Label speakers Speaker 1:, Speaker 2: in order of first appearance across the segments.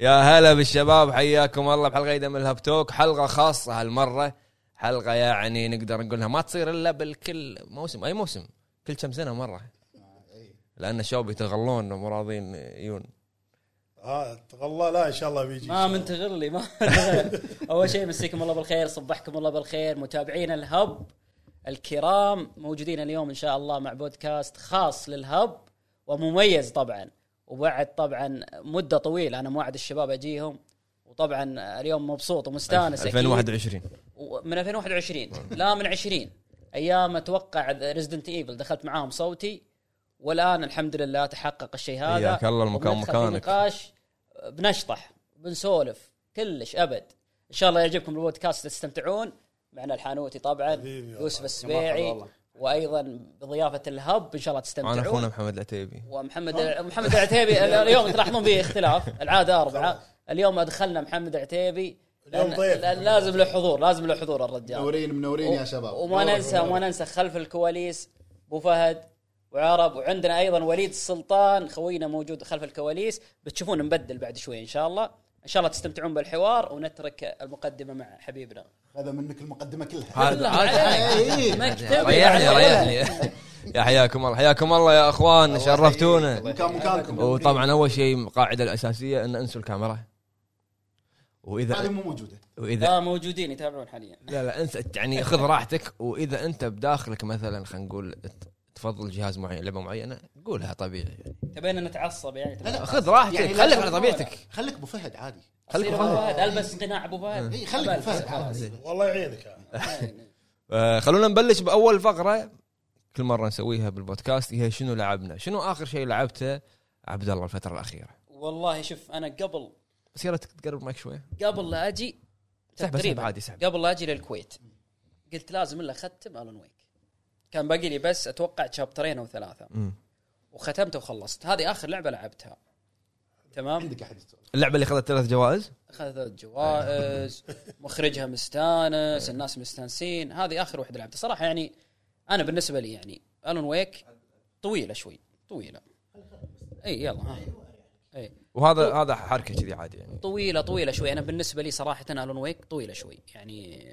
Speaker 1: يا هلا بالشباب حياكم الله بحلقه جديده من الهاب توك حلقه خاصه هالمره حلقه يعني نقدر نقولها ما تصير الا بالكل موسم اي موسم كل كم سنه مره لان الشباب يتغلون مو راضيين يجون
Speaker 2: ها تغلى لا ان شاء الله بيجي
Speaker 3: ما منتظر لي ما منتظر. اول شيء مسيكم الله بالخير صبحكم الله بالخير متابعين الهب الكرام موجودين اليوم ان شاء الله مع بودكاست خاص للهب ومميز طبعا وبعد طبعا مده طويله انا موعد الشباب اجيهم وطبعا اليوم مبسوط ومستانس أكيد.
Speaker 1: 2021
Speaker 3: و- من 2021 لا من 20 ايام اتوقع ريزدنت ايفل دخلت معاهم صوتي والان الحمد لله تحقق الشيء هذا
Speaker 1: حياك الله المكان
Speaker 3: وبندخل في
Speaker 1: مكانك.
Speaker 3: نقاش بنشطح بنسولف كلش ابد ان شاء الله يعجبكم البودكاست تستمتعون معنا الحانوتي طبعا
Speaker 2: حبيبي والله.
Speaker 3: يوسف السبيعي وايضا بضيافه الهب ان شاء الله
Speaker 1: انا اخونا
Speaker 3: تستمتعون
Speaker 1: محمد العتيبي
Speaker 3: ومحمد محمد العتيبي ال- اليوم تلاحظون فيه اختلاف العاده اربعه اليوم ادخلنا محمد العتيبي
Speaker 2: اليوم
Speaker 3: لأن-
Speaker 2: ضيف.
Speaker 3: لأن لازم له حضور لازم له حضور الرجال
Speaker 4: منورين منورين يا
Speaker 3: و-
Speaker 4: شباب
Speaker 3: وما ننسى وما ننسى خلف الكواليس ابو فهد وعرب وعندنا ايضا وليد السلطان خوينا موجود خلف الكواليس بتشوفون نبدل بعد شوي ان شاء الله ان شاء الله تستمتعون بالحوار ونترك المقدمه مع حبيبنا
Speaker 4: هذا منك المقدمه كلها
Speaker 1: هذا-
Speaker 3: بالله
Speaker 1: هذا-
Speaker 3: عليك
Speaker 4: إيه.
Speaker 3: مكتب
Speaker 1: ريحني ريحني يا حياكم الله حياكم الله يا اخوان شرفتونا
Speaker 4: مكان مكانكم
Speaker 1: وطبعا اول شيء القاعده الاساسيه ان انسوا الكاميرا
Speaker 4: هذه
Speaker 1: واذا
Speaker 4: مو موجوده
Speaker 1: واذا
Speaker 3: لا آه، موجودين يتابعون حاليا
Speaker 1: لا لا انسى يعني خذ راحتك واذا انت بداخلك مثلا خلينا نقول ت- تفضل جهاز معين لعبه معينه قولها طبيعي يعني.
Speaker 3: تبينا نتعصب يعني
Speaker 4: لا لا
Speaker 1: خذ راحتك
Speaker 4: يعني لا
Speaker 1: خليك على
Speaker 4: تكون
Speaker 1: طبيعتك
Speaker 4: خليك ابو فهد عادي
Speaker 1: خليك
Speaker 3: أصير ابو فهد البس قناع ابو فهد إيه،
Speaker 4: اي إيه، خليك ابو فهد عادي
Speaker 2: والله يعينك عاد.
Speaker 1: آه خلونا نبلش باول فقره كل مره نسويها بالبودكاست هي شنو لعبنا شنو اخر شيء لعبته عبد الله الفتره الاخيره
Speaker 3: والله شوف انا قبل
Speaker 1: بس يلا تقرب معك شوي
Speaker 3: قبل لا اجي
Speaker 1: سحب سحب
Speaker 3: تقريباً
Speaker 1: عادي سحب
Speaker 3: قبل لا اجي للكويت قلت لازم الا اختم الون ويك كان باقي لي بس اتوقع شابترين او ثلاثه
Speaker 1: مم.
Speaker 3: وختمته وخلصت هذه اخر لعبه لعبتها تمام
Speaker 4: عندك احد يسولف
Speaker 1: اللعبه اللي اخذت ثلاث جوائز
Speaker 3: اخذت الجوائز مخرجها مستانس الناس مستانسين هذه اخر واحده لعبتها صراحه يعني انا بالنسبه لي يعني الون ويك طويله شوي طويله اي يلا ها اي
Speaker 1: وهذا هذا حركه كذي عادي يعني
Speaker 3: طويله طويله شوي انا بالنسبه لي صراحه الون ويك طويله شوي يعني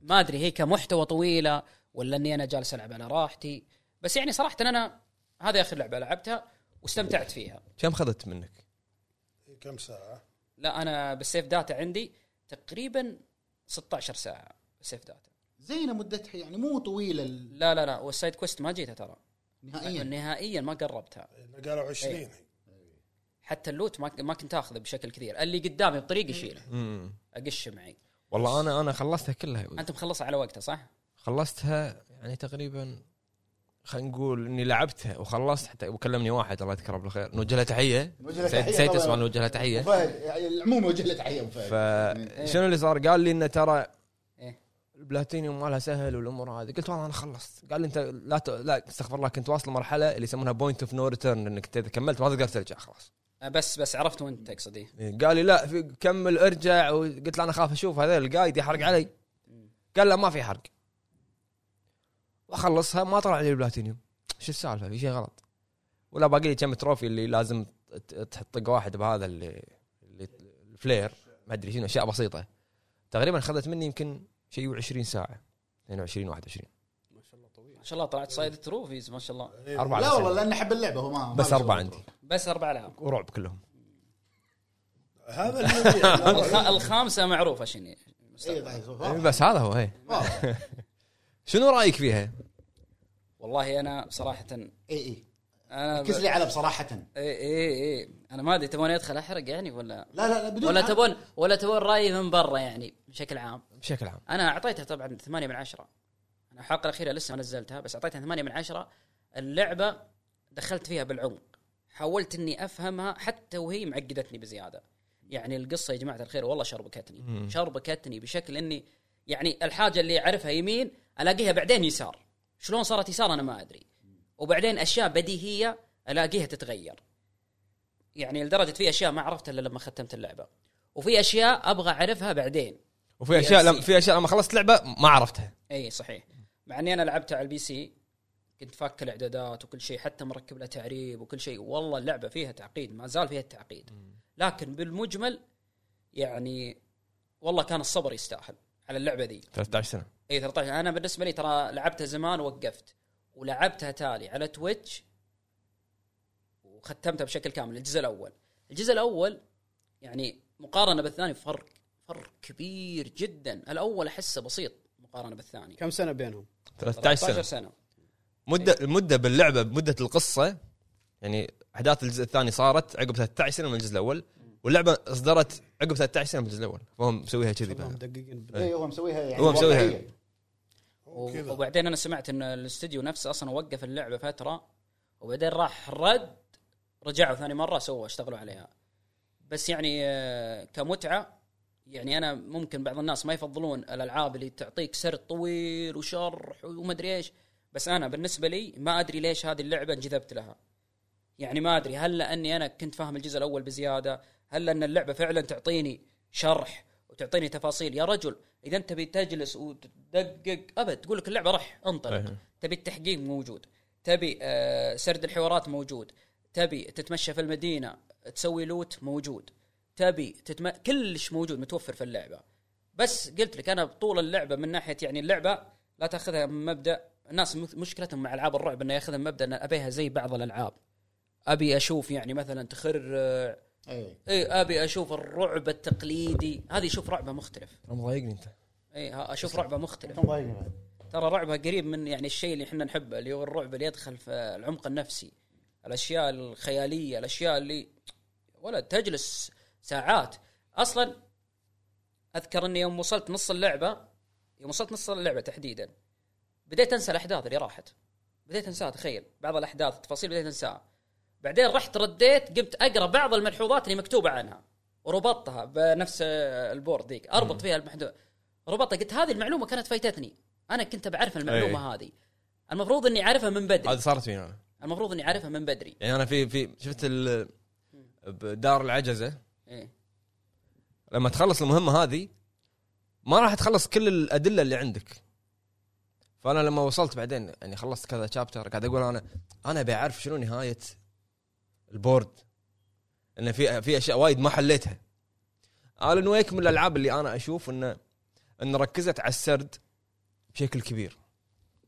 Speaker 3: ما ادري هي كمحتوى طويله ولا اني انا جالس العب على راحتي بس يعني صراحه انا هذه اخر لعبه لعبتها واستمتعت فيها
Speaker 1: كم اخذت منك؟
Speaker 2: كم ساعه
Speaker 3: لا انا بالسيف داتا عندي تقريبا 16 ساعه سيف داتا
Speaker 4: زينه مدتها يعني مو طويله ال-
Speaker 3: لا لا لا والسايد كويست ما جيتها ترى
Speaker 4: نهائيا
Speaker 3: نهائيا ما قربتها
Speaker 2: اللي قالوا 20
Speaker 1: إيه.
Speaker 3: حتى اللوت ما ما كنت اخذه بشكل كثير اللي قدامي بطريق يشيله
Speaker 1: مم.
Speaker 3: اقش معي
Speaker 1: والله انا انا خلصتها كلها
Speaker 3: انت مخلصها على وقتها صح؟
Speaker 1: خلصتها يعني تقريبا خلينا نقول اني لعبتها وخلصت حتى وكلمني واحد الله يذكره بالخير نوجه له تحيه
Speaker 4: نوجه له
Speaker 1: سيد
Speaker 4: تحية
Speaker 1: سيد
Speaker 4: طبعاً. إيه.
Speaker 1: اسمه نوجه له تحيه
Speaker 4: أبو فهد يعني العموم وجه له تحيه ابو فهد
Speaker 1: فشنو اللي صار؟ قال لي انه ترى
Speaker 3: إيه.
Speaker 1: البلاتينيوم مالها سهل والامور هذه قلت والله انا خلصت قال لي انت لا ت... لا استغفر الله كنت واصل مرحله اللي يسمونها بوينت اوف نو ريتيرن انك انت اذا كملت ما تقدر ترجع خلاص
Speaker 3: أه بس بس عرفت وين تقصد إيه.
Speaker 1: قال لي لا في كمل ارجع وقلت له انا خاف اشوف هذا القايد يحرق علي قال لا ما في حرق واخلصها ما طلع لي البلاتينيوم شو السالفه في شيء غلط ولا باقي لي كم تروفي اللي لازم ت- تحط طق واحد بهذا اللي, اللي الفلير ما ادري شنو اشياء بسيطه تقريبا خذت مني يمكن شيء 20 ساعه 22 21
Speaker 3: ما شاء الله طلعت صيد تروفيز ما شاء الله
Speaker 2: إيه.
Speaker 1: اربع
Speaker 4: إيه، لا والله
Speaker 1: أسابيع.
Speaker 4: لان احب اللعبه هو ما ما
Speaker 1: بس
Speaker 4: بيسولف.
Speaker 1: اربع عندي
Speaker 3: بس اربع العاب
Speaker 1: ورعب كلهم
Speaker 2: هذا اللي يبيع.
Speaker 3: الخ- الخامسه معروفه شنو
Speaker 4: إيه، طيب، واضح.
Speaker 1: بس هذا هو هي
Speaker 4: واضح.
Speaker 1: شنو رايك فيها؟
Speaker 3: والله انا صراحه
Speaker 4: اي اي
Speaker 3: انا ب... إيه،
Speaker 4: ركز إيه، لي على بصراحه
Speaker 3: اي اي اي انا ما ادري تبون ادخل احرق يعني ولا
Speaker 4: لا لا لا بدون
Speaker 3: ولا
Speaker 4: عم-
Speaker 3: تبون ولا تبون رايي من برا يعني بشكل عام
Speaker 1: بشكل عام
Speaker 3: انا اعطيتها طبعا 8 من 10 انا الحلقه الاخيره لسه ما نزلتها بس اعطيتها 8 من 10 اللعبه دخلت فيها بالعمق حاولت اني افهمها حتى وهي معقدتني بزياده يعني القصه يا جماعه الخير والله شربكتني شربكتني بشكل اني يعني الحاجه اللي اعرفها يمين الاقيها بعدين يسار شلون صارت يسار انا ما ادري وبعدين اشياء بديهيه الاقيها تتغير يعني لدرجه في اشياء ما عرفتها الا لما ختمت اللعبه وفي اشياء ابغى اعرفها بعدين
Speaker 1: وفي اشياء
Speaker 3: DLC.
Speaker 1: لم... في اشياء لما خلصت لعبه ما عرفتها
Speaker 3: اي صحيح مع اني انا لعبتها على البي سي كنت فاك الاعدادات وكل شيء حتى مركب لها تعريب وكل شيء والله اللعبه فيها تعقيد ما زال فيها التعقيد لكن بالمجمل يعني والله كان الصبر يستاهل على اللعبه ذي
Speaker 1: 13 سنه
Speaker 3: اي 13 انا بالنسبه لي ترى لعبتها زمان ووقفت ولعبتها تالي على تويتش وختمتها بشكل كامل الجزء الاول الجزء الاول يعني مقارنه بالثاني فرق فرق كبير جدا الاول احسه بسيط مقارنه بالثاني
Speaker 5: كم سنه بينهم
Speaker 1: 13 سنه
Speaker 3: سنه
Speaker 1: مده المده باللعبه بمده القصه يعني احداث الجزء الثاني صارت عقب 13 سنه من الجزء الاول واللعبه اصدرت عقب 13 سنه من الجزء الاول فهم مسويها كذي
Speaker 5: والله
Speaker 1: بعد.
Speaker 5: مدققين بال-
Speaker 4: اي هو مسويها يعني
Speaker 1: هو مسويها.
Speaker 4: واقعية.
Speaker 2: كذا.
Speaker 3: وبعدين انا سمعت ان الاستديو نفسه اصلا وقف اللعبه فتره وبعدين راح رد رجعوا ثاني مره سووا اشتغلوا عليها بس يعني آه، كمتعه يعني انا ممكن بعض الناس ما يفضلون الالعاب اللي تعطيك سرد طويل وشرح ومدري ايش بس انا بالنسبه لي ما ادري ليش هذه اللعبه انجذبت لها يعني ما ادري هل لاني انا كنت فاهم الجزء الاول بزياده هل لان اللعبه فعلا تعطيني شرح وتعطيني تفاصيل يا رجل اذا انت تبي تجلس وتدقق ابد تقول لك اللعبه رح انطلق
Speaker 1: أيه.
Speaker 3: تبي التحقيق موجود تبي آه، سرد الحوارات موجود تبي تتمشى في المدينه تسوي لوت موجود تبي تتم... كلش موجود متوفر في اللعبه بس قلت لك انا طول اللعبه من ناحيه يعني اللعبه لا تاخذها من مبدا الناس مث- مشكلتهم مع العاب الرعب انه ياخذها من مبدا ان ابيها زي بعض الالعاب ابي اشوف يعني مثلا تخرع
Speaker 4: اي
Speaker 3: اي ابي اشوف الرعب التقليدي هذه شوف رعبه مختلف
Speaker 1: ترى مضايقني انت
Speaker 3: اي ها- اشوف رعبه مختلف
Speaker 4: انتم ضايقين بعد.
Speaker 3: ترى رعبه قريب من يعني الشيء اللي احنا نحبه اللي هو الرعب اللي يدخل في العمق النفسي الاشياء الخياليه الاشياء اللي ولا تجلس ساعات اصلا اذكر اني يوم وصلت نص اللعبه يوم وصلت نص اللعبه تحديدا بديت انسى الاحداث اللي راحت بديت انساها تخيل بعض الاحداث التفاصيل بديت انساها بعدين رحت رديت قمت اقرا بعض الملحوظات اللي مكتوبه عنها وربطتها بنفس البورد ذيك اربط فيها المحدود ربطها قلت هذه المعلومه كانت فايتتني انا كنت بعرف المعلومه هذه المفروض اني عارفها من
Speaker 1: هذه
Speaker 3: بدري
Speaker 1: صارت فينا انا
Speaker 3: المفروض اني عارفها من بدري
Speaker 1: يعني انا في في شفت ال- بدار العجزه
Speaker 3: إيه.
Speaker 1: لما تخلص المهمه هذه ما راح تخلص كل الادله اللي عندك فانا لما وصلت بعدين يعني خلصت كذا شابتر قاعد اقول انا انا ابي اعرف شنو نهايه البورد انه في في اشياء وايد ما حليتها الن ويك من الالعاب اللي انا اشوف انه انه ركزت على السرد بشكل كبير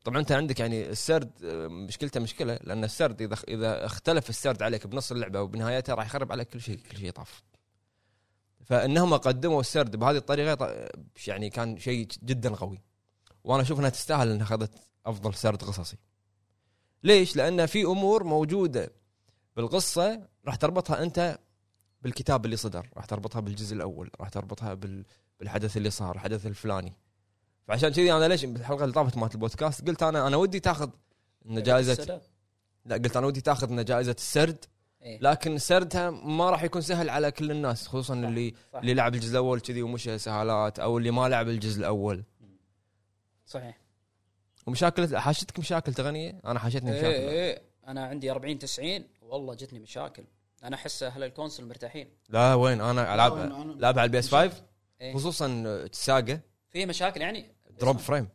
Speaker 1: طبعا انت عندك يعني السرد آه، مشكلته مشكله لان السرد اذا اذا اختلف السرد عليك بنص اللعبه وبنهايتها راح يخرب عليك كل شيء كل شيء طاف فانهم قدموا السرد بهذه الطريقه ط- يعني كان شيء جدا قوي وانا اشوف انها تستاهل انها اخذت افضل سرد قصصي ليش لان في امور موجوده بالقصه راح تربطها انت بالكتاب اللي صدر راح تربطها بالجزء الاول راح تربطها بال... بالحدث اللي صار الحدث الفلاني فعشان كذي انا ليش بالحلقه اللي طافت مالت البودكاست قلت انا انا ودي تاخذ إن جائزه
Speaker 3: السلام.
Speaker 1: لا قلت انا ودي تاخذ إن جائزه السرد
Speaker 3: إيه.
Speaker 1: لكن سردها ما راح يكون سهل على كل الناس خصوصا اللي
Speaker 3: صح.
Speaker 1: اللي لعب الجزء الاول كذي ومشى سهالات او اللي ما لعب الجزء الاول
Speaker 3: صحيح
Speaker 1: ومشاكل حاشتك مشاكل تغنيه انا حاشتني
Speaker 3: ايه
Speaker 1: مشاكل
Speaker 3: ايه انا عندي 40 90 والله جتني مشاكل انا احس اهل الكونسل مرتاحين
Speaker 1: لا وين انا العب
Speaker 4: أنا- أنا-
Speaker 1: لعب على البي اس 5
Speaker 3: إيه.
Speaker 1: خصوصا ساقه
Speaker 3: في مشاكل يعني
Speaker 1: دروب فريم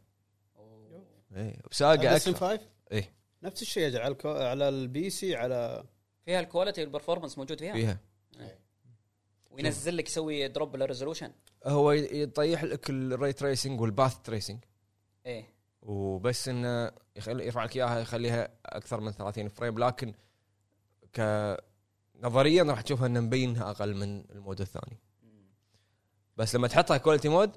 Speaker 3: أوه.
Speaker 1: ايه ساقه
Speaker 5: بس
Speaker 1: اكثر
Speaker 5: 5
Speaker 1: إيه.
Speaker 5: نفس الشيء يا جدع، على الكو- على البي سي على
Speaker 3: فيها الكواليتي والبرفورمانس موجود فيها,
Speaker 1: فيها
Speaker 3: وينزل لك يسوي دروب للريزولوشن
Speaker 1: هو يطيح لك الري تريسنج والباث تريسنج
Speaker 3: ايه
Speaker 1: وبس انه يخل... يرفع لك اياها يخليها اكثر من 30 فريم لكن ك نظريا راح تشوفها انه مبينها اقل من المود الثاني بس لما تحطها كواليتي مود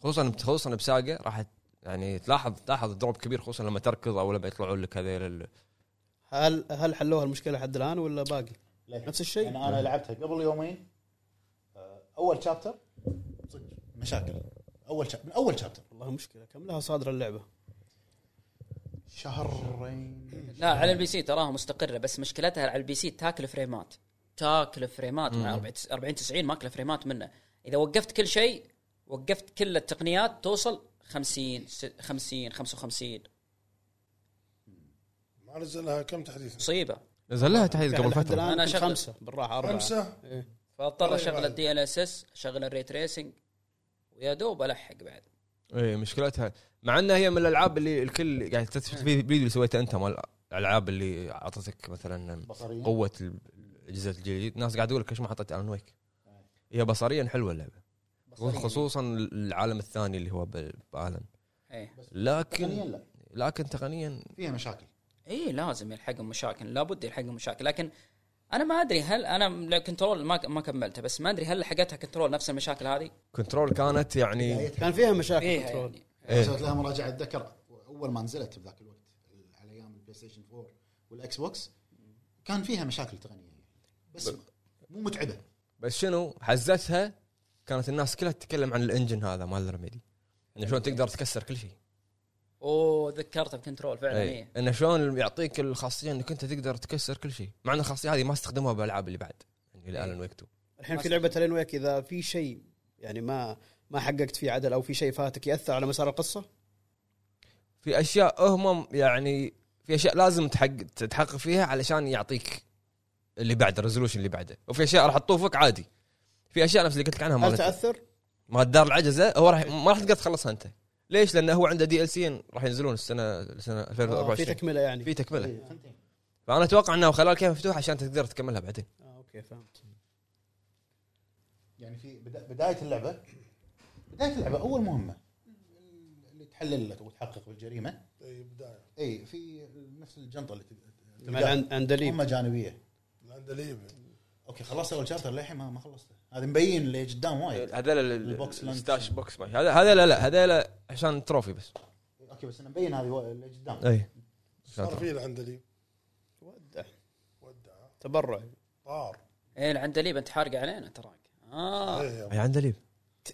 Speaker 1: خصوصا خصوصا بساقه راح ت- يعني تلاحظ تلاحظ دروب كبير خصوصا لما تركض او لما يطلعون لك هذيل ال-
Speaker 5: هل هل حلوها المشكله لحد الان ولا باقي؟
Speaker 4: ليه؟
Speaker 5: نفس الشيء.
Speaker 4: يعني انا لعبتها قبل يومين آه، اول شابتر صدق مشاكل اول شابتر من اول شابتر
Speaker 5: والله مشكله كم لها صادره اللعبه؟
Speaker 4: شهرين
Speaker 3: لا على البي سي تراها مستقره بس مشكلتها على البي سي تاكل فريمات تاكل فريمات مع 40 90 ماكل فريمات منه اذا وقفت كل شيء وقفت كل التقنيات توصل 50 س- 50 55
Speaker 2: ما نزلها كم تحديث؟
Speaker 3: مصيبه
Speaker 1: نزل لها تحديث قبل
Speaker 5: يعني لحد
Speaker 1: فتره
Speaker 5: الان
Speaker 3: أنا
Speaker 5: أنا
Speaker 3: شغل.
Speaker 5: خمسه بالراحه اربعه
Speaker 2: خمسه
Speaker 5: إيه.
Speaker 3: فاضطر
Speaker 4: أيوة.
Speaker 2: طيب
Speaker 3: اشغل
Speaker 2: عادي.
Speaker 3: الدي ال اس اس اشغل الري تريسنج ويا دوب الحق بعد
Speaker 1: اي إيه، مشكلتها مع انها هي من الالعاب اللي الكل قاعد تثبت في الفيديو اللي سويته انت مال الالعاب اللي اعطتك مثلا
Speaker 4: بصريا
Speaker 1: قوه الجزء الجديد الناس قاعد تقول لك ليش ما حطيت الون ويك هي بصريا حلوه اللعبه خصوصا العالم الثاني اللي هو بالن
Speaker 3: ايه
Speaker 4: تقنياً
Speaker 1: لكن
Speaker 4: لا
Speaker 1: لكن تقنيا
Speaker 4: فيها مشاكل
Speaker 3: اي إيه، لازم يلحقهم مشاكل لابد يلحقهم مشاكل لكن انا ما ادري هل انا كنترول ما ما كملته بس ما ادري هل لحقتها كنترول نفس المشاكل هذه؟
Speaker 1: كنترول كانت يعني
Speaker 4: بدايتها
Speaker 5: كان فيها مشاكل
Speaker 3: فيها
Speaker 5: كنترول.
Speaker 3: يعني
Speaker 1: إيه.
Speaker 4: سويت لها مراجعه اتذكر اول ما نزلت بذاك الوقت على ايام البلاي ستيشن 4 والاكس بوكس كان فيها مشاكل تقنيه بس مو متعبه
Speaker 1: بس شنو حزتها كانت الناس كلها تتكلم عن الانجن هذا مال ريميدي انه شلون تقدر تكسر كل شيء
Speaker 3: اوه ذكرت بكنترول فعلا
Speaker 1: اي
Speaker 3: ايه
Speaker 1: انه شلون يعطيك الخاصيه انك انت تقدر تكسر كل شيء مع ان الخاصيه هذه ما استخدموها بالالعاب اللي بعد يعني
Speaker 3: إيه.
Speaker 1: الان ويك 2
Speaker 5: الحين في لعبه الين ويك اذا في شيء يعني ما ما حققت فيه عدل او في شيء فاتك ياثر على مسار القصه
Speaker 1: في اشياء هم يعني في اشياء لازم تحقق تتحقق فيها علشان يعطيك اللي بعده الريزولوشن اللي بعده وفي اشياء راح تطوفك عادي في اشياء نفس اللي قلت لك عنها
Speaker 5: هل
Speaker 1: مالت
Speaker 5: تاثر؟
Speaker 1: مال الدار العجزه هو راح ما راح تقدر تخلصها انت ليش؟ لانه هو عنده دي ال سي راح ينزلون السنه السنه
Speaker 5: آه، في
Speaker 1: 2024
Speaker 5: تكمله يعني
Speaker 1: في تكمله
Speaker 4: فهمتني؟
Speaker 1: فانا اتوقع انه خلال كيف مفتوح عشان تقدر تكملها بعدين
Speaker 5: آه، اوكي فهمت
Speaker 4: يعني في بدا- بدايه اللعبه بدايه اللعبه اول مهمه اللي تحلل لك وتحقق بالجريمه
Speaker 2: اي بدايه
Speaker 4: اي في نفس الجنطه اللي تب-
Speaker 5: مع العن- عندليب
Speaker 4: مهمه جانبيه
Speaker 2: العندليب
Speaker 4: اوكي خلصت اول شابتر للحين ما ما خلصته هذا مبين اللي قدام وايد
Speaker 1: هذا
Speaker 4: طيب. البوكس لانش.
Speaker 1: الستاش بوكس ماي هذا هذا لا لا هذا لا عشان التروفي بس
Speaker 4: اوكي بس انا مبين هذه وا- اللي قدام
Speaker 1: اي
Speaker 2: صار في العندليب
Speaker 5: ودع
Speaker 2: ودع
Speaker 5: تبرع
Speaker 2: طار
Speaker 3: ايه العندليب انت حارق علينا تراك اه
Speaker 2: إيه.
Speaker 1: اي عندليب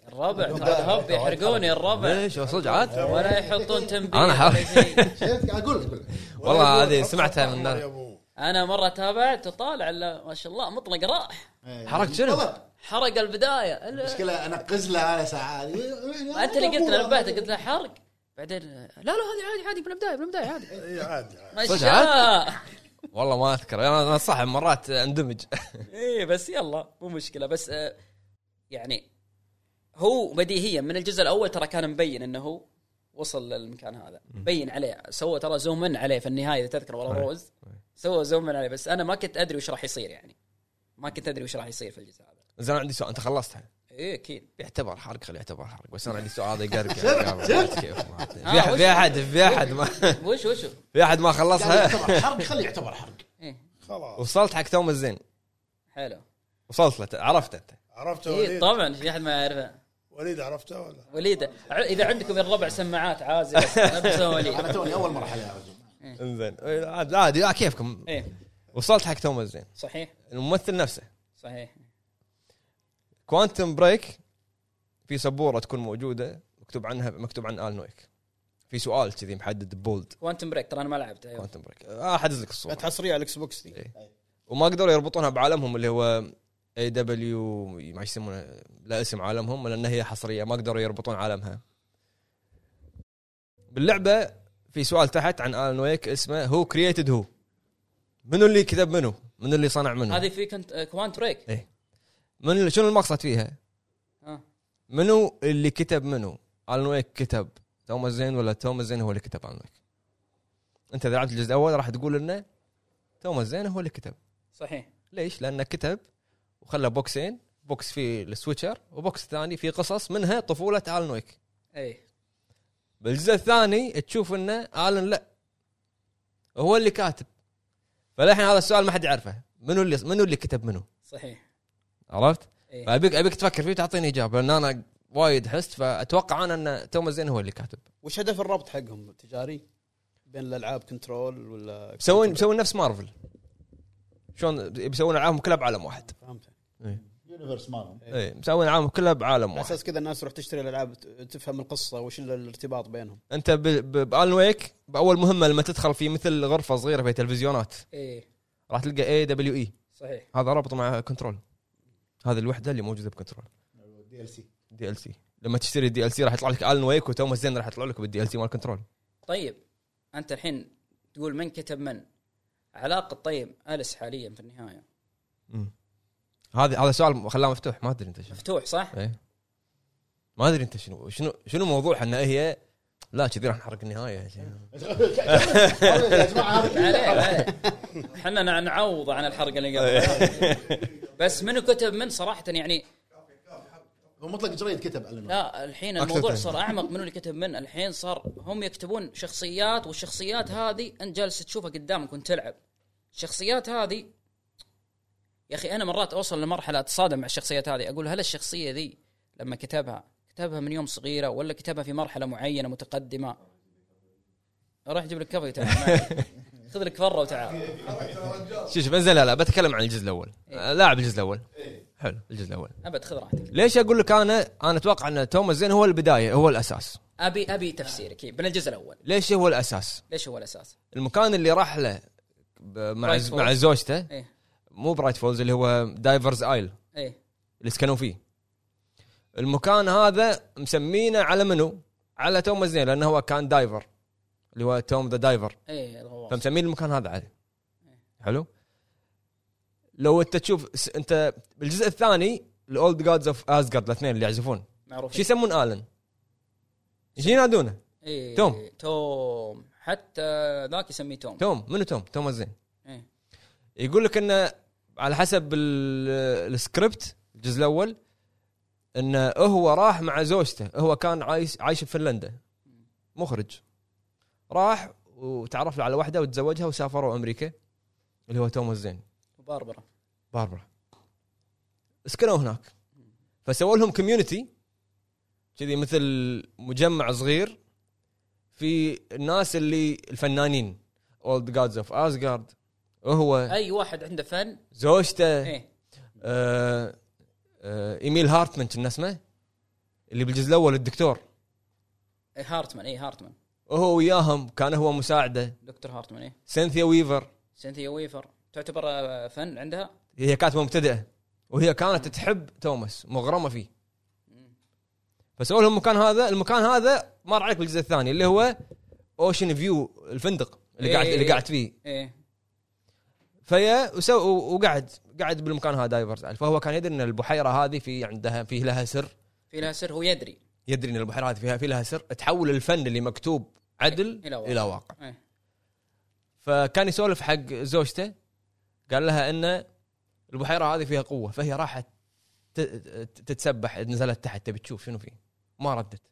Speaker 3: الربع
Speaker 4: لا،
Speaker 3: ترى هب
Speaker 4: لا،
Speaker 3: يحرقوني الربع
Speaker 1: ليش صدق عاد
Speaker 3: ولا يحطون تنبيه إيه.
Speaker 1: أنا
Speaker 3: ولا
Speaker 1: حر-
Speaker 3: شيء.
Speaker 4: شفت؟ قاعد اقول لك- اقول لك.
Speaker 1: والله هذه
Speaker 2: حط
Speaker 1: سمعتها
Speaker 2: خط
Speaker 1: من
Speaker 2: أحمر يا
Speaker 1: الناس.
Speaker 2: أبو.
Speaker 3: انا مره تابعت وطالع إلا ما شاء الله مطلق راح
Speaker 4: إيه.
Speaker 1: حركت شنو؟
Speaker 4: طبعاً.
Speaker 3: حرق البدايه ال-
Speaker 4: مشكلة انقز له على ساعات
Speaker 3: انت اللي قلت له نبهته قلت له حرق بعدين لا لا هذه عادي عادي من البدايه من البدايه عادي
Speaker 2: اي عادي عادي.
Speaker 3: ما
Speaker 1: صدق
Speaker 3: شاء
Speaker 1: والله ما اذكر انا أنا صح مرات اندمج
Speaker 3: ايه بس يلا مو مشكله بس آه، يعني هو بديهيا من الجزء الاول ترى كان مبين انه هو وصل للمكان هذا بين عليه سوى ترى زومن عليه في النهايه اذا تذكر ولا
Speaker 1: أي.
Speaker 3: روز سوى زومن عليه بس انا ما كنت ادري وش راح يصير يعني ما كنت ادري وش راح يصير في الجزء هذا
Speaker 1: زين عندي سؤال انت خلصتها
Speaker 3: ايه اكيد
Speaker 1: يعتبر حرق خلي يعتبر حرق بس انا عندي سؤال هذا يقرب يعني كيف ما أدري. في
Speaker 3: آه،
Speaker 1: أحد-
Speaker 3: وش-
Speaker 1: في احد في احد ما
Speaker 3: وش وش
Speaker 1: في احد ما خلصها
Speaker 4: يعتبر حرق خليه يعتبر حرق
Speaker 3: ايه
Speaker 2: خلاص
Speaker 1: وصلت حق توم الزين
Speaker 3: حلو
Speaker 1: وصلت له عرفت انت
Speaker 2: عرفته
Speaker 3: ايه
Speaker 2: وليد
Speaker 3: طبعا في احد ما يعرفه
Speaker 2: وليد عرفته ولا
Speaker 3: وليد ع- اذا عندكم الربع سماعات عازل البسوا وليد
Speaker 4: انا توني اول مرحلة يا رجل
Speaker 1: انزين إيه، عاد- عادي آه، كيفكم
Speaker 3: ايه
Speaker 1: وصلت حق توم الزين
Speaker 3: صحيح
Speaker 1: الممثل نفسه
Speaker 3: صحيح
Speaker 1: كوانتم بريك في سبوره تكون موجوده مكتوب عنها مكتوب عن ال نويك في سؤال كذي محدد بولد
Speaker 3: كوانتم بريك ترى انا ما لعبت ايوه
Speaker 1: كوانتم بريك احدد لك الصوره
Speaker 5: حصريه على الاكس بوكس دي
Speaker 1: وما قدروا يربطونها بعالمهم اللي هو اي دبليو ما يسمونه لا اسم عالمهم لان هي حصريه ما قدروا يربطون عالمها باللعبه في سؤال تحت عن الان ويك اسمه هو كرييتد هو منو اللي كتب منو منو اللي صنع منو
Speaker 3: هذه في كنت آه، كوانت بريك
Speaker 1: من شنو المقصد فيها
Speaker 3: آه.
Speaker 1: منو اللي كتب منو؟ الون ويك كتب توماس زين ولا توماس زين هو اللي كتب الون ويك؟ انت اذا لعبت الجزء الاول راح تقول انه توماس زين هو اللي كتب،
Speaker 3: صحيح
Speaker 1: ليش؟ لانه كتب وخلى بوكسين، بوكس فيه السويتشر وبوكس ثاني فيه قصص منها طفوله الون ويك.
Speaker 3: اي
Speaker 1: بالجزء الثاني تشوف انه الن لا هو اللي كاتب. فللحين هذا السؤال ما حد يعرفه، منو اللي منو اللي كتب منو؟
Speaker 3: صحيح إيه،
Speaker 1: عرفت؟
Speaker 3: اي
Speaker 1: فابيك ابيك تفكر فيه تعطيني اجابه لان انا وايد حست فاتوقع انا ان توماس زين هو اللي كاتب.
Speaker 5: وش هدف الربط حقهم تجاري بين الالعاب كنترول ولا
Speaker 1: بيسوون بيسوون نفس مارفل شلون بيسوون العابهم كلها بعالم واحد
Speaker 5: فهمت
Speaker 4: يونيفرس مالهم
Speaker 1: اي مسوين العابهم كلها بعالم
Speaker 5: على
Speaker 1: واحد
Speaker 5: اساس كذا الناس تروح تشتري الالعاب ت- تفهم القصه وش ال- الارتباط بينهم
Speaker 1: انت ب- ب- بالون ويك باول مهمه لما تدخل في مثل غرفه صغيره في تلفزيونات
Speaker 3: اي
Speaker 1: راح تلقى اي دبليو اي
Speaker 3: إيه، صحيح
Speaker 1: هذا رابط مع كنترول هذه الوحده اللي موجوده بكنترول
Speaker 4: دي ال سي
Speaker 1: دي ال سي لما تشتري الدي ال سي راح يطلع لك الون ويك وتوماس زين راح يطلع لك بالدي ال سي مال كنترول
Speaker 3: طيب انت الحين تقول من كتب من علاقه طيب اليس حاليا في النهايه
Speaker 1: أمم. هذا هذا سؤال خلاه مفتوح ما ادري انت شو
Speaker 3: مفتوح صح؟
Speaker 1: ايه ما ادري انت شنو شنو شنو موضوعها ان هي لا كذي راح نحرق النهايه
Speaker 4: يا جماعه هذا كله
Speaker 3: عليه عليه احنا نع- نعوض عن الحرقه اللي
Speaker 1: إيه.
Speaker 3: قبل بس منو كتب من صراحه يعني
Speaker 4: هو مطلق جريد كتب على النار.
Speaker 3: لا الحين
Speaker 1: أكثر
Speaker 3: الموضوع
Speaker 1: تهديد.
Speaker 3: صار اعمق من اللي كتب من الحين صار هم يكتبون شخصيات والشخصيات هذه انت جالس تشوفها قدامك وانت تلعب الشخصيات هذه يا اخي انا مرات اوصل لمرحله اتصادم مع الشخصيات هذه اقول هل الشخصيه ذي لما كتبها كتبها من يوم صغيره ولا كتبها في مرحله معينه متقدمه راح جيب لك كفي تعال معي. خذ لك فره وتعال
Speaker 1: شوف شوف انزل لا لا بتكلم عن الجزء الاول آه، لاعب الجزء الاول حلو الجزء الاول
Speaker 3: ابد خذ راحتك
Speaker 1: ليش اقول لك انا انا اتوقع ان توماس زين هو البدايه هو الاساس
Speaker 3: ابي ابي تفسيرك إيه، من الجزء الاول
Speaker 1: ليش هو الاساس
Speaker 3: ليش هو الاساس؟
Speaker 1: المكان اللي راح له ب- مع
Speaker 3: برايت فولز.
Speaker 1: مع زوجته
Speaker 3: ايه
Speaker 1: مو برايت فولز اللي هو دايفرز ايل
Speaker 3: ايه
Speaker 1: اللي سكنوا فيه المكان هذا مسمينه على منو؟ على توماس زين لانه هو كان دايفر اللي هو توم ذا دايفر
Speaker 3: ايه الغواص
Speaker 1: فمسمين المكان هذا عادي حلو لو انت تشوف س- انت بالجزء الثاني الاولد جادز اوف ازجارد الاثنين اللي يعزفون
Speaker 3: معروف
Speaker 1: شو يسمون الن؟ ايش ينادونه؟
Speaker 3: إيه
Speaker 1: توم.
Speaker 3: توم حتى ذاك يسميه توم
Speaker 1: توم منو توم؟ توم الزين
Speaker 3: إيه.
Speaker 1: يقول لك انه على حسب ال- السكريبت الجزء الاول انه هو راح مع زوجته هو كان عايش عايش في فنلندا مخرج راح وتعرف له على واحده وتزوجها وسافروا امريكا اللي هو توم الزين
Speaker 3: باربرا
Speaker 1: باربرا سكنوا هناك فسووا لهم كوميونتي كذي مثل مجمع صغير في الناس اللي الفنانين اولد جادز اوف ازجارد هو
Speaker 3: اي واحد عنده فن
Speaker 1: زوجته
Speaker 3: ايه
Speaker 1: آه آه ايميل هارتمان كنا اسمه اللي بالجزء الاول الدكتور
Speaker 3: إيه، هارتمان ايه هارتمان
Speaker 1: وهو وياهم كان هو مساعده
Speaker 3: دكتور هارتمان ايه
Speaker 1: سينثيا ويفر
Speaker 3: سينثيا ويفر تعتبر آه، فن عندها
Speaker 1: هي كانت مبتدئه وهي كانت تحب توماس مغرمه فيه فسووا لهم المكان هذا المكان هذا مر عليك بالجزء الثاني اللي هو اوشن فيو الفندق اللي قاعد
Speaker 3: إيه.
Speaker 1: اللي قاعد فيه
Speaker 3: ايه
Speaker 1: فيا وسو وقعد قعد بالمكان هذا دايفرز فهو كان يدري ان البحيره هذه في عندها في لها سر
Speaker 3: في لها سر هو يدري
Speaker 1: يدري ان البحيره هذه فيها في لها سر تحول الفن اللي مكتوب عدل
Speaker 3: إلى واقع.
Speaker 1: الى واقع
Speaker 3: إيه.
Speaker 1: فكان يسولف حق زوجته قال لها ان البحيره هذه فيها قوه فهي راحت ت- ت- تتسبح نزلت تحت تبي تشوف شنو فيه ما ردت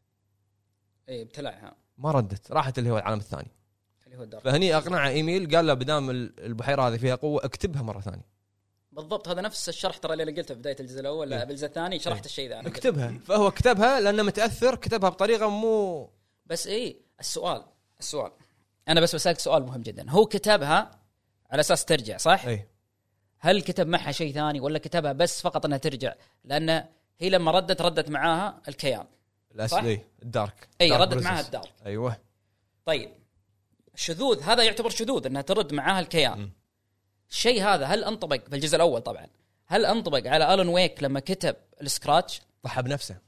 Speaker 3: ايه ابتلعها
Speaker 1: ما ردت راحت اللي هو العالم الثاني
Speaker 3: اللي هو الدار
Speaker 1: فهني اقنعه ايميل قال له بدام ال- البحيره هذه فيها قوه اكتبها مره ثانيه
Speaker 3: بالضبط هذا نفس الشرح ترى اللي أنا قلته في بدايه الجزء الاول لا بالجزء الثاني شرحت الشيء ذا أنا قلت.
Speaker 1: اكتبها فهو كتبها لانه متاثر كتبها بطريقه مو
Speaker 3: بس ايه السؤال السؤال انا بس بسالك سؤال مهم جدا هو كتبها على اساس ترجع صح؟
Speaker 1: اي
Speaker 3: هل كتب معها شيء ثاني ولا كتبها بس فقط انها ترجع لان هي لما ردت ردت معاها الكيان
Speaker 1: الأس...
Speaker 3: صح؟
Speaker 1: اي الدارك
Speaker 3: اي
Speaker 1: دارك
Speaker 3: ردت
Speaker 1: بريزنس.
Speaker 3: معاها الدار
Speaker 1: ايوه
Speaker 3: طيب الشذوذ هذا يعتبر شذوذ انها ترد معاها الكيان الشيء هذا هل انطبق في الجزء الاول طبعا هل انطبق على الن ويك لما كتب السكراتش
Speaker 1: ضحى بنفسه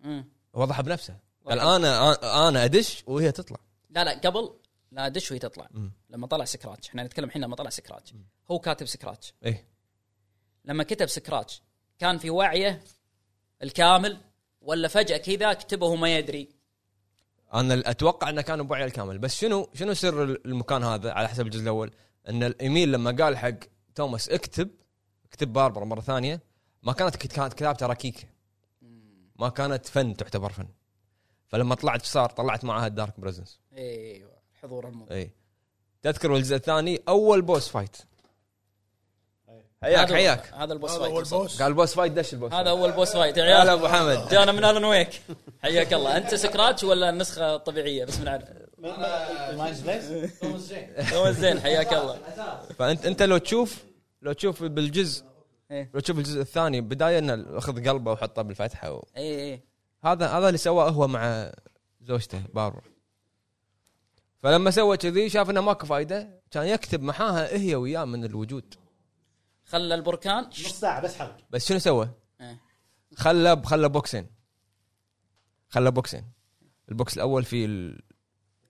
Speaker 3: مم.
Speaker 1: هو ضحى بنفسه
Speaker 3: إيه. ضحى.
Speaker 1: قال انا أنا- انا ادش وهي تطلع
Speaker 3: لا لا قبل لا دش وهي تطلع
Speaker 1: مم.
Speaker 3: لما طلع سكراتش احنا نتكلم الحين لما طلع سكراتش هو كاتب سكراتش
Speaker 1: اي
Speaker 3: لما كتب سكراتش كان في وعيه الكامل ولا فجاه كذا كتبه وما يدري
Speaker 1: انا ال- اتوقع انه كانوا بوعي الكامل بس شنو شنو سر ال- المكان هذا على حسب الجزء الاول ان الايميل لما قال حق توماس اكتب اكتب باربرا مره ثانيه ما كانت كت- كانت كتابته ركيكه ما كانت فن تعتبر فن فلما طلعت إيش صار طلعت معاها الدارك بريزنس
Speaker 3: ايوه حضور الموضوع
Speaker 1: اي تذكر الجزء الثاني اول بوس فايت حياك
Speaker 3: هذا-
Speaker 1: حياك
Speaker 3: هذا البوس
Speaker 2: هذا
Speaker 3: فايت
Speaker 2: هو البوس
Speaker 1: قال بوس فايت دش البوس
Speaker 3: هذا اول بوس فايت يا
Speaker 1: هلا
Speaker 3: عيال
Speaker 1: ابو حمد
Speaker 3: جانا من الن ويك حياك الله انت سكراتش ولا النسخه الطبيعيه بس من عارف هو زين حياك الله
Speaker 1: فانت انت لو تشوف لو تشوف بالجزء
Speaker 3: إيه.
Speaker 1: لو تشوف الجزء الثاني بدايه انه اخذ قلبه وحطه بالفتحه و...
Speaker 3: اي اي
Speaker 1: هذا هذا اللي سواه هو مع زوجته باربرا فلما سوى كذي شاف انه ماكو فايده كان يكتب معاها هي وياه من الوجود
Speaker 3: خلى البركان
Speaker 4: نص ساعه بس حرق
Speaker 1: بس شنو سوى؟
Speaker 3: إيه.
Speaker 1: خلى خلى بوكسين خلى بوكسين البوكس الاول فيه ال-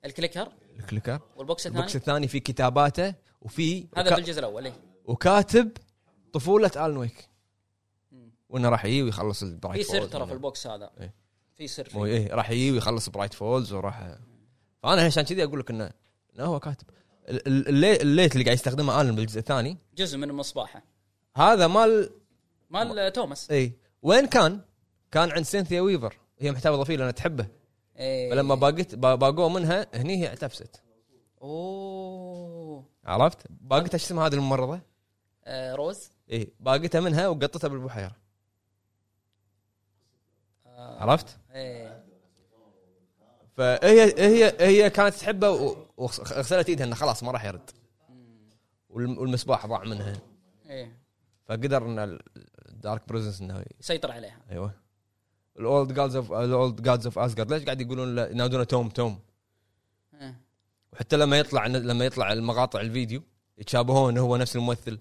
Speaker 3: الكليكر
Speaker 1: الكليكر
Speaker 3: والبوكس
Speaker 1: البوكس
Speaker 3: الثاني
Speaker 1: الثاني فيه كتاباته وفي
Speaker 3: هذا بالجزء الاول إيه.
Speaker 1: وكاتب طفوله الون ويك وانه راح يجي ويخلص البرايت
Speaker 3: في
Speaker 1: فولز
Speaker 3: سر ترى في البوكس هذا
Speaker 1: إيه.
Speaker 3: في سر
Speaker 1: مو
Speaker 3: فيه.
Speaker 1: ايه راح يجي ويخلص برايت فولز وراح فانا عشان كذي اقول لك انه لا هو كاتب ال- ال- اللي- الليت اللي قاعد يستخدمه الن بالجزء الثاني
Speaker 3: جزء من المصباحه
Speaker 1: هذا مال
Speaker 3: مال توماس
Speaker 1: اي وين كان؟ كان عند سينثيا ويفر هي محتفظه فيه لانها تحبه
Speaker 3: إيه.
Speaker 1: فلما باقت با- باقوه منها هني هي اعتفست
Speaker 3: اوه
Speaker 1: عرفت؟ باقتها شو اسمها هذه الممرضه؟
Speaker 3: آه روز
Speaker 1: اي باقتها منها وقطتها بالبحيره
Speaker 3: آه.
Speaker 1: عرفت؟
Speaker 3: ايه
Speaker 1: فهي هي هي كانت تحبه و- وغسلت ايدها انه خلاص ما راح يرد والم- والمصباح ضاع منها
Speaker 3: ايه
Speaker 1: فقدر ان الدارك بريزنس انه
Speaker 3: سيطر عليها
Speaker 1: ايوه الاولد جادز اوف الاولد جادز اوف اسجارد ليش قاعد يقولون له- ينادونه توم توم
Speaker 3: إيه.
Speaker 1: وحتى لما يطلع لما يطلع المقاطع الفيديو يتشابهون إنه هو نفس الممثل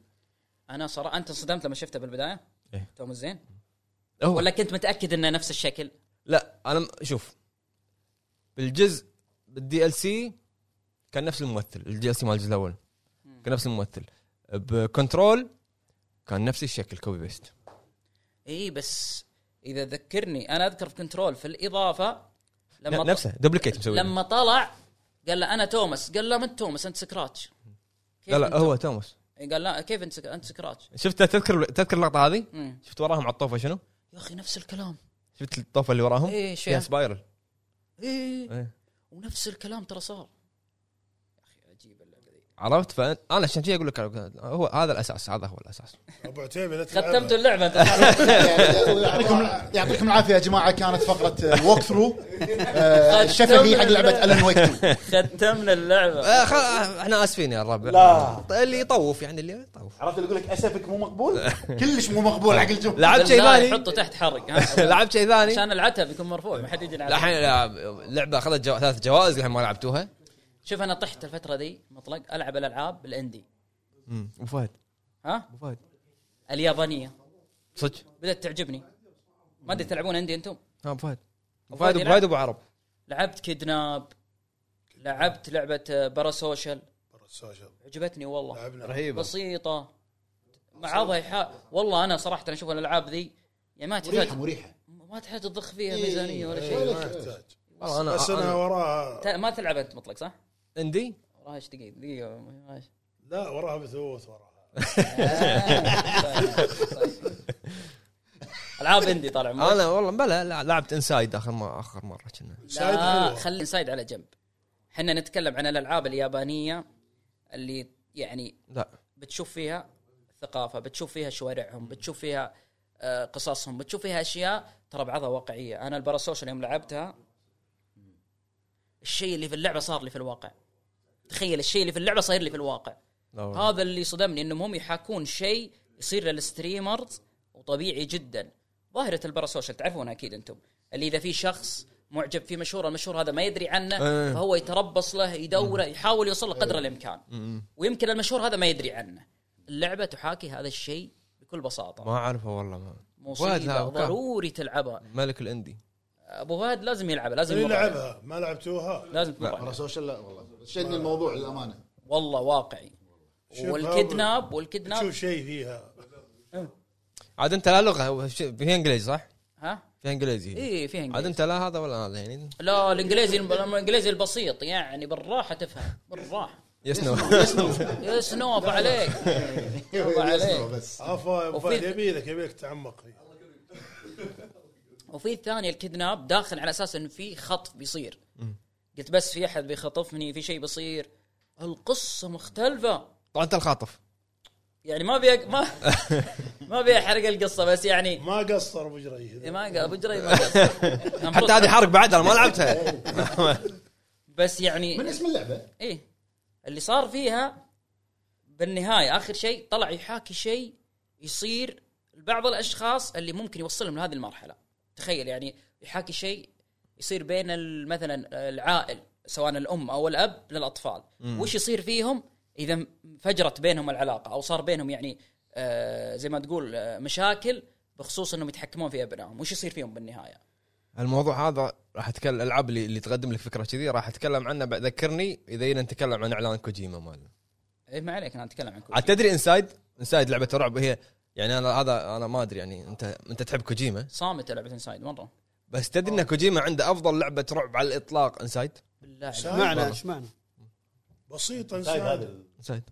Speaker 3: انا صراحه انت انصدمت لما شفته بالبدايه
Speaker 1: إيه.
Speaker 3: توم زين
Speaker 1: هو
Speaker 3: ولا كنت متاكد انه نفس الشكل
Speaker 1: لا انا م- شوف بالجزء بالدي ال سي كان نفس الممثل الدي ال سي مال الجزء الاول كان نفس الممثل بكنترول كان نفس الشكل كوبي بيست
Speaker 3: اي بس اذا ذكرني انا اذكر في كنترول في الاضافه لما
Speaker 1: ن- نفسه دوبليكيت مسوي
Speaker 3: لما طلع قال له انا توماس قال له ما انت توماس انت سكراتش كيف
Speaker 1: لا لا
Speaker 3: أنت-
Speaker 1: هو توماس
Speaker 3: قال لا كيف انت سك... انت سكراتش
Speaker 1: شفت تذكر تذكر اللقطه هذه
Speaker 3: مم.
Speaker 1: شفت وراهم على الطوفه شنو
Speaker 3: يا اخي نفس الكلام
Speaker 1: شفت الطوفه اللي وراهم
Speaker 3: إيه، شيء.
Speaker 1: فيها سبايرل
Speaker 3: ايه
Speaker 1: إيه.
Speaker 3: ونفس الكلام ترى صار يا اخي عجيب اللعبه ذي
Speaker 1: عرفت فانا عشان كذي اقول لك هو هذا الاساس هذا هو الاساس
Speaker 2: ابو عتيبي لا تلعبها.
Speaker 3: ختمت اللعبه انت
Speaker 4: يعطيكم يعطيكم العافيه يا جماعه كانت فقره ووك ثرو الشفهي آه، حق لعبه الن ويك 2
Speaker 3: ختمنا اللعبه
Speaker 1: آه، خل- احنا اسفين يا الربع
Speaker 6: لا.
Speaker 1: ط- اللي يطوف يعني اللي يطوف
Speaker 6: عرفت اللي يقول لك اسفك مو مقبول
Speaker 4: كلش مو مقبول حق الجو
Speaker 1: لعبت شيء
Speaker 3: لا،
Speaker 1: ثاني
Speaker 3: يحطه تحت حرق ها.
Speaker 1: لعبت شيء ثاني
Speaker 3: عشان العتب يكون مرفوع ما حد يدري
Speaker 1: لا،
Speaker 3: العتب
Speaker 1: الحين لا، لعبه اخذت جو... ثلاث جوائز لحين ما لعبتوها
Speaker 3: شوف انا طحت الفتره ذي مطلق العب الالعاب الاندي
Speaker 1: ابو فهد
Speaker 3: ها
Speaker 1: ابو فهد
Speaker 3: اليابانيه
Speaker 1: صدق
Speaker 3: بدات تعجبني ما ادري تلعبون اندي انتم
Speaker 1: ها ابو فهد ابو
Speaker 3: فهد
Speaker 1: فهد ابو
Speaker 3: يلعب؟
Speaker 1: فهد ابو عرب
Speaker 3: لعبت كيدناب لعبت لعبه باراسوشيال
Speaker 2: برا السوشيال
Speaker 3: عجبتني والله
Speaker 2: لعبنا
Speaker 5: رهيبه
Speaker 3: بسيطه بعضها يحا... والله انا صراحه انا اشوف الالعاب ذي يعني ما تحتاج
Speaker 4: مريحه مريحه
Speaker 3: ما تحتاج تضخ فيها
Speaker 4: إيه،
Speaker 3: ميزانيه ولا شيء
Speaker 4: إيه.
Speaker 2: ما يحتاج
Speaker 1: والله انا
Speaker 2: بس انا
Speaker 1: انا
Speaker 2: وراها
Speaker 3: تا- ما تلعب انت مطلق صح؟
Speaker 1: عندي
Speaker 3: وراها ايش دقيقه دقيقه ما- ما-
Speaker 2: لا وراها بثوث وراها
Speaker 3: العاب اندي طالع مو-
Speaker 1: انا والله بلا لا، لعبت انسايد اخر ما اخر مره كنا
Speaker 2: سايد
Speaker 3: لا
Speaker 2: حلوة.
Speaker 3: خلي انسايد على جنب احنا نتكلم عن الالعاب اليابانيه اللي يعني
Speaker 1: لا
Speaker 3: بتشوف فيها ثقافه بتشوف فيها شوارعهم بتشوف فيها آه، قصصهم بتشوف فيها اشياء ترى بعضها واقعيه انا الباراسوشيال يوم لعبتها الشيء اللي في اللعبه صار لي في الواقع تخيل الشيء اللي في اللعبه صاير لي في الواقع
Speaker 1: لا والله.
Speaker 3: هذا اللي صدمني انهم هم يحاكون شيء يصير للستريمرز وطبيعي جدا ظاهره الباراسوشيال تعرفونها اكيد انتم اللي اذا في شخص معجب في مشهور المشهور هذا ما يدري عنه
Speaker 1: إيه.
Speaker 3: فهو يتربص له يدوره يحاول يوصل له قدر الامكان
Speaker 1: م-م.
Speaker 3: ويمكن المشهور هذا ما يدري عنه اللعبه تحاكي هذا الشيء بكل بساطه
Speaker 1: ما اعرفه والله ما فهد لا،
Speaker 3: مصيبه
Speaker 1: وكان
Speaker 3: ضروري تلعبها
Speaker 1: ملك الاندي
Speaker 3: ابو فهد لازم يلعبها لازم
Speaker 2: اللي
Speaker 3: يمر عليها.
Speaker 2: إيه، لعبها ما لعبتوها
Speaker 3: لازم تمر
Speaker 4: مرة
Speaker 3: عليها.
Speaker 4: سوشيال لا والله شدني الموضوع للامانه
Speaker 3: والله واقعي
Speaker 2: شوفها
Speaker 3: والكدناب والكدناب
Speaker 2: تشوف شيء فيها
Speaker 1: عاد انت لا لغه هو ش- في انجليزي صح؟
Speaker 3: ها
Speaker 1: في انجليزي
Speaker 3: اي فيها
Speaker 1: عاد
Speaker 3: انجليزي
Speaker 1: انت لا هذا ولا هذا يعني
Speaker 3: لا الانجليزي الانجليزي البسيط يعني بالراحه تفهم بالراحه
Speaker 1: يس نو
Speaker 3: يس نوف عليك الله عليك.
Speaker 4: بس
Speaker 2: عفوا يا أبو
Speaker 3: وفي-
Speaker 2: فهد يبيلك يبيلك تعمق فيه
Speaker 3: وفي الثانيه الكدناب داخل على اساس انه في خطف بيصير قلت بس في احد بيخطفني في شيء بيصير القصه مختلفه
Speaker 1: طبعا انت الخاطف
Speaker 3: يعني ما بي ما ما ابي احرق القصه بس يعني
Speaker 2: ما قصر ابو جريد
Speaker 3: ما أق- ابو جري ما قصر.
Speaker 1: حتى هذه حرق بعد انا ما لعبتها
Speaker 3: بس يعني
Speaker 4: من اسم اللعبه
Speaker 3: ايه اللي صار فيها بالنهايه اخر شيء طلع يحاكي شيء يصير لبعض الاشخاص اللي ممكن يوصلهم لهذه المرحله تخيل يعني يحاكي شيء يصير بين ال- مثلا العائل سواء الام او الاب للاطفال وش يصير فيهم اذا انفجرت بينهم العلاقه او صار بينهم يعني آه زي ما تقول آه مشاكل بخصوص انهم يتحكمون في ابنائهم وش يصير فيهم بالنهايه
Speaker 1: الموضوع هذا راح اتكلم الالعاب اللي, اللي تقدم لك فكره كذي راح اتكلم عنه بعد ذكرني اذا جينا نتكلم عن اعلان كوجيما مالنا
Speaker 3: اي ما إيه، عليك انا اتكلم عن كل
Speaker 1: عاد تدري انسايد انسايد لعبه رعب هي يعني انا هذا انا ما ادري يعني انت انت تحب كوجيما
Speaker 3: صامته لعبه انسايد مره
Speaker 1: بس تدري ان كوجيما عنده افضل لعبه رعب على الاطلاق انسايد
Speaker 3: بالله عليك.
Speaker 2: سايد
Speaker 5: معنى
Speaker 1: والله.
Speaker 5: ايش معنى؟
Speaker 2: بسيط
Speaker 6: طيب هذا
Speaker 2: انسان
Speaker 6: ال-
Speaker 1: انسايد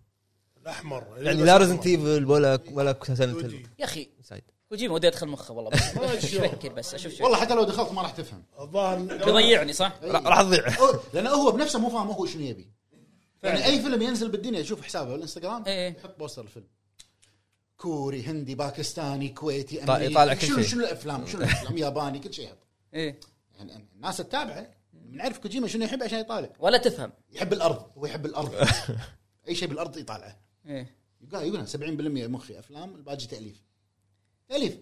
Speaker 2: الاحمر
Speaker 1: يعني لا ريزنت ايفل ولا ولا سنه
Speaker 2: ودي.
Speaker 3: يا اخي
Speaker 1: انسايد
Speaker 3: كوجيما ودي ادخل مخه والله بس
Speaker 2: ما شلون.
Speaker 3: افكر بس اشوف شو
Speaker 4: والله حتى لو دخلت ما راح تفهم
Speaker 2: الظاهر
Speaker 3: بيضيعني صح؟
Speaker 1: را- راح تضيع
Speaker 4: أو- لان هو بنفسه مو فاهم هو شنو يبي يعني
Speaker 3: فعلا.
Speaker 4: اي فيلم ينزل بالدنيا يشوف حسابه على الانستغرام
Speaker 3: إيه.
Speaker 4: يحط بوستر الفيلم كوري هندي باكستاني كويتي
Speaker 1: طا-
Speaker 4: امريكي
Speaker 1: يطالع كل
Speaker 4: شنو
Speaker 1: شيء.
Speaker 4: شنو الافلام شنو الافلام ياباني كل شيء يحط
Speaker 3: ايه
Speaker 4: يعني الناس تتابعه بنعرف كوجيما شنو يحب عشان يطالع
Speaker 3: ولا تفهم
Speaker 4: يحب الارض هو يحب الارض اي شيء بالارض يطالعه
Speaker 3: ايه
Speaker 4: يقول يقول أنا 70% مخي افلام الباقي تاليف تاليف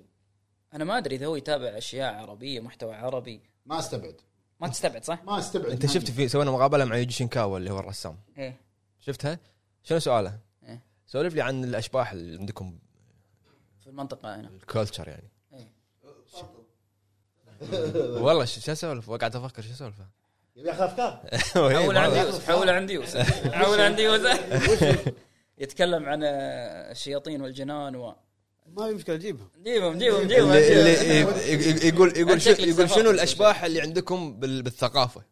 Speaker 3: انا ما ادري اذا هو يتابع اشياء عربيه محتوى عربي
Speaker 4: ما استبعد
Speaker 3: ما تستبعد صح؟
Speaker 4: ما استبعد
Speaker 1: انت شفت في سوينا مقابله مع يوجي شينكاوا اللي هو الرسام
Speaker 3: ايه
Speaker 1: شفتها شنو سؤاله؟
Speaker 3: إيه.
Speaker 1: سولف لي عن الاشباح اللي عندكم
Speaker 3: في المنطقه هنا
Speaker 1: الكولتشر يعني
Speaker 3: إيه.
Speaker 1: والله شو شو اسولف قاعد افكر شو اسولف
Speaker 6: يبي ياخذ افكار
Speaker 1: إيه،
Speaker 3: حول عندي يوسف حول عندي يوسف حول عندي يوسف يتكلم عن آه، الشياطين والجنان و
Speaker 5: ما في مشكله جيبها
Speaker 3: جيبهم جيبهم جيبهم
Speaker 1: اللي اللي
Speaker 3: جيبهم.
Speaker 1: ي- ي- يقول يقول شو
Speaker 3: شكلك
Speaker 1: يقول شنو
Speaker 3: سافرت.
Speaker 1: الاشباح اللي عندكم بال- بالثقافه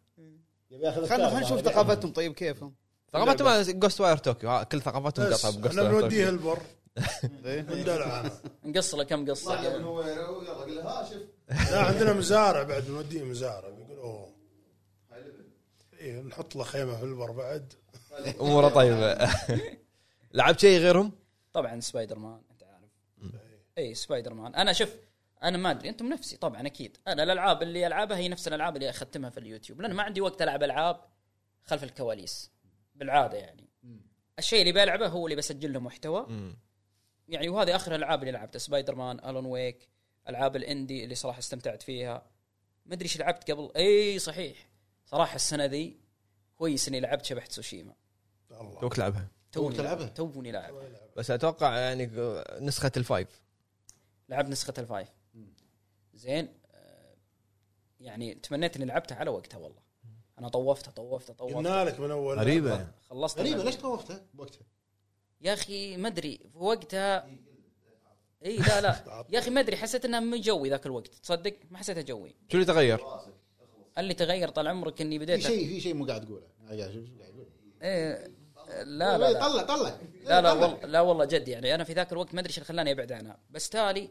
Speaker 6: يبي ياخذ
Speaker 5: خلينا خلينا نشوف ثقافتهم طيب كيفهم
Speaker 1: ثقافتهم جوست واير طوكيو ها، كل ثقافتهم
Speaker 2: بس
Speaker 1: قطعه بجوست
Speaker 2: احنا
Speaker 1: واير
Speaker 2: بنوديه
Speaker 1: طوكيو
Speaker 2: البر ندلع أنا.
Speaker 3: نقص له كم قصه
Speaker 4: يعني يلا قل ها شوف
Speaker 2: لا عندنا مزارع بعد نوديه مزارع يقول اوه إيه نحط له خيمه في البر بعد
Speaker 1: اموره طيبه لعبت شيء غيرهم؟
Speaker 3: طبعا سبايدر مان انت عارف اي سبايدر مان انا شوف انا ما ادري انتم نفسي طبعا اكيد انا الالعاب اللي العبها هي نفس الالعاب اللي اختمها في اليوتيوب لان ما عندي وقت العب العاب خلف الكواليس بالعاده يعني الشيء اللي بلعبه هو اللي بسجل له محتوى
Speaker 1: مم.
Speaker 3: يعني وهذه اخر الالعاب اللي لعبتها سبايدر مان الون ويك العاب الاندي اللي صراحه استمتعت فيها ما ادري ايش لعبت قبل اي صحيح صراحه السنه ذي كويس اني لعبت شبح تسوشيما
Speaker 2: الله
Speaker 1: توك لعبها
Speaker 3: توني
Speaker 4: تلعبها؟
Speaker 3: توني لاعب
Speaker 1: بس اتوقع يعني نسخه الفايف
Speaker 3: لعبت نسخه الفايف زين آه، يعني تمنيت اني لعبتها على وقتها والله انا طوفتها طوفتها طوفتها
Speaker 2: قلنا لك من اول
Speaker 1: غريبه
Speaker 3: خلصت
Speaker 4: غريبه
Speaker 3: اللعبة.
Speaker 4: ليش طوفته بوقتها؟
Speaker 3: يا اخي ما ادري في وقتها اي لا لا يا اخي ما ادري حسيت انها من جوي ذاك الوقت تصدق ما حسيتها جوي
Speaker 1: شو اللي تغير؟
Speaker 3: اللي تغير طال عمرك اني
Speaker 4: في
Speaker 3: بديت
Speaker 4: شيء في شيء مو قاعد تقوله أنا قاعد أشوف شو قاعد يقول.
Speaker 3: إيه لا لا لا
Speaker 4: طلع طلع
Speaker 3: لا لا والله لا والله جد يعني انا في ذاك الوقت ما ادري ايش اللي خلاني ابعد عنها بس تالي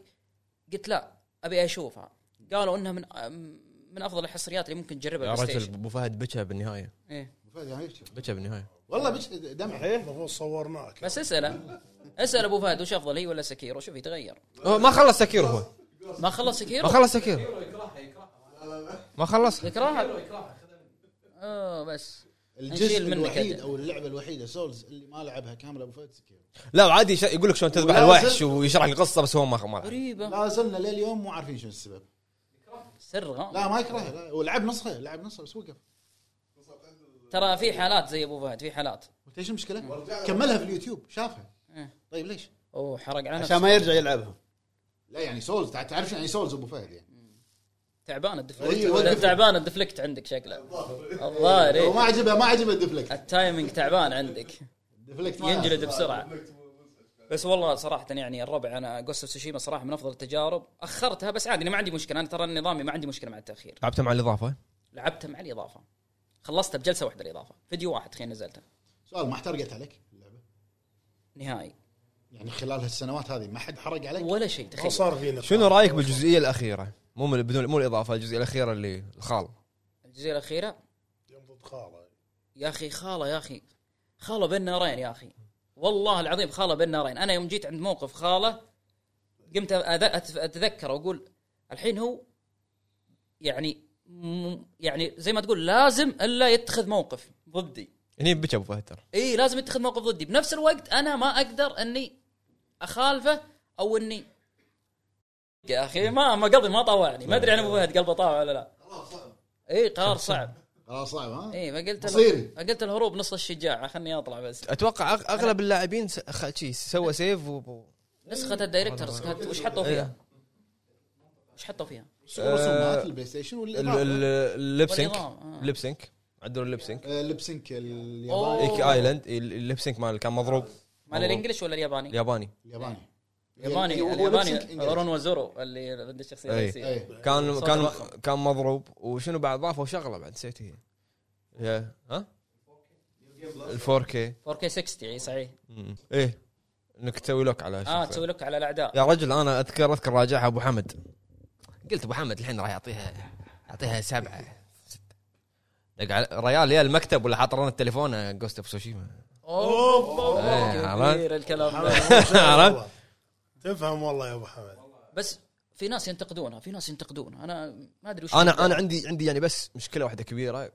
Speaker 3: قلت لا ابي اشوفها قالوا انها من من افضل الحصريات اللي ممكن تجربها
Speaker 1: يا
Speaker 3: بلاي
Speaker 1: رجل
Speaker 3: ستيشن
Speaker 1: ابو فهد بكى بالنهايه
Speaker 3: إيه.
Speaker 1: بكى بالنهايه
Speaker 4: يعني والله بش دمع
Speaker 2: المفروض صورناك
Speaker 3: بس اساله اسال ابو فهد وش افضل هي ولا سكيرو شوف يتغير
Speaker 1: هو ما خلص سكير هو
Speaker 3: ما خلص
Speaker 1: ما
Speaker 3: سكيرو
Speaker 1: خلص سكير ما خلص
Speaker 3: يكرهها اه بس نشيل
Speaker 4: الجزء
Speaker 3: منك
Speaker 4: الوحيد
Speaker 3: أنت.
Speaker 4: او اللعبه الوحيده سولز اللي ما لعبها كامله ابو فهد سكيرو
Speaker 1: لا عادي يش- يقول لك شلون تذبح
Speaker 4: ولازم-
Speaker 1: الوحش ويشرح القصه بس هو ما ما لعب.
Speaker 3: غريبه
Speaker 4: لا زلنا لليوم مو عارفين شنو السبب
Speaker 3: سر غامض
Speaker 4: لا ما يكرهها لا ولعب نصها لعب نصها بس وقف
Speaker 3: ترى في حالات زي ابو فهد في حالات
Speaker 4: قلت ايش المشكله؟ كملها في اليوتيوب شافها
Speaker 3: إيه.
Speaker 4: طيب ليش؟
Speaker 3: اوه حرق على
Speaker 5: عشان
Speaker 3: نفسه
Speaker 5: ما يرجع يلعبها
Speaker 4: لا يعني سولز تع- تعرف شنو يعني سولز ابو فهد يعني
Speaker 3: تعبان
Speaker 4: أيوة،
Speaker 3: الدفلكت
Speaker 4: وقف.
Speaker 3: تعبان الدفلكت عندك شكله الظاهر
Speaker 4: لو ما
Speaker 3: إيه.
Speaker 4: عجبها ما عجبها الدفلكت
Speaker 3: التايمينج تعبان عندك
Speaker 4: الدفلكت ما
Speaker 3: ينجلد بسرعه بس والله صراحه يعني الربع انا جوست سوشيما صراحه من افضل التجارب اخرتها بس عادي انا ما عندي مشكله انا ترى نظامي ما عندي مشكله مع التاخير
Speaker 1: لعبته مع الاضافه
Speaker 3: لعبتها مع الاضافه خلصتها بجلسه واحده الاضافه فيديو واحد خلينا نزلته
Speaker 4: سؤال ما احترقت عليك اللعبه؟
Speaker 3: نهائي
Speaker 4: يعني خلال هالسنوات هذه ما حد حرق عليك؟
Speaker 3: ولا شيء
Speaker 2: ما
Speaker 3: تخيل
Speaker 2: صار فينا
Speaker 1: شنو رايك بالجزئيه الاخيره؟ مو من بدون مو الاضافه الجزئيه الاخيره اللي الخال
Speaker 3: الجزيره الاخيره
Speaker 2: يوم ضد خاله
Speaker 3: يا اخي خاله يا اخي خاله بين نارين يا اخي والله العظيم خاله بين نارين انا يوم جيت عند موقف خاله قمت أذ- أتف- اتذكر واقول الحين هو يعني م- يعني زي ما تقول لازم الا يتخذ موقف ضدي
Speaker 1: هني بكى ابو فهد ترى
Speaker 3: اي لازم يتخذ موقف ضدي بنفس الوقت انا ما اقدر اني اخالفه او اني يا اخي ما ما قلبي ما طاوعني ما ادري انا ابو فهد قلبه طاوع ولا لا اي قرار صعب
Speaker 4: خلاص صعب ها؟
Speaker 3: اي فقلت
Speaker 4: مصيري.
Speaker 3: قلت الهروب نص الشجاعه خلني اطلع بس
Speaker 1: اتوقع أغ- اغلب اللاعبين س- خ- شي سوى سيف و- و... إيه.
Speaker 3: نسخة الدايركترز كانت وش حطوا فيها؟
Speaker 4: إيه.
Speaker 3: وش حطوا فيها؟
Speaker 4: صور رسومات البلاي ستيشن
Speaker 1: ال- ال-
Speaker 4: والاضافه
Speaker 1: اللبسنك
Speaker 3: والنظام، آه.
Speaker 1: اللبسنك عدلوا اللبسنك
Speaker 4: آه، اللبسنك الياباني
Speaker 3: أوه.
Speaker 1: ايك ايلاند ال- اللبسنك مال كان مضروب
Speaker 3: مال الانجليش ولا الياباني؟
Speaker 1: الياباني
Speaker 4: الياباني
Speaker 3: ياباني
Speaker 4: يعني هو- هو نفس
Speaker 3: الياباني
Speaker 4: الإنجليزي.
Speaker 3: رون وزورو اللي ضد الشخصيه
Speaker 1: أي.
Speaker 4: إيه.
Speaker 3: الرئيسيه
Speaker 1: كان
Speaker 3: صوت
Speaker 1: كان
Speaker 3: الرقم.
Speaker 1: كان مضروب وشنو بعد ضافوا شغله بعد نسيت هي يا- ها الفور كي
Speaker 3: 4K 60 اي صحيح
Speaker 1: ايه انك تسوي لوك على
Speaker 3: اه
Speaker 1: الشخصية.
Speaker 3: تسوي لك على الاعداء
Speaker 1: يا رجل انا اذكر اذكر راجعها ابو حمد قلت ابو حمد الحين راح يعطيها يعطيها سبعه ستة. دق على- ريال يا المكتب ولا حاط لنا التليفون آه، جوست اوف سوشيما
Speaker 3: اوه
Speaker 1: إيه، عرفت؟
Speaker 3: كبير الكلام ده.
Speaker 2: عرفت؟ تفهم والله يا ابو حمد
Speaker 3: بس في ناس ينتقدونها في ناس ينتقدونها انا ما ادري وش
Speaker 1: انا انا عندي عندي يعني بس مشكله واحده كبيره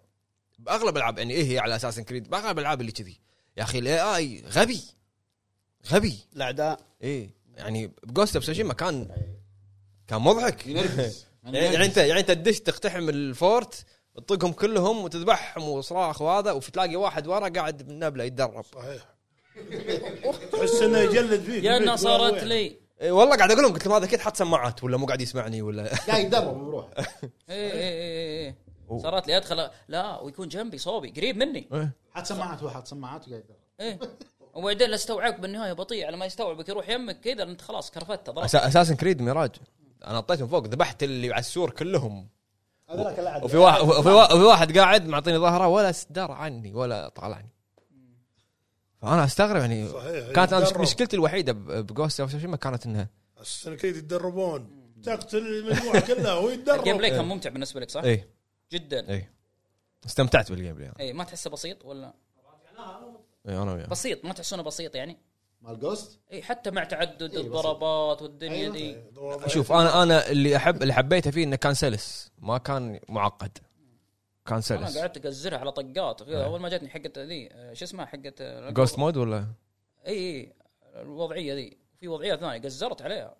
Speaker 1: باغلب العاب يعني ايه هي على اساس كريد باغلب العاب اللي كذي يا اخي الاي اي غبي غبي
Speaker 5: الاعداء
Speaker 1: ايه يعني بجوست اوف سوشيما كان كان مضحك
Speaker 4: ينرفز
Speaker 1: يعني يعني انت يعني انت تدش تقتحم الفورت تطقهم كلهم وتذبحهم وصراخ وهذا وتلاقي واحد ورا قاعد بالنبله يتدرب
Speaker 2: صحيح تحس انه يجلد فيك
Speaker 3: يا انها صارت لي
Speaker 1: إيه والله قاعد اقول لهم قلت لهم هذا اكيد حاط سماعات ولا مو قاعد يسمعني ولا
Speaker 4: قاعد يتدرب بروحه
Speaker 3: اي اي اي اي إيه، صارت لي ادخل لا ويكون جنبي صوبي قريب مني
Speaker 4: أه؟ حاط سماعات هو حاط سماعات وقاعد يتدرب
Speaker 3: ايه وبعدين لا استوعبك بالنهايه بطيء على ما يستوعبك يروح يمك كذا انت خلاص كرفته ضربت
Speaker 1: اساسا كريد ميراج انا طيتهم فوق ذبحت اللي على السور كلهم
Speaker 6: هذاك العدل
Speaker 1: وفي واحد وفي, وا- وفي واحد قاعد معطيني ظهره ولا استدار عني ولا طالعني فانا استغرب يعني
Speaker 2: صحيح
Speaker 1: كانت أنا مش-
Speaker 2: يتدرب.
Speaker 1: مشكلتي الوحيده بجوست اوف سوشيما كانت انها
Speaker 2: السنه كذا يتدربون تقتل المجموعه كلها هو
Speaker 3: الجيم
Speaker 2: يتدرب
Speaker 3: بلاي
Speaker 4: إيه.
Speaker 3: كان ممتع بالنسبه لك صح؟
Speaker 1: اي
Speaker 3: جدا
Speaker 1: اي استمتعت بالجيم بلاي
Speaker 3: اي إيه، ما تحسه بسيط ولا
Speaker 1: اي انا وياه
Speaker 3: بسيط ما تحسونه بسيط يعني
Speaker 4: مال جوست
Speaker 3: اي حتى مع تعدد
Speaker 4: إيه، بسيط. أيوة. إيه.
Speaker 3: الضربات والدنيا دي
Speaker 1: شوف انا انا اللي احب اللي حبيته فيه انه كان سلس ما كان معقد كان
Speaker 3: انا
Speaker 1: سلس
Speaker 3: قعدت اقزرها على طقات
Speaker 4: إيه.
Speaker 3: وكذا اول ما جتني حقت ذي آه، شو اسمها حقت آه،
Speaker 1: جوست مود ولا
Speaker 3: اي اي الوضعيه ذي في وضعيه ثانيه قزرت عليها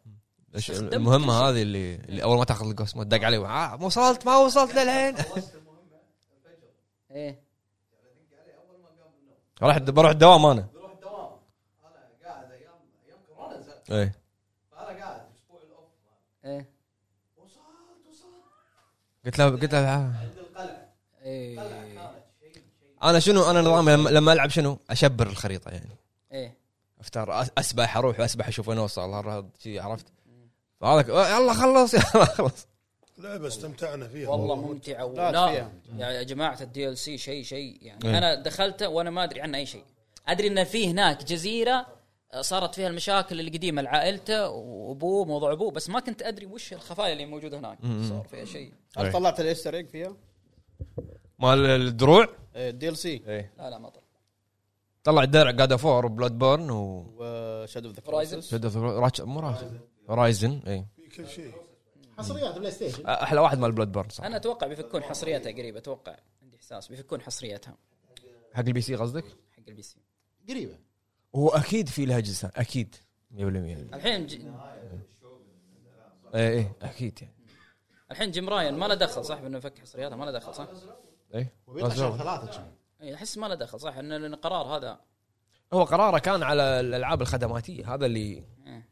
Speaker 1: إيش
Speaker 3: استخدمت
Speaker 1: المهمه
Speaker 3: كل شيء.
Speaker 1: هذه اللي, اللي اول ما تاخذ الجوست مود دق عليه آه ما وصلت ما وصلت للحين
Speaker 3: ايه
Speaker 1: راح بروح الدوام انا بروح الدوام انا قاعد ايام ايام كورونا
Speaker 3: ايه
Speaker 1: قلت له قلت له آه.
Speaker 3: ايه
Speaker 1: انا شنو انا نظامي لما, لما العب شنو اشبر الخريطه يعني
Speaker 3: ايه
Speaker 1: افتر أس- اسبح اروح واسبح اشوف وين اوصل هالرهد شي عرفت فهذاك آه، يلا خلص يلا خلص
Speaker 2: لعبه استمتعنا فيها
Speaker 3: والله ممتعه
Speaker 5: لا،
Speaker 3: ولا
Speaker 5: فيها.
Speaker 3: يا جماعه الدي ال سي شيء شيء يعني
Speaker 1: إيه.
Speaker 3: انا دخلته وانا ما ادري عنه اي شيء ادري ان في هناك جزيره آه، صارت فيها المشاكل القديمه لعائلته وابوه موضوع ابوه بس ما كنت ادري وش الخفايا اللي موجوده هناك صار فيها شيء
Speaker 5: هل
Speaker 1: إيه.
Speaker 5: طلعت الايستر ايج فيها؟ إيه،
Speaker 1: مال الدروع
Speaker 5: الدي ال سي
Speaker 1: ايه
Speaker 3: لا لا ما طلع
Speaker 1: طلع الدرع جاد اوف وور وبلاد بورن و
Speaker 5: وشادو اوف ذا
Speaker 3: Horizon.
Speaker 5: كرايسس
Speaker 1: شد راتش مو رايزن رايزن اي
Speaker 2: في كل شيء
Speaker 4: حصريات بلاي ستيشن
Speaker 1: احلى واحد مال بلاد بورن صح
Speaker 3: انا اتوقع بيفكون حصريتها قريب اتوقع عندي احساس بيفكون حصريتها
Speaker 1: حق البي سي قصدك؟
Speaker 3: حق البي سي
Speaker 4: قريبه
Speaker 1: هو اكيد في لها جزء اكيد 100% اي
Speaker 3: الحين ج...
Speaker 1: اي اكيد يعني
Speaker 3: الحين جيم راين ما له دخل صح بانه يفك حصرياتها ما له دخل صح؟
Speaker 1: اي
Speaker 4: وبيطلع شهر ثلاثه كان.
Speaker 3: اي احس ما له دخل صح انه لأن القرار هذا
Speaker 1: هو قراره كان على الالعاب الخدماتيه هذا اللي
Speaker 3: إيه.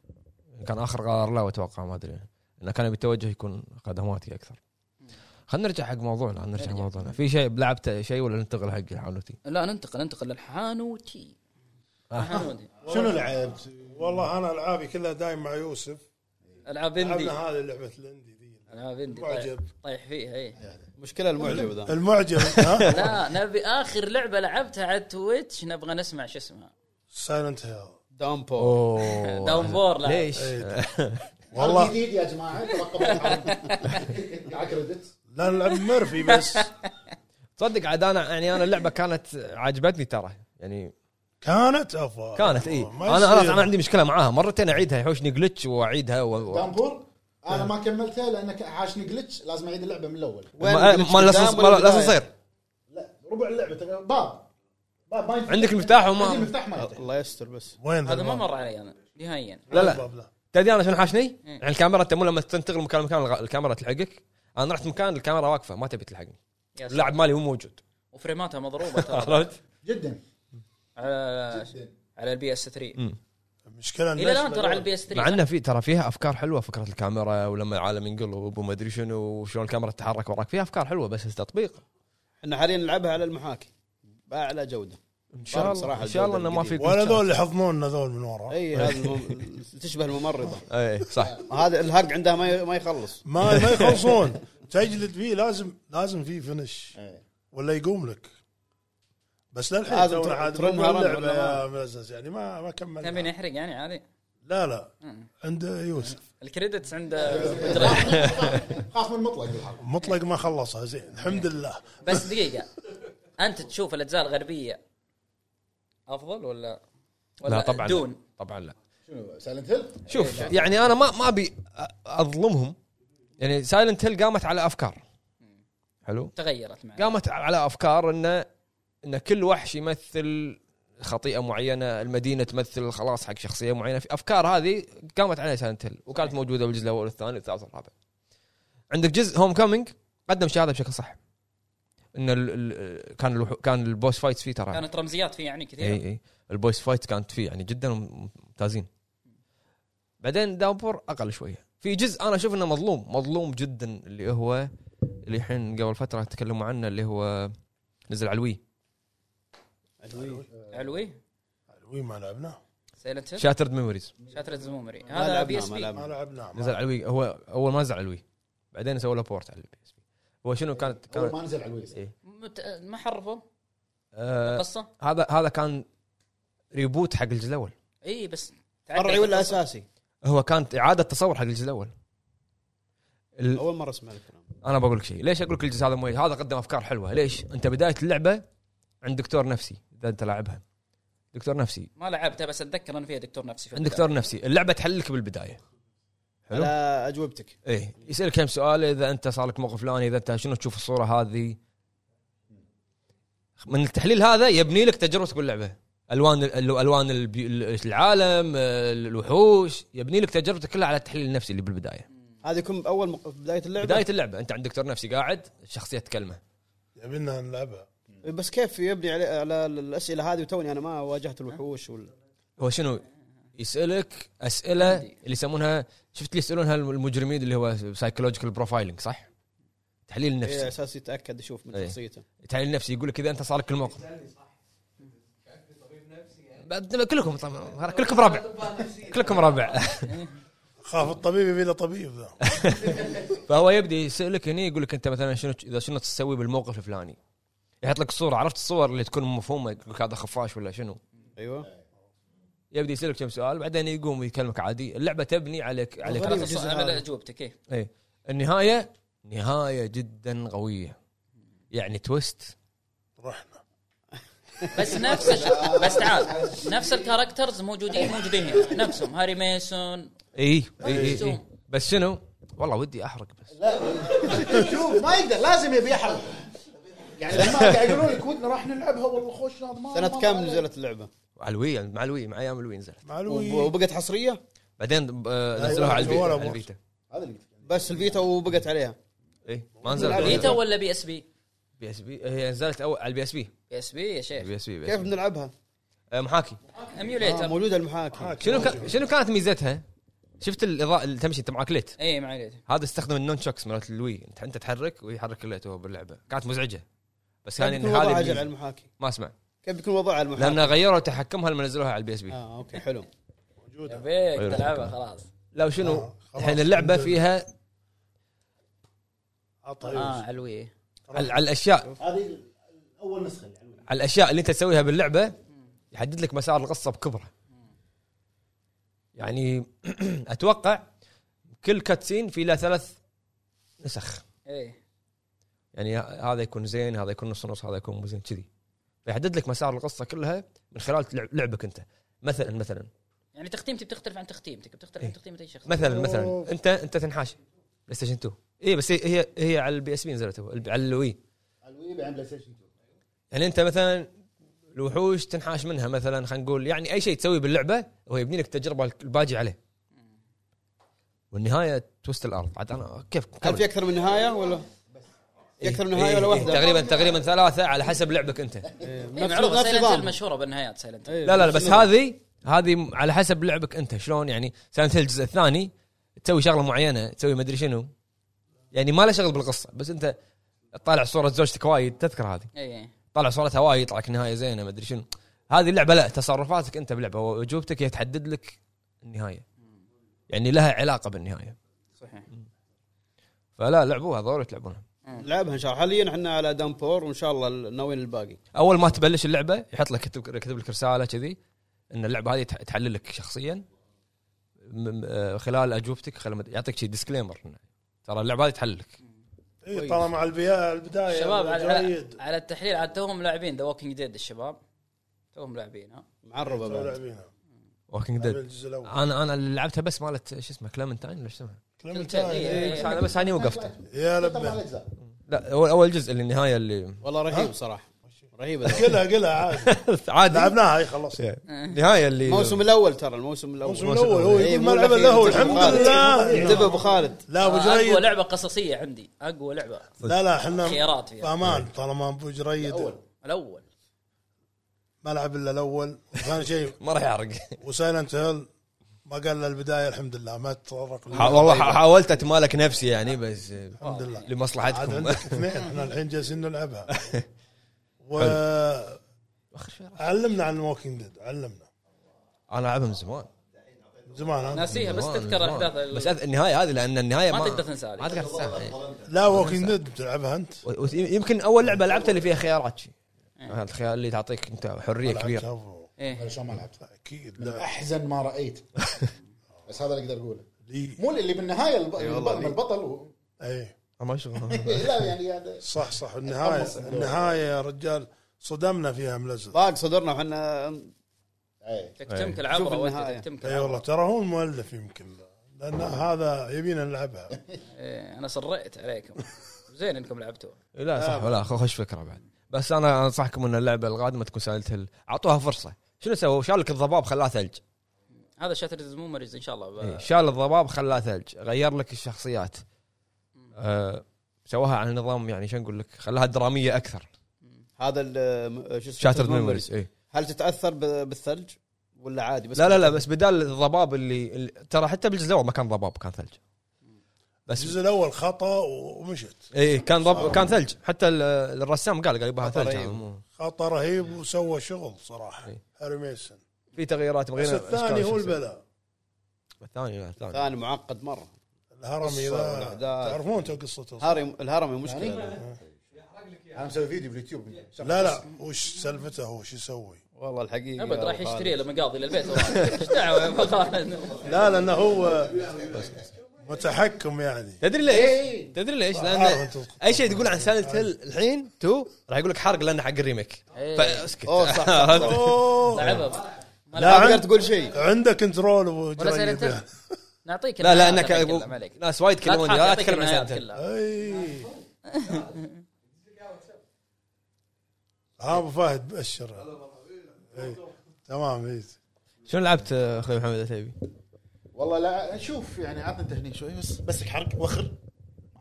Speaker 1: كان اخر قرار له اتوقع ما ادري انه كان بالتوجه يكون خدماتي اكثر خلينا نرجع حق موضوعنا خلينا نرجع
Speaker 3: نرجع.
Speaker 1: موضوعنا في شيء لعبته شيء ولا ننتقل حق حانوتي
Speaker 3: لا ننتقل ننتقل للحانوتي آه. الحانوتي
Speaker 6: شنو لعبت؟
Speaker 2: والله انا العابي كلها دايم مع يوسف
Speaker 3: العاب اندي
Speaker 2: لعبنا هذه لعبه الاندي دي
Speaker 3: العاب طيب. اندي طايح,
Speaker 2: معجب
Speaker 3: طايح فيها اي
Speaker 5: مشكلة المعجب ذا
Speaker 2: المعجب ها
Speaker 3: لا آه، نبي اخر لعبه لعبتها على تويتش نبغى نسمع شو اسمها
Speaker 2: سايلنت هيل
Speaker 5: دامبو
Speaker 1: اوه
Speaker 3: داون بور لا.
Speaker 1: ليش؟
Speaker 4: والله
Speaker 2: والله
Speaker 4: جديد يا جماعه ترقبوا. مع كريدت
Speaker 2: لا نلعب ميرفي بس
Speaker 1: تصدق عاد انا يعني انا اللعبه كانت عجبتني ترى يعني
Speaker 2: كانت افا
Speaker 1: كانت إيه. اي
Speaker 2: ما
Speaker 1: انا انا
Speaker 2: يصير.
Speaker 1: انا عندي مشكله معاها مرتين اعيدها يحوشني جلتش واعيدها و... و...
Speaker 4: دامبور انا ما كملتها لان ك- عاشني جلتش لازم اعيد اللعبه من الاول
Speaker 5: وين
Speaker 1: ما
Speaker 5: الجلتش
Speaker 1: ما
Speaker 5: قدام
Speaker 1: لازم
Speaker 5: ولا
Speaker 1: ما لازم
Speaker 5: بداية؟
Speaker 1: يصير
Speaker 4: لا ربع اللعبه تقريباً. باب باب ما ينفتح.
Speaker 1: عندك المفتاح
Speaker 4: عندي
Speaker 1: وما
Speaker 4: المفتاح ما يفتح
Speaker 5: الله يستر بس
Speaker 2: وين
Speaker 3: هذا ما مر علي انا نهائيا
Speaker 1: لا لا تدري انا شنو حاشني؟ يعني الكاميرا انت مو لما تنتقل من مكان لمكان الغ- الكاميرا تلحقك انا رحت مكان الكاميرا واقفه ما تبي تلحقني
Speaker 3: يا سلام.
Speaker 1: اللاعب مالي مو موجود
Speaker 3: وفريماتها مضروبه ترى
Speaker 1: عرفت؟
Speaker 4: جدا
Speaker 3: على
Speaker 4: جدا
Speaker 3: على البي اس 3
Speaker 1: مم.
Speaker 2: المشكله
Speaker 5: إيه،
Speaker 3: الى الان ترى على البي اس
Speaker 1: مع
Speaker 3: 3
Speaker 1: انه في ترى فيها افكار حلوه فكره الكاميرا ولما العالم ينقلب وما ادري شنو وشلون الكاميرا تتحرك وراك فيها افكار حلوه بس التطبيق
Speaker 5: احنا حاليا نلعبها على المحاكي باعلى جودة
Speaker 1: ان شاء الله
Speaker 5: بصراحة
Speaker 1: ان شاء الله انه ما في
Speaker 5: الجودة
Speaker 2: ولا ذول اللي حضنونا ذول من ورا
Speaker 5: اي هذا المم... تشبه الممرضه
Speaker 1: اي صح
Speaker 5: هذا الهرق عندها ما ي- ما يخلص
Speaker 2: ما ما يخلصون تجلد فيه لازم لازم فيه فينش ولا يقوم لك بس للحين
Speaker 5: إيه. لازم
Speaker 2: تونا عاد
Speaker 5: ترنها
Speaker 2: بنقول
Speaker 5: رن
Speaker 2: اللعبة
Speaker 5: ولا ما-
Speaker 2: يا معزز، يعني ما ما
Speaker 3: تبيني
Speaker 2: كملنا
Speaker 3: احرق يعني عادي
Speaker 2: لا لا
Speaker 5: أمم.
Speaker 3: مم.
Speaker 2: عند يوسف
Speaker 3: الكريدتس عند مدري.
Speaker 4: خاف من المطلق بالحرب
Speaker 2: مطلق ما خلصها زين الحمد لله
Speaker 3: بس دقيقه انت تشوف الاجزاء الغربيه افضل ولا ولا
Speaker 1: لا طبعا لا.
Speaker 3: دون
Speaker 1: طبعا لا
Speaker 4: شنو سايلنت هيل؟
Speaker 1: شوف يعني انا ما ما ابي أ- اظلمهم يعني سايلنت هيل قامت على افكار حلو
Speaker 3: تغيرت معي
Speaker 1: قامت على افكار انه ان كل وحش يمثل خطيئه معينه، المدينه تمثل خلاص حق شخصيه معينه، في افكار هذه قامت عليها سايلنت هيل وكانت موجوده بالجزء الاول والثاني والثالث والرابع. عندك جزء هوم كومينج قدم شيء هذا بشكل صح. ان ال ال كان الوحو- كان البوس فايتس فيه ترى
Speaker 3: كانت رمزيات فيه يعني كثيره
Speaker 1: اي اي البويس إيه، فايت كانت فيه يعني جدا ممتازين بعدين دامبور اقل شويه في جزء انا اشوف انه مظلوم مظلوم جدا اللي هو اللي الحين قبل فتره تكلموا عنه اللي هو نزل على الوي
Speaker 3: علوي
Speaker 2: وين ما لعبناه
Speaker 3: سايلنت هيل
Speaker 1: شاترد ميموريز
Speaker 3: شاترة زمومري
Speaker 5: ما
Speaker 3: هذا
Speaker 5: لعبنا،
Speaker 3: بي اس
Speaker 5: ما
Speaker 3: بي
Speaker 5: لعبنا.
Speaker 2: ما لعبناه
Speaker 1: نزل
Speaker 2: ما-
Speaker 1: على الوي هو اول ما نزل على الوي بعدين سووا له بورت على البي اس بي هو شنو كانت
Speaker 4: اول
Speaker 1: كان
Speaker 4: ما نزل على الويز
Speaker 3: مت- ما حرفوا
Speaker 1: آه
Speaker 3: قصه
Speaker 1: هذا هذا كان ريبوت حق الجزء الاول
Speaker 3: اي بس تعدل
Speaker 5: فرعي ولا
Speaker 3: القصة.
Speaker 5: اساسي؟
Speaker 1: هو كانت اعاده تصور حق الجزء الاول ال-
Speaker 5: اول مره اسمع الكلام
Speaker 1: انا بقول لك شيء ليش اقول لك الجزء هذا مميز هذا قدم افكار حلوه ليش انت بدايه اللعبه عند دكتور نفسي اذا انت لاعبها دكتور نفسي
Speaker 3: ما لعبتها بس اتذكر ان فيها دكتور نفسي في
Speaker 1: عند
Speaker 3: البداية.
Speaker 1: دكتور نفسي اللعبه تحلك بالبدايه حلو.
Speaker 5: على اجوبتك
Speaker 1: ايه يسالك كم سؤال اذا انت صار لك موقف فلاني اذا انت شنو تشوف الصوره هذه من التحليل هذا يبني لك تجربتك باللعبه الوان ال- الوان البي- ال- العالم الوحوش يبني لك تجربتك كلها على التحليل النفسي اللي بالبدايه
Speaker 5: هذا يكون باول مق... في بدايه
Speaker 7: أيوة.
Speaker 5: اللعبه
Speaker 1: بدايه اللعبه انت عند دكتور نفسي قاعد الشخصيه تكلمه
Speaker 2: يبينا نلعبها
Speaker 5: بس كيف يبني على, على الاسئله هذه وتوني انا ما واجهت الوحوش وال...
Speaker 1: هو شنو يسالك اسئله اللي يسمونها شفت اللي يسالونها المجرمين اللي هو سايكولوجيكال بروفايلنج صح؟ تحليل
Speaker 5: إيه،
Speaker 7: إيه،
Speaker 5: على
Speaker 1: نفسي
Speaker 5: اساس يتاكد يشوف من
Speaker 1: إيه.
Speaker 5: شخصيته
Speaker 1: تحليل نفسي يقول لك اذا انت صار لك الموقف بعد كلكم طبعا كلكم ربع كلكم ربع
Speaker 2: خاف الطبيب يبي له طبيب ذا
Speaker 1: فهو يبدي يسالك هنا يقول لك انت مثلا شنو اذا شنو تسوي بالموقف الفلاني يحط لك صوره عرفت الصور اللي تكون مفهومه يقول لك هذا خفاش ولا شنو
Speaker 5: ايوه
Speaker 1: يبدي يسالك كم سؤال بعدين يقوم يكلمك عادي اللعبه تبني عليك عليك
Speaker 5: غريب
Speaker 3: خلاص
Speaker 5: الجزء
Speaker 3: الص- على
Speaker 5: هذا.
Speaker 3: اجوبتك ايه
Speaker 1: ايه النهايه نهايه جدا قويه يعني تويست
Speaker 2: رحنا
Speaker 3: بس نفس الش- بس تعال نفس الكاركترز موجودين موجودين هنا نفسهم هاري ميسون
Speaker 1: اي اي اي إي. إيه، بس شنو والله ودي احرق بس
Speaker 4: شوف ما يقدر لازم يبي حرب يعني لما قاعد يقولون لك ودنا راح نلعبها والله خوش ناظر ما-
Speaker 5: سنه
Speaker 4: ما-
Speaker 5: كم
Speaker 4: ما-
Speaker 5: نزلت اللعبه؟
Speaker 1: مع الوي مع الوي مع ايام الوي نزلت
Speaker 5: وب-
Speaker 2: معلوي
Speaker 5: وبقت حصريه
Speaker 1: بعدين آه، نزلوها على البيتا,
Speaker 2: ولا
Speaker 1: على
Speaker 2: بورس.
Speaker 1: البيتا.
Speaker 4: هذا اللي قلت لك.
Speaker 5: بس الفيتا وبقت عليها
Speaker 1: اي ما نزلت
Speaker 3: بيتا ولا بي اس بي؟
Speaker 1: بي اس بي هي نزلت اول على البي اس بي
Speaker 3: بي اس بي يا شيخ
Speaker 1: البي اس بي
Speaker 5: كيف بنلعبها؟
Speaker 1: محاكي
Speaker 5: آه
Speaker 3: اميوليتر
Speaker 5: موجوده المحاكي
Speaker 1: شنو كا- شنو كانت ميزتها؟ شفت الاضاءه اللي تمشي انت معك ليت
Speaker 3: اي ما عليك
Speaker 1: هذا استخدم النون شوكس مالت الوي انت انت تحرك ويحرك الليت وهو باللعبه كانت مزعجه بس
Speaker 5: كيف
Speaker 1: يعني إن
Speaker 5: بيكون وضعها
Speaker 1: هذه
Speaker 5: على
Speaker 1: الميزة.
Speaker 5: المحاكي؟
Speaker 1: ما اسمع
Speaker 5: كيف بيكون وضعها على المحاكي؟
Speaker 1: لان غيروا تحكمها لما نزلوها على البي اس بي
Speaker 5: اه اوكي حلو
Speaker 3: يا بيك تلعبها خلاص
Speaker 1: لا وشنو
Speaker 2: آه، خلاص.
Speaker 1: الحين اللعبه فيها
Speaker 2: عطى
Speaker 3: اه
Speaker 2: يوسف.
Speaker 3: علوي
Speaker 1: على, على الاشياء
Speaker 4: هذه اول نسخه اللي علوي.
Speaker 1: على الاشياء اللي انت تسويها باللعبه يحدد لك مسار القصه بكبره يعني اتوقع كل كاتسين في له ثلاث نسخ
Speaker 3: اي
Speaker 1: يعني هذا يكون زين هذا يكون نص نص هذا يكون مو زين كذي فيحدد لك مسار القصه كلها من خلال لعب- لعبك انت مثلا مثلا
Speaker 3: يعني تختيمتي بتختلف عن تختيمتك بتختلف عن تختيمه اي شخص
Speaker 1: مثلا مثلا انت انت تنحاش بلاي ستيشن 2 اي بس هي- هي هي على البي اس بي نزلت هو، على الوي
Speaker 4: علوي بعدين بلاي ستيشن 2
Speaker 1: يعني انت مثلا الوحوش تنحاش منها مثلا خلينا نقول يعني اي شيء تسويه باللعبه هو يبني لك تجربه الباجي عليه والنهايه توست الارض عاد انا كيف
Speaker 5: هل
Speaker 1: كمل.
Speaker 5: في اكثر من نهايه ولا؟ في اكثر من
Speaker 1: إيه،
Speaker 5: نهايه ولا
Speaker 1: إيه،
Speaker 5: واحده؟
Speaker 1: تقريبا تقريبا ثلاثه على حسب لعبك انت
Speaker 5: إيه،
Speaker 3: إيه،
Speaker 5: نفس
Speaker 3: معروفه
Speaker 5: نفس
Speaker 3: سايلنت هيل
Speaker 5: النظام
Speaker 3: مشهوره بالنهايات سايلنت هيل
Speaker 5: إيه،
Speaker 1: لا لا لا
Speaker 5: نفس
Speaker 1: بس
Speaker 5: النظام.
Speaker 1: هذه هذه على حسب لعبك انت شلون يعني سايلنت هيل الجزء الثاني تسوي شغله معينه تسوي مدري شنو يعني ما له شغل بالقصه بس انت طالع صوره زوجتك وايد تذكر هذه
Speaker 3: اي إيه.
Speaker 1: طالع صورتها وايد يطلع لك نهايه زينه مدري شنو هذه اللعبه لا تصرفاتك انت باللعبه واجوبتك هي تحدد لك النهايه يعني لها علاقه بالنهايه
Speaker 3: صحيح
Speaker 1: فلا لعبوها ضروري تلعبونها
Speaker 5: لعبها ان شاء الله حاليا احنا على دامبور وان شاء الله ناويين الباقي
Speaker 1: اول ما تبلش اللعبه يحط لك كتب, كتب لك رساله كذي ان اللعبه هذه تح- تحلل لك شخصيا م- م- آه، خلال اجوبتك خلال مد- يعطيك شي ديسكليمر ترى اللعبه هذه تحلل لك
Speaker 2: اي ترى مع البيا- البدايه
Speaker 3: الشباب على, على,
Speaker 2: جيد
Speaker 3: على التحليل عاد توهم لاعبين ذا ووكينج ديد الشباب توهم لاعبين ها
Speaker 5: معربه
Speaker 2: تو
Speaker 5: بعد
Speaker 2: لاعبينها
Speaker 1: ووكينج
Speaker 2: لاعبين
Speaker 1: ديد
Speaker 2: الجزء الاول
Speaker 1: انا انا اللي لعبتها بس مالت شو اسمه كلامنتاين ولا شو اسمها؟
Speaker 2: كلمتين.
Speaker 3: إيه، إيه.
Speaker 1: بس انا بس هني وقفت
Speaker 2: يا
Speaker 4: طبعا
Speaker 2: لبه
Speaker 4: الاجزاء
Speaker 1: لا اول اول جزء اللي النهايه اللي
Speaker 5: والله رهيب صراحه رهيب
Speaker 2: قلها قلها عادي
Speaker 1: عادي
Speaker 2: لعبناها اي خلاص
Speaker 1: إيه. النهايه اللي
Speaker 5: الموسم الاول ترى الموسم الاول
Speaker 2: الموسم الاول هو
Speaker 5: إيه،
Speaker 2: يقول
Speaker 5: مو
Speaker 2: ما لعب
Speaker 5: الأخير.
Speaker 2: الا هو
Speaker 5: انتبه أبو
Speaker 2: الحمد
Speaker 5: خالد. انتبه
Speaker 2: لله
Speaker 5: ابو خالد
Speaker 2: لا ابو
Speaker 3: آه، اقوى
Speaker 2: جريد
Speaker 3: لعبه قصصيه عندي اقوى لعبه
Speaker 2: لا لا احنا
Speaker 3: خيارات فيها
Speaker 2: بامان
Speaker 1: إيه.
Speaker 2: طالما ابو جريد
Speaker 3: الاول
Speaker 2: ما لعب الا الاول وثاني شيء
Speaker 1: ما راح يعرق
Speaker 2: وسايلنت هيل ما قال له البدايه الحمد لله ما تتطرق
Speaker 1: ح- والله ح- حاولت اتمالك نفسي يعني بس
Speaker 2: طيب. الحمد لله عاد
Speaker 1: لمصلحتكم
Speaker 2: عندك اثنين احنا الحين جالسين نلعبها و علمنا عن ووكينج ديد علمنا
Speaker 1: انا العبها من زمان
Speaker 2: زمان ها؟
Speaker 3: ناسيها إيه، بس
Speaker 1: زمان،
Speaker 3: تذكر
Speaker 1: زمان.
Speaker 3: الاحداث ال-
Speaker 1: بس أذ- النهايه هذه لان النهايه
Speaker 3: ما تقدر تنسى هذه.
Speaker 1: ما تقدر تنساها
Speaker 2: لا ووكينج ديد بتلعبها انت
Speaker 1: و- و- يمكن اول لعبه لعبتها اللي فيها خيارات شي.
Speaker 3: إيه.
Speaker 1: هذا الخيار اللي تعطيك انت حريه كبيره
Speaker 2: ألعبها.
Speaker 1: إيه.
Speaker 3: ايه
Speaker 4: شلون ما لعبت
Speaker 2: اكيد
Speaker 4: من
Speaker 2: لا
Speaker 4: احزن ما رايت بس هذا اللي اقدر اقوله
Speaker 2: لي إيه.
Speaker 4: مو اللي بالنهايه الب... الب... البطل و...
Speaker 2: اي
Speaker 1: ما شوف
Speaker 4: لا يعني يعني
Speaker 2: صح صح النهايه النهايه يا رجال صدمنا فيها من الازرق
Speaker 5: ضاق صدرنا وحنا
Speaker 4: إيه.
Speaker 3: تكتمك
Speaker 5: شوف
Speaker 3: العبره
Speaker 5: النهاية.
Speaker 3: وانت تكتمك
Speaker 2: اي إيه، والله
Speaker 3: العبره
Speaker 2: ترى هو المؤلف يمكن لان هذا يبينا نلعبها
Speaker 3: إيه، انا صريت عليكم زين انكم لعبتوها
Speaker 1: لا صح ولا خ- خش فكره بعد بس انا انصحكم ان اللعبه القادمه تكون سايلنت هيل اعطوها فرصه شنو سووا؟ شال لك الضباب خلاه ثلج
Speaker 3: هذا شاترز ميموريز ان شاء الله ب-
Speaker 1: إيه، شال الضباب خلاه ثلج غير لك الشخصيات آه، سواها على نظام يعني شو نقول لك خلاها دراميه اكثر
Speaker 5: هذا ال- م- شو اسمه
Speaker 1: شاترد ميموريز اي
Speaker 5: هل تتاثر ب- بالثلج ولا عادي بس
Speaker 1: لا لا لا بس بدال الضباب اللي اللي- ترى حتى بالجزء الاول ما كان ضباب كان ثلج بس
Speaker 2: الجزء الاول خطا ومشت
Speaker 1: اي إيه، كان ضب كان ثلج حتى ال- الرسام قال قال يبغى
Speaker 5: خطر
Speaker 1: ثلج يعني
Speaker 5: رهيب.
Speaker 1: مو-
Speaker 2: خطا رهيب وسوى شغل صراحه
Speaker 1: إيه.
Speaker 2: هاري ميسن
Speaker 1: في تغييرات
Speaker 2: بس
Speaker 1: مغيرة
Speaker 2: الثاني هو البلاء
Speaker 1: الثاني لا الثاني
Speaker 5: ثاني معقد مره
Speaker 2: الهرمي
Speaker 5: قصة
Speaker 2: ذا
Speaker 5: والأحداث.
Speaker 2: تعرفون تو قصته
Speaker 5: هاري الهرم
Speaker 2: يعني؟
Speaker 5: مشكله
Speaker 4: انا مسوي فيديو باليوتيوب
Speaker 2: لا لا وش سلفته هو شو يسوي؟
Speaker 5: والله الحقيقه
Speaker 3: ابد راح
Speaker 5: أبو خالد.
Speaker 3: يشتري له مقاضي للبيت وراح. ايش دعوه يا أبو خالد؟
Speaker 2: لا لانه هو متحكم يعني
Speaker 1: تدري ليش؟ تدري ليش؟ لان
Speaker 2: عارف أنت.
Speaker 1: اي شيء تقول عن سايلنت هيل الحين تو راح يقول لك حرق لانه حق الريميك
Speaker 3: إيه.
Speaker 1: فاسكت
Speaker 5: اوه صح, صح, صح.
Speaker 2: أوه.
Speaker 3: لعبها ما
Speaker 2: لا،
Speaker 5: ما
Speaker 3: لعبها.
Speaker 5: تقدر تقول شيء
Speaker 2: عنده كنترول أبو
Speaker 3: ولا
Speaker 2: جريد.
Speaker 3: سيلنت هيل؟ نعطيك
Speaker 1: لا لا
Speaker 3: المعلومات
Speaker 1: انك
Speaker 3: اللي نتكلم عليك.
Speaker 1: ناس وايد
Speaker 3: لا
Speaker 1: يتكلمون
Speaker 3: تخاف
Speaker 1: لا
Speaker 3: يعطيك
Speaker 1: تتكلم عن
Speaker 3: العنايات
Speaker 1: سايلنت هيل
Speaker 3: كلها
Speaker 2: اي ها ابو فهد بشر أي. تمام إيه. اي
Speaker 1: شنو لعبت اخوي محمد عتيبي؟
Speaker 4: والله لا شوف يعني عطني انت هني شوي بس بس حرق وخر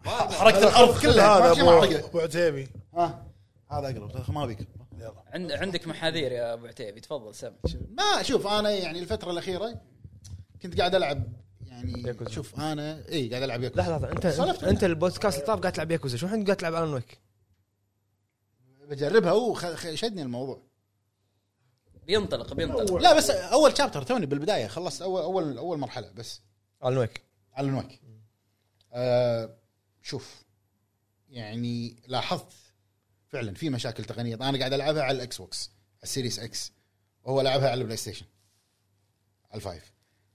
Speaker 2: حركت الارض
Speaker 4: كلها،
Speaker 2: هذا
Speaker 4: ما في شيء ما
Speaker 2: ابو
Speaker 4: حرقه.
Speaker 2: ابو عتيبي
Speaker 4: ها هذا اقرب ما بيك يلا
Speaker 3: عند عندك محاذير يا ابو عتيبي تفضل سم
Speaker 4: ما شوف انا يعني الفتره الاخيره كنت قاعد العب يعني
Speaker 1: ياكوزا.
Speaker 4: شوف انا اي قاعد العب ياكوزا
Speaker 1: لحظه انت
Speaker 4: سولفت
Speaker 1: انت البودكاست الطاف قاعد تلعب ياكوزا شو الحين قاعد تلعب الون ويك؟
Speaker 4: بجربها وشدني الموضوع
Speaker 3: بينطلق بينطلق
Speaker 4: لا بس اول شابتر توني بالبدايه خلصت اول اول اول مرحله بس
Speaker 1: الون ويك
Speaker 4: على نويك آه شوف يعني لاحظت فعلا في مشاكل تقنيه انا قاعد العبها على الاكس بوكس على السيريس اكس وهو لعبها على البلاي ستيشن على الفايف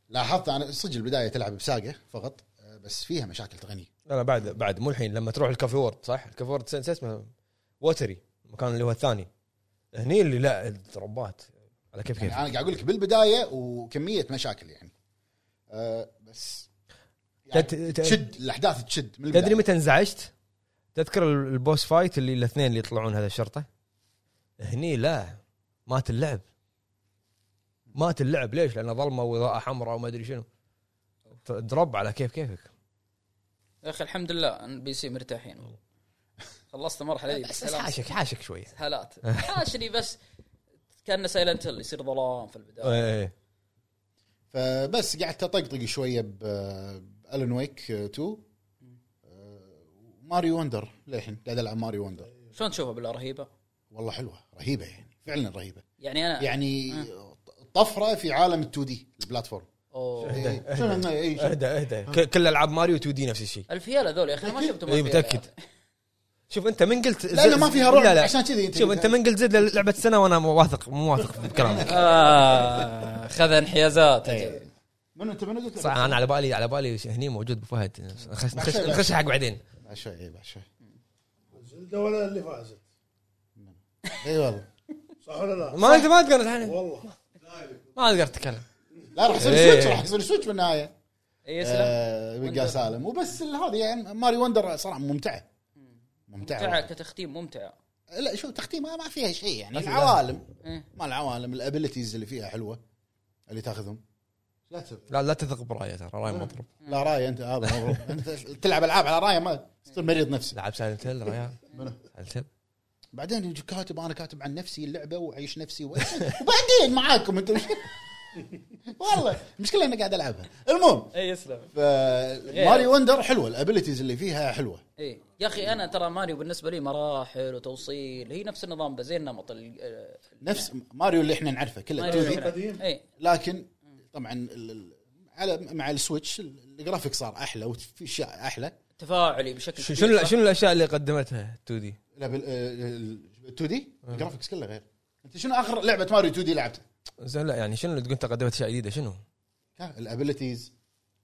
Speaker 4: لاحظت انا صدق البدايه تلعب بساقه فقط آه، بس فيها مشاكل تقنيه
Speaker 1: لا لا بعد بعد مو الحين لما تروح الكافي وورد صح؟ الكافي وورد سن- شو اسمه ووتري المكان اللي هو الثاني هني اللي لا الربات على كيف كيف
Speaker 4: يعني انا قاعد اقول لك بالبدايه وكميه مشاكل يعني آه بس
Speaker 1: تت-
Speaker 4: يعني
Speaker 1: تت-
Speaker 4: تشد الاحداث تشد من
Speaker 1: تدري
Speaker 4: البداية.
Speaker 1: متى انزعجت؟ تذكر ال- البوس فايت اللي الاثنين اللي يطلعون هذا الشرطه؟ هني لا مات اللعب مات اللعب ليش؟ لانه ظلمه واضاءه حمراء وما ادري شنو ت- دروب على كيف كيفك
Speaker 3: يا اخي الحمد لله ان بي سي مرتاحين والله خلصت المرحله دي
Speaker 1: بس, بس
Speaker 3: بالسلام.
Speaker 1: حاشك حاشك شوي
Speaker 3: هالات حاشني بس كان سايلنت هيل يصير ظلام في البدايه
Speaker 1: ايه
Speaker 4: فبس قعدت اطقطق شويه ب الون ويك 2 آه، ماريو وندر للحين قاعد العب ماريو وندر
Speaker 3: شلون تشوفها بالله رهيبه
Speaker 4: والله حلوه رهيبه يعني فعلا رهيبه
Speaker 3: يعني انا
Speaker 4: يعني طفره في عالم ال 2 دي البلاتفورم
Speaker 3: أوه.
Speaker 4: إيه، شنو إنه أي شيء.
Speaker 1: اهدى اهدى ك- كل العاب ماريو 2 دي نفس الشيء
Speaker 3: الفيال هذول يا اخي أنا ما شفتهم
Speaker 1: اي
Speaker 3: الفيال.
Speaker 1: متاكد شوف انت من قلت زد-
Speaker 4: لانه ما فيها رعب
Speaker 1: لا لا
Speaker 4: عشان كذي انت
Speaker 1: شوف انت من قلت زد لعبه سنه وانا مو واثق مو واثق بكلامك
Speaker 3: آه خذ انحيازات أجل.
Speaker 1: طيب.
Speaker 4: إيه. منو انت منو قلت
Speaker 1: صح انا على بالي على بالي هني موجود بفهد نخش نخش نخش حق بعدين
Speaker 4: بعد شوي إيه، بعد شوي
Speaker 2: زلده ولا اللي فازت
Speaker 4: اي إيه، والله
Speaker 2: صح ولا لا؟
Speaker 1: ما انت ما تقدر الحين
Speaker 2: والله
Speaker 1: ما تقدر تتكلم
Speaker 4: لا راح يصير
Speaker 1: إيه.
Speaker 4: سويتش راح يصير سويتش بالنهايه
Speaker 3: اي اسلام
Speaker 4: آه، ويلقى سالم وبس ال- هذه يعني ماري وندر صراحه ممتعه
Speaker 3: ممتعه
Speaker 4: ممتعه
Speaker 3: كتختيم ممتعه
Speaker 4: لا شو تختيم ما ما فيها شيء يعني العوالم
Speaker 3: إيه.
Speaker 4: ما العوالم الابيلتيز اللي فيها حلوه اللي تاخذهم لا تب...
Speaker 1: لا لا تثق برايه ترى راي مضروب
Speaker 4: لا راي انت هذا مضروب. انت تلعب العاب على رايه ما تصير مريض نفسي
Speaker 1: لعب سايلنت هيل ريال سايلنت هيل
Speaker 4: بعدين يجي كاتب انا كاتب عن نفسي اللعبه واعيش نفسي و... وبعدين معاكم انتم والله المشكله اني قاعد العبها المهم
Speaker 3: اي اسلام
Speaker 4: ماري وندر حلوه الابيلتيز اللي فيها حلوه
Speaker 3: اي إيه. يا اخي انا ترى ماريو بالنسبه لي مراحل وتوصيل هي نفس النظام ده زي النمط ال-
Speaker 4: نفس ماريو اللي احنا نعرفه كله
Speaker 3: ماريو إيه،
Speaker 4: 2D.
Speaker 3: القديم. اي
Speaker 4: لكن طبعا ال- ال- على مع السويتش ال- الجرافيك صار احلى وفي اشياء احلى
Speaker 3: تفاعلي بشكل
Speaker 1: شو-
Speaker 3: كبير،
Speaker 1: شنو
Speaker 3: صح؟
Speaker 1: شنو الاشياء اللي قدمتها 2 دي؟
Speaker 4: لا بال 2 دي الجرافيكس كله غير انت شنو اخر لعبه ماريو 2 دي لعبتها؟
Speaker 1: زين لا يعني شنو اللي تقول انت قدمت اشياء جديده شنو؟
Speaker 4: ها، الابيلتيز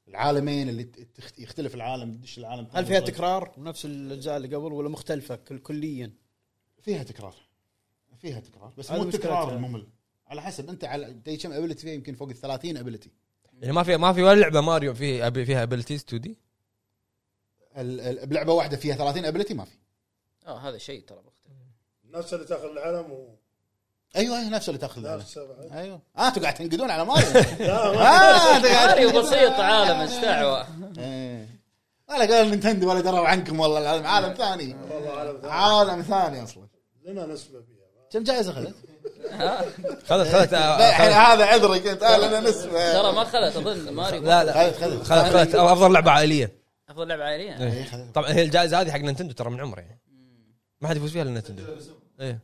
Speaker 4: العالمين اللي ت- تخت- يختلف العالم تدش العالم طيب.
Speaker 5: هل فيها تكرار نفس الاجزاء اللي قبل ولا مختلفه كل كليا؟
Speaker 4: فيها تكرار فيها تكرار بس
Speaker 5: هذه
Speaker 4: مو التكرار
Speaker 5: مشكلتها.
Speaker 4: الممل على حسب انت على تدري كم ابيلتي فيها يمكن فوق ال 30 ابيلتي
Speaker 1: يعني ما في ما في ولا لعبه ماريو فيه أبي- فيها ابيلتيز 2 دي؟
Speaker 4: ال- ال- بلعبه واحده فيها 30 ابيلتي ما في
Speaker 3: اه هذا شيء ترى مختلف
Speaker 2: نفس اللي تاخذ العلم
Speaker 4: ايوه هي نفس اللي تاخذها
Speaker 2: ونفسه بعد
Speaker 4: ايوه اه انتوا قاعد تنقدون على ماريو
Speaker 2: لا ما
Speaker 4: آه، أنتوا قاعد
Speaker 3: ماريو بسيط عالم استعوى
Speaker 4: ايه ولا قال نينتندو ولا دروا عنكم والله العالم
Speaker 3: إيه.
Speaker 4: عالم ثاني
Speaker 2: والله عالم ثاني.
Speaker 4: عالم ثاني اصلا
Speaker 2: لنا نسبه فيها
Speaker 4: كم جائزه اخذت؟
Speaker 1: خذت خذت
Speaker 4: لا، الحين
Speaker 1: آه،
Speaker 4: هذا عذرك انت آه، لنا نسبه
Speaker 3: ترى ما خلت اظن ماريو
Speaker 1: لا لا
Speaker 4: خذت خذت
Speaker 1: خذت خذت افضل لعبه عائليه
Speaker 3: افضل لعبه عائليه
Speaker 4: إيه، خذت.
Speaker 1: طبعا هي الجائزه هذه حق نينتندو ترى من عمره يعني ما حد يفوز فيها الا نينتندو ايه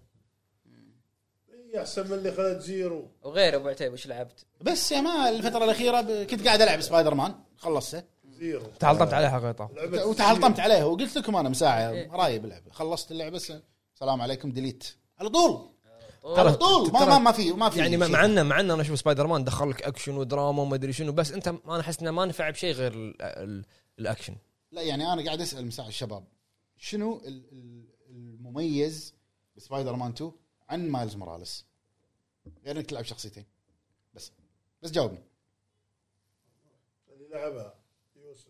Speaker 2: إيه، احسن من اللي خذت زيرو
Speaker 3: وغير ابو عتيب وش لعبت؟
Speaker 4: بس يا ما الفتره الاخيره ب- كنت قاعد العب سبايدر مان خلصته
Speaker 2: زيرو
Speaker 1: تعلطمت عليها حقيقه
Speaker 2: لعبة
Speaker 3: إيه.
Speaker 4: وتحلطمت عليه وقلت لكم انا مساعة رايب اللعبه خلصت اللعبه بس السلام عليكم ديليت على طول على طول ما ما ما في ما في
Speaker 1: يعني
Speaker 4: شيء.
Speaker 1: مع انه مع انه انا اشوف سبايدر مان دخل لك اكشن ودراما وما ادري شنو بس انت انا احس انه ما نفع بشيء غير ال- ال- الاكشن
Speaker 4: لا يعني انا قاعد اسال مساعد الشباب شنو ال- ال- المميز بسبايدر مان 2 عن مايلز موراليس؟ غير انك تلعب شخصيتين بس بس جاوبني
Speaker 2: اللي لعبها يوسف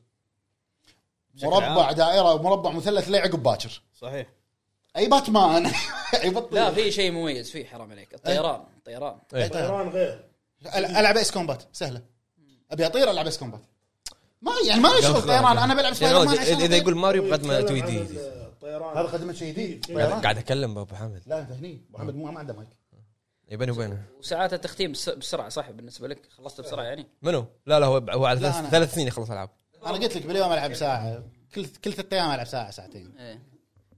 Speaker 4: مربع دائره ومربع مثلث ليه عقب باكر
Speaker 5: صحيح
Speaker 4: اي باتمان اي
Speaker 3: لا
Speaker 4: بطل
Speaker 3: في شيء مميز فيه حرام
Speaker 1: إيه.
Speaker 3: عليك الطيران الطيران
Speaker 4: طيب.
Speaker 1: يعني
Speaker 2: طيران غير
Speaker 4: العب اس كومبات سهله ابي اطير العب اس كومبات ما يعني ما
Speaker 1: يا
Speaker 4: اشوف
Speaker 1: أخي،
Speaker 4: طيران انا بلعب
Speaker 1: يعني
Speaker 4: سبايدر مان
Speaker 1: إذا-
Speaker 4: عشان طيب.
Speaker 1: اذا يقول ماريو بقد ما
Speaker 2: يتكلم
Speaker 1: 2
Speaker 2: عن
Speaker 1: دي
Speaker 2: الطيران
Speaker 4: هذا خدمه شيء جديد
Speaker 1: قاعد قاعد اكلم ابو حامد
Speaker 4: لا انت هني أبو محمد مو- ما عنده مايك
Speaker 1: اي بيني وبينه
Speaker 3: وساعات التختيم بس- بسرعه صح بالنسبه لك خلصت بسرعه يعني
Speaker 1: منو؟ لا لا هو هو على
Speaker 4: لا،
Speaker 1: ثلاث-
Speaker 4: أنا.
Speaker 1: ثلاث سنين يخلص العاب
Speaker 4: انا قلت لك باليوم العب ساعه كل كل ثلاث ايام العب ساعه ساعتين
Speaker 1: إيه.
Speaker 3: ايه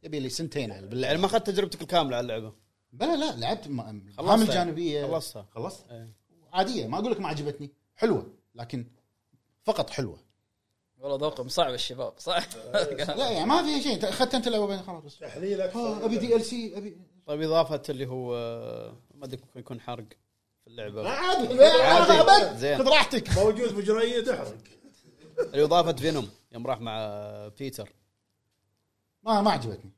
Speaker 4: يبي لي سنتين على باللعب
Speaker 5: يعني ما اخذت تجربتك الكامله على اللعبه
Speaker 4: بلا لا لعبت م-
Speaker 5: خلصتها.
Speaker 4: مهام الجانبيه
Speaker 5: خلصتها.
Speaker 4: خلصت
Speaker 5: إيه.
Speaker 4: عاديه ما اقول لك ما عجبتني حلوه لكن فقط حلوه
Speaker 3: والله ذوقهم صعب الشباب صح؟
Speaker 4: لا يعني ما فيها شيء أنت اخذت انت الاول بعدين خلاص بس
Speaker 2: تحليل
Speaker 4: آه،
Speaker 2: اكثر
Speaker 4: ابي دي ال سي ابي
Speaker 5: طيب اضافه اللي هو آه، ما ادري ممكن يكون حرق في اللعبه
Speaker 4: لا عادي لا، أبد.
Speaker 5: زين.
Speaker 4: خذ راحتك
Speaker 2: موجود بجريه تحرق
Speaker 5: اللي اضافه فينوم يوم راح مع آه، بيتر
Speaker 4: ما ما عجبتني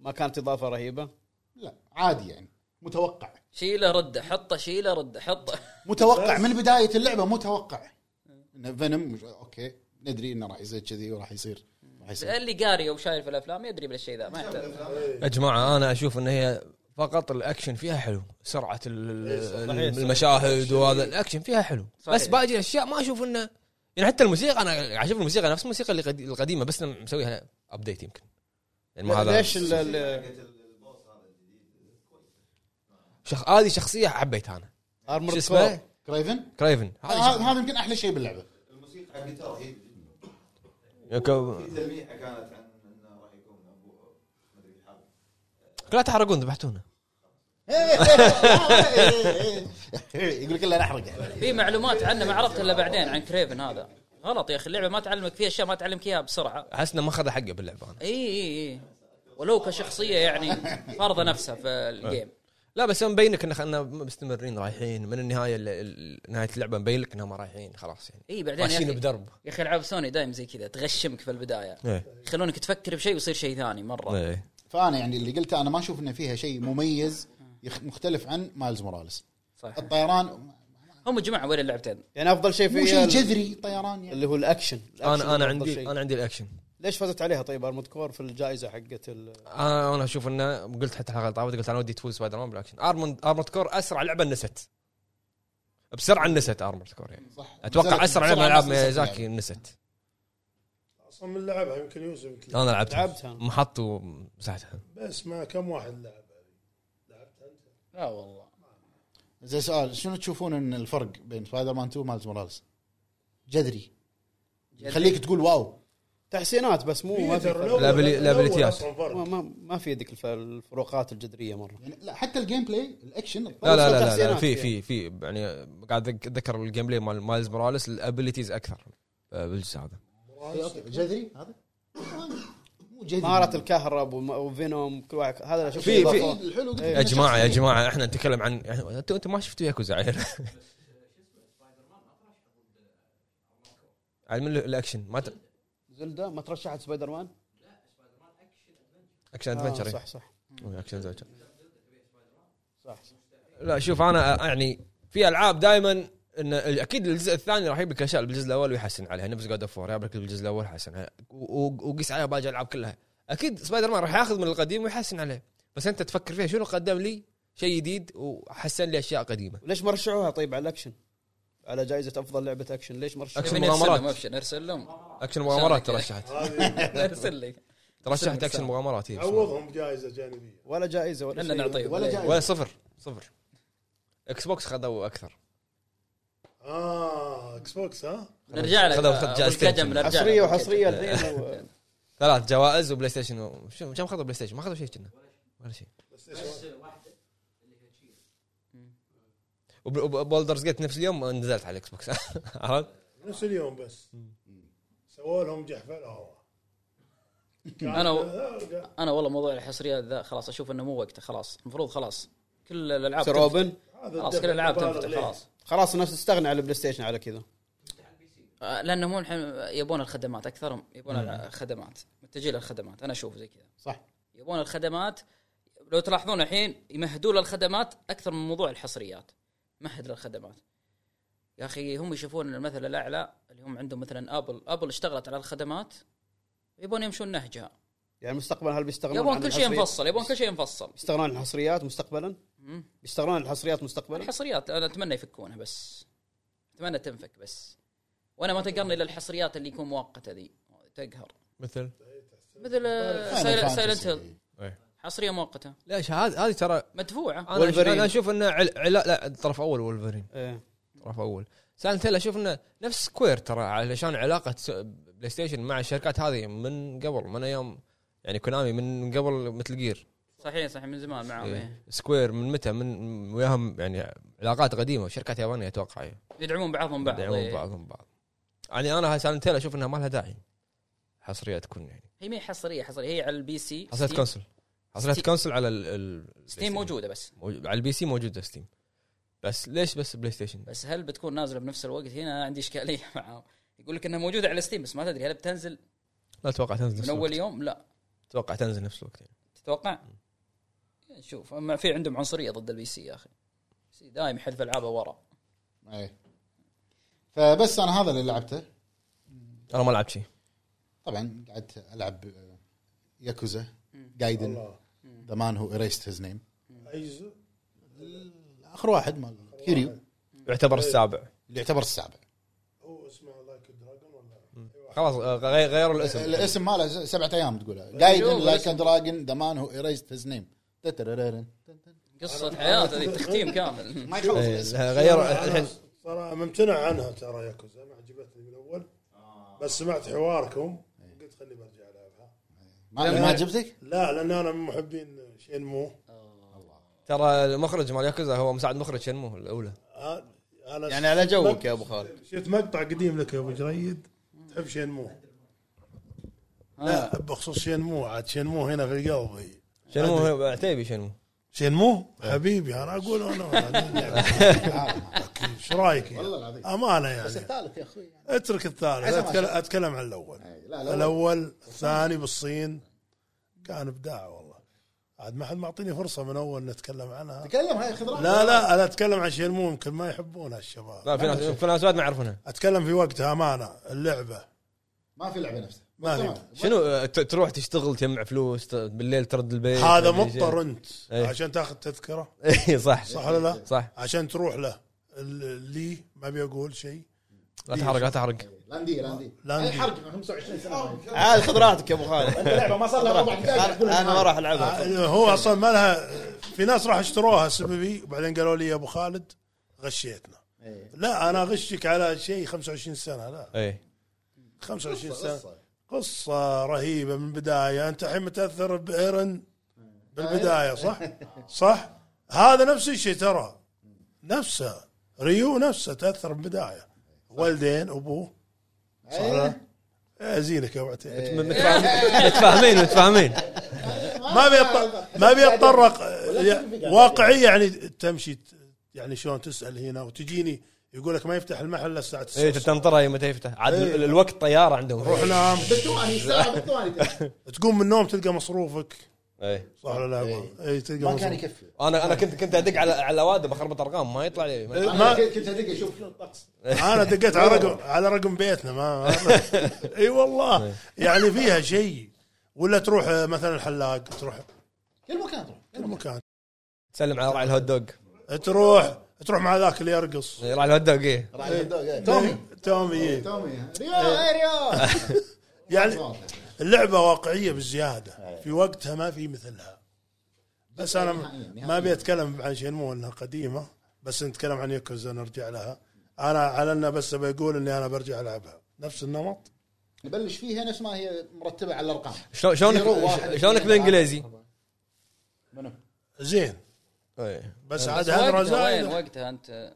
Speaker 5: ما كانت اضافه رهيبه
Speaker 4: لا عادي يعني متوقع
Speaker 3: شيله رده حطه شيله رده حطه
Speaker 4: متوقع من بدايه اللعبه متوقع ان فينوم اوكي ندري انه راح يصير كذي وراح يصير راح يصير
Speaker 3: اللي قاري وشايف الافلام يدري بالشيء ذا ما يحتاج
Speaker 1: يا جماعه انا اشوف ان هي فقط الاكشن فيها حلو سرعه ال- ال- المشاهد وهذا الاكشن فيها حلو
Speaker 3: صحيح.
Speaker 1: بس باقي الاشياء ما اشوف انه يعني حتى الموسيقى انا اشوف الموسيقى نفس الموسيقى اللي قد- القديمه بس إنه مسويها ابديت يمكن يعني ما هذا
Speaker 5: ليش ال- ال-
Speaker 1: شخ... هذه شخصيه حبيتها انا شو
Speaker 5: ارمر
Speaker 1: اسمه؟
Speaker 5: كور
Speaker 4: كرايفن
Speaker 1: كرايفن هذه
Speaker 5: آه.
Speaker 4: هذا هذا يمكن احلى شيء باللعبه
Speaker 8: الموسيقى حق الجيتار هي في
Speaker 1: شخ...
Speaker 8: تلميحه كانت عن انه راح يكون ابو ما ادري حرب
Speaker 1: لا تحرقون ذبحتونا
Speaker 4: يقول لك الا انا احرقه
Speaker 3: في معلومات عنه ما عرفتها الا بعدين عن كريفن هذا غلط يا اخي اللعبه ما تعلمك فيها اشياء ما تعلمك اياها بسرعه
Speaker 1: احس انه ما اخذ حقه باللعبه انا
Speaker 3: اي اي اي ولو كشخصيه يعني فارضه نفسها في الجيم
Speaker 1: لا بس هو مبين لك إن- انه مستمرين رايحين من النهايه ل- ل- نهايه اللعبه مبين لك انهم رايحين خلاص يعني
Speaker 3: اي إيه، بعدين يا
Speaker 1: ماشيين
Speaker 3: اخي
Speaker 1: بدرب
Speaker 3: يا اخي العاب سوني دايم زي كذا تغشمك في البدايه
Speaker 1: ايه
Speaker 3: يخلونك تفكر بشيء ويصير شيء ثاني مره
Speaker 1: ايه
Speaker 4: فانا يعني اللي قلته انا ما اشوف انه فيها شيء مميز يخ- مختلف عن مايلز موراليس
Speaker 3: صح
Speaker 4: الطيران
Speaker 3: هم جماعه وين اللعبتين
Speaker 5: يعني افضل شيء
Speaker 4: مو
Speaker 5: فيها
Speaker 4: شيء
Speaker 5: ال-
Speaker 4: جذري الطيران يعني
Speaker 5: اللي هو الاكشن الأكشن
Speaker 1: انا انا
Speaker 5: هو أفضل
Speaker 1: عندي
Speaker 5: شيء.
Speaker 1: انا عندي الاكشن
Speaker 5: ليش فازت عليها طيب ارمود كور في الجائزه حقت ال...
Speaker 1: انا انا اشوف انه قلت حتى الحلقه اللي طافت قلت انا ودي تفوز سبايدر مان بالاكشن ارموند ارموند كور اسرع لعبه نست بسرعه نست ارموند كور يعني
Speaker 4: صح
Speaker 1: اتوقع اسرع لعبه من العاب
Speaker 4: العاب
Speaker 1: ميازاكي نست
Speaker 2: اصلا من لعبها يمكن يوسف
Speaker 5: آه.
Speaker 2: يمكن.
Speaker 1: انا لعبتها
Speaker 5: لعبتها أنا.
Speaker 1: محط ومسحتها
Speaker 2: بس ما كم واحد لعب
Speaker 3: لا والله
Speaker 4: زي سؤال شنو تشوفون ان الفرق بين سبايدر مان 2 ومايلز موراليس جذري يخليك تقول واو
Speaker 5: تحسينات بس مو ما في فرق.
Speaker 1: الأبلي- الأبليتيات.
Speaker 5: ما, ما, ما في ذيك الف- الفروقات الجذريه مره
Speaker 4: يعني لا حتى الجيم بلاي الاكشن
Speaker 1: لا لا لا, لا, لا
Speaker 5: تحسينات
Speaker 1: في
Speaker 5: فيها.
Speaker 1: في في يعني قاعد أتذك- اتذكر الجيم بلاي مال مايلز موراليس الابيلتيز اكثر آه، بالجزء هذا
Speaker 4: جذري هذا مو جذري
Speaker 5: مهاره الكهرب وم- وفينوم كل واحد هذا اللي أشوفه
Speaker 1: في- في-
Speaker 5: إضافات.
Speaker 4: الحلو قلت
Speaker 1: يا جماعه يا جماعه احنا نتكلم عن إحنا- انتوا انتوا ما شفتوا ياكوزا عيل علم ال- الاكشن ما ت-
Speaker 5: زلدا ما ترشحت سبايدر مان
Speaker 1: اكشن
Speaker 5: آه،
Speaker 1: ادفنشر
Speaker 5: صح صح
Speaker 1: اكشن ادفنشر
Speaker 5: صح صح.
Speaker 1: لا شوف انا يعني في العاب دائما ان اكيد الجزء الثاني راح يجيب لك اشياء اللي بالجزء الاول ويحسن عليها نفس جود اوف وور جاب لك بالجزء الاول حسن عليها. و- و- وقيس عليها باقي الالعاب كلها اكيد سبايدر مان راح ياخذ من القديم ويحسن عليه بس انت تفكر فيها شنو قدم لي شيء جديد وحسن لي اشياء قديمه
Speaker 5: ليش ما رشحوها طيب على الاكشن على جائزه افضل لعبه اكشن ليش ما رشحوها
Speaker 1: أكشن
Speaker 3: نبي نرسل
Speaker 1: مغامرات.
Speaker 3: لهم ابشر نرسل لهم
Speaker 1: اكشن مغامرات
Speaker 3: شلونك؟
Speaker 1: ترشحت إيه.
Speaker 3: نرسل لي
Speaker 1: ترشحت اكشن مغامرات إيه، هي بسم الله.
Speaker 2: عوضهم جائزه جانبيه
Speaker 5: ولا جائزه ولا
Speaker 3: لنا
Speaker 5: شيء.
Speaker 3: نعطيهم
Speaker 4: ولا جائزة.
Speaker 1: ولا صفر صفر اكس بوكس خذوا اكثر
Speaker 2: اه اكس بوكس ها
Speaker 3: نرجع لك
Speaker 1: خذوا- خذوا جائزتين.
Speaker 3: والقدم نرجع لك.
Speaker 5: حصريه وحصريه الاثنين و-
Speaker 1: ثلاث جوائز وبلاي ستيشن و- شو كم خذوا بلاي ستيشن ما خذوا شيء كنا ولا شيء
Speaker 2: بس إيش-
Speaker 1: وبولدرز جيت نفس اليوم نزلت على الاكس بوكس عرفت؟
Speaker 2: نفس اليوم بس سووا لهم جحفله هو
Speaker 3: أنا- انا والله موضوع الحصريات ذا خلاص اشوف انه مو وقته خلاص المفروض خلاص كل الالعاب
Speaker 5: سير
Speaker 3: تنفتح.
Speaker 5: اوبن
Speaker 3: خلاص كل الالعاب تنفتح خلاص
Speaker 5: خلاص الناس تستغني على البلاي ستيشن على كذا
Speaker 3: آه، لانهم هم الحين يبون الخدمات اكثرهم يبون الخدمات متجهين للخدمات انا اشوف زي كذا
Speaker 4: صح.
Speaker 3: يبون الخدمات لو تلاحظون الحين يمهدوا للخدمات اكثر من موضوع الحصريات مهد للخدمات يا اخي هم يشوفون المثل الاعلى اللي هم عندهم مثلا ابل ابل اشتغلت على الخدمات يبون يمشون نهجها
Speaker 5: يعني مستقبلا هل بيستغنون
Speaker 3: يبون
Speaker 5: عن
Speaker 3: كل شيء
Speaker 5: الحصرية-
Speaker 3: مفصل يبون كل شيء مفصل
Speaker 5: يستغنون عن الحصريات مستقبلا
Speaker 3: مم.
Speaker 5: يستغنون عن الحصريات مستقبلا
Speaker 3: الحصريات انا اتمنى يفكونها بس اتمنى تنفك بس وانا ما تقرني للحصريات اللي يكون مؤقته ذي تقهر
Speaker 1: مثل
Speaker 3: مثل آه، سايلنت هيل حصريه مؤقته
Speaker 1: لا إيش هذه هذه ترى
Speaker 3: مدفوعه
Speaker 1: انا أش-
Speaker 5: Wolverine.
Speaker 1: انا اشوف انه عل... عل... لا الطرف اول ولفرين
Speaker 5: إيه.
Speaker 1: الطرف اول سايلنت هيل اشوف انه نفس سكوير ترى علشان علاقه س- بلاي ستيشن مع الشركات هذه من قبل من ايام يعني كونامي من من قبل مثل جير
Speaker 3: صحيح صحيح من زمان معهم إيه.
Speaker 1: سكوير من متى من وياهم يعني علاقات قديمه شركات يابانيه اتوقع يعني.
Speaker 3: يدعمون بعضهم بعض
Speaker 1: يدعمون
Speaker 3: إيه.
Speaker 1: بعضهم بعض يعني انا سايلنت هيل اشوف انها ما لها داعي حصريه تكون يعني
Speaker 3: هي ما هي حصريه حصريه هي على البي سي
Speaker 1: حصريه
Speaker 3: ستيم,
Speaker 1: كونسل حصريه
Speaker 3: ستيم.
Speaker 1: كونسل على ال... ال...
Speaker 3: ستيم موجوده بس
Speaker 1: موجود- على البي سي موجوده ستيم بس ليش بس بلاي ستيشن
Speaker 3: بس هل بتكون نازله بنفس الوقت هنا عندي اشكاليه معاهم يقول لك انها موجوده على ستيم بس ما تدري هل بتنزل
Speaker 1: لا اتوقع تنزل
Speaker 3: من
Speaker 1: نفس
Speaker 3: اول
Speaker 1: الوقت
Speaker 3: يوم لا
Speaker 1: اتوقع تنزل نفس الوقت يعني.
Speaker 3: تتوقع نشوف اما في عندهم عنصريه ضد البي سي يا اخي سي دايم يحذف العابه ورا
Speaker 4: إيه. فبس انا هذا اللي لعبته
Speaker 1: انا ما لعبت شيء
Speaker 4: طبعا قعدت العب آه، ياكوزا جايدن ذا مان هو اريست هيز نيم
Speaker 2: ايز
Speaker 4: اخر واحد مال كيريو
Speaker 1: يعتبر السابع
Speaker 4: اللي يعتبر السابع
Speaker 2: هو اسمه لايك دراجون ولا أيوة.
Speaker 1: خلاص آه، غي- غيروا الاسم
Speaker 4: الاسم ماله س- سبعة ايام تقولها جايدن
Speaker 3: أيوه،
Speaker 4: لايك دراجون ذا مان هو اريست هيز نيم
Speaker 3: قصه حياته ذي تختيم كامل
Speaker 4: ما يخلص
Speaker 1: إيه،
Speaker 4: الاسم
Speaker 1: لا، غيروا الحين
Speaker 2: ترى ممتنع عنها ترى ياكوزا ما عجبتني من اول بس سمعت حواركم قلت خليني برجع العبها
Speaker 4: ما ما عجبتك؟
Speaker 2: لا لان انا من محبين شينمو
Speaker 1: ترى المخرج مال ياكوزا هو مساعد مخرج شنمو الاولى
Speaker 2: آه، انا
Speaker 9: يعني على جوك يا ابو خالد
Speaker 2: شفت مقطع قديم لك يا ابو جريد تحب شينمو
Speaker 4: آه.
Speaker 2: لا بخصوص شينمو عاد شينمو هنا في قلبي
Speaker 1: شنمو هو- عتيبي شنمو
Speaker 2: شينمو
Speaker 9: آه.
Speaker 2: حبيبي انا اقول انا ايش رايك يعني؟
Speaker 4: والله العظيم.
Speaker 2: امانه يعني
Speaker 4: الثالث يا اخوي
Speaker 2: اترك الثالث
Speaker 4: عسى ما
Speaker 2: اتكلم,
Speaker 4: شاء.
Speaker 2: أتكلم عن الاول
Speaker 4: إي، لا لا
Speaker 2: الاول الثاني بالصين كان ابداع والله عاد ما حد معطيني فرصه من اول نتكلم عنها
Speaker 4: تكلم هاي خذ راحتك.
Speaker 2: لا لا انا اتكلم عن شيء مو يمكن ما يحبونها الشباب
Speaker 1: لا في ناس في ناس بعد ما يعرفونها
Speaker 2: اتكلم في وقتها امانه اللعبه
Speaker 4: ما في لعبه نفسها
Speaker 2: ما في.
Speaker 4: تمام.
Speaker 1: شنو آه، ت- تروح تشتغل تجمع فلوس ت- بالليل ترد البيت
Speaker 2: هذا
Speaker 1: ما أدري شيء.
Speaker 2: مضطر انت
Speaker 1: إيه.
Speaker 2: عشان تاخذ تذكره
Speaker 1: اي إيه، صح
Speaker 2: صح ولا لا؟
Speaker 1: صح
Speaker 2: عشان تروح له اللي ما بيقول شيء
Speaker 1: لا تحرق لا تحرق
Speaker 4: لاندي لاندي
Speaker 2: لاندي.
Speaker 4: لاندي حرق 25 سنه
Speaker 9: عاد خذ راحتك يا ابو خالد
Speaker 4: انت لعبه ما صار لها ربع دقائق
Speaker 9: أنا-
Speaker 4: تقول
Speaker 9: انا ما راح العبها
Speaker 2: آه، هو اصلا ما لها في ناس راح اشتروها سببي وبعدين قالوا لي يا ابو خالد غشيتنا
Speaker 4: إيه.
Speaker 2: لا انا اغشك على شيء 25 سنه لا
Speaker 1: اي
Speaker 2: 25
Speaker 4: قصة-
Speaker 2: سنه
Speaker 4: قصة.
Speaker 2: قصه رهيبه من البدايه انت الحين متاثر بايرن بالبدايه صح؟ صح؟ هذا نفس الشيء ترى نفسه ريو نفسه تاثر بالبدايه والدين ابوه صح ولا؟ إيه، زينك يا ابو عتيبي
Speaker 1: متفاهمين متفاهمين متفاهمين
Speaker 2: ما بيط... ما بيتطرق واقعي يعني تمشي ت- يعني شلون تسال هنا وتجيني يقول لك ما يفتح المحل الا الساعه 9
Speaker 1: اي تنطرها متى يفتح عاد
Speaker 2: إيه.
Speaker 1: ال- الوقت طياره عندهم
Speaker 2: روح نام
Speaker 4: بالثواني الساعه بالثواني
Speaker 2: تقوم من النوم تلقى مصروفك
Speaker 1: اي
Speaker 2: صح ولا لا يا أبو؟ اي تلقى
Speaker 4: ما كان
Speaker 2: مصروفك
Speaker 4: يكفي
Speaker 1: انا انا إيه. كنت كنت ادق على على الاوادم اخربط ارقام ما يطلع لي ما-
Speaker 4: انا
Speaker 2: ما-
Speaker 4: كنت ادق اشوف شنو الطقس
Speaker 2: انا دقيت على رقم على رقم بيتنا ما ما- اي والله يعني فيها شيء ولا تروح آه، مثلا الحلاق تروح
Speaker 4: كل مكان تروح
Speaker 2: كل مكان
Speaker 1: تسلم على راعي الهوت دوغ
Speaker 2: تروح تروح مع ذاك اللي يرقص
Speaker 1: إي، راعي الهوت دوغ اي
Speaker 4: راح يدق، إيه.
Speaker 2: تومي تومي إيه.
Speaker 4: تومي ها. ريال إيه، ريال
Speaker 2: يعني اللعبه واقعيه بالزياده في وقتها ما في مثلها بس انا ما ابي اتكلم عن شينمو انها قديمه بس نتكلم عن يوكوزا نرجع لها انا على انه بس بقول اني انا برجع العبها نفس النمط
Speaker 4: نبلش فيها نفس ما هي مرتبه على الارقام
Speaker 2: إيه،
Speaker 1: شلون- شلونك
Speaker 4: زيرو، واحد،
Speaker 1: شلونك
Speaker 4: اثنين،
Speaker 1: بالانجليزي؟
Speaker 2: زين
Speaker 1: إي.
Speaker 2: بس
Speaker 3: آه، بس
Speaker 2: عاد هذا
Speaker 3: وقتها وين
Speaker 2: رزايد
Speaker 3: وقتها انت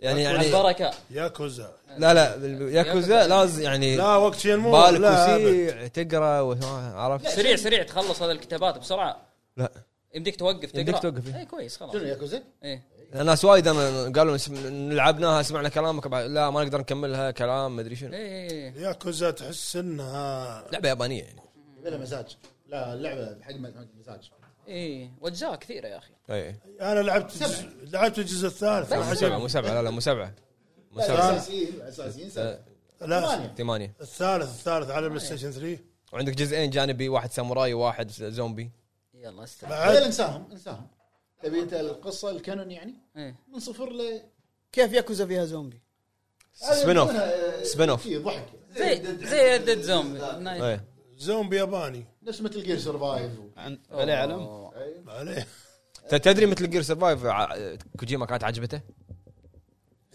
Speaker 1: يعني يعني
Speaker 3: البركه
Speaker 2: ياكوزا
Speaker 1: لا لا بال- ياكوزا لازم يعني
Speaker 2: لا وقت شينمو
Speaker 1: بالك
Speaker 2: لا أبد.
Speaker 1: وسيع تقرا وما- عرفت
Speaker 3: سريع سريع تخلص هذا الكتابات بسرعه
Speaker 1: لا
Speaker 3: يمديك توقف تقرا
Speaker 1: يمديك توقف، إيه.
Speaker 3: اي كويس خلاص إيه،
Speaker 4: شنو ياكوزا؟
Speaker 3: اي
Speaker 1: ناس وايد أنا قالوا نس- لعبناها سمعنا كلامك بعد لا ما نقدر نكملها كلام مدري
Speaker 3: إيه،
Speaker 1: شنو
Speaker 3: اي
Speaker 2: ياكوزا تحس انها
Speaker 1: لعبه يابانيه يعني
Speaker 4: يبي لها مزاج لا اللعبه حق م- مزاج
Speaker 3: اي واجزاء كثيره إيه. يا اخي
Speaker 1: اي
Speaker 2: انا لعبت الجزء- لعبت الجزء الثالث ما
Speaker 1: مو
Speaker 2: عجبني.
Speaker 1: سبعه مو سبعه لا لا مو سبعه مو
Speaker 4: لا،
Speaker 1: سبعه
Speaker 4: الاساسيين الاساسيين سبعة.
Speaker 2: لا
Speaker 4: ثمانية.
Speaker 1: ثمانيه
Speaker 2: الثالث الثالث على البلاي ستيشن 3
Speaker 1: وعندك جزئين جانبي واحد ساموراي وواحد زومبي
Speaker 3: يلا استنى
Speaker 2: بعد
Speaker 4: هذول انساهم انساهم تبي انت القصه الكانون يعني
Speaker 3: ايه
Speaker 4: من صفر ل
Speaker 5: كيف ياكوزا فيها زومبي؟
Speaker 1: سبين اوف
Speaker 4: آه،
Speaker 1: سبين اوف
Speaker 4: في ضحك إيه.
Speaker 3: زي زي ديد زومبي
Speaker 4: طيب.
Speaker 1: اي
Speaker 2: زومبي ياباني
Speaker 4: نفس مثل جير سرفايف
Speaker 5: عن عليه علم
Speaker 4: إيه.
Speaker 2: ما عليه
Speaker 1: ت- تدري مثل جير سرفايف كوجيما كانت عجبته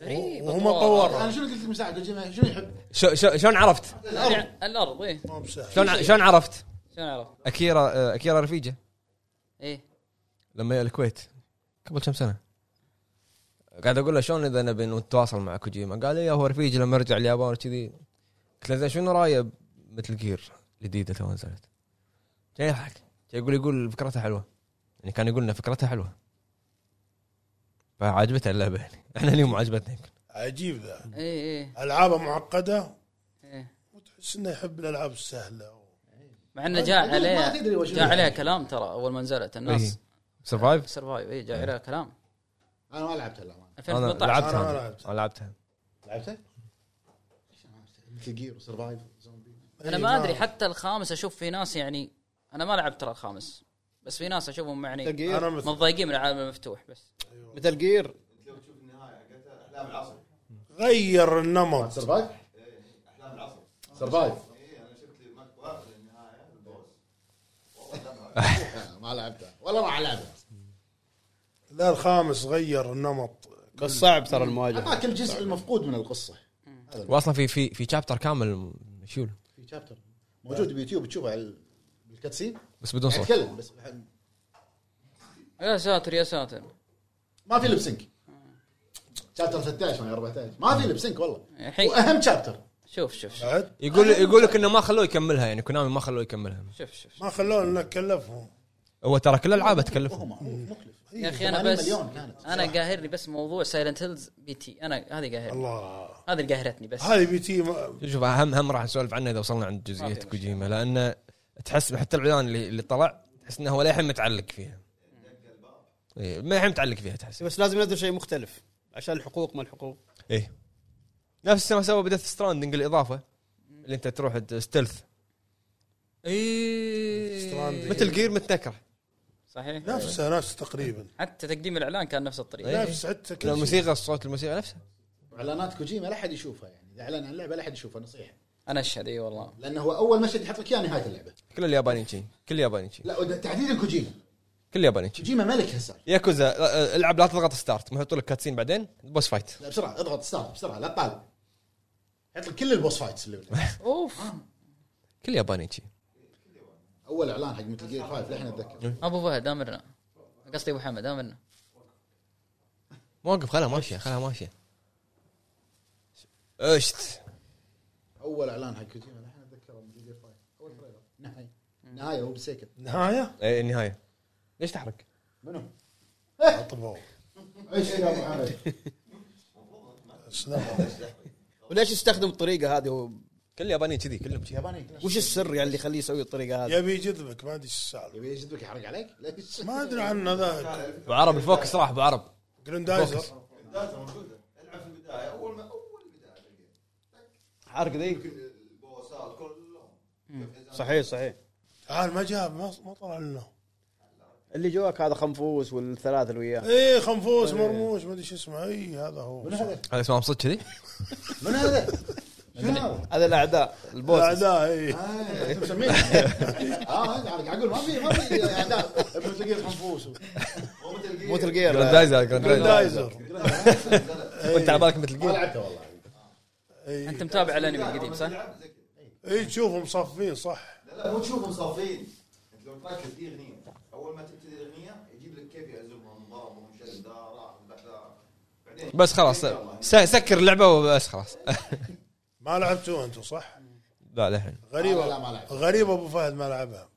Speaker 3: غريب
Speaker 2: وهم
Speaker 3: أطوار.
Speaker 2: طورها
Speaker 4: انا شنو قلت لك من ساعه كوجيما شنو يحب؟
Speaker 1: شو- شو- شلون عرفت
Speaker 3: يعني الارض ايه
Speaker 2: مو بسهل
Speaker 1: شلون ع- شلون عرفت
Speaker 3: شلون عرفت؟
Speaker 1: اكيرا آه، اكيرا رفيجه
Speaker 3: ايه
Speaker 1: لما الكويت قبل كم سنه قاعد اقول له شلون اذا نبي نتواصل مع كوجيما قال لي هو رفيجي لما رجع اليابان كذي قلت له زين شنو رايه مثل جير الجديده تو نزلت جاي يضحك جاي يقول يقول فكرتها حلوه يعني كان يقول لنا فكرتها حلوه فعجبته اللعبه يعني احنا اليوم عجبتنا يمكن
Speaker 2: عجيب ذا
Speaker 3: ايه ايه
Speaker 2: العابه معقده
Speaker 3: إيه.
Speaker 2: وتحس انه يحب الالعاب السهله
Speaker 3: مع انه جاء
Speaker 4: ما
Speaker 3: عليه
Speaker 4: تدري وش
Speaker 3: جاء عليه كلام ترى اول ما نزلت الناس
Speaker 1: سرفايف
Speaker 3: سرفايف اي جاء عليه كلام
Speaker 4: انا ما لعبتها للامانه
Speaker 1: انا
Speaker 3: 2018
Speaker 2: أنا
Speaker 1: لعبتها
Speaker 2: لعبتها.
Speaker 1: انا لعبتها
Speaker 4: لعبتها؟ ليش أنا ما لعبتها؟ مثل جير وسرفايف زومبي
Speaker 3: انا
Speaker 2: إيه،
Speaker 3: ما ادري حتى الخامس اشوف في ناس يعني انا ما لعبت ترى الخامس بس في ناس اشوفهم
Speaker 5: مثل
Speaker 3: يعني
Speaker 5: جير
Speaker 2: انا مثل
Speaker 3: متضايقين من العالم المفتوح بس
Speaker 5: مثل جير
Speaker 8: لو تشوف النهايه حقتها احلام العصر
Speaker 2: غير النمط
Speaker 4: سرفايف؟
Speaker 8: احلام العصر
Speaker 4: سرفايف
Speaker 8: اي انا شفت لي ماكو واحد النهايه البوس
Speaker 4: آه، ما لعبتها ولا راح العبها
Speaker 2: لا الخامس غير النمط
Speaker 5: بس صعب ترى المواجهه
Speaker 4: اعطاك الجزء المفقود من القصه
Speaker 1: واصلا في في في شابتر كامل مشيول
Speaker 4: في شابتر موجود بيوتيوب تشوفه على- بالكاتسين
Speaker 1: بس بدون صوت
Speaker 4: يتكلم بس
Speaker 3: يا ساتر يا ساتر
Speaker 4: ما في لب سنك شابتر 13 ما 14 يعني ما في لب سنك والله
Speaker 3: الحين
Speaker 4: واهم شابتر
Speaker 3: شوف شوف شوف
Speaker 2: بعد
Speaker 1: يقول يقول لك انه ما خلوه يكملها يعني كونامي ما خلوه يكملها
Speaker 3: شوف, شوف.
Speaker 2: ما خلونا لنا كلفهم
Speaker 1: هو ترى كل العابه تكلفهم
Speaker 3: يا اخي انا
Speaker 4: 80
Speaker 3: بس آه.
Speaker 4: مليون كانت
Speaker 3: انا قاهرني بس موضوع سايلنت هيلز بي تي انا هذه قاهرني
Speaker 2: الله
Speaker 3: هذه اللي قاهرتني بس
Speaker 2: هذه بي تي ما-
Speaker 1: شوف هم هم راح نسولف عنه اذا وصلنا عند جزئيه
Speaker 3: مشكلة.
Speaker 1: كوجيما لانه تحس حتى الاعلان اللي, اللي طلع تحس انه هو للحين متعلق فيها إيه، ما الحين متعلق فيها تحس
Speaker 7: بس لازم ينزل شيء مختلف عشان الحقوق ما الحقوق
Speaker 1: ايه نفس ما سوى بديث ستراندنج الاضافه اللي انت تروح ت- ستيلث
Speaker 2: Stranding.
Speaker 1: اي مثل جير متنكره
Speaker 3: إيه. صحيح
Speaker 2: نفسه نفس تقريبا
Speaker 3: حتى تقديم الاعلان كان نفس الطريقه
Speaker 1: إيه.
Speaker 2: نفس حتى كل شيء.
Speaker 1: الموسيقى الصوت الموسيقى نفسها
Speaker 4: اعلانات كوجيما لا احد يشوفها يعني اذا اعلن عن اللعبه لا احد يشوفها نصيحه
Speaker 3: انا اشهد اي والله
Speaker 4: لانه هو اول مشهد يحط لك اياه نهايه اللعبه
Speaker 1: كل اليابانيين شي كل اليابانيين شي
Speaker 4: لا تحديدا كوجيما
Speaker 1: كل اليابانيين شي
Speaker 4: كوجيما ملك هالسالفه
Speaker 1: ياكوزا آه، آه، العب لا تضغط ستارت يحطوا لك كاتسين بعدين بوس فايت
Speaker 4: لا بسرعه اضغط ستارت بسرعه لا تطالع يحط لك كل البوس فايتس اللي باللعبة.
Speaker 3: اوف
Speaker 1: كل اليابانيين شي
Speaker 4: اول اعلان حق مثل جير 5 للحين اتذكر
Speaker 3: ابو فهد امرنا قصدي ابو حمد امرنا
Speaker 1: موقف خلاها ماشيه خلاها ماشيه اشت
Speaker 4: اول اعلان حق كوجيما للحين اتذكره مثل جير 5 اول تريلر نهايه نهايه هو بسيكل
Speaker 2: نهايه
Speaker 1: ايه النهايه ليش تحرك؟
Speaker 4: منو؟
Speaker 2: عطبوه
Speaker 4: ايش يا ابو حمد؟
Speaker 2: سلام.
Speaker 7: وليش يستخدم الطريقه هذه هو-
Speaker 1: كل اليابانيين كذي كلهم كذي
Speaker 4: ياباني
Speaker 7: وش السر يعني اللي يخليه يسوي الطريقه هذه
Speaker 2: يبي يجذبك ما ادري ايش السالفه
Speaker 4: يبي يجذبك يحرق عليك؟ ليش؟
Speaker 2: ما ادري عنه ذاك
Speaker 1: ابو عرب الفوكس راح ابو عرب فوكس.
Speaker 2: جريندايزر
Speaker 10: الداتا موجوده العب في البدايه اول ما اول البدايه تلقى
Speaker 7: حرق ذي
Speaker 10: البوسات كلهم
Speaker 7: صحيح صحيح
Speaker 2: تعال ما جاب ما ما طلع لنا
Speaker 7: اللي جواك هذا خنفوس والثلاثه اللي وياه
Speaker 2: ايه خنفوس مرموش ما ادري شو اسمه اي هذا هو
Speaker 4: من هذا؟
Speaker 1: هذا اسمه صدق كذي؟
Speaker 4: من هذا؟ شنو هذا؟
Speaker 7: هذا الاعداء البوس
Speaker 2: الاعداء ايه
Speaker 4: آه، انت مسميه اه انا قاعد اقول ما في ما في يعني، اعداء مثل جير خنفوس و-
Speaker 7: موتل جير
Speaker 1: جراندايزر جراندايزر
Speaker 2: جريندايزر
Speaker 1: وانت على بالك مثل
Speaker 4: ما
Speaker 1: جيم
Speaker 4: لعبته والله
Speaker 3: انت
Speaker 2: اي
Speaker 3: متابع الانمي القديم صح؟
Speaker 2: اي تشوفهم صافين صح
Speaker 10: لا لا مو تشوفهم صافين انت لو تركز دي اغنيه اول ما تبتدي الاغنيه يجيب لك كيف يعزمهم ضربهم شد ذا راح ذا ذا بعدين
Speaker 1: بس خلاص س- سكر اللعبه وبس خلاص
Speaker 2: ما لعبتوه انتم صح؟
Speaker 1: لا للحين
Speaker 2: غريبه
Speaker 4: لا، لا، ما لعبت.
Speaker 2: غريبه ابو فهد ما لعبها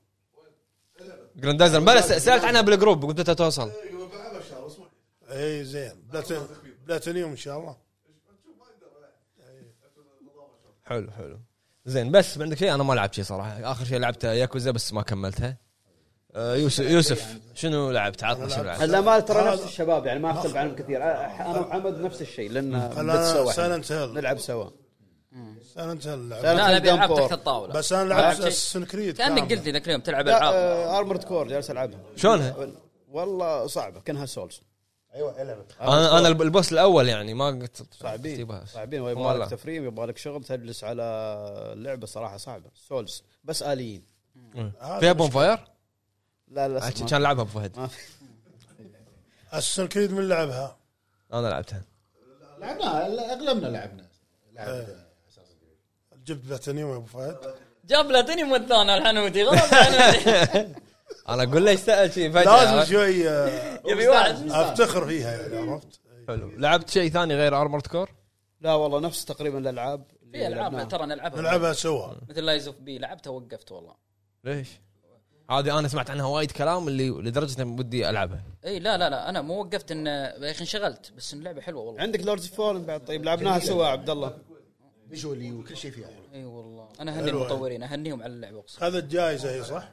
Speaker 1: جراندايزر بلا س- سالت عنها بالجروب قلت متى توصل
Speaker 10: بعد شهر اسبوع
Speaker 2: اي زين بلاتين- بلاتينيوم ان شاء الله
Speaker 1: حلو حلو زين بس عندك شيء انا ما لعبت شيء صراحه اخر شيء لعبته ياكوزا بس ما كملتها آه، يوسف يوسف شنو لعبت عطنا شنو لعبت
Speaker 7: لا ما ترى نفس الشباب يعني ما اختلف عنهم كثير انا وحمد نفس الشيء لان بنت
Speaker 2: انا
Speaker 7: سوا
Speaker 2: سايلنت هيل
Speaker 7: نلعب سوا
Speaker 2: سايلنت هيل لعبت.
Speaker 7: Silent
Speaker 3: لا
Speaker 7: Hill
Speaker 3: نبي العاب
Speaker 7: Downpour.
Speaker 3: تحت الطاوله
Speaker 2: بس انا
Speaker 3: ألعب
Speaker 2: لعبت
Speaker 3: شيء.
Speaker 2: اساسن كريد
Speaker 3: كانك
Speaker 2: كامل.
Speaker 3: قلت لي ذاك اليوم تلعب
Speaker 2: آه،
Speaker 3: العاب
Speaker 7: لا ارمورد كور جالس العبها
Speaker 1: شلونها؟
Speaker 7: والله صعبه كانها سولز
Speaker 4: ايوه العب
Speaker 1: انا انا الب- البوس الاول يعني ما قلت
Speaker 7: صعبين
Speaker 1: تجيبها.
Speaker 7: صعبين ويبغى
Speaker 1: والله.
Speaker 7: لك تفريم يبغى لك شغل تجلس على اللعبه صراحه صعبه سولز بس اليين
Speaker 2: هذا
Speaker 1: فيها بون فاير؟
Speaker 7: لا لا
Speaker 1: عشان
Speaker 7: ما-
Speaker 1: كان لعبها ابو فهد
Speaker 7: ما
Speaker 2: اساسن كريد من لعبها
Speaker 1: انا لعبتها
Speaker 4: لعبناها اغلبنا لعبنا لعبنا
Speaker 2: جبت بلاتينيوم يا ابو فهد
Speaker 3: جاب بلاتينيوم والثاني الحنودي غلط الحنودي
Speaker 1: انا اقول ليش سال شيء فجاه
Speaker 2: لازم شوي آه،
Speaker 3: يبي واحد
Speaker 2: افتخر فيها يعني عرفت
Speaker 1: حلو لعبت شيء ثاني غير ارمورد كور؟
Speaker 7: لا والله نفس تقريبا الالعاب اللي
Speaker 3: في العاب
Speaker 7: لعبناها.
Speaker 3: ترى نلعبها
Speaker 2: نلعبها سوا
Speaker 3: مثل لايز اوف بي لعبتها وقفت والله
Speaker 1: ليش؟ هذه انا سمعت عنها وايد كلام اللي لدرجه اني ودي العبها
Speaker 3: اي لا لا لا انا مو وقفت ان يا اخي انشغلت بس إن اللعبه حلوه والله
Speaker 7: عندك لوردز فولن بعد طيب لعبناها سوا عبد الله
Speaker 4: فيجولي وكل شيء فيها حلو.
Speaker 3: اي والله انا اهني المطورين اهنيهم على اللعبه اقسم
Speaker 2: خذت جائزه هي صح؟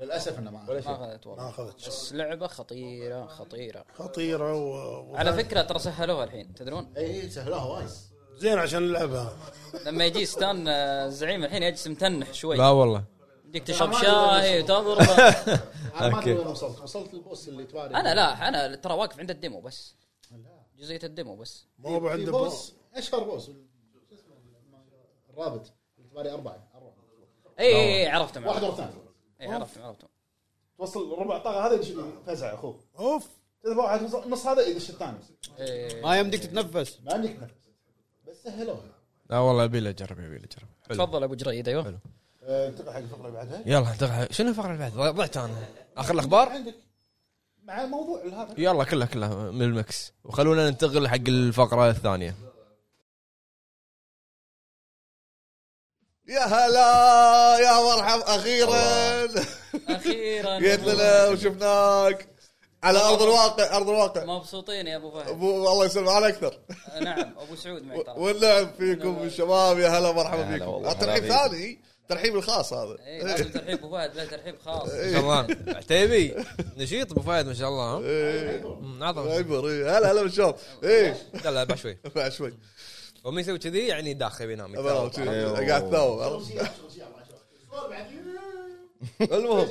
Speaker 4: للاسف انه ما
Speaker 3: ما اخذت والله
Speaker 2: ما اخذت
Speaker 3: بس لعبه خطيره خطيره
Speaker 2: خطيره و... و...
Speaker 3: على فكره ترى سهلوها الحين تدرون
Speaker 4: اي سهلوها إيه، وايد
Speaker 2: زين عشان نلعبها
Speaker 3: لما يجي ستان آه، زعيم الحين يجلس متنح
Speaker 1: لا
Speaker 3: شوي
Speaker 1: والله
Speaker 3: يجيك تشرب شاي وتضربه
Speaker 4: انا ما ادري
Speaker 1: أوكي.
Speaker 4: وين وصلت وصلت البوس اللي تواري
Speaker 3: انا لا انا ترى واقف عند الديمو بس جزئيه الديمو بس
Speaker 2: ما هو
Speaker 4: في
Speaker 2: عند
Speaker 4: بوس اشهر بوس شو اسمه؟ الرابط اللي تواري اربعه أربعة.
Speaker 3: اي اي عرفتهم
Speaker 4: واحد
Speaker 3: عرفتهم
Speaker 4: ورا الثاني
Speaker 3: اي عرفتهم عرفتهم
Speaker 4: توصل ربع طاقه هذا يدش فزع اخوه
Speaker 2: اوف
Speaker 4: تذبح واحد نص- نص هذا يدش الثاني
Speaker 3: إيه.
Speaker 7: ما يمديك تتنفس
Speaker 4: ما عندك نفس بس سهلوها
Speaker 1: لا والله ابي لي اجرب ابي لي اجرب حلو.
Speaker 3: تفضل ابو جريد ايوه
Speaker 4: إيه، أه، انتقل حق الفقره اللي بعدها
Speaker 1: يلا دغ- شنو الفقره اللي بعد ضيعت انا اخر الاخبار
Speaker 4: عندك
Speaker 6: مع موضوع هذا
Speaker 1: يلا كلها كلها من المكس وخلونا ننتقل حق الفقره الثانيه
Speaker 11: يا هلا يا مرحبا اخيرا جيت
Speaker 3: اخيرا
Speaker 11: لنا وشفناك على ارض الواقع ارض الواقع
Speaker 3: مبسوطين يا ابو فهد
Speaker 11: أبو- الله يسلم على اكثر
Speaker 3: نعم ابو سعود معك ترى
Speaker 11: واللعب فيكم الشباب يا هلا مرحبا
Speaker 1: هلا
Speaker 11: فيكم
Speaker 1: والله،
Speaker 11: الترحيب
Speaker 1: هلا
Speaker 11: ثاني ترحيب الخاص هذا إيه،
Speaker 3: اي لازم ترحيب ابو فهد لا ترحيب خاص
Speaker 1: تمام عتيبي نشيط ابو فهد ما شاء الله ها؟
Speaker 11: إيه.
Speaker 1: أمم، عظم
Speaker 11: عبر إيه. هلا هلا بالشباب ايه
Speaker 1: يلا إيه، بعد شوي
Speaker 11: بعد شوي
Speaker 1: ومن يسوي كذي يعني داخل بينام
Speaker 11: أبا،
Speaker 1: يتثاوب.
Speaker 11: شو- قاعد تناوب
Speaker 4: إيه.
Speaker 11: المهم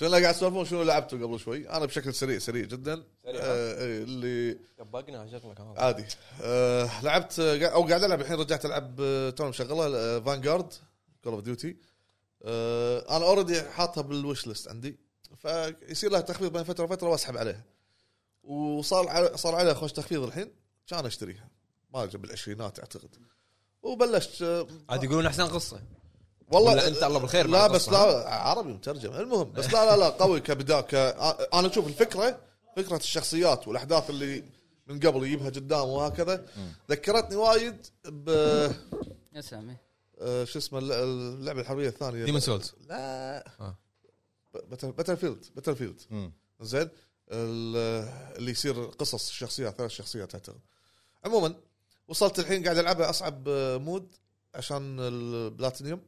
Speaker 11: شنو قاعد تسولفون شنو لعبتوا قبل شوي انا بشكل سريع سريع جدا آه، إيه، اللي
Speaker 1: طبقنا شكلك هذا.
Speaker 11: عادي آه لعبت آه، او قاعد العب الحين رجعت العب آه، توني مشغله فانجارد كول اوف ديوتي انا اوريدي آه، حاطها بالوش ليست عندي فيصير لها تخفيض بين فتره وفتره واسحب عليها وصار على صار عليها خوش تخفيض الحين كان اشتريها ما أدري، بالعشرينات اعتقد وبلشت آه،
Speaker 1: عاد يقولون احسن قصه
Speaker 11: والله
Speaker 1: ولا أنت الله بالخير مع
Speaker 11: لا بس
Speaker 1: القصة،
Speaker 11: لا عربي مترجم المهم بس لا لا لا قوي كبدا ك... انا اشوف الفكره فكره الشخصيات والاحداث اللي من قبل يجيبها قدام وهكذا ذكرتني وايد ب
Speaker 3: يا إيه. سامي
Speaker 11: آه، شو اسمه الل- اللعبه الحربيه الثانيه
Speaker 1: ديمون سولز
Speaker 11: لا
Speaker 1: آه.
Speaker 11: باتل فيلد باتل فيلد مم. زين ال- اللي يصير قصص الشخصيات ثلاث شخصيات اعتقد عموما وصلت الحين قاعد العبها اصعب آه، مود عشان البلاتينيوم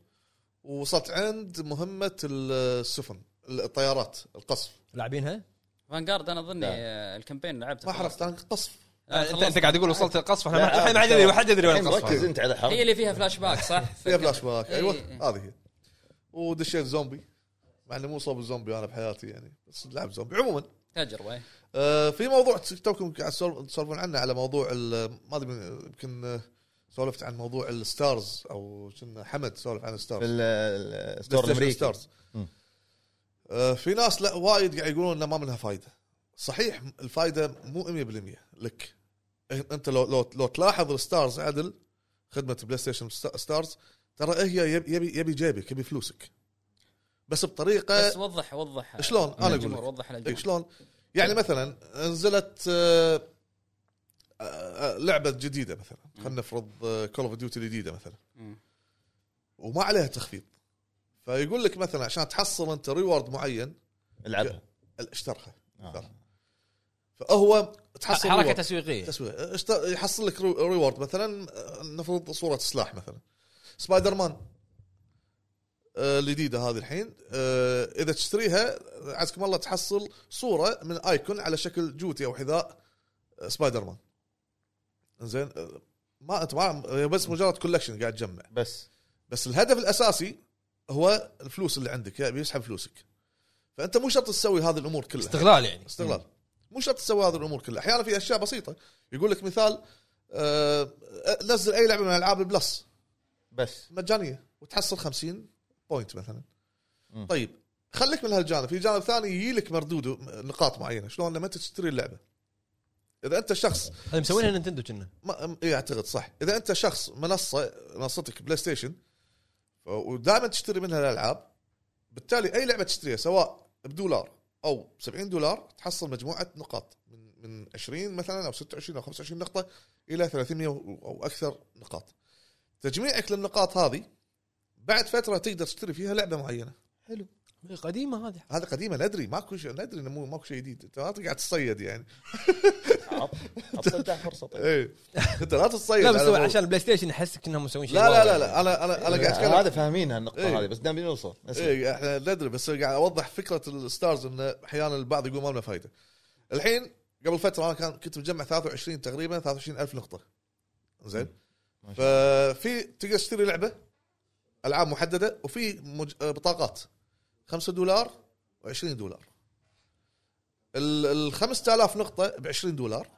Speaker 11: وصلت عند مهمه السفن الطيارات القصف
Speaker 1: لاعبينها؟
Speaker 3: فانجارد انا اظني آه، الكامبين لعبته
Speaker 11: نعم. ما حرفت انا قصف
Speaker 3: لا،
Speaker 1: انت
Speaker 3: خلصت.
Speaker 1: انت آه، قاعد تقول وصلت القصف احنا ما
Speaker 9: لا،
Speaker 1: احنا ما حد يدري ما حد يدري وين
Speaker 9: الحين
Speaker 11: إيه،
Speaker 9: مركز
Speaker 1: القصف
Speaker 9: انت على
Speaker 3: هي
Speaker 9: حرب
Speaker 3: اللي فيها فلاش باك صح؟
Speaker 11: فيها فلاش باك ايوه
Speaker 3: إي.
Speaker 11: هذه هي ودشيت زومبي مع اني مو صوب الزومبي انا بحياتي يعني بس لعب زومبي عموما
Speaker 3: تجربه
Speaker 11: آه، في موضوع توكم قاعد تسول- تسولفون عنه على موضوع ال- ما ادري من- يمكن آه، سولفت عن موضوع الستارز او كنا حمد سولف عن
Speaker 9: في
Speaker 11: الستارز
Speaker 9: ال- ال- الستور الامريكي مم.
Speaker 11: آه، في ناس لا وايد قاعد يقولون انه ما منها فايده صحيح الفايده مو 100% لك انت لو لو لو تلاحظ الستارز عدل خدمه بلاي ستيشن ستا- ستارز ترى هي يبي يبي- يبي جيبك يبي فلوسك بس بطريقه
Speaker 3: بس وضح وضح
Speaker 11: أه، شلون؟ أنا أقول لك.
Speaker 3: للجمهور، وضح
Speaker 11: إيه،
Speaker 3: للجمهور
Speaker 11: شلون؟ يعني مثلا نزلت آه، آه، لعبه جديده مثلا خلينا نفرض آه، كول اوف ديوتي الجديده مثلا
Speaker 3: مم.
Speaker 11: وما عليها تخفيض فيقول لك مثلا عشان تحصل انت ريورد معين
Speaker 9: العبها
Speaker 11: اشترها
Speaker 9: آه.
Speaker 11: فهو تحصل
Speaker 1: حركه
Speaker 11: reward.
Speaker 1: تسويقيه
Speaker 11: تسويق اشت- يحصل لك ري- ريورد مثلا آه، نفرض صوره سلاح مثلا سبايدر مان آه، الجديده هذه الحين آه، اذا تشتريها عزكم الله تحصل صوره من ايكون على شكل جوتي او حذاء آه، سبايدر مان زين آه، ما انت ما هي بس مجرد كولكشن قاعد تجمع
Speaker 9: بس
Speaker 11: بس الهدف الاساسي هو الفلوس اللي عندك يعني بيسحب فلوسك فانت مو شرط تسوي هذه الامور كلها
Speaker 1: استغلال يعني
Speaker 11: استغلال مو شرط تسوي هذه الامور كلها احيانا في اشياء بسيطه يقول لك مثال آه، نزل اي لعبه من العاب البلس
Speaker 9: بس
Speaker 11: مجانيه وتحصل 50 بوينت مثلا
Speaker 9: مم.
Speaker 11: طيب خليك من هالجانب في جانب ثاني يجي لك مردود نقاط معينه شلون لما انت تشتري اللعبه اذا انت شخص
Speaker 1: هذا مسوينها نينتندو كنا
Speaker 11: ما م- إيه اعتقد صح اذا انت شخص منصه منصتك بلاي ستيشن ف- ودائما تشتري منها الالعاب بالتالي اي لعبه تشتريها سواء بدولار او ب 70 دولار تحصل مجموعه نقاط من من 20 مثلا او 26 او 25 نقطه الى 300 و- او اكثر نقاط تجميعك للنقاط هذه بعد فتره تقدر تشتري فيها لعبه معينه
Speaker 1: قديمه إيه، هذه
Speaker 11: هذا قديمه ندري ماكو شيء ندري انه مو ماكو شيء جديد انت ما قاعد تصيد يعني
Speaker 9: اعطيته فرصه طيب
Speaker 11: ايه انت إيه، لا تتصيد
Speaker 1: لا بس
Speaker 11: على
Speaker 1: هو
Speaker 11: مو-
Speaker 1: عشان البلاي ستيشن احسك انهم مسوين شيء
Speaker 11: لا لا
Speaker 1: واو
Speaker 11: لا,
Speaker 1: يعني.
Speaker 11: لا انا انا انا قاعد اتكلم
Speaker 9: هذا فاهمينها النقطه
Speaker 11: إيه.
Speaker 9: هذه بس دام نوصل اسمع.
Speaker 11: ايه احنا ندري بس قاعد اوضح فكره الستارز انه احيانا البعض يقول ما لنا فايده. الحين قبل فتره انا كان كنت مجمع 23 تقريبا 23 الف نقطه. زين؟
Speaker 9: ما شاء
Speaker 11: ففي تقدر تشتري لعبه العاب محدده وفي مج... آه، بطاقات 5 دولار و20 دولار. ال ال 5000 نقطه ب 20 دولار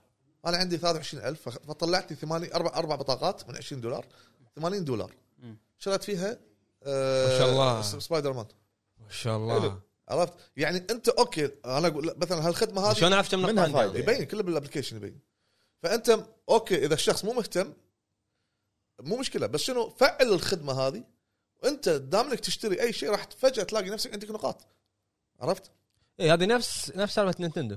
Speaker 11: انا عندي 23000 فخ- فطلعت لي ثماني اربع اربع بطاقات من 20 دولار 80 دولار. شريت فيها آه،
Speaker 1: ما شاء الله.
Speaker 11: س- سبايدر مان
Speaker 1: ما شاء الله
Speaker 11: عرفت يعني انت اوكي انا اقول لا، مثلا هالخدمه هذه
Speaker 1: شلون اعرف كم نقطه
Speaker 9: منها
Speaker 1: عندها؟
Speaker 9: فايدة.
Speaker 11: يبين كله بالابلكيشن يبين فانت اوكي اذا الشخص مو مهتم مو مشكله بس شنو فعل الخدمه هذه وانت دام انك تشتري اي شيء راح فجاه تلاقي نفسك عندك نقاط عرفت؟
Speaker 1: اي هذه إيه، نفس نفس سالفه نينتندو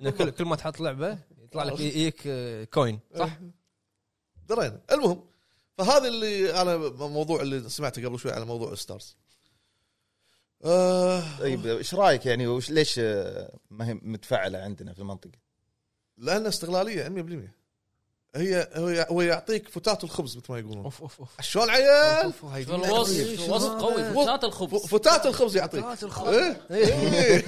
Speaker 1: إنه كل كل ما تحط لعبه يطلع لك يجيك آه، كوين صح؟
Speaker 11: درينا المهم فهذا اللي انا موضوع اللي سمعته قبل شوي على موضوع ستارز آه
Speaker 9: طيب ايش رايك يعني وش ليش آه، ما هي متفعله عندنا في المنطقه؟
Speaker 11: لان استغلاليه 100% هي هو يع- هو يعطيك فتات الخبز مثل ما يقولون
Speaker 1: اوف اوف اوف
Speaker 11: شلون عيال
Speaker 1: اوف هاي طيب،
Speaker 3: شغل
Speaker 11: إيه،
Speaker 3: وصف وصف قوي فتات
Speaker 11: ف-
Speaker 3: الخبز
Speaker 11: فتات الخبز يعطيك
Speaker 1: فتات الخبز.
Speaker 11: إيه؟ إيه.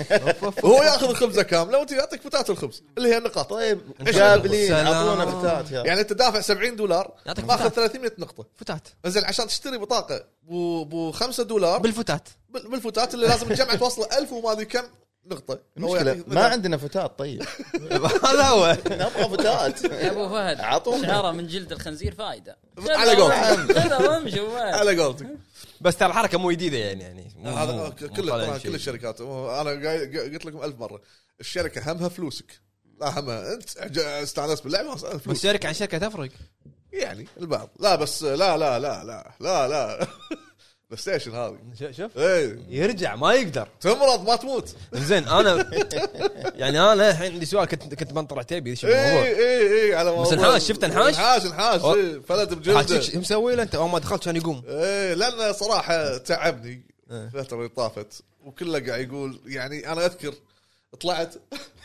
Speaker 11: هو ياخذ الخبزه كامله وانت يعطيك فتات الخبز اللي هي النقاط
Speaker 9: طيب
Speaker 11: إيش
Speaker 9: مقابلين
Speaker 1: سلام.
Speaker 9: اعطونا بتات يا
Speaker 11: يعني انت دافع 70 دولار
Speaker 1: يعطيك
Speaker 11: ماخذ
Speaker 1: فتات.
Speaker 11: 300 نقطه
Speaker 1: فتات
Speaker 11: زين عشان تشتري بطاقه بو بو 5 دولار
Speaker 1: بالفتات
Speaker 11: بال- بالفتات اللي لازم تجمع توصل 1000 وما ادري كم نقطه هو يعني
Speaker 9: المشكله
Speaker 11: يعطيك
Speaker 9: ما
Speaker 11: فتات.
Speaker 9: عندنا فتات طيب
Speaker 1: هذا هو
Speaker 9: نبغى فتات
Speaker 3: يا ابو فهد
Speaker 9: أعطونا.
Speaker 3: شعاره من جلد الخنزير فايده
Speaker 11: على قول.
Speaker 3: خذها وامشي وما-
Speaker 11: على قولتك
Speaker 1: بس ترى الحركه مو جديده يعني يعني مو- مو-
Speaker 11: هذا
Speaker 1: مو
Speaker 11: كل
Speaker 1: طالع
Speaker 11: طبعا
Speaker 1: شيء.
Speaker 11: كل الشركات انا قايل- قلت لكم ألف مره الشركه همها فلوسك لا همها انت عج- استانست باللعبه خلاص،
Speaker 1: بس
Speaker 11: فلوس
Speaker 1: شركه عن شركه تفرق
Speaker 11: يعني البعض لا بس لا لا لا لا لا لا بلاي ستيشن هذه
Speaker 1: ش- شوف
Speaker 11: اي
Speaker 1: يرجع ما يقدر
Speaker 11: تمرض ما تموت
Speaker 1: زين انا يعني انا الحين عندي سؤال كنت كنت بنطر عتيبي ايش
Speaker 11: اي
Speaker 1: الموضوع
Speaker 11: اي اي إيه، على موضوع-
Speaker 1: انحاش، شفت انحاش؟
Speaker 11: انحاش انحاش
Speaker 1: أو-
Speaker 11: إي، فلت
Speaker 1: حاشيك شو
Speaker 11: بجلده
Speaker 1: مسوي له انت اول ما دخلت كان يقوم
Speaker 11: اي لان صراحه تعبني
Speaker 1: إيه.
Speaker 11: الفتره اللي طافت وكله قاعد يقول يعني انا اذكر طلعت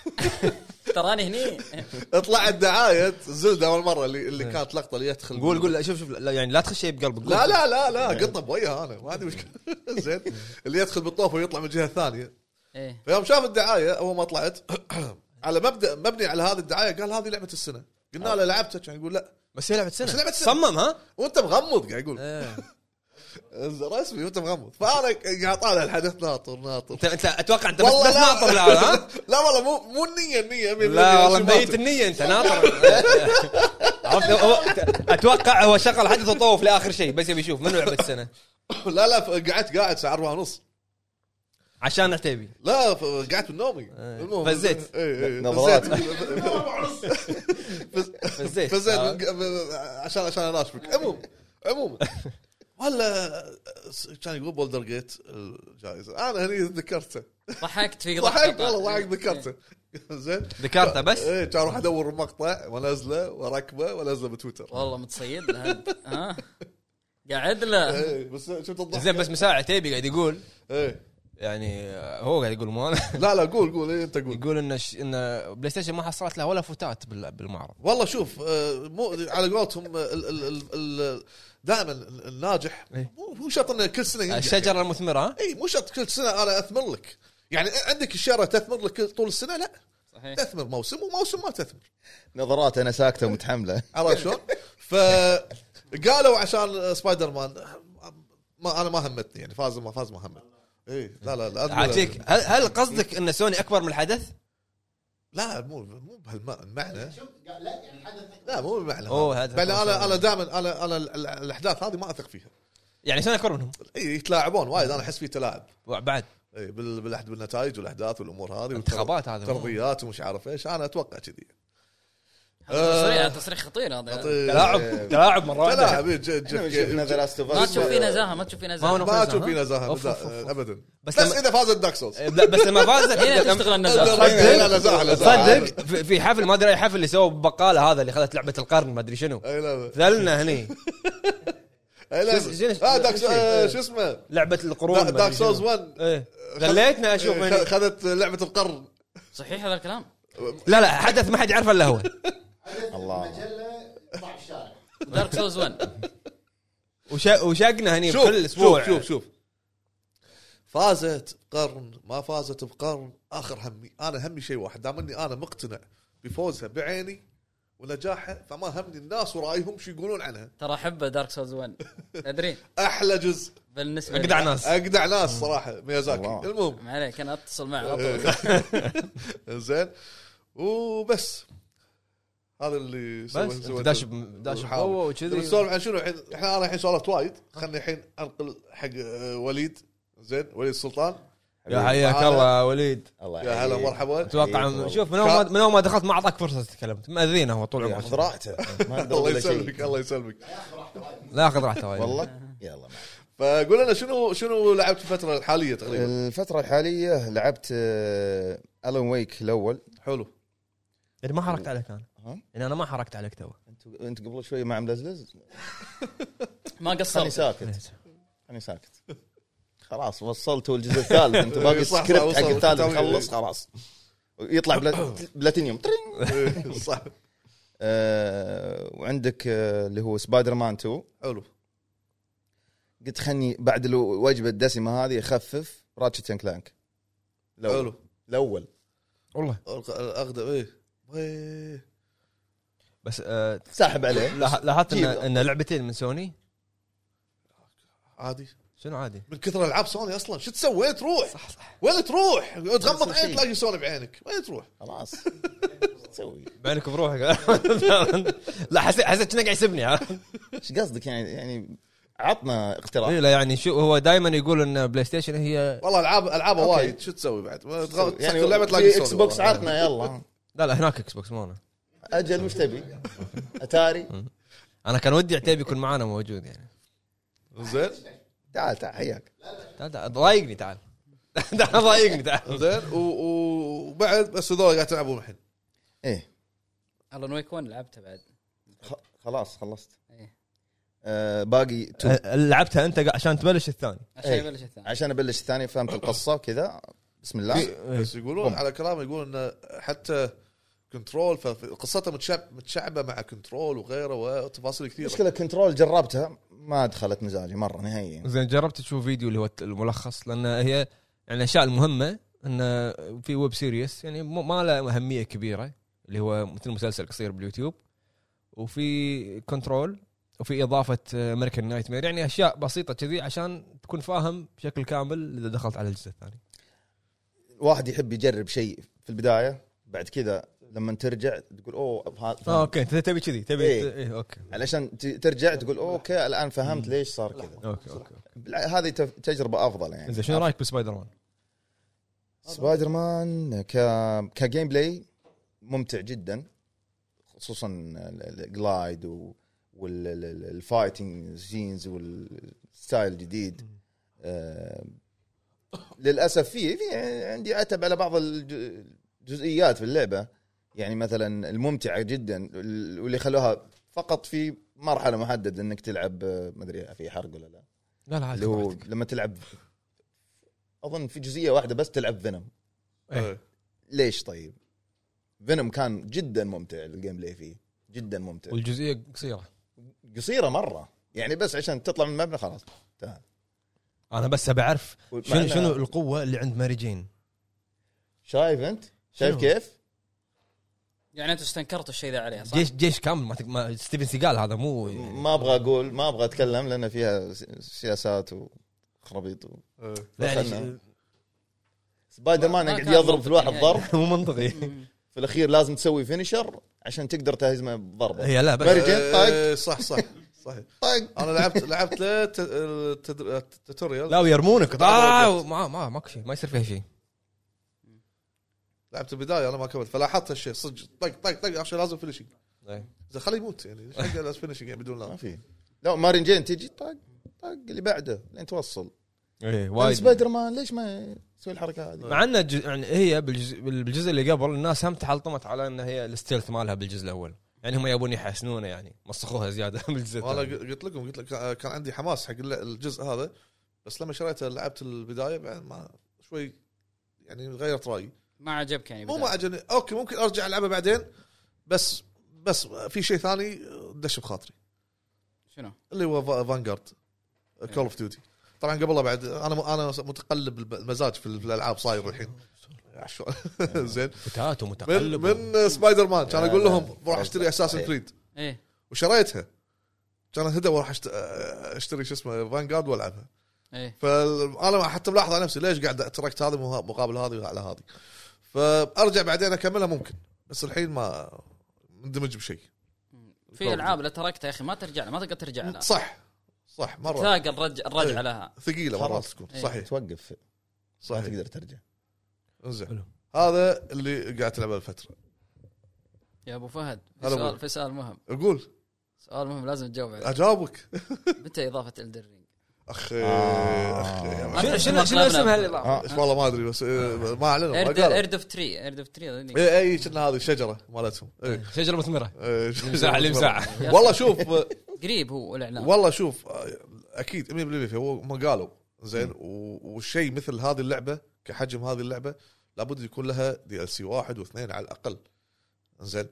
Speaker 3: تراني هني إيه.
Speaker 11: طلعت دعايه زلده اول مره اللي
Speaker 1: إيه.
Speaker 11: اللي كانت لقطه اللي يدخل
Speaker 1: قول قول لا، شوف شوف لا يعني لا تخش شيء بقلبك قول.
Speaker 11: لا لا لا
Speaker 1: إيه.
Speaker 11: لا قطه بويها انا ما عندي مشكله زين اللي يدخل بالطوف ويطلع من الجهه الثانيه
Speaker 3: ايه
Speaker 11: فيوم شاف الدعايه اول ما طلعت على مبدا مبني على هذه الدعايه قال هذه لعبه السنه قلنا له لعبتها كان يقول لا
Speaker 1: بس هي لعبه سنه
Speaker 11: بس لعبة سنة.
Speaker 1: صمم ها
Speaker 11: وانت مغمض قاعد يقول
Speaker 1: إيه.
Speaker 11: رسمي وانت مغمض فانا قاعد طالع الحدث ناطر ناطر
Speaker 1: انت انت اتوقع انت بس
Speaker 11: والله
Speaker 1: بس
Speaker 11: لا.
Speaker 1: ناطر لا ها
Speaker 11: لا والله مو مو النيه النيه
Speaker 1: لا والله مبيت
Speaker 11: مبيت
Speaker 1: النيه انت ناطر عرفت هو- اتوقع هو شغل حدث وطوف لاخر شيء بس يبي يشوف منو لعبه السنه
Speaker 11: لا لا قعدت قاعد الساعه 4 ونص
Speaker 1: عشان عتيبي
Speaker 11: لا ف- قعدت من نومي المهم-
Speaker 1: إيه. فزيت.
Speaker 11: إيه، إيه،
Speaker 9: نظرات.
Speaker 11: فزيت.
Speaker 1: فزيت
Speaker 11: فزين
Speaker 1: آه.
Speaker 11: من ق- ب- عشان عشان اناشفك عموما عموما ولا س- كان يقول بولدر جيت الجائزه انا هني ذكرته
Speaker 3: ضحكت في
Speaker 11: ضحكت والله ضحكت ذكرته زين
Speaker 1: إيه. ذكرته بس
Speaker 11: ايه كان اروح ادور المقطع وانزله واركبه وانزله بتويتر
Speaker 1: آه.
Speaker 3: والله متصيد له أنت. ها قاعد له
Speaker 11: ايه بس شفت الضحك
Speaker 1: زين بس مساعد عتيبي قاعد يقول
Speaker 11: ايه
Speaker 1: يعني هو قاعد يقول مو انا
Speaker 11: لا لا قول قول ايه انت قول
Speaker 1: يقول ان ش... ان بلاي ستيشن ما حصلت له ولا فتات بال- بالمعرض
Speaker 11: والله شوف آه، مو على قولتهم آه، دائما الناجح
Speaker 1: إيه.
Speaker 11: مو مو شرط انه كل سنه ينجح.
Speaker 1: الشجره المثمره ها؟
Speaker 11: اي مو شرط كل سنه انا اثمر لك يعني عندك الشجره تثمر لك طول السنه لا
Speaker 3: صحيح
Speaker 1: إيه.
Speaker 11: تثمر موسم وموسم ما تثمر
Speaker 9: نظرات انا ساكته ومتحمله
Speaker 11: عرفت شلون؟ فقالوا عشان سبايدر مان ما انا ما همتني يعني فاز ما فاز ما همتني اي لا لا لا أدري-
Speaker 1: عاتيك هل, هل قصدك ان سوني اكبر من الحدث؟
Speaker 11: لا مو مو بهالمعنى
Speaker 6: شوف قا- لا يعني حدث
Speaker 11: لا مو بالمعنى
Speaker 1: أوه،
Speaker 11: هذا.
Speaker 1: هذا
Speaker 11: بل
Speaker 1: هذا-
Speaker 11: انا انا دائما انا انا ال- ال- الاحداث هذه ما اثق فيها
Speaker 1: يعني سوني اكبر منهم
Speaker 11: اي يتلاعبون وايد انا احس فيه تلاعب
Speaker 1: بعد
Speaker 11: اي بال- بالأحد- بالنتائج والاحداث والامور هذه
Speaker 1: انتخابات هذا.
Speaker 11: ترضيات ومش عارف ايش انا اتوقع كذي
Speaker 3: هذا تصريح تصريح خطير هذا
Speaker 1: آه، تلاعب تلاعب مره واحده
Speaker 11: تلاعب إيه، جيف
Speaker 9: احنا
Speaker 11: جيف-
Speaker 9: شفنا
Speaker 11: جيف
Speaker 9: ذا لاست اوف
Speaker 3: ما تشوف فيه نزاهه ما تشوف فيه
Speaker 1: ما هو
Speaker 3: نزاهه
Speaker 11: ما
Speaker 1: نزاهة.
Speaker 11: اشوف فيه نزاهه
Speaker 1: أوف، أوف،
Speaker 11: بزا-
Speaker 1: أوف.
Speaker 11: ابدا
Speaker 1: بس
Speaker 11: بس,
Speaker 1: لما- إيه.
Speaker 11: اذا فازت دارك سوز
Speaker 1: لا، بس لما فازت
Speaker 3: هنا تشتغل النزاهه
Speaker 11: إيه، لا نزاهه نزاهه
Speaker 1: تصدق في- في حفل ما ادري اي حفل اللي سووا بقاله هذا اللي خذت لعبه القرن ما ادري شنو
Speaker 11: اي لا
Speaker 1: ذلنا هني
Speaker 11: اي
Speaker 1: شو- شو-
Speaker 11: لا آه، دارك
Speaker 1: شو-
Speaker 11: سو- آه، شو اسمه
Speaker 1: لعبه القرون
Speaker 11: دا-
Speaker 1: ما
Speaker 11: دارك
Speaker 1: أدري شنو.
Speaker 11: سوز 1
Speaker 1: إيه. دليتنا اشوف
Speaker 11: إيه،
Speaker 1: هني.
Speaker 11: خ- خذت لعبه القرن
Speaker 3: صحيح هذا الكلام
Speaker 1: لا لا حدث ما حد يعرفه الا هو
Speaker 9: الله.
Speaker 6: مجله ضاع الشارع
Speaker 3: دارك سوز 1
Speaker 1: وش- وشقنا هني
Speaker 11: شوف
Speaker 1: كل يعني. اسبوع
Speaker 11: شوف شوف شوف فازت بقرن ما فازت بقرن اخر همي انا همي شيء واحد دام اني انا مقتنع بفوزها بعيني ونجاحها فما همني الناس ورايهم شو يقولون عنها
Speaker 3: ترى احبه دارك سوز 1 ادري
Speaker 11: احلى جزء
Speaker 3: بالنسبه لي.
Speaker 1: اجدع ناس
Speaker 11: اجدع ناس صراحه ميازاكي
Speaker 9: الله.
Speaker 11: المهم
Speaker 3: ما عليك انا اتصل معه على طول.
Speaker 11: زين وبس هذا اللي سوى-
Speaker 1: بس
Speaker 11: سويته.
Speaker 1: داش ب- داش
Speaker 11: وحاول.
Speaker 1: بقوه وكذي
Speaker 11: نسولف عن شنو الحين احنا انا الحين سولفت وايد خلني الحين انقل حق آه، وليد زين وليد السلطان
Speaker 1: يا حياك الله يا وليد
Speaker 9: الله
Speaker 11: يا
Speaker 1: إيه.
Speaker 11: هلا ومرحبا
Speaker 1: اتوقع شوف من اول ما- من اول ما دخلت ما اعطاك فرصه تتكلم ماذينا هو
Speaker 11: طيب،
Speaker 1: طول
Speaker 9: خذ
Speaker 1: عمره
Speaker 9: راحته ما أقدر
Speaker 11: الله
Speaker 9: أقول لك شيء.
Speaker 11: يسلمك الله يسلمك
Speaker 1: لا اخذ راحته وايد
Speaker 9: والله يلا معك.
Speaker 11: فقول لنا شنو شنو لعبت الفتره طيب. الحاليه تقريبا
Speaker 9: آه، الفترة الحالية لعبت الون ويك الاول
Speaker 11: حلو
Speaker 1: يعني ما حركت عليك انا
Speaker 9: ها؟
Speaker 1: يعني انا ما حركت عليك تو
Speaker 9: انت انت قبل شوي مع ملزلز
Speaker 3: ما
Speaker 9: خلني
Speaker 3: قصرت
Speaker 9: ساكت خلني ساكت خلاص وصلتوا الجزء الثالث انت باقي
Speaker 11: صح، صح،
Speaker 9: السكريبت حق
Speaker 11: وصلت.
Speaker 9: الثالث
Speaker 11: تمام.
Speaker 9: مخلص خلاص يطلع بلا- بلاتينيوم
Speaker 11: صح
Speaker 9: آه، وعندك آه، اللي هو سبايدر مان 2
Speaker 11: حلو
Speaker 9: قلت خلني بعد الو- الوجبه الدسمه هذه اخفف راتشت اند كلانك
Speaker 11: حلو
Speaker 9: الاول
Speaker 1: والله
Speaker 11: الاقدم ايه إيه.
Speaker 1: بس آه
Speaker 9: ساحب عليه
Speaker 1: لاح- لاحظت ان
Speaker 9: جيب.
Speaker 1: ان لعبتين من سوني
Speaker 11: عادي
Speaker 1: شنو عادي
Speaker 11: من كثر العاب سوني اصلا شو تسوي وين تروح؟
Speaker 1: صح صح
Speaker 11: وين تروح؟ تغمض
Speaker 9: نفس الشيء.
Speaker 11: عينك تلاقي سوني بعينك وين تروح؟
Speaker 9: خلاص تسوي
Speaker 1: بعينك بروحك لا حسيت حسيت انه قاعد يسبني عرفت؟
Speaker 9: ايش قصدك يعني يعني عطنا اقتراح
Speaker 1: إيه، لا يعني شو هو دائما يقول ان بلاي ستيشن هي
Speaker 11: والله العاب العابها
Speaker 9: أوكي.
Speaker 11: وايد شو تسوي بعد؟ تغمض
Speaker 9: يعني
Speaker 11: يعني اللعبه تلاقي
Speaker 9: في اكس
Speaker 11: سوني
Speaker 9: بوكس
Speaker 11: والله.
Speaker 9: عطنا يلا
Speaker 1: لا لا هناك اكس بوكس مو انا
Speaker 9: اجل مش تبي اتاري
Speaker 1: انا كان ودي عتيبي يكون معانا موجود يعني
Speaker 11: زين
Speaker 9: تعال تعال حياك
Speaker 1: تعال تعال ضايقني تعال تعال ضايقني تعال
Speaker 11: زين و- و- وبعد بس هذول قاعد تلعبون الحين
Speaker 9: ايه
Speaker 3: الله نويك 1 لعبته بعد
Speaker 9: خ- خلاص خلصت
Speaker 3: إيه.
Speaker 9: آه باقي تو.
Speaker 1: لعبتها انت عشان تبلش الثاني
Speaker 3: عشان
Speaker 9: إيه.
Speaker 3: يبلش الثاني
Speaker 9: عشان ابلش الثاني فهمت القصه وكذا بسم الله
Speaker 11: بس يقولون على كلام يقولون إن حتى كنترول فقصتها متشعب متشعبه مع كنترول وغيره وتفاصيل كثيره
Speaker 9: المشكله كنترول جربتها ما دخلت مزاجي مره نهائيا
Speaker 1: زين جربت تشوف فيديو اللي هو الملخص لان هي يعني الاشياء المهمه انه في ويب سيريس يعني مو- ما له اهميه كبيره اللي هو مثل مسلسل قصير باليوتيوب وفي كنترول وفي اضافه امريكان نايت مير يعني اشياء بسيطه كذي عشان تكون فاهم بشكل كامل اذا دخلت على الجزء الثاني
Speaker 9: واحد يحب يجرب شيء في البدايه بعد كذا لما ترجع تقول اوه فهمت.
Speaker 1: اه اوكي انت تبي كذي تبي
Speaker 9: إيه.
Speaker 1: إيه، اوكي
Speaker 9: علشان ت- ترجع تقول اوكي الان فهمت ليش صار كذا
Speaker 1: اوكي اوكي
Speaker 9: بالع- هذه تف- تجربه افضل يعني
Speaker 1: زين شنو رايك بسبايدر مان؟
Speaker 9: سبايدر مان ك كجيم بلاي ممتع جدا خصوصا ال- ال- الجلايد والفايتنج سينز والستايل الجديد آه، للاسف في في عندي عتب على بعض الج- الجزئيات في اللعبه يعني مثلا الممتعه جدا وال- واللي خلوها فقط في مرحله محدده انك تلعب آه، ما ادري في حرق ولا لا
Speaker 1: لا لا عادي
Speaker 9: اللي هو لما تلعب اظن في جزئيه واحده بس تلعب فينوم آه.
Speaker 1: إيه.
Speaker 9: ليش طيب؟ فينوم كان جدا ممتع الجيم بلاي فيه جدا ممتع
Speaker 1: والجزئيه قصيره
Speaker 9: قصيره مره يعني بس عشان تطلع من المبنى خلاص تعال
Speaker 1: انا بس ابي اعرف
Speaker 9: مع
Speaker 1: شنو
Speaker 9: إنها-
Speaker 1: شنو القوه اللي عند ماري جين؟
Speaker 9: شايف انت؟ شايف
Speaker 1: شنو؟
Speaker 9: كيف؟
Speaker 3: يعني انتم استنكرتوا الشيء ذا عليها صح؟
Speaker 1: جيش جيش كامل ما, تك... ما ستيفن سيجال هذا مو يعني
Speaker 9: ما ابغى اقول ما ابغى اتكلم لان فيها س- سياسات وخرابيط و...
Speaker 11: إيه.
Speaker 1: لا يعني
Speaker 9: دخلنا. سبايدر مان
Speaker 3: ما
Speaker 9: قاعد
Speaker 3: كان
Speaker 9: يضرب في الواحد
Speaker 3: ممتع
Speaker 9: ضرب
Speaker 1: مو منطقي
Speaker 3: مم.
Speaker 9: في الاخير لازم تسوي فينيشر عشان تقدر تهزمه بضربه
Speaker 1: هي لا بس
Speaker 9: ماري جين طاق
Speaker 11: إيه، صح صح صحيح
Speaker 9: طاق
Speaker 11: انا لعبت لعبت لت- التد- التوتوريال
Speaker 1: لا ويرمونك طاع ما ما ماكو شيء ما يصير فيها شيء
Speaker 11: لعبت البدايه انا ما كملت فلاحظت هالشيء صدق طق طق طق عشان لازم فينشنج زين خليه يموت يعني ايش حق لازم فينشنج يعني بدون
Speaker 9: ما
Speaker 11: لا
Speaker 9: في لا مارين جين تجي طاق طاق اللي بعده لين توصل
Speaker 1: ايه وايد
Speaker 9: سبايدر مان ليش ما يسوي الحركه هذه؟
Speaker 1: مع ان الج- يعني هي بالجزء, بالجزء اللي قبل الناس هم تحلطمت على ان هي الستيلث مالها بالجزء الاول يعني هم يبون يحسنونه يعني مسخوها زياده بالجزء
Speaker 11: وانا
Speaker 1: الثاني
Speaker 11: قلت لكم قلت لك كان عندي حماس حق الل- الجزء هذا بس لما شريته لعبت البدايه بعد ما شوي يعني غيرت رايي
Speaker 3: ما عجبك يعني
Speaker 11: مو
Speaker 3: بداية.
Speaker 11: ما عجبني اوكي ممكن ارجع العبها بعدين بس بس في شيء ثاني دش بخاطري
Speaker 3: شنو؟
Speaker 11: اللي هو فا- فانجارد كول اوف ديوتي طبعا قبلها بعد انا انا متقلب الب- المزاج في الالعاب صاير الحين عشو- زين
Speaker 1: فتات
Speaker 11: من
Speaker 1: ومتقلب
Speaker 11: من سبايدر مان كان
Speaker 9: لا،
Speaker 11: اقول
Speaker 9: لا.
Speaker 11: لهم بروح اشتري اساسن
Speaker 9: صحيح.
Speaker 11: كريد
Speaker 3: ايه
Speaker 11: وشريتها كانت هدى بروح أشت- اشتري شو اسمه فانجارد والعبها
Speaker 3: ايه
Speaker 11: فانا حتى ملاحظ على نفسي ليش قاعد تركت هذه مها- مقابل هذه على هذه فارجع بعدين اكملها ممكن بس الحين ما مندمج بشيء
Speaker 3: في العاب لو تركتها يا اخي ما ترجع لها ما تقدر ترجع لها
Speaker 11: صح صح مره
Speaker 3: تلاقي الرج... الرجعه
Speaker 11: إيه.
Speaker 3: لها
Speaker 11: ثقيله مرات
Speaker 9: خلاص.
Speaker 11: تكون
Speaker 3: إيه.
Speaker 11: صحيح
Speaker 9: توقف ما
Speaker 11: صحيح
Speaker 9: تقدر ترجع
Speaker 11: انزين
Speaker 1: حلو.
Speaker 11: هذا اللي قاعد تلعبه الفتره
Speaker 3: يا ابو فهد في
Speaker 11: هلا أبو.
Speaker 3: سؤال في سؤال مهم
Speaker 11: اقول
Speaker 3: سؤال مهم لازم تجاوب عليه
Speaker 11: اجاوبك
Speaker 3: متى اضافه الدرينج؟
Speaker 11: اخي
Speaker 9: آه.
Speaker 11: اخي يا
Speaker 3: ما
Speaker 11: معلم.
Speaker 1: شنو شنو
Speaker 3: أدري شنو
Speaker 1: شنو اسم
Speaker 3: أغلبنا.
Speaker 1: هالاضافه؟
Speaker 11: يعني، إيش والله ما ادري بس آه، ما اعلنوا ما
Speaker 3: ايرد
Speaker 11: قالوا إيه،
Speaker 3: ايرد اوف تري ايرد اوف تري أظني.
Speaker 11: اي اي شنو هذه الشجره مالتهم إيه. إي.
Speaker 1: شجره مثمره
Speaker 11: إي،
Speaker 1: مساحة لمساحة.
Speaker 11: إيه. والله شوف آه،
Speaker 3: قريب هو الاعلان
Speaker 11: والله شوف آه، اكيد 100% هو هم قالوا زين و- وشيء مثل هذه اللعبه كحجم هذه اللعبه لابد يكون لها دي ال سي واحد واثنين على الاقل زين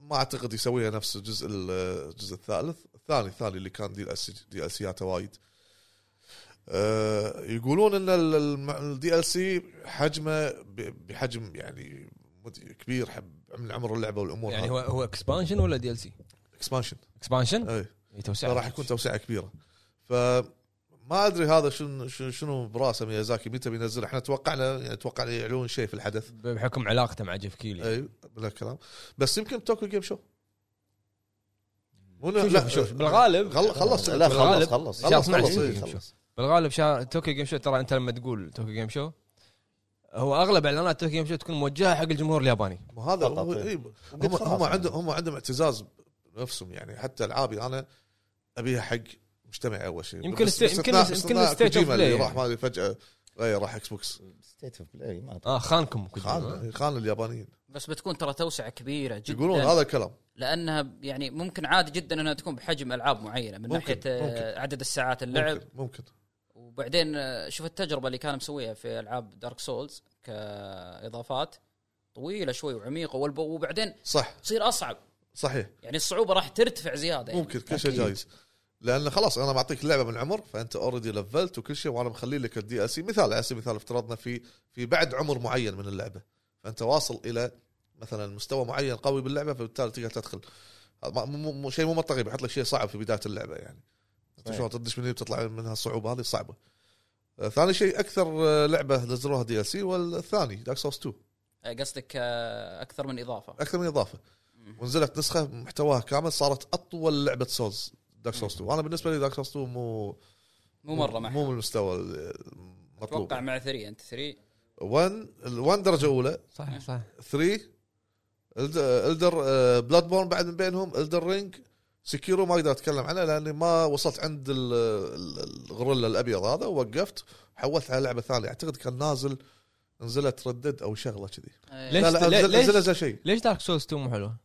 Speaker 11: ما اعتقد يسويها نفس الجزء ال- الجزء الثالث الثاني الثاني اللي كان دي ال سي دي ال سياته وايد آه، يقولون ان الدي ال سي حجمه ب- بحجم يعني مد- كبير حب من عمر اللعبه والامور
Speaker 1: يعني هو هو اكسبانشن ولا دي ال سي؟
Speaker 11: اكسبانشن
Speaker 1: اكسبانشن؟
Speaker 11: اي
Speaker 1: اي توسعه
Speaker 11: أه، راح يكون توسعه كبيره فما ادري هذا شنو شنو- شنو براسه ميازاكي متى بينزل احنا توقعنا يعني توقعنا يعلون شيء في الحدث
Speaker 1: بحكم علاقته مع جيف كيلي
Speaker 11: اي بلا كلام بس يمكن توكيو جيم شو مو إيه،
Speaker 1: شوف شوف شوف بالغالب
Speaker 11: غل- خلص
Speaker 9: لا خلص
Speaker 1: بالغالب.
Speaker 9: خلص
Speaker 1: شهر
Speaker 11: خلص
Speaker 1: 12
Speaker 11: خلص إيه،
Speaker 1: توكيو جيم
Speaker 11: خلص.
Speaker 1: شو. بالغالب شهر توكيو جيم شو ترى انت لما تقول توكيو جيم شو هو اغلب اعلانات توكيو جيم شو تكون موجهه حق الجمهور الياباني
Speaker 11: مو هذا
Speaker 9: فقط،
Speaker 11: هو-
Speaker 9: إيه.
Speaker 11: إيه، هم هم
Speaker 1: يعني.
Speaker 11: عندهم هم عندهم اعتزاز بنفسهم يعني حتى العابي انا ابيها حق مجتمعي اول شيء
Speaker 1: يمكن
Speaker 11: بس-
Speaker 1: الست- يمكن
Speaker 11: باستثناء-
Speaker 1: الست- يمكن
Speaker 11: باستثناء
Speaker 1: الستيت أوف
Speaker 11: كوجيما اللي
Speaker 1: بلاي.
Speaker 11: راح ما ادري فجاه غير راح اكس بوكس
Speaker 9: ستيت اوف بلاي ما أدري.
Speaker 1: اه خانكم كوجيما.
Speaker 11: خان خان اليابانيين
Speaker 3: بس بتكون ترى توسعه كبيره جدا
Speaker 11: يقولون
Speaker 1: يعني
Speaker 11: هذا الكلام
Speaker 3: لانها يعني ممكن عادي جدا انها تكون بحجم العاب معينه من
Speaker 11: ممكن،
Speaker 3: ناحيه آه،
Speaker 11: ممكن.
Speaker 3: عدد الساعات اللعب
Speaker 11: ممكن ممكن
Speaker 3: وبعدين آه، شوف التجربه اللي كان مسويها في العاب دارك سولز كاضافات طويله شوي وعميقه والب- وبعدين
Speaker 11: صح
Speaker 3: تصير اصعب
Speaker 11: صحيح
Speaker 3: يعني الصعوبه راح ترتفع زياده يعني.
Speaker 11: ممكن كل شيء جايز لان خلاص انا معطيك اللعبه من عمر فانت اوريدي لفلت وكل شيء وانا مخلي لك الدي ال سي مثال على سبيل المثال افترضنا في في بعد عمر معين من اللعبه فانت واصل الى مثلا مستوى معين قوي باللعبه فبالتالي تقدر تدخل هذا ما- مو- مو- شيء مو منطقي بيحط لك شيء صعب في بدايه اللعبه يعني انت
Speaker 9: صحيح.
Speaker 11: شلون تدش من هنا بتطلع من هالصعوبه هذه صعبه آه، ثاني شيء اكثر آه، لعبه نزلوها دي ال سي والثاني دارك سورس 2
Speaker 3: آه، قصدك آه، اكثر من اضافه
Speaker 11: اكثر من اضافه ونزلت نسخه محتواها كامل صارت اطول لعبه سولز دارك سولز 2 انا بالنسبه لي دارك سولز 2 مو
Speaker 3: مو مره معها
Speaker 11: مو من المستوى المطلوب
Speaker 3: اتوقع مع 3 انت 3
Speaker 11: 1 1 درجه اولى
Speaker 1: صح صح
Speaker 11: 3 الدر بلاد بورن آه، بعد من بينهم الدر رينج سكيرو ما اقدر اتكلم عنه لاني ما وصلت عند ال- ال- الغوريلا الابيض هذا ووقفت حولت على لعبه ثانيه اعتقد كان نازل نزلت ردد او شغله كذي
Speaker 1: ليش
Speaker 11: لا لا
Speaker 1: ليش-
Speaker 11: نزل
Speaker 1: ليش-
Speaker 11: نزل نزل شيء
Speaker 1: ليش دارك سولز 2 مو حلوه؟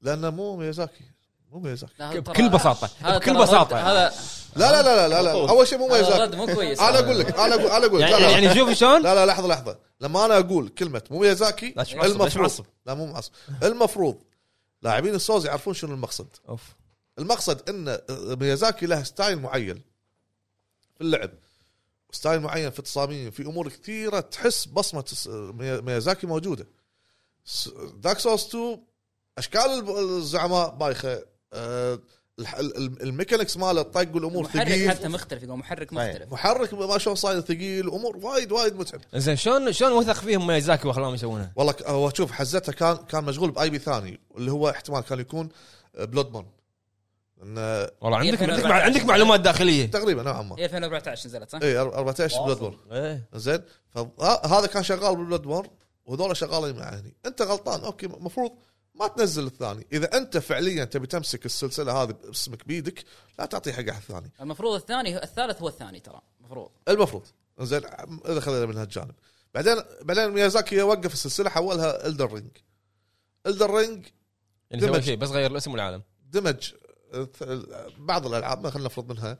Speaker 11: لانه مو ميازاكي مو ميازاكي
Speaker 1: بكل بساطة، بكل بساطة. يعني.
Speaker 3: هذا
Speaker 11: لا لا لا لا لا, لا. اول شيء مو
Speaker 3: هذا
Speaker 11: ميازاكي
Speaker 3: رد مو كويس
Speaker 11: انا اقول لك انا اقول انا اقول لك. لا
Speaker 1: يعني
Speaker 11: لا
Speaker 1: يعني
Speaker 11: لا.
Speaker 1: شوف شلون؟
Speaker 11: لا لا لحظه لحظه لما انا اقول كلمه مو ميازاكي
Speaker 1: لا، شو معصب، ليش معصب؟
Speaker 11: المفروض لا مو معصب المفروض لاعبين السوز يعرفون شنو المقصد
Speaker 1: اوف
Speaker 11: المقصد ان ميازاكي له ستايل معين في اللعب ستايل معين في تصاميم في امور كثيره تحس بصمه س- مي- ميازاكي موجوده س- دارك سوس 2 اشكال الب- الزعماء بايخه آه، الح- ال- ال- الميكانكس ماله الطق والامور
Speaker 3: محرك
Speaker 11: ثقيل
Speaker 3: حتى مختلف يقول محرك مختلف
Speaker 11: محرك ما شلون صاير ثقيل امور وايد وايد متعب
Speaker 1: زين شلون شلون وثق فيهم ميازاكي وخلاهم يسوونها؟
Speaker 11: والله ك- هو شوف حزتها كان كان مشغول باي بي ثاني اللي هو احتمال كان يكون آه، بلود بون انه
Speaker 1: والله عندك
Speaker 3: يمكن
Speaker 1: عندك,
Speaker 3: أربعة
Speaker 1: مع-
Speaker 3: عشر.
Speaker 1: عندك معلومات داخليه
Speaker 11: تقريبا نوعا آه، ما إيه،
Speaker 3: هي 2014 نزلت صح؟
Speaker 11: اي 14 بلود بون
Speaker 1: ايه
Speaker 11: زين فهذا كان شغال بالبلود بورن وهذول شغالين معه هني انت غلطان اوكي المفروض ما تنزل الثاني اذا انت فعليا تبي تمسك السلسله هذه باسمك بيدك لا تعطيه حق احد ثاني
Speaker 3: المفروض الثاني الثالث هو الثاني ترى المفروض
Speaker 11: المفروض زين اذا خذينا من هالجانب بعدين بعدين ميازاكي وقف السلسله حولها الدر رينج الدر رينج
Speaker 1: يعني سوى
Speaker 11: دمج.
Speaker 1: شيء بس غير الاسم والعالم
Speaker 11: دمج بعض الالعاب ما خلينا نفرض منها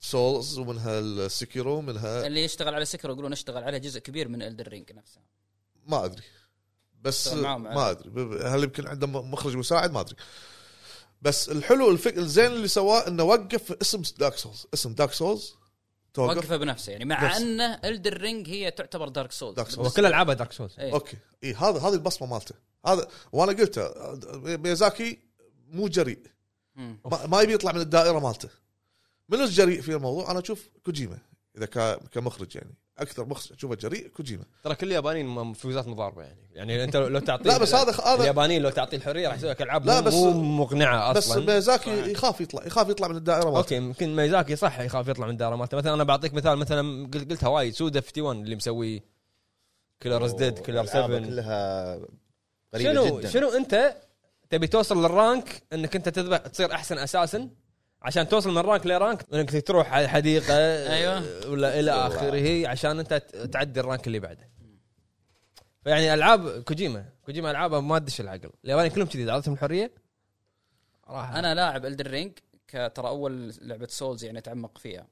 Speaker 11: سولز ومنها السكيرو منها
Speaker 3: اللي يشتغل على سكر يقولون اشتغل على جزء كبير من الدر رينج نفسه
Speaker 11: ما ادري بس
Speaker 3: طيب، معهم
Speaker 11: ما
Speaker 3: عدد.
Speaker 11: ادري ب- ب- هل يمكن عنده م- مخرج مساعد ما ادري بس الحلو الفك الزين اللي سواه انه وقف اسم دارك سولز اسم دارك سولز توقف
Speaker 3: وقفه بنفسه يعني مع
Speaker 11: نفسه.
Speaker 3: انه الدر رينج هي تعتبر دارك سولز
Speaker 11: دارك
Speaker 1: هو
Speaker 11: سولز
Speaker 1: كل العابها دارك سولز
Speaker 3: إيه.
Speaker 11: اوكي اي هذا هذه البصمه مالته هذا وانا قلته ميازاكي مو جريء
Speaker 3: مم.
Speaker 11: ما, ما يبي يطلع من الدائره مالته من الجريء في الموضوع انا اشوف كوجيما اذا ك- كمخرج يعني اكثر مخرج اشوفه جريء كوجيما
Speaker 1: ترى كل اليابانيين م- فيوزات مضاربه يعني يعني انت لو- لو تعطيه
Speaker 11: لا، بس هذا- هذا-
Speaker 1: اليابانيين لو تعطيه الحريه راح يسوي لك العاب
Speaker 11: لا،
Speaker 1: لا
Speaker 11: بس-
Speaker 1: بس مو مقنعه
Speaker 11: بس
Speaker 1: اصلا بس
Speaker 11: ميازاكي يخاف يطلع يخاف يطلع من الدائره مالته
Speaker 1: اوكي يمكن ميزاكي صح يخاف يطلع من الدائره مالته مثلا انا بعطيك مثال مثلا قلت قلتها وايد سودا 51 اللي مسوي كيلر ديد كيلر
Speaker 9: ألعابه
Speaker 1: 7
Speaker 9: كلها غريبه
Speaker 1: شنو
Speaker 9: جدا
Speaker 1: شنو انت تبي توصل للرانك انك انت تذبح تصير احسن اساسا عشان توصل من رانك لرانك انك تروح على الحديقه
Speaker 3: أيوة.
Speaker 1: ولا الى اخره عشان انت ت- تعدي الرانك اللي بعده فيعني العاب كوجيما كوجيما العابه ما تدش العقل اليابانيين كلهم كذي اعطتهم الحريه راح
Speaker 3: انا لاعب الدن رينج ترى اول لعبه سولز يعني اتعمق فيها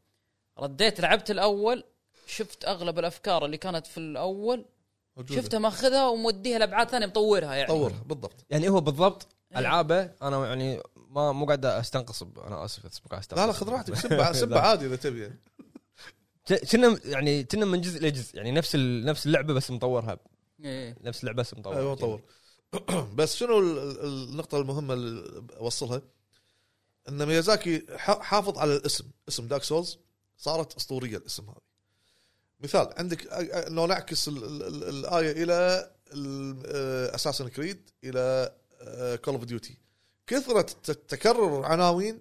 Speaker 3: رديت لعبت الاول شفت اغلب الافكار اللي كانت في الاول
Speaker 11: موجودة.
Speaker 3: شفتها ماخذها وموديها لابعاد ثانيه مطورها يعني
Speaker 11: طورها بالضبط
Speaker 1: يعني هو بالضبط العابه انا يعني ما مو قاعد استنقصب انا اسف بس مو قاعد استنقصب
Speaker 11: لا لا خذ راحتك سب سب عادي اذا تبي يعني.
Speaker 1: ك- كنا يعني كنا من جزء لجزء يعني نفس ال- نفس اللعبه بس مطورها
Speaker 3: إيه.
Speaker 1: نفس اللعبه بس مطورها
Speaker 11: ايوه طور بس شنو ال- ال- النقطه المهمه اللي اوصلها ان ميازاكي ح- حافظ على الاسم اسم دارك سولز صارت اسطوريه الاسم هذا مثال عندك أ- أ- لو نعكس ال- ال- ال- الايه الى اساسن كريد الى كول اوف ديوتي كثره الت- تكرر العناوين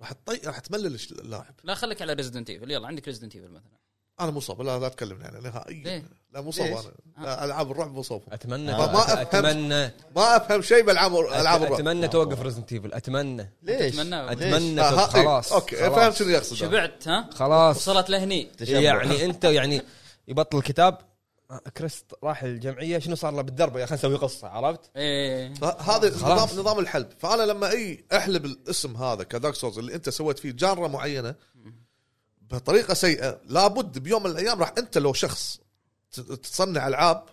Speaker 11: راح تطي... راح تملل الش- اللاعب
Speaker 3: لا خليك على ريزدنت ايفل يلا عندك ريزدنت ايفل مثلا
Speaker 11: انا مو صاب لا لا تكلمني عنها
Speaker 9: إيه.
Speaker 11: نهائيا
Speaker 3: ليه؟
Speaker 11: لا مو صاب
Speaker 4: ليش؟
Speaker 11: انا لا، العاب الرعب مو صاب
Speaker 1: اتمنى
Speaker 11: آه. ما أفهم.
Speaker 1: اتمنى
Speaker 11: ما افهم شيء بالعاب العاب الرعب
Speaker 1: اتمنى توقف ريزنت ايفل اتمنى
Speaker 4: ليش؟
Speaker 3: أتمنى-
Speaker 4: ليش؟
Speaker 1: اتمنى
Speaker 11: آه، ها- إيه،
Speaker 1: خلاص
Speaker 11: اوكي
Speaker 1: خلاص.
Speaker 11: فهمت شنو يقصد أنا.
Speaker 3: شبعت ها
Speaker 1: خلاص
Speaker 3: وصلت لهني
Speaker 9: تشبع.
Speaker 1: يعني انت يعني يبطل الكتاب آه، كريس راح الجمعيه شنو صار له بالدرب يا اخي نسوي قصه عرفت؟
Speaker 3: ايه
Speaker 11: ه- هذا
Speaker 1: خلاص.
Speaker 11: نظام نظام الحلب فانا لما اي احلب الاسم هذا كدارك سولز اللي انت سويت فيه جانرا معينه بطريقه سيئه لابد بيوم من الايام راح انت لو شخص ت- تصنع العاب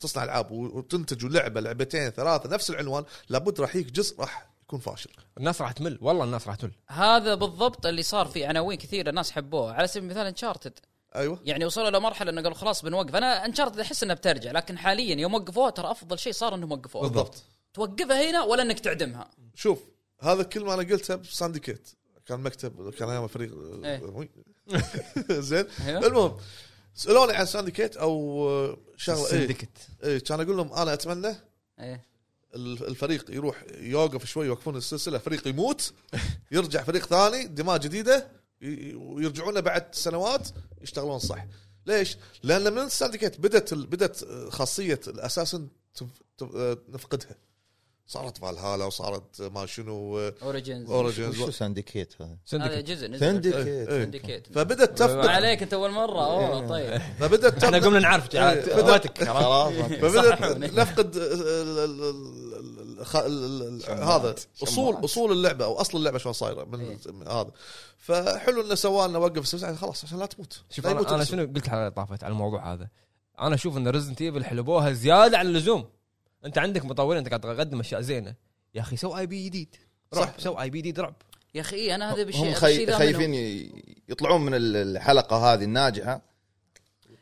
Speaker 11: تصنع العاب و- وتنتج لعبه لعبتين ثلاثه نفس العنوان لابد راح يجيك جزء راح يكون فاشل
Speaker 1: الناس راح تمل والله الناس راح تمل
Speaker 3: هذا بالضبط اللي صار في عناوين كثيره الناس حبوها على سبيل المثال انشارتد
Speaker 11: ايوه
Speaker 3: يعني وصلوا لمرحله انه قالوا خلاص بنوقف انا انشارتد احس انها بترجع لكن حاليا يوم وقفوها ترى افضل شيء صار انهم وقفوها
Speaker 11: بالضبط
Speaker 3: توقفها هنا ولا انك تعدمها
Speaker 11: شوف هذا كل ما انا قلته بسانديكيت كان مكتب كان ايام فريق
Speaker 3: إيه.
Speaker 11: زين
Speaker 3: ايوه
Speaker 11: المهم سالوني عن سانديكيت او شغله ايه
Speaker 1: سندكت
Speaker 11: إيه كان اقول لهم انا اتمنى
Speaker 3: ايه
Speaker 11: ال- الفريق يروح يوقف شوي يوقفون السلسله فريق يموت يرجع فريق ثاني دماء جديده ي- ويرجعون بعد سنوات يشتغلون صح ليش؟ لان من السانديكيت بدت ال- بدت خاصيه الاساسن تف- تف- آه، نفقدها صارت فالهالا وصارت ما شنو آه،
Speaker 3: اوريجنز
Speaker 9: وشو
Speaker 11: اوريجنز
Speaker 9: سانديكيت هذا؟
Speaker 3: هذا
Speaker 1: سندكت
Speaker 3: جزء نزل.
Speaker 9: سانديكيت
Speaker 3: سندكيت
Speaker 11: فبدت
Speaker 3: ما
Speaker 11: تفقد
Speaker 3: عليك انت اول مره
Speaker 9: إيه.
Speaker 3: اوه طيب
Speaker 11: فبدت
Speaker 1: احنا
Speaker 11: تفقد
Speaker 1: قمنا نعرف
Speaker 11: إيه.
Speaker 1: وقتك
Speaker 11: فبدت نفقد ال- ال- ال- الخ- ال- ال- هذا اصول اصول اللعبه او اصل اللعبه شلون صايره من
Speaker 3: إيه.
Speaker 11: من هذا فحلو انه سوى لنا وقف السلسله خلاص عشان لا تموت
Speaker 1: شوف
Speaker 11: لا يموت
Speaker 1: انا, أنا
Speaker 11: الاسم.
Speaker 1: شنو قلت على طافت على الموضوع هذا انا اشوف ان ريزنت ايفل حلبوها زياده عن اللزوم انت عندك مطورين انت قاعد تقدم اشياء زينه يا اخي سو اي بي جديد رعب
Speaker 11: صح.
Speaker 1: سو اي بي جديد رعب
Speaker 3: يا اخي إيه، انا هذا بشيء
Speaker 9: هم
Speaker 3: هذا الشيء
Speaker 9: خي...
Speaker 3: ذا
Speaker 9: خايفين
Speaker 3: منهم.
Speaker 9: ي- يطلعون من ال- الحلقه هذه الناجحه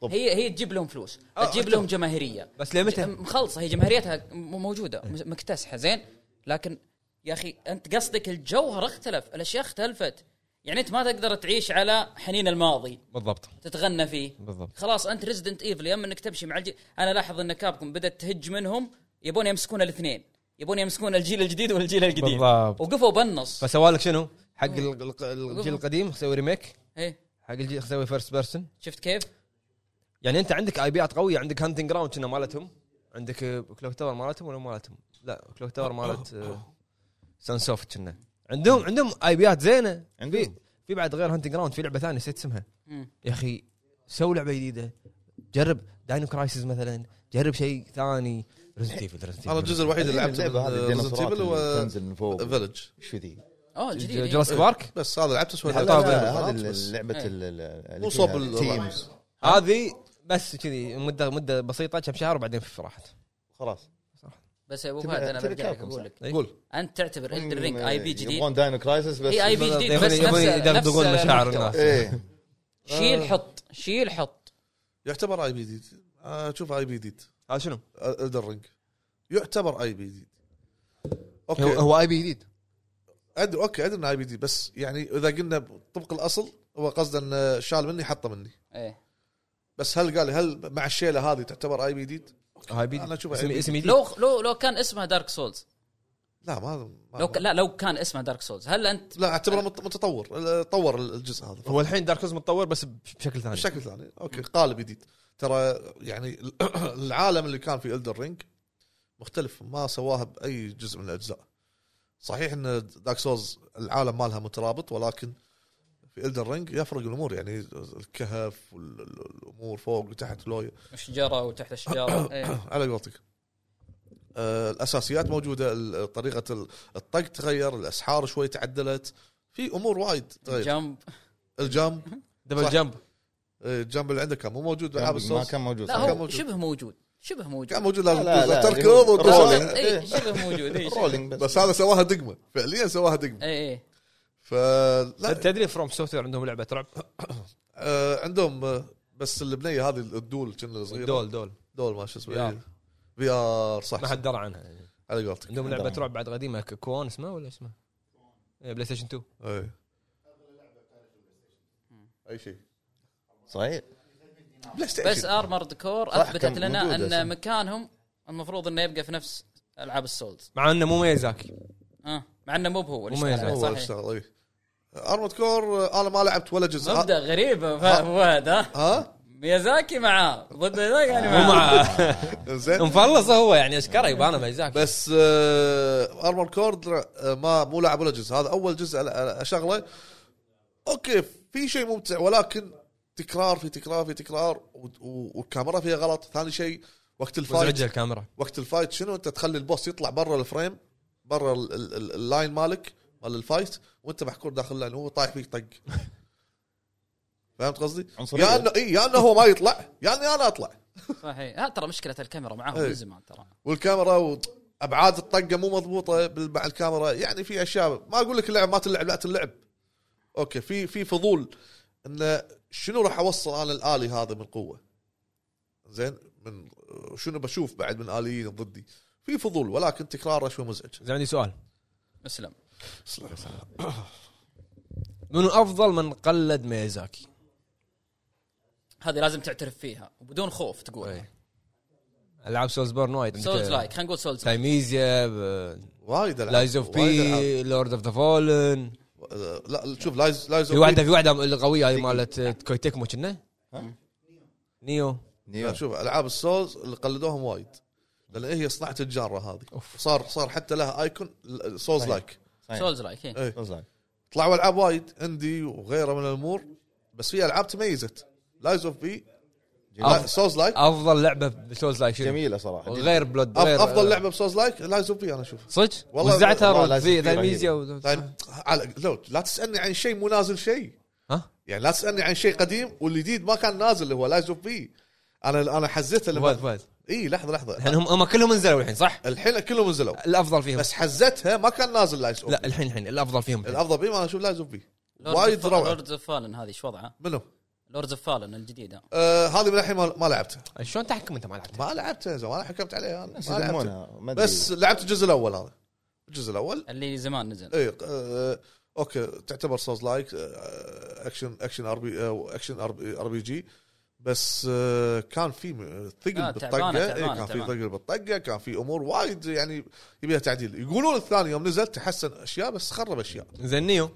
Speaker 3: هي هي تجيب لهم فلوس
Speaker 1: آه،
Speaker 3: تجيب
Speaker 1: أكيد.
Speaker 3: لهم جماهيريه
Speaker 1: بس لمتى؟ إيه.
Speaker 3: ج- مخلصه هي جماهيريتها م- موجوده م- مكتسحه زين لكن يا اخي انت قصدك الجوهر اختلف الاشياء اختلفت يعني انت ما تقدر تعيش على حنين الماضي
Speaker 1: بالضبط
Speaker 3: تتغنى فيه
Speaker 1: بالضبط
Speaker 3: خلاص انت ريزدنت ايفل يا اما انك تمشي مع الجيل انا لاحظ ان كابكم بدات تهج منهم يبون يمسكون الاثنين يبون يمسكون الجيل الجديد والجيل القديم
Speaker 1: بالضبط.
Speaker 3: وقفوا بالنص
Speaker 1: فسوالك شنو؟ حق ال- ال- الجيل القديم سوي ريميك
Speaker 3: ايه
Speaker 1: حق الجيل سوي فيرست بيرسون
Speaker 3: شفت كيف؟
Speaker 1: يعني انت عندك اي بيات قويه عندك هانتنج جراوند كنا مالتهم عندك آه، كلوك تاور مالتهم ولا مالتهم؟ لا كلوك تاور مالت سان سوفت كنا عندهم عندهم اي بيات زينه في
Speaker 9: عندهم
Speaker 1: في بعد غير هانتنج جراوند في لعبه ثانيه نسيت اسمها
Speaker 3: مم.
Speaker 1: يا اخي سوي لعبه جديده جرب داينو كرايسيس مثلا جرب شيء ثاني ريزنت ايفل
Speaker 11: انا الجزء الوحيد اللي لعبته
Speaker 9: اللعبه هذه
Speaker 11: ريزنت
Speaker 9: الديناصورات
Speaker 11: ايفل
Speaker 9: اللي تنزل من فوق
Speaker 11: وفيلج
Speaker 9: شو ذي؟
Speaker 3: اوه الجديد إيه.
Speaker 1: جوراسيك بارك
Speaker 11: بس هذا لعبته سويت
Speaker 9: لا،
Speaker 1: حطها
Speaker 9: لا،
Speaker 1: بين
Speaker 9: هذه
Speaker 11: بس.
Speaker 9: ال- لعبه
Speaker 3: إيه.
Speaker 9: ال- ال- اللي
Speaker 11: مو صوب
Speaker 9: فيها
Speaker 11: ال-
Speaker 9: teams.
Speaker 1: هذه بس كذي مده مده بسيطه كم شهر وبعدين في راحت
Speaker 9: خلاص
Speaker 3: بس يا ابو
Speaker 9: تبي-
Speaker 3: فهد انا
Speaker 9: تبي
Speaker 3: برجع لك
Speaker 9: كابكم
Speaker 3: اقول لك
Speaker 1: قول
Speaker 3: انت تعتبر الدر رينج اي بي جديد
Speaker 9: إيه، يبغون داينو كرايسس بس
Speaker 3: اي اي بي جديد
Speaker 1: يبون-
Speaker 3: بس نفس-
Speaker 1: يبون يدغدغون
Speaker 3: نفس
Speaker 1: مشاعر
Speaker 3: المحتوى.
Speaker 1: الناس
Speaker 9: ايه
Speaker 11: آه.
Speaker 3: شيل حط شيل حط
Speaker 11: يعتبر اي بي ديد اشوف اي بي ديد
Speaker 1: هذا شنو؟
Speaker 11: الدرينج يعتبر اي بي ديد
Speaker 1: هو-
Speaker 11: اوكي
Speaker 1: هو اي بي جديد
Speaker 11: أدري اوكي ادري انه اي بي دي بس يعني اذا قلنا طبق الاصل هو قصده انه شال مني حطه مني
Speaker 3: ايه
Speaker 11: إيه. بس هل قال لي هل مع الشيله هذه تعتبر اي بي دي؟
Speaker 1: اي بي
Speaker 11: أنا
Speaker 1: جديد
Speaker 11: أشوفها
Speaker 1: اسم
Speaker 11: IBD.
Speaker 1: اسم جديد
Speaker 3: لو لو لو كان اسمها دارك سولز
Speaker 11: لا ما, ما
Speaker 3: لو ك... لا لو كان اسمها دارك سولز هل انت
Speaker 11: لا اعتبره مت- متطور طور الجزء هذا
Speaker 1: هو الحين دارك سولز متطور بس بشكل ثاني
Speaker 11: بشكل ثاني اوكي قالب جديد ترى يعني العالم اللي كان في الدر رينج مختلف ما سواها باي جزء من الاجزاء صحيح ان داك سوز العالم مالها مترابط ولكن في الدن رينج يفرق الامور يعني الكهف والامور فوق وتحت لويا
Speaker 3: شجره وتحت الشجره إيه.
Speaker 11: على قولتك آه، الاساسيات موجوده ال- طريقه ال- الطق تغير الاسحار شوي تعدلت في امور وايد تغير
Speaker 3: جنب
Speaker 11: الجام
Speaker 1: دبل
Speaker 11: صح.
Speaker 1: جمب
Speaker 11: الجنب اللي عندك كان مو موجود بالعاب
Speaker 9: ما
Speaker 11: السوز
Speaker 9: كان موجود
Speaker 3: لا
Speaker 9: صراحة.
Speaker 11: كان
Speaker 3: هو
Speaker 11: موجود.
Speaker 3: شبه موجود شبه موجود
Speaker 11: كان موجود
Speaker 9: لا، لا،
Speaker 11: لازم تركض
Speaker 9: يقول
Speaker 11: وتروح.
Speaker 9: رولينج.
Speaker 3: اي شبه موجود اي شبه- إيه،
Speaker 9: رولينج بس
Speaker 11: بس هذا سواها دقمه فعليا سواها
Speaker 1: إيه.
Speaker 11: دقمه
Speaker 3: اي إي.
Speaker 11: فلا
Speaker 1: تدري فروم سوفت عندهم لعبه رعب
Speaker 11: آه، عندهم آه، بس البنيه هذه الدول كنا الصغيره
Speaker 1: دول دول
Speaker 11: دول ما شو
Speaker 1: VR.
Speaker 11: اسمه في ار صح
Speaker 1: ما حد درى عنها يعني.
Speaker 11: على قولتك
Speaker 1: عندهم
Speaker 9: ما
Speaker 1: لعبه
Speaker 9: درى
Speaker 1: رعب بعد قديمه ك- كوان اسمها ولا اسمها؟ إيه، بلاي ستيشن 2
Speaker 11: اي اي شيء
Speaker 9: صحيح
Speaker 11: بلاي
Speaker 3: بس
Speaker 11: ستيشن
Speaker 3: ارمرد كور
Speaker 9: صح،
Speaker 3: اثبتت
Speaker 9: كان
Speaker 3: لنا
Speaker 9: موجود أصلاً.
Speaker 3: ان مكانهم المفروض انه يبقى في نفس العاب السولز
Speaker 1: مع انه مو ميزاكي
Speaker 3: اه مع انه مو بهو اللي
Speaker 1: مو
Speaker 3: اشتغل عليه،
Speaker 11: هو اللي
Speaker 3: صحيح
Speaker 11: اشتغل اي ارمود كور آه، انا ما لعبت ولا جزء
Speaker 3: مبدا غريب ف- فهد ها
Speaker 11: ها
Speaker 3: ميازاكي معاه ضد ميازاكي يعني
Speaker 1: مو
Speaker 3: معاه
Speaker 1: مع
Speaker 11: زين
Speaker 1: مفلص هو يعني اشكره يبانه ميزاكي
Speaker 11: بس آه ارمور كور آه، ما مو لاعب ولا جزء هذا اول جزء أنا- أنا اشغله اوكي في شيء ممتع ولكن تكرار في تكرار في تكرار و- و- والكاميرا فيها غلط ثاني شيء وقت الفايت
Speaker 1: مزعجه الكاميرا
Speaker 11: وقت الفايت شنو انت تخلي البوس يطلع برا الفريم برا ال- ال- ال- اللاين مالك مال الفايت وانت محكور داخل اللاين هو طايح فيك طق فهمت قصدي؟
Speaker 9: عنصرية.
Speaker 11: يا انه اي يا انه هو ما يطلع يا اني انا اطلع
Speaker 3: صحيح ها ترى مشكله الكاميرا معاهم
Speaker 11: إيه.
Speaker 3: من زمان ترى
Speaker 11: والكاميرا وابعاد الطقه مو مضبوطه بال- مع الكاميرا يعني في اشياء ما اقول لك اللعب ما تلعب لا تلعب اوكي في في فضول انه شنو راح اوصل انا الالي هذا من قوه زين من شنو بشوف بعد من اليين ضدي في فضول ولكن تكراره شوي مزعج
Speaker 1: زين عندي سؤال
Speaker 3: اسلم
Speaker 1: من افضل من قلد ميزاكي
Speaker 3: هذه لازم تعترف فيها وبدون خوف تقول
Speaker 1: إيه. العاب سولز بورن وايد عندك-
Speaker 3: سولز لايك خلينا نقول سولز لايك
Speaker 1: تايميزيا
Speaker 11: وايد العاب
Speaker 1: لايز اوف
Speaker 11: وايد ألعاب.
Speaker 1: بي لورد اوف ذا فولن
Speaker 11: آه، لا شوف لايز لايز
Speaker 1: في واحده في واحده القويه هذه مالت كويتيكمو كنا
Speaker 9: ها؟
Speaker 1: نيو
Speaker 9: نيو.
Speaker 11: شوف العاب السولز اللي قلدوهم وايد لان هي صناعه الجاره هذه
Speaker 1: أوف. طيب.
Speaker 11: صار صار حتى لها ايكون سولز لايك
Speaker 9: إيه.
Speaker 3: سولز لايك إيه.
Speaker 11: إيه.
Speaker 9: أوزلاين.
Speaker 11: طلعوا العاب وايد اندي وغيره من الامور بس في العاب تميزت لايز اوف بي
Speaker 1: أف-
Speaker 11: سوز لايك
Speaker 1: افضل لعبه بسولز لايك شنو؟
Speaker 9: جميله صراحه
Speaker 1: غير بلود غير
Speaker 11: افضل لعبه بسوز لايك لايز اوف بي انا اشوف
Speaker 1: صدق
Speaker 11: والله-
Speaker 9: والله
Speaker 1: وزعتها
Speaker 9: لازم
Speaker 1: في
Speaker 9: في رهيب.
Speaker 1: تايميزيا
Speaker 11: طيب على لو لا تسالني عن شيء مو نازل شيء
Speaker 1: ها؟
Speaker 11: يعني لا تسالني عن شيء قديم والجديد ما كان نازل اللي هو لايز اوف بي انا انا حزتها
Speaker 1: فهد
Speaker 11: لما
Speaker 1: فهد
Speaker 11: اي لحظه لحظه
Speaker 1: الحين يعني هم هم كلهم نزلوا الحين صح؟
Speaker 11: الحين كلهم نزلوا
Speaker 1: الافضل فيهم
Speaker 11: بس حزتها ما كان نازل لايز اوف
Speaker 1: أيوه. لا
Speaker 11: بي
Speaker 1: الحين الحين الافضل فيهم الحين.
Speaker 11: الافضل بي ما انا اشوف لايز اوف بي وايد روعه
Speaker 3: لوردز اوف فالن هذه ايش وضعها؟
Speaker 11: منو؟
Speaker 3: لوردز اوف فالن الجديده
Speaker 11: آه هذه من الحين ما ما لعبتها
Speaker 1: شلون تحكم انت ما لعبت؟
Speaker 11: ما لعبتها يا زلمه انا حكمت عليها انا ما لعبتها
Speaker 9: يسمونها ما أدري.
Speaker 11: بس لعبت الجزء الاول هذا الجزء الاول
Speaker 3: اللي زمان نزل
Speaker 11: اي آه اوكي تعتبر سوز لايك آه، اكشن اكشن ار بي آه، اكشن ار بي جي بس آه، كان في م- ثقل
Speaker 3: آه،
Speaker 11: بالطقه
Speaker 3: تعبانة،
Speaker 11: إيه،
Speaker 3: تعبانة،
Speaker 11: كان في
Speaker 3: تعبانة.
Speaker 11: ثقل بالطقه كان في امور وايد يعني يبيها تعديل يقولون الثاني يوم نزل تحسن اشياء بس خرب اشياء
Speaker 1: زين نيو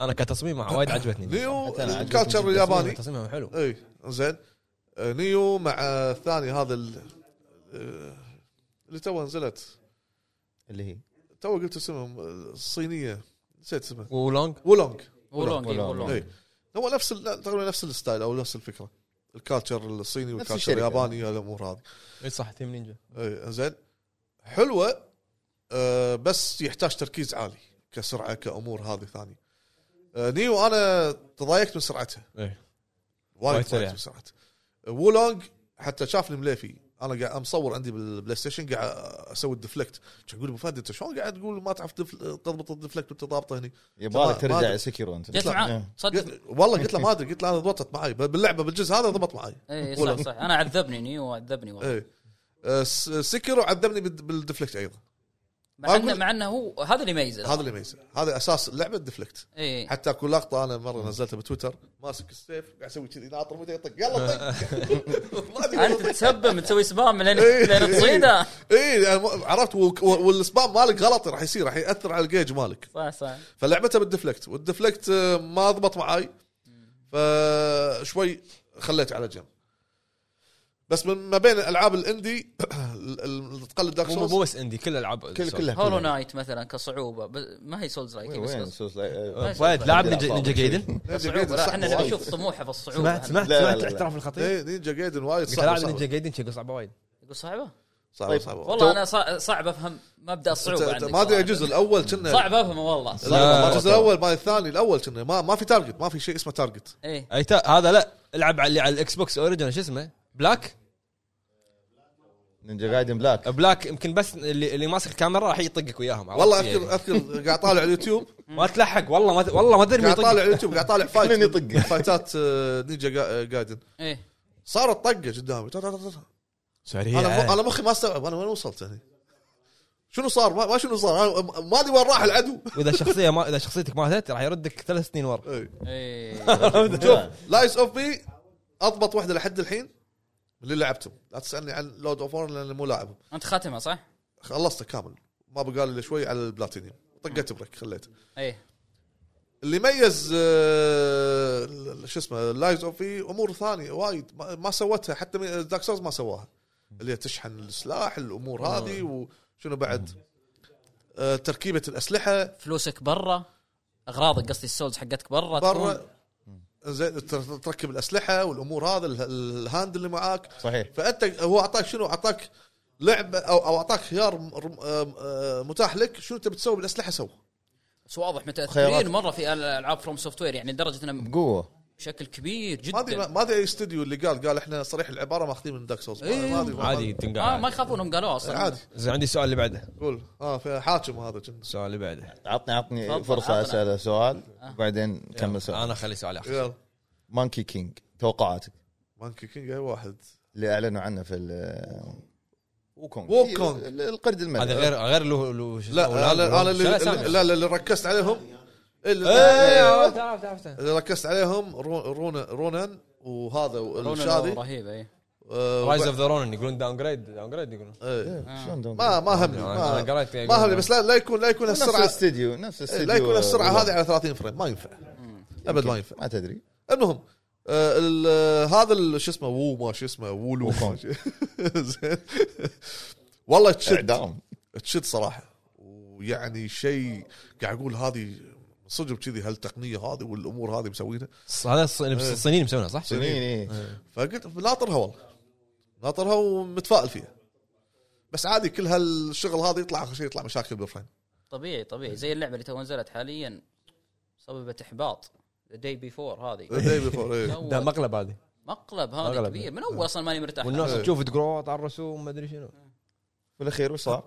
Speaker 1: انا كتصميم وايد عجبتني
Speaker 11: نيو
Speaker 9: حتى أنا عجبتني
Speaker 11: الكالتشر الياباني
Speaker 1: تصميمها حلو
Speaker 11: اي زين آه، نيو مع آه، الثاني هذا ال- آه، اللي تو نزلت
Speaker 9: اللي هي
Speaker 11: تو قلت اسمهم آه، الصينيه نسيت اسمها
Speaker 1: ولونج
Speaker 11: وولونج
Speaker 3: ولونج إيه،
Speaker 9: ولونج.
Speaker 3: ولونج
Speaker 11: اي هو نفس ال- تقريبا نفس الستايل او نفس الفكره الكالتشر الصيني والكالتشر
Speaker 9: الشركة.
Speaker 11: الياباني الامور هذه
Speaker 1: اي صح تيم نينجا
Speaker 11: اي زين حلوه إيه، آه بس يحتاج تركيز عالي كسرعه كامور هذه ثانيه آه نيو انا تضايقت من سرعتها
Speaker 1: إيه.
Speaker 11: وايد
Speaker 1: وايد
Speaker 11: تضايقت
Speaker 1: سريعة.
Speaker 11: من سرعتها وولونج حتى شافني مليفي انا قاعد مصور عندي بالبلاي ستيشن قاعد اسوي الديفلكت كان يقول ابو فهد انت شلون قاعد تقول ما تعرف دف- تضبط الديفلكت وانت ضابطه هني
Speaker 9: يبالك
Speaker 11: ما- ما أدري.
Speaker 9: ترجع سكيرو انت
Speaker 3: جت معاه صدق
Speaker 11: قلت- والله قلت له ما ادري قلت له انا ضبطت معي باللعبه بالجزء هذا ضبط معي
Speaker 3: اي
Speaker 11: ولونج.
Speaker 3: إيه، صح صح انا عذبني نيو عذبني والله
Speaker 11: ايه آه، س- سكرو عذبني بالد- بالدفلكت ايضا
Speaker 3: مع انه
Speaker 11: أقول-
Speaker 3: مع انه هو هذا اللي يميزه إيه.
Speaker 11: هذا اللي يميزه هذا اساس اللعبه الدفلكت
Speaker 3: اي
Speaker 11: حتى اكو لقطه انا مره نزلتها بتويتر ماسك السيف قاعد اسوي كذي ناطر متى يطق يلا طق ما أدري
Speaker 3: انت
Speaker 11: والله طق.
Speaker 3: تسبم تسوي سبام لين
Speaker 11: إيه.
Speaker 3: لين تصيده
Speaker 11: اي يعني مو- عرفت وك- و- والسبام مالك غلط راح يصير راح ياثر على الجيج مالك
Speaker 3: صح صح
Speaker 11: فلعبتها بالدفلكت والدفلكت آه، ما ضبط معاي فشوي خليت على جنب بس من ما بين الالعاب الاندي اللي تقلد دارك
Speaker 1: مو
Speaker 11: سولز
Speaker 1: بس اندي كل العاب
Speaker 9: كل كلها
Speaker 3: هولو
Speaker 9: كلها.
Speaker 3: نايت مثلا كصعوبه ب- ما هي سولز لايك
Speaker 9: وين
Speaker 3: بس
Speaker 9: وين
Speaker 3: بس
Speaker 9: سوس لا- آه،
Speaker 3: بس.
Speaker 1: فهد لاعب نينجا
Speaker 9: لا،
Speaker 1: نينجا جايدن
Speaker 3: صعوبه لا احنا نبي نشوف طموحه في الصعوبه
Speaker 1: سمعت سمعت
Speaker 9: لا، لا،
Speaker 1: سمعت
Speaker 9: لا.
Speaker 1: الاحتراف الخطير
Speaker 11: إيه، نينجا جايدن وايد
Speaker 1: يا أخي لاعب
Speaker 11: صعب
Speaker 1: نينجا جايدن شكله صعبه وايد
Speaker 3: يقول صعبه
Speaker 11: صعب صعب
Speaker 3: والله انا صع- صعب افهم مبدا الصعوبه عندك
Speaker 11: ما ادري
Speaker 3: صراحة.
Speaker 11: الجزء الاول كنا لا،
Speaker 3: صعب افهمه والله
Speaker 11: ما الجزء الاول ما الثاني الاول كنا ما ما في تارجت ما في شيء اسمه تارجت
Speaker 3: ايه
Speaker 1: اي تا- هذا لا العب على اللي على الاكس بوكس اوريجن شو اسمه بلاك
Speaker 9: نينجا جايدن بلاك
Speaker 1: بلاك يمكن بس اللي, اللي ماسك الكاميرا راح يطقك وياهم عرفت؟
Speaker 11: والله
Speaker 1: يعني.
Speaker 11: اذكر اذكر قاعد طالع اليوتيوب
Speaker 1: ما تلحق والله ما والله ما ادري مين
Speaker 11: قاعد طالع
Speaker 1: يطقك
Speaker 11: اليوتيوب قاعد طالع فايت
Speaker 9: كلن يطق.
Speaker 11: فايتات آه، نينجا جا- جايدن
Speaker 3: ايه
Speaker 11: صارت طقه قدامي تا- تا- تا- تا. انا
Speaker 1: سريع
Speaker 11: انا مخي ما استوعب انا وين وصلت هني شنو صار ما, ما شنو صار أنا ما- ما ادري وين راح العدو
Speaker 1: واذا الشخصيه ما اذا شخصيتك ماتت راح يردك ثلاث سنين ورا
Speaker 11: إيه.
Speaker 3: ايه
Speaker 11: لايس اوف بي اضبط واحده لحد الحين اللي لعبته لا تسالني عن لود اوف لان مو لاعبه
Speaker 3: انت خاتمها صح؟
Speaker 11: خلصته كامل ما بقى لي إلا شوي على البلاتينيوم طقيت بريك خليته
Speaker 3: ايه
Speaker 11: اللي ميز آه، ال- شو اسمه لايز اوف في امور ثانيه وايد ما ما سوتها حتى دارك سولز ما سواها اللي هي تشحن السلاح الامور هذه وشنو بعد آه، تركيبه الاسلحه
Speaker 3: فلوسك برا اغراضك قصدي السولز حقتك برا
Speaker 11: برا زين تر- تركب الاسلحه والامور هذا ال- الهاند اللي معاك
Speaker 9: صحيح
Speaker 11: فانت هو اعطاك شنو اعطاك لعبه او او اعطاك خيار م- رم- آم- آه، متاح لك شنو تبي تسوي بالاسلحه سو
Speaker 3: بس واضح
Speaker 9: خيارات.
Speaker 3: متاثرين مره في العاب فروم سوفت وير يعني لدرجه انه
Speaker 9: بقوه
Speaker 3: بشكل كبير
Speaker 11: ما ادري
Speaker 3: جدا
Speaker 11: ما ادري اي استوديو اللي قال قال احنا صريح العباره ماخذين من دارك سولز ما- ما أدري- ما-
Speaker 1: إيه، عادي
Speaker 3: ما, آه، ما
Speaker 1: تنقع
Speaker 3: يخافونهم قالوها اصلا
Speaker 11: عادي
Speaker 1: زين عندي السؤال اللي بعده
Speaker 11: قول اه في حاكم هذا جند.
Speaker 1: السؤال اللي بعده
Speaker 3: تفضل،
Speaker 9: عطني عطني فرصه
Speaker 3: عطنا.
Speaker 9: اسال سؤال
Speaker 11: آه.
Speaker 9: وبعدين كمل
Speaker 11: طيب.
Speaker 9: سؤال
Speaker 1: انا اخلي سؤالي اخر
Speaker 11: يلا
Speaker 9: مانكي كينج توقعاتك
Speaker 11: مانكي كينج اي واحد
Speaker 9: اللي اعلنوا عنه في ال- ووكونج
Speaker 11: ووكونج.
Speaker 9: ال- القرد الملك
Speaker 1: هذا غير غير له له شو
Speaker 11: إيه، لا
Speaker 1: اسمه،
Speaker 11: انا
Speaker 1: ولا-
Speaker 11: انا اللي
Speaker 1: لا، سامع.
Speaker 11: لا لا اللي ركزت عليهم
Speaker 1: إيه،
Speaker 11: اللي
Speaker 1: عرفت، عرفت، عرفت.
Speaker 11: اللي ركزت عليهم رو- رونا رونان وهذا والشاذي
Speaker 3: رهيبه ايه
Speaker 11: آه،
Speaker 1: رايز اوف ذا رونن يقولون داون جريد داون جريد يقولون
Speaker 11: إيه.
Speaker 9: شلون دون-
Speaker 11: ما ما همني
Speaker 1: انا
Speaker 11: ما,
Speaker 1: قريت
Speaker 11: ما همني بس لا, لا يكون لا يكون
Speaker 9: نفس
Speaker 11: السرعه
Speaker 9: الاستديو نفس الاستديو
Speaker 11: لا يكون السرعه
Speaker 9: والله.
Speaker 11: هذه على 30 فريم ما ينفع ابد ما ينفع
Speaker 9: ما تدري
Speaker 11: المهم آه، ال- آه، هذا ال- شو اسمه وو ما شو اسمه وولو
Speaker 9: وكونج.
Speaker 11: زين والله تشد
Speaker 9: اعدام
Speaker 11: تشد صراحه ويعني شيء قاعد اقول هذه صدق كذي هالتقنيه هذه والامور هذه مسوينها
Speaker 1: هذا الص-
Speaker 11: إيه.
Speaker 1: الصينيين مسوينها صح؟
Speaker 9: سنين إيه.
Speaker 11: آه. فقلت ناطرها والله ناطرها ومتفائل فيها بس عادي كل هالشغل هذا يطلع اخر شيء يطلع مشاكل بالفريم
Speaker 3: طبيعي طبيعي زي اللعبه اللي تو نزلت حاليا سببت احباط ذا داي بيفور هذه
Speaker 11: Day before، إيه.
Speaker 1: ده
Speaker 3: أول
Speaker 1: مقلب هذه
Speaker 3: مقلب هذا
Speaker 1: مقلب.
Speaker 3: كبير من اول اصلا ماني مرتاح
Speaker 1: والناس
Speaker 11: إيه.
Speaker 1: تشوف تقول "أوه، طار الرسوم ما ادري شنو
Speaker 9: بالاخير وش صار؟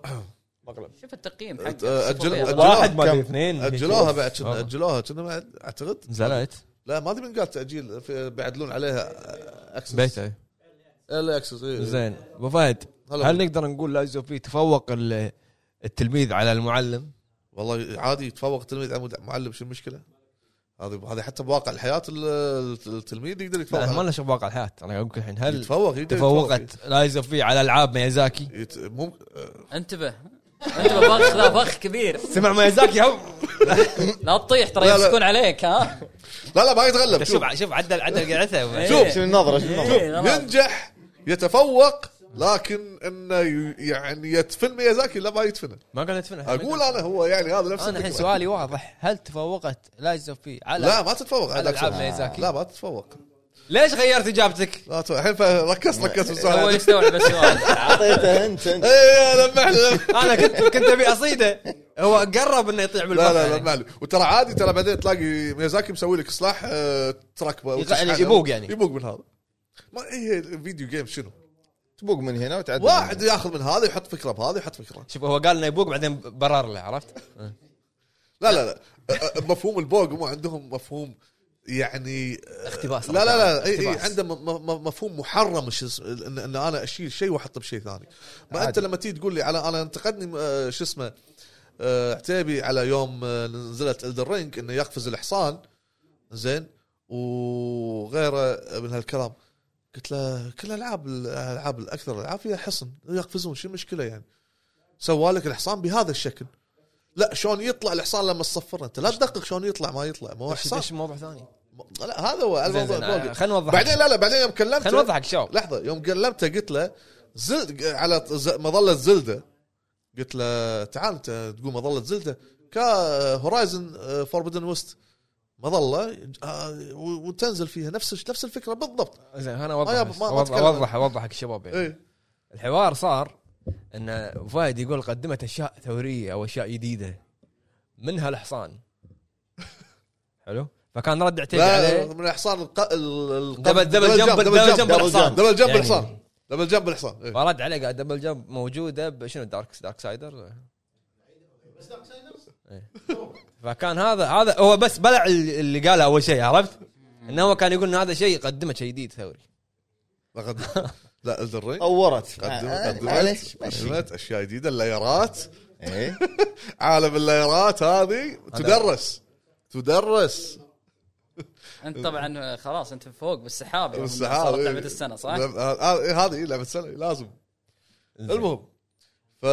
Speaker 1: مقلب
Speaker 3: شوف التقييم حقه
Speaker 11: أجل-
Speaker 3: صفر.
Speaker 11: أجل-
Speaker 1: واحد ما
Speaker 9: كم-
Speaker 1: ادري اثنين
Speaker 11: اجلوها بعد كنا
Speaker 1: والله.
Speaker 11: اجلوها كنا بعد اعتقد
Speaker 1: نزلت
Speaker 11: لا ما ادري من قال تاجيل في- بيعدلون عليها اكسس
Speaker 1: بيته
Speaker 11: الا اكسس إيه.
Speaker 1: زين ابو فهد
Speaker 11: هلا.
Speaker 1: هل نقدر نقول لايز اوف بي تفوق ال- التلميذ على المعلم؟
Speaker 11: والله عادي يتفوق التلميذ على مد- معلم شو المشكله؟ هذه هذه حتى بواقع الحياه ال- التلميذ يقدر يتفوق
Speaker 1: لا ما
Speaker 11: على-
Speaker 1: لنا شغل واقع الحياه انا اقول لك الحين هل
Speaker 11: يتفوق يقدر يتفوق.
Speaker 1: تفوقت لايز اوف بي على العاب ميازاكي؟
Speaker 11: يت... ممكن
Speaker 3: انتبه انتبه بخ لا بخ كبير
Speaker 1: سمع ميازاكي هم
Speaker 3: لا تطيح ترى
Speaker 11: لا، لا.
Speaker 3: يمسكون عليك ها
Speaker 11: لا لا ما يتغلب شوف
Speaker 1: شوف شوف عدل عدل قعدته
Speaker 3: إيه.
Speaker 9: شوف النظره شوف النظره
Speaker 3: إيه، خلاص.
Speaker 11: ينجح يتفوق لكن انه ي- يعني يدفن ميازاكي لا ما يدفنه
Speaker 1: ما قالت فينا
Speaker 11: اقول انا هو يعني هذا نفس
Speaker 1: انا الحين
Speaker 11: الفكرة.
Speaker 1: سؤالي واضح هل تفوقت لايز اوف بي على
Speaker 11: لا ما تتفوق
Speaker 1: على
Speaker 11: على
Speaker 1: العاب
Speaker 11: أكسس.
Speaker 1: ميازاكي
Speaker 11: لا ما تتفوق
Speaker 1: ليش غيرت اجابتك؟
Speaker 11: لا تتفوق. الحين ركزت ركزت
Speaker 3: هو
Speaker 11: بالسؤال
Speaker 3: يستوعب السؤال
Speaker 9: اعطيته انت انت
Speaker 11: اي لمح لي لمح.
Speaker 1: انا كنت كنت ابي اصيده هو قرب انه يطيع بالبحر
Speaker 11: لا لا لمح لي وترى عادي ترى بعدين تلاقي ميازاكي مسوي لك اصلاح آه، تركبه وتشحنه.
Speaker 1: يعني يبوق يعني.
Speaker 11: يبوق من هذا ما هي الفيديو جيم شنو؟
Speaker 9: تبوق من هنا وتعدل من
Speaker 11: واحد
Speaker 9: هنا.
Speaker 11: ياخذ من هذا يحط فكره بهذا يحط فكره
Speaker 1: شوف هو قال انه يبوق بعدين برر له عرفت؟
Speaker 11: لا لا لا أ- أ- مفهوم البوق هم عندهم مفهوم يعني
Speaker 1: اقتباس
Speaker 11: لا لا لا إيه، اي اي عنده م- م- م- مفهوم محرم شو اسمه، ان ان انا اشيل شيء واحطه بشيء ثاني ما انت
Speaker 9: عادي.
Speaker 11: لما تيجي تقول لي على انا انتقدني آه، شو اسمه آه، عتيبي على يوم آه، نزلت الدر رينج انه يقفز الحصان زين وغيره من هالكلام قلت له كل الالعاب الالعاب الاكثر الالعاب فيها حصن يقفزون شو المشكله يعني سوالك الحصان بهذا الشكل لا شلون يطلع الحصان لما تصفر انت لا تدقق شلون يطلع ما يطلع ما هو حصان
Speaker 1: ايش موضوع ثاني؟
Speaker 11: م- لا هذا هو
Speaker 1: زين
Speaker 11: الموضوع
Speaker 1: زين آه،
Speaker 11: الموقف.
Speaker 1: خلينا نوضح
Speaker 11: بعدين لا لا بعدين يوم كلمته
Speaker 1: خلينا نوضحك شباب
Speaker 11: لحظه يوم كلمته قلت له زل على ز- مظله زلده قلت له تعال انت تقول مظله زلده كا آه، هورايزن فوربدن ويست مظله آه، و- وتنزل فيها نفس الش- نفس الفكره بالضبط
Speaker 1: زين انا
Speaker 11: آه،
Speaker 1: اوضح
Speaker 11: ما-
Speaker 1: بس.
Speaker 11: ما إيه.
Speaker 1: اوضح
Speaker 11: أتكلم.
Speaker 1: اوضح اوضحك الشباب يعني.
Speaker 11: اي
Speaker 1: الحوار صار ان فهد يقول قدمت اشياء ثوريه او اشياء جديده منها الحصان حلو فكان رد اعتداء
Speaker 11: لا
Speaker 1: عليه
Speaker 11: من الحصان الق... ال- ال-
Speaker 1: دبل- دبل جمب- دبل جمب الحصان.
Speaker 11: دبل جنب
Speaker 1: يعني.
Speaker 11: الحصان دبل جنب الحصان إيه.
Speaker 1: فرد عليه قال دبل جمب موجوده بشنو دارك دارك سايدر إيه. فكان هذا هذا هو بس بلع ال- اللي قاله اول شيء عرفت؟ انه هو كان يقول ان هذا شيء قدمه شيء جديد ثوري
Speaker 11: لقد- لا الدرين
Speaker 9: طورت آه، معليش
Speaker 11: قدمت
Speaker 9: ماشي.
Speaker 11: قدمت اشياء جديده اللايرات
Speaker 9: إيه.
Speaker 11: عالم اللايرات هذه تدرس تدرس
Speaker 3: انت طبعا خلاص انت فوق بالسحاب
Speaker 9: أيوة،
Speaker 3: يوم
Speaker 11: السحاب
Speaker 3: صارت
Speaker 11: إيه.
Speaker 3: لعبه السنه صح؟
Speaker 11: لعب- آه، آه، هذه لعبه السنه لازم المهم ف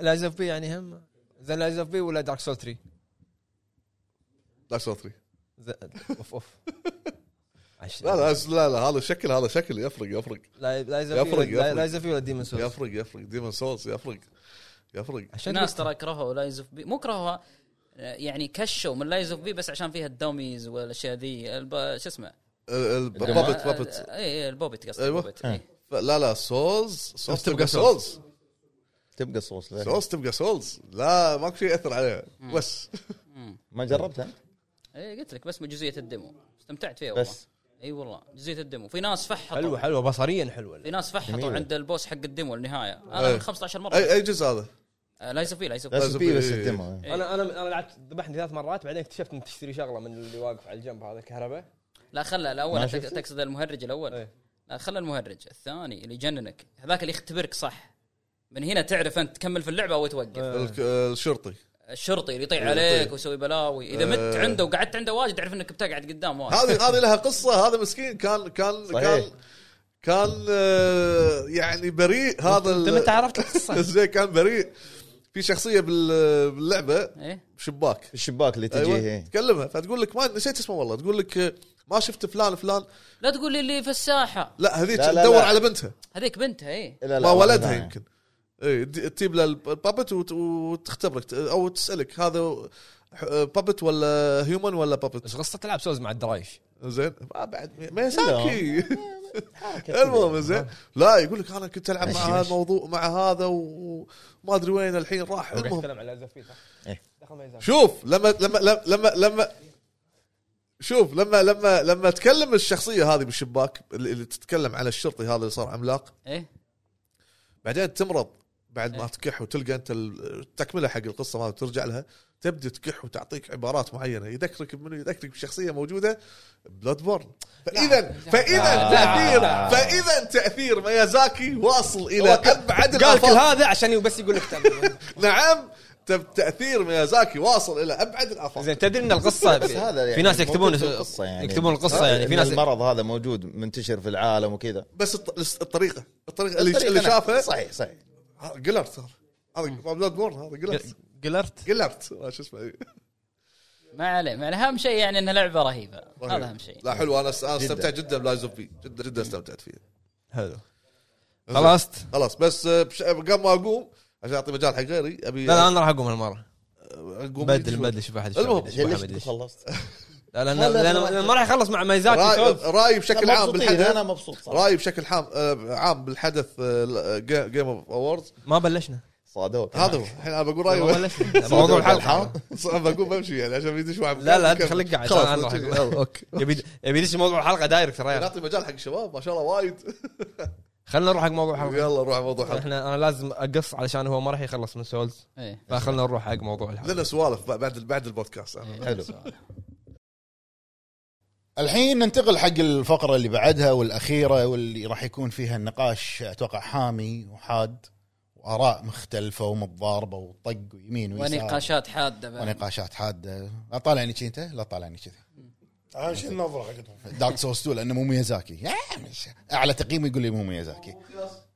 Speaker 1: لايز اوف بي يعني هم زين لايز اوف بي ولا دارك سول 3
Speaker 11: دارك سول 3
Speaker 1: اوف اوف عشان-
Speaker 11: لا لا لا لا هذا شكل هذا شكل يفرق يفرق
Speaker 1: لا لايز
Speaker 11: يفرق-
Speaker 1: اوف بي
Speaker 11: يفرق.
Speaker 1: لا- لايز اوف بي ولا ديمون سولز
Speaker 11: يفرق يفرق ديمون سولز يفرق يفرق
Speaker 3: في
Speaker 1: عشان
Speaker 3: ناس ترى كرهوا لايز اوف بي مو كرهوها آه، يعني كشوا من لايز اوف بي بس عشان فيها الدوميز والاشياء ذي الب... شو اسمه؟
Speaker 11: البابت
Speaker 3: آه،
Speaker 11: بابت
Speaker 3: آه، اي إي، البوبت قصدي
Speaker 11: أيوة.
Speaker 3: البوبت،
Speaker 9: إيه.
Speaker 3: إي.
Speaker 11: لا لا سولز سولز
Speaker 1: تبقى
Speaker 11: تبقى
Speaker 1: سولز.
Speaker 11: سولز
Speaker 9: تبقى صوص لا.
Speaker 11: سولز تبقى سولز لا ماكو شيء ياثر عليها بس
Speaker 9: ما جربتها
Speaker 3: اي إيه، قلت لك بس من جزئيه الديمو استمتعت فيها والله
Speaker 9: بس
Speaker 3: اي والله جزئيه الديمو في ناس فحطوا
Speaker 1: حلوه حلوه بصريا حلوه
Speaker 3: في ناس فحطوا
Speaker 9: جميلة.
Speaker 3: عند البوس حق الديمو النهايه انا
Speaker 11: أي.
Speaker 3: من 15 مره
Speaker 11: اي اي جزء هذا
Speaker 3: آه، لايز اوف بي لايز اوف بي
Speaker 9: بس
Speaker 11: لازم بي-
Speaker 9: بي بس الدمو
Speaker 3: إيه.
Speaker 1: انا انا انا لعبت ذبحني ثلاث مرات بعدين اكتشفت ان تشتري شغله من اللي واقف على الجنب هذا الكهرباء
Speaker 3: لا خلى
Speaker 9: ما
Speaker 3: الاول تك-
Speaker 9: شفته؟
Speaker 3: تقصد المهرج الاول
Speaker 1: إيه.
Speaker 3: لا خلى المهرج الثاني اللي يجننك هذاك اللي يختبرك صح من هنا تعرف انت تكمل في اللعبه او توقف
Speaker 9: إيه.
Speaker 11: الك- الشرطي
Speaker 3: الشرطي اللي يطيع
Speaker 11: اللي
Speaker 3: عليك
Speaker 11: يطيع.
Speaker 3: ويسوي بلاوي اذا مت
Speaker 9: إيه.
Speaker 11: آه.
Speaker 3: عنده وقعدت عنده واجد تعرف انك بتقعد قدام واجد
Speaker 11: هذه هذه لها قصه هذا مسكين كان كان
Speaker 9: صحيح.
Speaker 11: كان كان آه، يعني بريء هذا
Speaker 1: انت
Speaker 11: ال-
Speaker 1: متى عرفت القصه؟
Speaker 11: زين كان بريء في شخصيه بال- باللعبه
Speaker 3: ايه
Speaker 11: شباك أيوة.
Speaker 9: الشباك اللي تجي هي.
Speaker 11: تكلمها فتقول لك ما نسيت اسمه والله تقول لك آه، ما شفت فلان فلان
Speaker 3: لا تقول لي اللي في الساحه
Speaker 11: لا هذيك
Speaker 9: لا، لا،
Speaker 11: تدور
Speaker 9: لا.
Speaker 11: على بنتها
Speaker 3: هذيك بنتها ايه
Speaker 9: لا
Speaker 11: ما ولدها
Speaker 9: والله.
Speaker 11: يمكن اي د- تجيب له الب- البابت وت- وتختبرك ت- او تسالك هذا ح- بابت ولا هيومن ولا بابت
Speaker 1: ايش قصه تلعب سوز مع الدرايش؟
Speaker 11: زين ما بعد ما يساكي المهم زين لا يقول لك انا كنت العب مع
Speaker 9: مشي،
Speaker 11: هذا
Speaker 9: مشي.
Speaker 11: الموضوع مع هذا و- وما ادري وين الحين راح المهم
Speaker 1: تتكلم على زفي صح؟
Speaker 9: إيه.
Speaker 1: دخل ما يزال.
Speaker 11: شوف لما لما لما لما, لما شوف لما لما لما تكلم الشخصيه هذه بالشباك اللي اللي تتكلم على الشرطي هذا اللي صار عملاق
Speaker 3: ايه
Speaker 11: بعدين تمرض بعد ما
Speaker 3: إيه.
Speaker 11: تكح وتلقى انت ال- التكمله حق القصه ما ترجع لها تبدا تكح وتعطيك عبارات معينه يذكرك بمنو يذكرك بشخصيه موجوده بلاد بورن فاذا فاذا تاثير فاذا تاثير ميازاكي واصل الى ابعد
Speaker 1: قال كل
Speaker 11: الافاق
Speaker 1: هذا عشان بس يقول لك تم.
Speaker 11: نعم تب- تاثير ميازاكي واصل الى ابعد الافاق
Speaker 1: زين تدري ان القصه
Speaker 9: بس هذا
Speaker 1: في
Speaker 9: يعني
Speaker 1: في ناس يكتبون
Speaker 9: موجود في القصة يعني.
Speaker 1: يكتبون القصه يعني في
Speaker 9: إن
Speaker 1: ناس
Speaker 9: المرض هذا موجود منتشر في العالم وكذا
Speaker 11: بس الط- الطريقه الطريقه اللي, اللي شافها
Speaker 9: صحيح صحيح
Speaker 11: هذا جلرت هذا هذا بلاد بورن هذا جلرت
Speaker 1: قلرت
Speaker 11: جلرت ما شو اسمه
Speaker 3: ما عليه ما عليه اهم شيء يعني انها لعبه رهيبه هذا اهم شيء
Speaker 11: لا حلو انا أس- أنا استمتعت جدا بلايز اوف بي جدا جدا استمتعت فيه
Speaker 1: حلو خلصت؟
Speaker 11: خلاص بس آه، بش- قبل ما اقوم عشان اعطي مجال حق غيري ابي
Speaker 1: لا لا انا راح اقوم هالمره
Speaker 11: آه، اقوم
Speaker 1: بدل بدل شوف احد يشوف
Speaker 11: المهم.
Speaker 1: أحد يشوف
Speaker 9: ليش
Speaker 1: أحد يشوف.
Speaker 9: خلصت؟
Speaker 1: لا لان
Speaker 9: لا، لا،
Speaker 1: لأن-
Speaker 9: لا،
Speaker 1: لأن ما راح يخلص مع ميزاكي
Speaker 11: راي,
Speaker 1: سولز
Speaker 11: رأي آه، بشكل عام
Speaker 9: مبسوطين، انا
Speaker 11: بالحدث
Speaker 9: مبسوط صراحة.
Speaker 11: راي بشكل عام آه، عام بالحدث آه، جيم اوف اووردز
Speaker 1: ما بلشنا
Speaker 9: صادوك
Speaker 11: هذا هو الحين انا بقول
Speaker 3: طيب.
Speaker 1: ما
Speaker 11: رايي
Speaker 1: بلشنا موضوع الحلقه
Speaker 11: صعب بقول بمشي يعني عشان بيدش واحد
Speaker 1: لا لا انت
Speaker 11: بيكمل.
Speaker 1: خليك قاعد
Speaker 11: خلاص
Speaker 1: انا راح
Speaker 11: بتشي-
Speaker 1: أقول.
Speaker 11: يلا، اوكي
Speaker 1: يبي يبي يدش موضوع الحلقه دايركت ريال
Speaker 11: نعطي مجال حق الشباب ما شاء الله وايد
Speaker 1: خلينا نروح حق موضوع الحلقه
Speaker 11: يلا نروح موضوع حلقه
Speaker 1: احنا انا لازم اقص علشان هو ما راح يخلص من سولز
Speaker 3: ايه
Speaker 1: فخلنا نروح حق موضوع الحلقه
Speaker 11: لنا سوالف بعد بعد البودكاست
Speaker 1: آه.
Speaker 9: حلو
Speaker 4: الحين ننتقل حق الفقرة اللي بعدها والأخيرة واللي راح يكون فيها النقاش أتوقع حامي وحاد وآراء مختلفة ومتضاربة وطق ويمين ويسار
Speaker 3: ونقاشات حاده بعد.
Speaker 4: ونقاشات حادة لا طالعني كذي أنت لا طالعني كذي
Speaker 2: اهم شيء النظره حقتهم
Speaker 4: دارك سورس 2 لأنه مو ميازاكي يا مش- أعلى تقييم يقول لي مو ميازاكي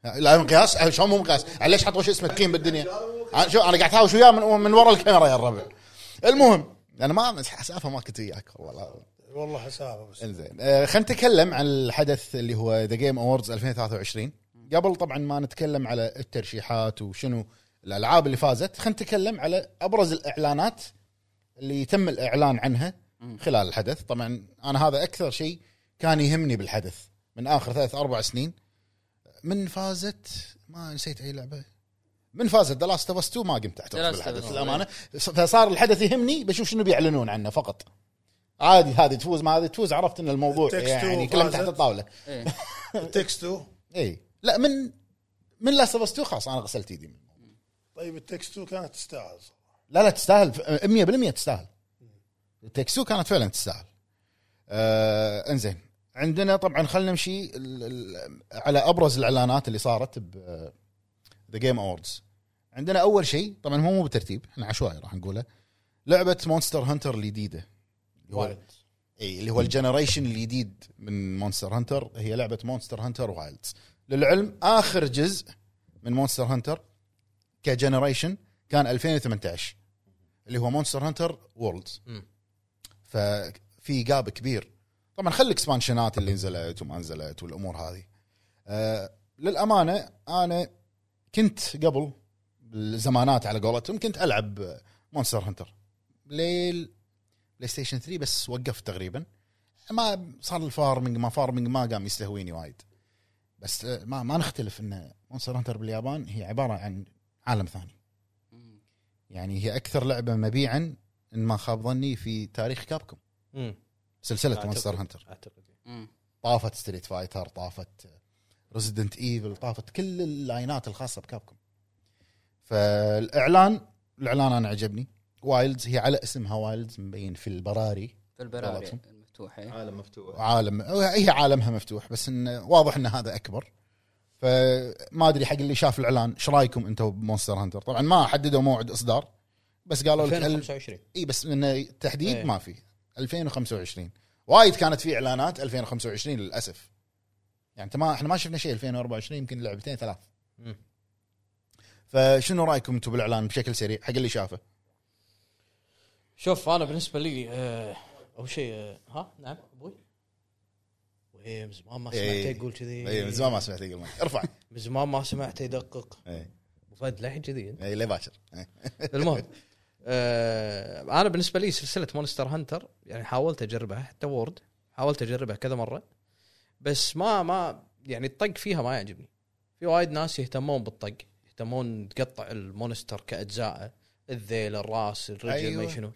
Speaker 4: لا مو مقياس شلون مو مقياس ليش حطوا شو اسمه تقييم بالدنيا أنا- شو أنا قاعد أحاوش وياه من, من ورا الكاميرا يا الربع المهم أنا ما أسافة ما كنت وياك والله
Speaker 2: والله حسابه بس
Speaker 4: انزين آه خلينا نتكلم عن الحدث اللي هو ذا جيم اووردز 2023 قبل طبعا ما نتكلم على الترشيحات وشنو الالعاب اللي فازت خلينا نتكلم على ابرز الاعلانات اللي تم الاعلان عنها خلال الحدث طبعا انا هذا اكثر شيء كان يهمني بالحدث من اخر ثلاث اربع سنين من فازت ما نسيت اي لعبه من فازت ذا لاست اوف 2 ما قمت
Speaker 3: The Last
Speaker 4: اعترف
Speaker 3: of
Speaker 4: بالحدث
Speaker 3: Us.
Speaker 4: للامانه فصار الحدث يهمني بشوف شنو بيعلنون عنه فقط عادي هذه تفوز ما هذه تفوز عرفت ان الموضوع
Speaker 2: التكست
Speaker 4: يعني
Speaker 2: وفازت.
Speaker 4: كلام تحت الطاوله
Speaker 3: إيه.
Speaker 2: التكستو
Speaker 4: اي لا من من لاست اوف 2 خلاص انا غسلت ايدي منه.
Speaker 2: طيب التكستو كانت تستاهل صراحة.
Speaker 4: لا لا تستاهل 100% تستاهل تكسو كانت فعلا تستاهل آه انزين عندنا طبعا خلينا نمشي ال- ال- على ابرز الاعلانات اللي صارت ب ذا جيم اووردز عندنا اول شيء طبعا هو مو بالترتيب احنا عشوائي راح نقوله لعبه مونستر هانتر الجديده اللي هو- اي اللي هو الجنريشن الجديد من مونستر هانتر هي لعبه مونستر هانتر وايلدز للعلم اخر جزء من مونستر هانتر كجنريشن كان 2018 اللي هو مونستر هانتر وورلدز
Speaker 1: مم.
Speaker 4: ففي جاب كبير طبعا خلي الاكسبانشنات اللي نزلت وما نزلت والامور هذه آه للامانه انا كنت قبل الزمانات على قولتهم كنت العب مونستر هانتر ليل بلاي ستيشن 3 بس وقفت تقريبا ما صار الفارمنج ما فارمنج ما قام يستهويني وايد بس آه، ما ما نختلف ان مونستر هانتر باليابان هي عباره عن عالم ثاني يعني هي اكثر لعبه مبيعا ان ما خاب ظني في تاريخ كابكم
Speaker 1: مم.
Speaker 4: سلسله
Speaker 5: أعتقد.
Speaker 4: مونستر هانتر
Speaker 5: اعتقد
Speaker 3: مم.
Speaker 4: طافت ستريت فايتر طافت ريزيدنت ايفل طافت كل اللاينات الخاصه بكابكم فالاعلان الاعلان انا عجبني وايلدز هي على اسمها وايلدز مبين في البراري
Speaker 3: في البراري
Speaker 4: غلطهم.
Speaker 3: المفتوحه إيه.
Speaker 8: عالم مفتوح
Speaker 4: عالم هي عالمها مفتوح بس انه واضح ان هذا اكبر فما ادري حق اللي شاف الاعلان ايش رايكم انتم بمونستر هانتر طبعا ما حددوا موعد اصدار بس قالوا لك ال-
Speaker 5: 2025
Speaker 4: اي إيه، بس من التحديد
Speaker 5: إيه.
Speaker 4: ما في 2025 وايد كانت في اعلانات 2025 للاسف يعني انت ما احنا ما شفنا شيء 2024 يمكن لعبتين ثلاث
Speaker 1: مم.
Speaker 4: فشنو رايكم انتم بالاعلان بشكل سريع حق اللي شافه
Speaker 5: شوف انا بالنسبه لي آه، اول شيء آه، ها نعم ابوي ايه من زمان ما
Speaker 4: إيه.
Speaker 5: سمعته يقول كذي
Speaker 4: اي من زمان ما سمعت يقول ارفع
Speaker 5: من زمان ما سمعته يدقق
Speaker 4: اي
Speaker 5: أبو فهد للحين كذي
Speaker 4: اي ليه باكر إيه.
Speaker 5: المهم آه انا بالنسبه لي سلسله مونستر هانتر يعني حاولت اجربها حتى وورد حاولت اجربها كذا مره بس ما ما يعني الطق فيها ما يعجبني في وايد ناس يهتمون بالطق يهتمون تقطع المونستر كاجزائه الذيل الراس الرجل أيوة.
Speaker 4: أيوة.
Speaker 5: ما شنو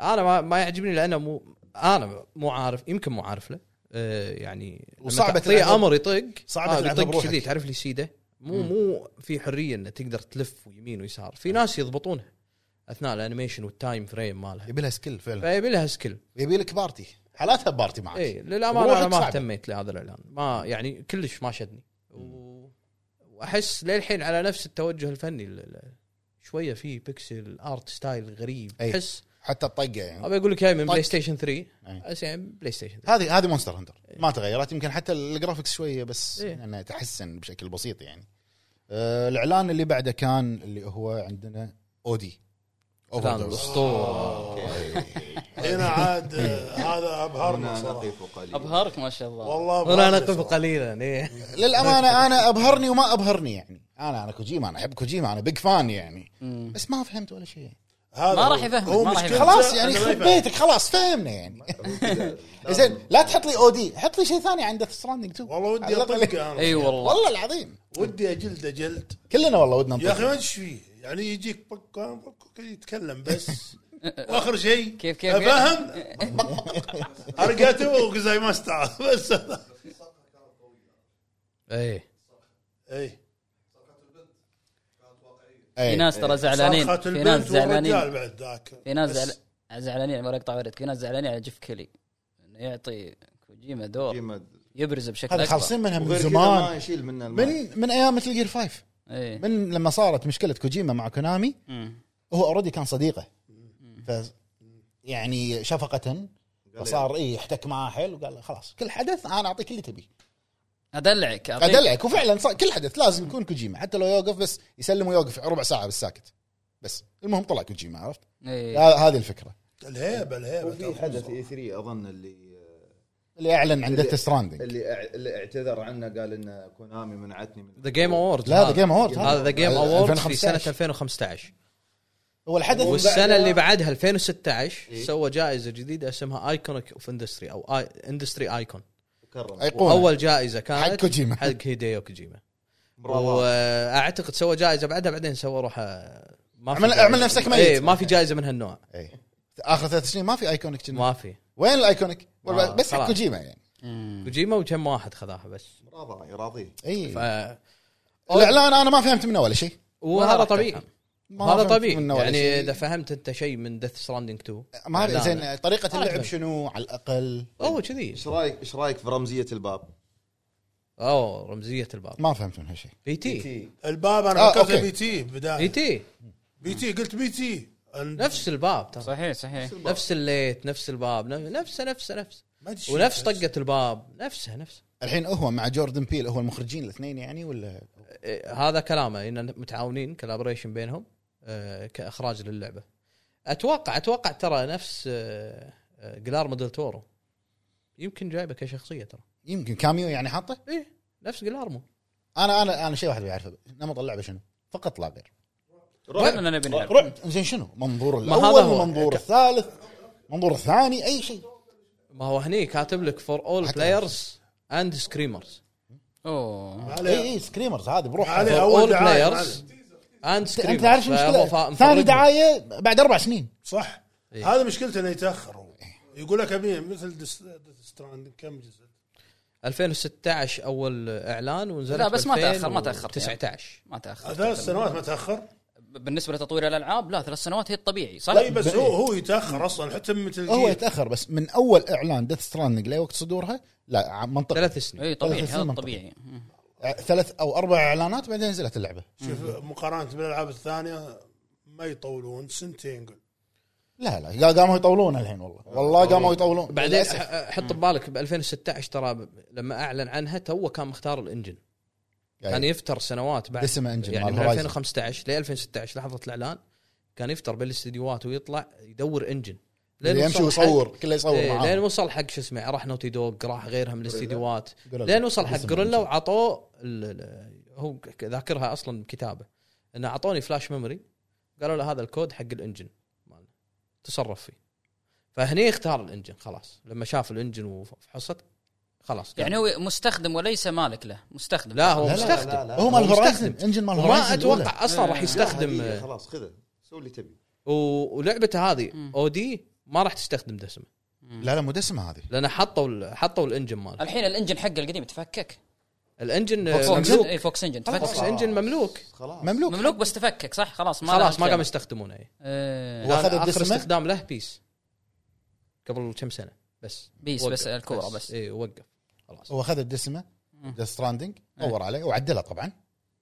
Speaker 5: انا ما, ما يعجبني لانه مو انا مو عارف يمكن مو عارف له آه يعني لما
Speaker 4: وصعبة
Speaker 5: تعطيه
Speaker 4: تلعبها-
Speaker 5: امر يطق
Speaker 4: صعبة
Speaker 5: آه
Speaker 4: تلعبها
Speaker 5: يطق
Speaker 4: بروحك.
Speaker 5: كذي تعرف لي سيده مو مو في حريه انه تقدر تلف ويمين ويسار
Speaker 4: آه.
Speaker 5: في ناس يضبطونها اثناء الانيميشن والتايم فريم مالها
Speaker 4: يبي لها سكيل فعلا
Speaker 5: فيبي لها سكيل
Speaker 4: يبي لك بارتي حالاتها بارتي معك
Speaker 5: اي للامانه
Speaker 4: بروحك
Speaker 5: انا إيه، ما
Speaker 4: صعبة.
Speaker 5: اهتميت لهذا الاعلان ما يعني كلش ما شدني و... واحس للحين على نفس التوجه الفني ال- ال- شويه في بيكسل ارت ستايل غريب
Speaker 4: أي.
Speaker 5: احس
Speaker 4: حتى الطقه يعني
Speaker 5: ابي اقول لك هاي من
Speaker 4: إيه. طق. إيه.
Speaker 5: بلاي ستيشن 3
Speaker 4: أي.
Speaker 5: بس يعني بلاي ستيشن 3
Speaker 4: هذه هذه مونستر هانتر ما تغيرت يمكن حتى الجرافكس شويه بس
Speaker 5: إيه.
Speaker 4: انها تحسن بشكل بسيط يعني آه الاعلان اللي بعده كان اللي هو عندنا اودي
Speaker 5: كان الاسطوره
Speaker 2: هنا عاد آه، هذا ابهرنا
Speaker 8: هنا
Speaker 2: صراحه
Speaker 8: نقف قليلا
Speaker 3: ابهرك ما شاء الله
Speaker 2: والله
Speaker 5: ولا
Speaker 2: أبهرني
Speaker 5: نقف
Speaker 2: صراحة.
Speaker 5: قليلا إيه.
Speaker 4: آه، للامانه انا ابهرني وما ابهرني يعني انا انا كوجيما انا احب كوجيما انا بيج فان يعني
Speaker 3: مم.
Speaker 4: بس ما فهمت ولا شيء
Speaker 2: هذا
Speaker 3: ما
Speaker 2: هو.
Speaker 3: راح يفهمك،
Speaker 2: هو
Speaker 3: ما راح
Speaker 2: مشكلته
Speaker 3: يفهمك.
Speaker 4: خلاص يعني
Speaker 2: إنه ما
Speaker 4: يخرب
Speaker 2: يفهم.
Speaker 4: بيتك خلاص فهمنا يعني زين لا تحط لي اودي حط لي شيء ثاني عند ستراندنج 2
Speaker 2: والله ودي اطقه انا
Speaker 3: اي والله
Speaker 4: والله العظيم
Speaker 2: ودي اجلده جلد
Speaker 4: كلنا والله ودنا
Speaker 2: يا اخي ما
Speaker 4: نطق
Speaker 2: أدري ايش فيه يعني يجيك بق بق- يتكلم بس واخر شيء
Speaker 3: كيف- كيف؟
Speaker 2: افهم ارقته وزي ما استعاذ بس هذا.
Speaker 5: اي
Speaker 2: اي
Speaker 4: إيه.
Speaker 3: في ناس ترى زعلانين
Speaker 2: صرخه
Speaker 3: في ناس
Speaker 2: إيه. البنت والرجال
Speaker 3: زعلانين
Speaker 2: بعد ذاك
Speaker 3: في ناس
Speaker 2: بس
Speaker 3: زعل- زعلانين على مقطع واردك في ناس زعلانين على جيف كيلي انه يعطي كوجيما دور يبرز بشكل
Speaker 4: هذا
Speaker 3: اكبر
Speaker 4: خالصين منها من
Speaker 8: وغير كذا ما
Speaker 4: زمان
Speaker 8: يشيل منه المال.
Speaker 4: من من ايام مثل جير 5
Speaker 3: اي
Speaker 4: من لما صارت مشكله كوجيما مع كونامي
Speaker 3: إيه. مم.
Speaker 4: هو اوريدي كان صديقه ف يعني شفقه فصار اي احتك معاه حيل وقال له خلاص كل حدث انا اعطيك اللي تبيه
Speaker 3: ادلعك أعطيك-
Speaker 4: ادلعك وفعلا صار كل حدث لازم يكون كوجيما حتى لو يوقف بس يسلم ويوقف ربع ساعه بالساكت بس المهم طلع كوجيما عرفت
Speaker 3: إيه.
Speaker 4: ه- هذه الفكره
Speaker 2: الهيبه الهيبه
Speaker 9: وفي
Speaker 2: ترى.
Speaker 9: حدث اي 3 اظن اللي
Speaker 4: اللي اعلن عن
Speaker 9: اللي-
Speaker 4: ديث ستراندنج
Speaker 9: اللي اع- اللي اعتذر عنه قال ان كونامي منعتني من
Speaker 5: ذا جيم اوورد
Speaker 4: لا ذا جيم اوورد
Speaker 5: هذا ذا جيم اوورد في سنه
Speaker 4: 2015.
Speaker 5: 2015
Speaker 4: هو الحدث
Speaker 5: والسنه
Speaker 4: آه.
Speaker 5: اللي بعدها 2016
Speaker 4: إيه.
Speaker 5: سوى جائزه جديده اسمها ايكونيك اوف اندستري او اندستري ايكون
Speaker 9: كرم
Speaker 4: ايقونه
Speaker 5: واول جائزه كانت
Speaker 4: حق كوجيما.
Speaker 5: حق هيديو كوجيما واعتقد سوى جائزه بعدها بعدين سوى روح آه، ما في
Speaker 4: عمل-
Speaker 5: جائزة.
Speaker 4: عمل نفسك ميت.
Speaker 5: إيه، ما في جائزه من هالنوع
Speaker 4: إيه. اخر ثلاث سنين ما في ايكونيك كنا.
Speaker 5: ما في
Speaker 4: وين الايكونيك؟ والله
Speaker 5: آه،
Speaker 4: بس حق
Speaker 5: خلاص.
Speaker 4: كوجيما يعني
Speaker 5: كوجيما وكم واحد خذاها بس
Speaker 9: راضي يراضيه
Speaker 4: اي
Speaker 5: ف
Speaker 4: الاعلان انا ما فهمت منه ولا شيء
Speaker 3: ولا
Speaker 5: وهذا
Speaker 3: راح
Speaker 5: طبيعي
Speaker 3: تفهم.
Speaker 4: ما
Speaker 5: هذا
Speaker 4: فهمت
Speaker 5: طبيعي
Speaker 4: منه ولا
Speaker 5: يعني
Speaker 4: شيء.
Speaker 5: اذا فهمت انت شيء من ديث ستراندنج 2
Speaker 4: ما اعرف
Speaker 5: إعلان.
Speaker 4: زين طريقه
Speaker 5: ما
Speaker 4: اللعب
Speaker 5: أعرف.
Speaker 4: شنو على الاقل
Speaker 5: اوه كذي
Speaker 9: ايش رايك ايش رايك في رمزيه الباب؟
Speaker 5: اوه رمزيه الباب
Speaker 4: ما فهمت من هالشيء
Speaker 5: بي تي
Speaker 2: الباب انا
Speaker 4: آه،
Speaker 2: فكرت
Speaker 4: أوكي.
Speaker 2: بي تي
Speaker 5: بي
Speaker 2: بدايه
Speaker 5: تي
Speaker 2: بي تي قلت بي تي أن-
Speaker 5: نفس الباب ترى
Speaker 3: صحيح صحيح
Speaker 5: نفس الليت نفس الباب نفسه نفسه نفسه
Speaker 2: ما أدري شو
Speaker 5: ونفس
Speaker 2: بس.
Speaker 5: طقه الباب نفسها نفسها
Speaker 4: الحين هو مع جوردن بيل هو المخرجين الاثنين يعني ولا
Speaker 5: إيه، هذا كلامه ان متعاونين كولابوريشن بينهم آه، كاخراج للعبه اتوقع اتوقع ترى نفس آه، آه، جلارمو ديل تورو يمكن جايبه كشخصيه ترى
Speaker 4: يمكن كاميو يعني حاطه
Speaker 5: ايه نبس جلارمو
Speaker 4: انا انا انا شيء واحد بعرفه نمط اللعبه شنو فقط لا غير
Speaker 3: كلنا نبي نعرف
Speaker 4: زين شنو منظور
Speaker 5: ما هذا
Speaker 4: الاول
Speaker 5: هو.
Speaker 4: منظور الثالث منظور الثاني اي شيء
Speaker 5: ما هو هني كاتب لك فور اول
Speaker 4: حتى
Speaker 5: بلايرز اند سكريمرز
Speaker 3: اوه
Speaker 2: ما عليه.
Speaker 4: اي اي سكريمرز هذه
Speaker 2: ما
Speaker 4: بروحها
Speaker 2: عليه،
Speaker 5: فور
Speaker 2: اول
Speaker 5: اول
Speaker 2: دعايه ما
Speaker 5: بلايرز
Speaker 2: عليه.
Speaker 5: اند
Speaker 4: انت
Speaker 5: سكريمرز
Speaker 4: إيه، أنت عارف شو المشكله ثاني دعايه بعد اربع سنين
Speaker 2: صح
Speaker 5: إيه.
Speaker 2: هذا مشكلته انه يتاخر هو. يقول لك ابي مثل ديس- ديس ستراند كم جزء
Speaker 5: 2016 اول اعلان ونزل
Speaker 3: لا، بس ما تأخر، ما تأخر.
Speaker 5: 19
Speaker 3: ما تاخر
Speaker 2: ثلاث سنوات ما تاخر
Speaker 3: بالنسبه لتطوير الالعاب لا ثلاث سنوات هي الطبيعي صح؟
Speaker 2: لا بس هو هو يتاخر اصلا حتى من مثل
Speaker 4: هو
Speaker 2: جير.
Speaker 4: يتاخر بس من اول اعلان ديث ستراندنج لوقت صدورها لا ع- منطقي
Speaker 5: ثلاث سنين
Speaker 3: اي إيه، طبيعي
Speaker 4: ثلاث
Speaker 3: هذا
Speaker 4: سنين
Speaker 3: الطبيعي مم.
Speaker 4: ع- ثلاث او اربع اعلانات بعدين نزلت اللعبه
Speaker 2: شوف مقارنه بالالعاب الثانيه ما يطولون سنتين قل
Speaker 4: لا لا قا- قاموا يطولون الحين والله والله قاموا يطولون
Speaker 5: بعدين
Speaker 4: للأسف.
Speaker 5: ح- حط ببالك ب 2016 ترى ب- لما اعلن عنها تو كان مختار الانجن
Speaker 4: أي.
Speaker 5: كان يفتر سنوات بعد
Speaker 4: دسمة انجن
Speaker 5: يعني
Speaker 4: مال
Speaker 5: من
Speaker 4: Horizon.
Speaker 5: 2015 ل 2016 لحظه الاعلان كان يفتر بالاستديوهات ويطلع يدور انجن لين
Speaker 4: اللي يمشي
Speaker 5: وصل حق-
Speaker 4: ويصور كله يصور
Speaker 5: إيه لين
Speaker 4: معاه
Speaker 5: وصل حق شو اسمه راح نوتي دوغ راح غيرها من الاستديوهات
Speaker 4: قولوا
Speaker 5: لين
Speaker 4: له.
Speaker 5: وصل حق
Speaker 4: دسمة
Speaker 5: جوريلا
Speaker 4: انجن.
Speaker 5: وعطوه ال- ال- هو ك- ذاكرها اصلا كتابه انه اعطوني فلاش ميموري قالوا له هذا الكود حق الانجن ماله تصرف فيه فهني اختار الانجن خلاص لما شاف الانجن وفحصت خلاص قال.
Speaker 3: يعني هو مستخدم وليس مالك له مستخدم
Speaker 5: لا هو
Speaker 4: لا، لا، لا،
Speaker 5: مستخدم
Speaker 4: هو مال هورايزن
Speaker 5: مستخدم
Speaker 4: انجن مال
Speaker 5: وما
Speaker 4: هورايزن
Speaker 5: اتوقع اصلا راح
Speaker 3: لا،
Speaker 5: يستخدم
Speaker 9: عادية،
Speaker 5: آه،
Speaker 9: خلاص خذه سوي اللي تبي
Speaker 5: و- ولعبته هذه
Speaker 3: مم.
Speaker 5: او دي ما راح تستخدم دسمه
Speaker 4: لا لا مو دسمه هذه
Speaker 5: لان حطوا ال- حطوا الانجن ماله
Speaker 3: الحين الانجن حقه القديم تفكك
Speaker 5: الانجن آه،
Speaker 3: فوكس
Speaker 5: مملوك
Speaker 3: انجن فوكس انجن
Speaker 5: فوكس
Speaker 3: تفكك
Speaker 5: انجن مملوك
Speaker 9: خلاص
Speaker 4: مملوك
Speaker 3: مملوك بس تفكك صح خلاص ما إيه.
Speaker 5: خلاص ما قاموا يستخدمونه اي
Speaker 3: قام
Speaker 4: واخذ
Speaker 5: اخر
Speaker 4: الدسمة؟
Speaker 5: استخدام له بيس قبل كم سنه بس
Speaker 3: بيس
Speaker 5: وقف.
Speaker 3: بس الكورة بس.
Speaker 5: اي وقف خلاص
Speaker 4: هو اخذ الدسمه ذا ستراندنج
Speaker 5: إيه.
Speaker 4: دور عليه وعدلها طبعا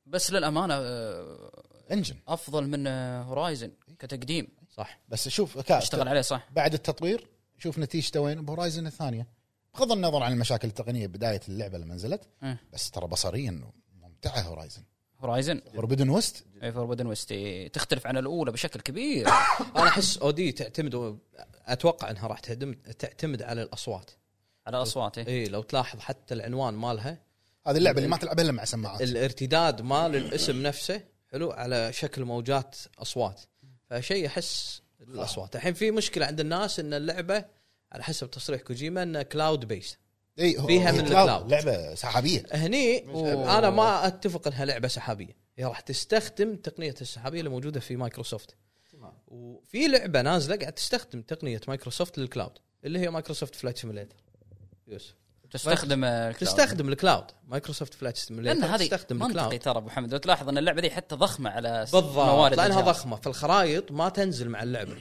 Speaker 3: بس للامانه آه،
Speaker 4: انجن
Speaker 3: افضل من آه، هورايزن كتقديم
Speaker 5: صح
Speaker 4: بس شوف كا-
Speaker 3: اشتغل عليه صح
Speaker 4: بعد التطوير شوف نتيجته وين بهورايزن الثانيه بغض النظر عن المشاكل التقنيه بدايه اللعبه لما نزلت
Speaker 3: إيه.
Speaker 4: بس ترى بصريا ممتعه هورايزن
Speaker 3: هورايزن
Speaker 4: فوربدن ويست
Speaker 3: اي فوربدن ويست إي، إيه، تختلف عن الاولى بشكل كبير
Speaker 5: انا احس اودي تعتمد اتوقع انها راح تهدم تعتمد على الاصوات
Speaker 3: على اصواته
Speaker 5: اي لو تلاحظ حتى العنوان مالها
Speaker 4: هذه اللعبه
Speaker 5: إيه.
Speaker 4: اللي ما تلعبها الا مع سماعات
Speaker 5: الارتداد مال الاسم نفسه حلو على شكل موجات اصوات فشيء احس الاصوات الحين في مشكله عند الناس ان اللعبه على حسب تصريح كوجيما انه كلاود بيست
Speaker 4: اي إيه، هو-
Speaker 5: فيها
Speaker 4: هي
Speaker 5: من
Speaker 4: cloud،
Speaker 5: الcloud.
Speaker 4: لعبه سحابيه
Speaker 5: هني انا ما اتفق انها لعبه سحابيه هي راح تستخدم تقنيه السحابيه اللي موجوده في مايكروسوفت وفي لعبه نازله قاعد تستخدم تقنيه مايكروسوفت للكلاود اللي هي مايكروسوفت فلايت سيميليتر يوسف
Speaker 3: تستخدم آه، الكلاود.
Speaker 5: تستخدم الكلاود مايكروسوفت فلايت
Speaker 3: لان
Speaker 5: سيميليتر
Speaker 3: هذه
Speaker 5: تستخدم
Speaker 3: منطقي
Speaker 5: الكلاود
Speaker 3: ترى ابو حمد لو تلاحظ ان اللعبه دي حتى ضخمه على س-
Speaker 5: بالضبط لانها
Speaker 3: الجهاز.
Speaker 5: ضخمه فالخرائط ما تنزل مع اللعبه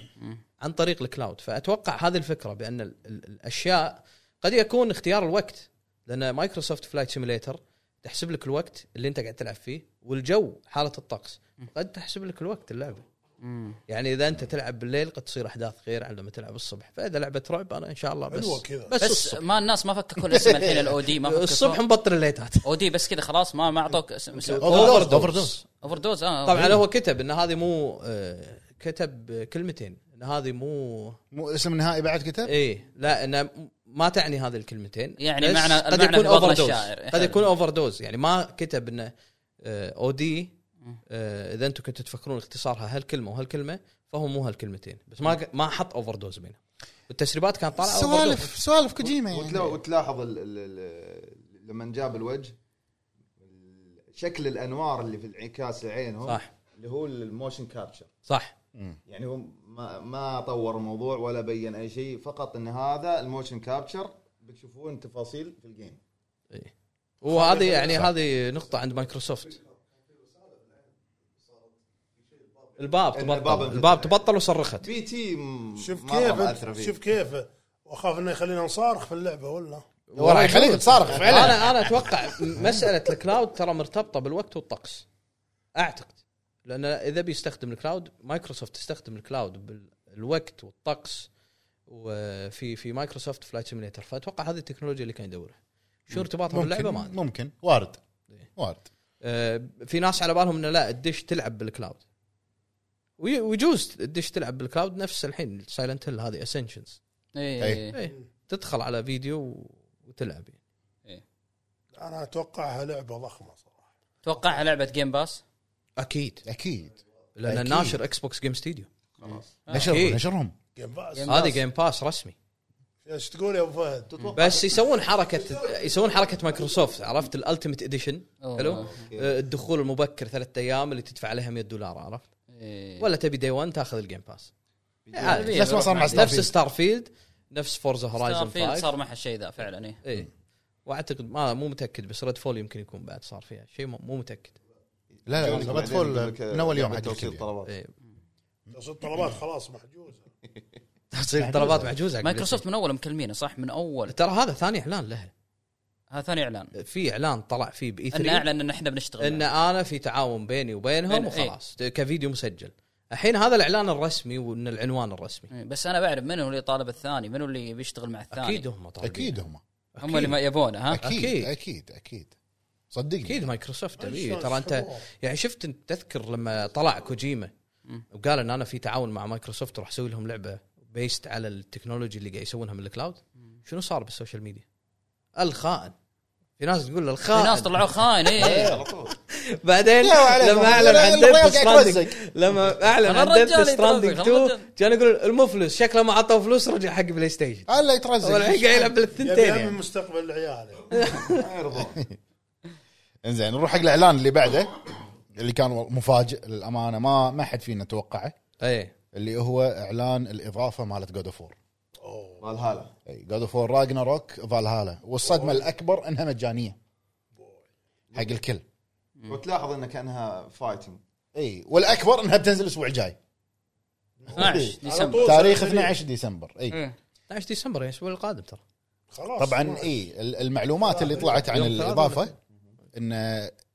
Speaker 5: عن طريق الكلاود فاتوقع هذه الفكره بان ال ال الاشياء قد يكون اختيار الوقت لان مايكروسوفت فلايت سيميليتر تحسب لك الوقت اللي انت قاعد تلعب فيه والجو حاله الطقس قد تحسب لك الوقت اللعبه
Speaker 3: مم.
Speaker 5: يعني اذا انت تلعب بالليل قد تصير احداث غير عن لما تلعب الصبح فاذا لعبه رعب انا ان شاء الله بس
Speaker 2: حلوة كذا.
Speaker 5: بس,
Speaker 3: بس
Speaker 5: الصبح,
Speaker 3: ما الناس ما فككوا الاسم الحين الاو دي ما فككوا
Speaker 5: الصبح مبطل الليتات
Speaker 3: او دي بس كذا خلاص ما ما اعطوك اسم اسم-
Speaker 4: Overdose.
Speaker 5: Overdose.
Speaker 3: اوفر دوز اه
Speaker 5: طبعا هو آه، كتب ان هذه مو آه، كتب كلمتين ان هذه مو
Speaker 4: مو اسم النهائي بعد كتب
Speaker 5: اي إيه. لا ان ما تعني هذه الكلمتين
Speaker 3: يعني
Speaker 5: بس
Speaker 3: معنى-
Speaker 5: قد
Speaker 3: المعنى
Speaker 5: يكون
Speaker 3: في بطن
Speaker 5: overdose.
Speaker 3: الشاعر.
Speaker 5: قد يكون اوفر دوز يعني ما كتب آه، انه او دي اذا انتم آه، كنتوا تفكرون اختصارها هالكلمه وهالكلمه فهو مو هالكلمتين بس ما ما حط اوفر دوز بينهم والتسريبات كانت طالعه overdose.
Speaker 4: سوالف سوالف كوجيما
Speaker 9: وتلا-
Speaker 4: يعني
Speaker 9: وتلاحظ ال ال ال لما جاب الوجه شكل الانوار اللي في انعكاس عينهم
Speaker 5: صح
Speaker 9: اللي هو الموشن كابتشر
Speaker 5: صح
Speaker 9: يعني هو ما, ما طور الموضوع ولا بين اي شيء فقط ان هذا الموشن كابتشر بتشوفون تفاصيل في الجيم
Speaker 5: وهذه يعني هذه نقطه عند مايكروسوفت الباب
Speaker 9: إن الباب
Speaker 5: تبطل
Speaker 9: انفتح.
Speaker 5: الباب تبطل وصرخت
Speaker 9: بي تي م-
Speaker 2: شوف
Speaker 9: مرة مأثرة
Speaker 2: كيف
Speaker 9: فيه.
Speaker 2: شوف كيف واخاف انه يخلينا نصارخ في اللعبه ولا
Speaker 4: هو راح يخليك تصارخ فعلا
Speaker 5: انا انا اتوقع مساله الكلاود ترى مرتبطه بالوقت والطقس اعتقد لان اذا بيستخدم الكلاود مايكروسوفت تستخدم الكلاود بالوقت والطقس وفي في مايكروسوفت فلايت سيميليتر فاتوقع هذه التكنولوجيا اللي كان يدورها شو ارتباطها باللعبه ما إيه.
Speaker 4: ممكن
Speaker 5: ادري
Speaker 4: ممكن وارد وارد
Speaker 5: آه، في ناس على بالهم انه لا الدش تلعب بالكلاود وي- ويجوز الدش تلعب بالكلاود نفس الحين سايلنت هيل هذه اسنشنز
Speaker 3: اي
Speaker 5: تدخل على فيديو وتلعب يعني.
Speaker 2: انا اتوقعها لعبه ضخمه صراحه
Speaker 3: اتوقعها لعبه جيم باس
Speaker 5: اكيد
Speaker 4: اكيد
Speaker 5: لان
Speaker 4: أكيد.
Speaker 5: الناشر اكس بوكس جيم ستوديو آه، أكيد.
Speaker 4: نشرهم نشرهم
Speaker 2: جيم باس
Speaker 3: جيم-
Speaker 5: هذه جيم باس رسمي
Speaker 2: ايش تقول يا ابو فهد؟
Speaker 5: بس يسوون حركه يسوون حركه مايكروسوفت عرفت الالتيميت اديشن
Speaker 3: أوه.
Speaker 5: حلو آه، الدخول المبكر ثلاثة ايام اللي تدفع عليها 100 دولار عرفت
Speaker 3: إيه.
Speaker 5: ولا تبي دي 1 تاخذ الجيم باس
Speaker 3: عادي.
Speaker 4: نفس ما صار مع
Speaker 5: يعني نفس
Speaker 4: ستارفيلد
Speaker 5: ستار فيلد نفس فورزا هورايزون
Speaker 3: ستارفيلد
Speaker 5: 5
Speaker 3: صار معها الشيء ذا فعلا ايه
Speaker 5: اي واعتقد إيه. ما مو متاكد بس ريد فول يمكن يكون بعد صار فيها شيء مو- مو متاكد
Speaker 4: لا لا بدخل من اول يوم حق
Speaker 9: توصيل
Speaker 4: الكل.
Speaker 9: طلبات
Speaker 5: إي.
Speaker 2: تصل الطلبات خلاص محجوزه
Speaker 5: تصير طلبات معجوزه
Speaker 3: مايكروسوفت من اول مكلمينه صح من اول
Speaker 5: ترى هذا ثاني اعلان لها
Speaker 3: هذا ثاني اعلان
Speaker 5: في اعلان طلع فيه باي
Speaker 3: ان
Speaker 5: 3
Speaker 3: اعلن ان احنا بنشتغل
Speaker 5: ان انا في تعاون بيني
Speaker 3: بين-
Speaker 5: وبينهم
Speaker 3: إيه.
Speaker 5: وخلاص كفيديو مسجل الحين هذا الاعلان الرسمي وان العنوان الرسمي
Speaker 3: إيه، بس انا بعرف من هو اللي طالب الثاني من هو اللي بيشتغل مع الثاني
Speaker 5: اكيد هم طالبين
Speaker 4: اكيد هم
Speaker 3: هم اللي ما يبونه ها
Speaker 4: اكيد
Speaker 5: آه، أكيد.
Speaker 4: اكيد اكيد صدقني
Speaker 5: اكيد مايكروسوفت تبي
Speaker 2: شلون
Speaker 5: ترى انت
Speaker 2: يسحبوها؟
Speaker 5: يعني شفت انت تذكر لما طلع كوجيما وقال ان انا في تعاون مع مايكروسوفت راح اسوي لهم لعبه بيست على التكنولوجي اللي قاعد يسوونها من الكلاود شنو صار بالسوشيال ميديا؟ الخائن في ناس تقول له
Speaker 3: في
Speaker 5: الخائن
Speaker 3: ناس طلعوه خاين ايه
Speaker 5: بعدين
Speaker 4: لا وعليكم.
Speaker 5: لما اعلن
Speaker 4: الرجال
Speaker 5: عن ديث
Speaker 4: قاعد
Speaker 5: ستراندنج
Speaker 4: يتوزق.
Speaker 5: لما اعلن عن
Speaker 3: الرجال
Speaker 5: ديث ستراندنج
Speaker 3: يتوزق،
Speaker 5: 2
Speaker 3: الرجال.
Speaker 5: كانوا يقولون المفلس شكله ما عطاه فلوس رجع حق بلاي ستيشن
Speaker 4: هلا
Speaker 5: هو الحين
Speaker 4: يترزق
Speaker 5: قاعد يلعب
Speaker 2: يبي
Speaker 5: بالاثنتين
Speaker 2: يأمن
Speaker 5: يعني.
Speaker 2: مستقبل العيال
Speaker 9: ما يرضون
Speaker 4: انزين نروح حق الاعلان اللي بعده اللي كان مفاجئ للامانه ما ما حد فينا توقعه
Speaker 5: ايه
Speaker 4: اللي هو اعلان الاضافه مالت جود اوف
Speaker 9: فالهالا
Speaker 4: جود اوف وور راجناروك فالهالا والصدمه الاكبر انها مجانيه حق الكل
Speaker 9: وتلاحظ انه كانها فايتنج
Speaker 4: اي والاكبر انها بتنزل الاسبوع الجاي
Speaker 3: 12
Speaker 2: على
Speaker 3: ديسمبر إيه.
Speaker 2: طول
Speaker 4: تاريخ
Speaker 2: سنة
Speaker 4: 12 ديسمبر اي
Speaker 5: 12 ديسمبر يعني الاسبوع القادم ترى
Speaker 2: خلاص
Speaker 4: طبعا
Speaker 5: إيه.
Speaker 4: اي ال- المعلومات اللي طلعت عن
Speaker 5: يوم
Speaker 4: الاضافه ان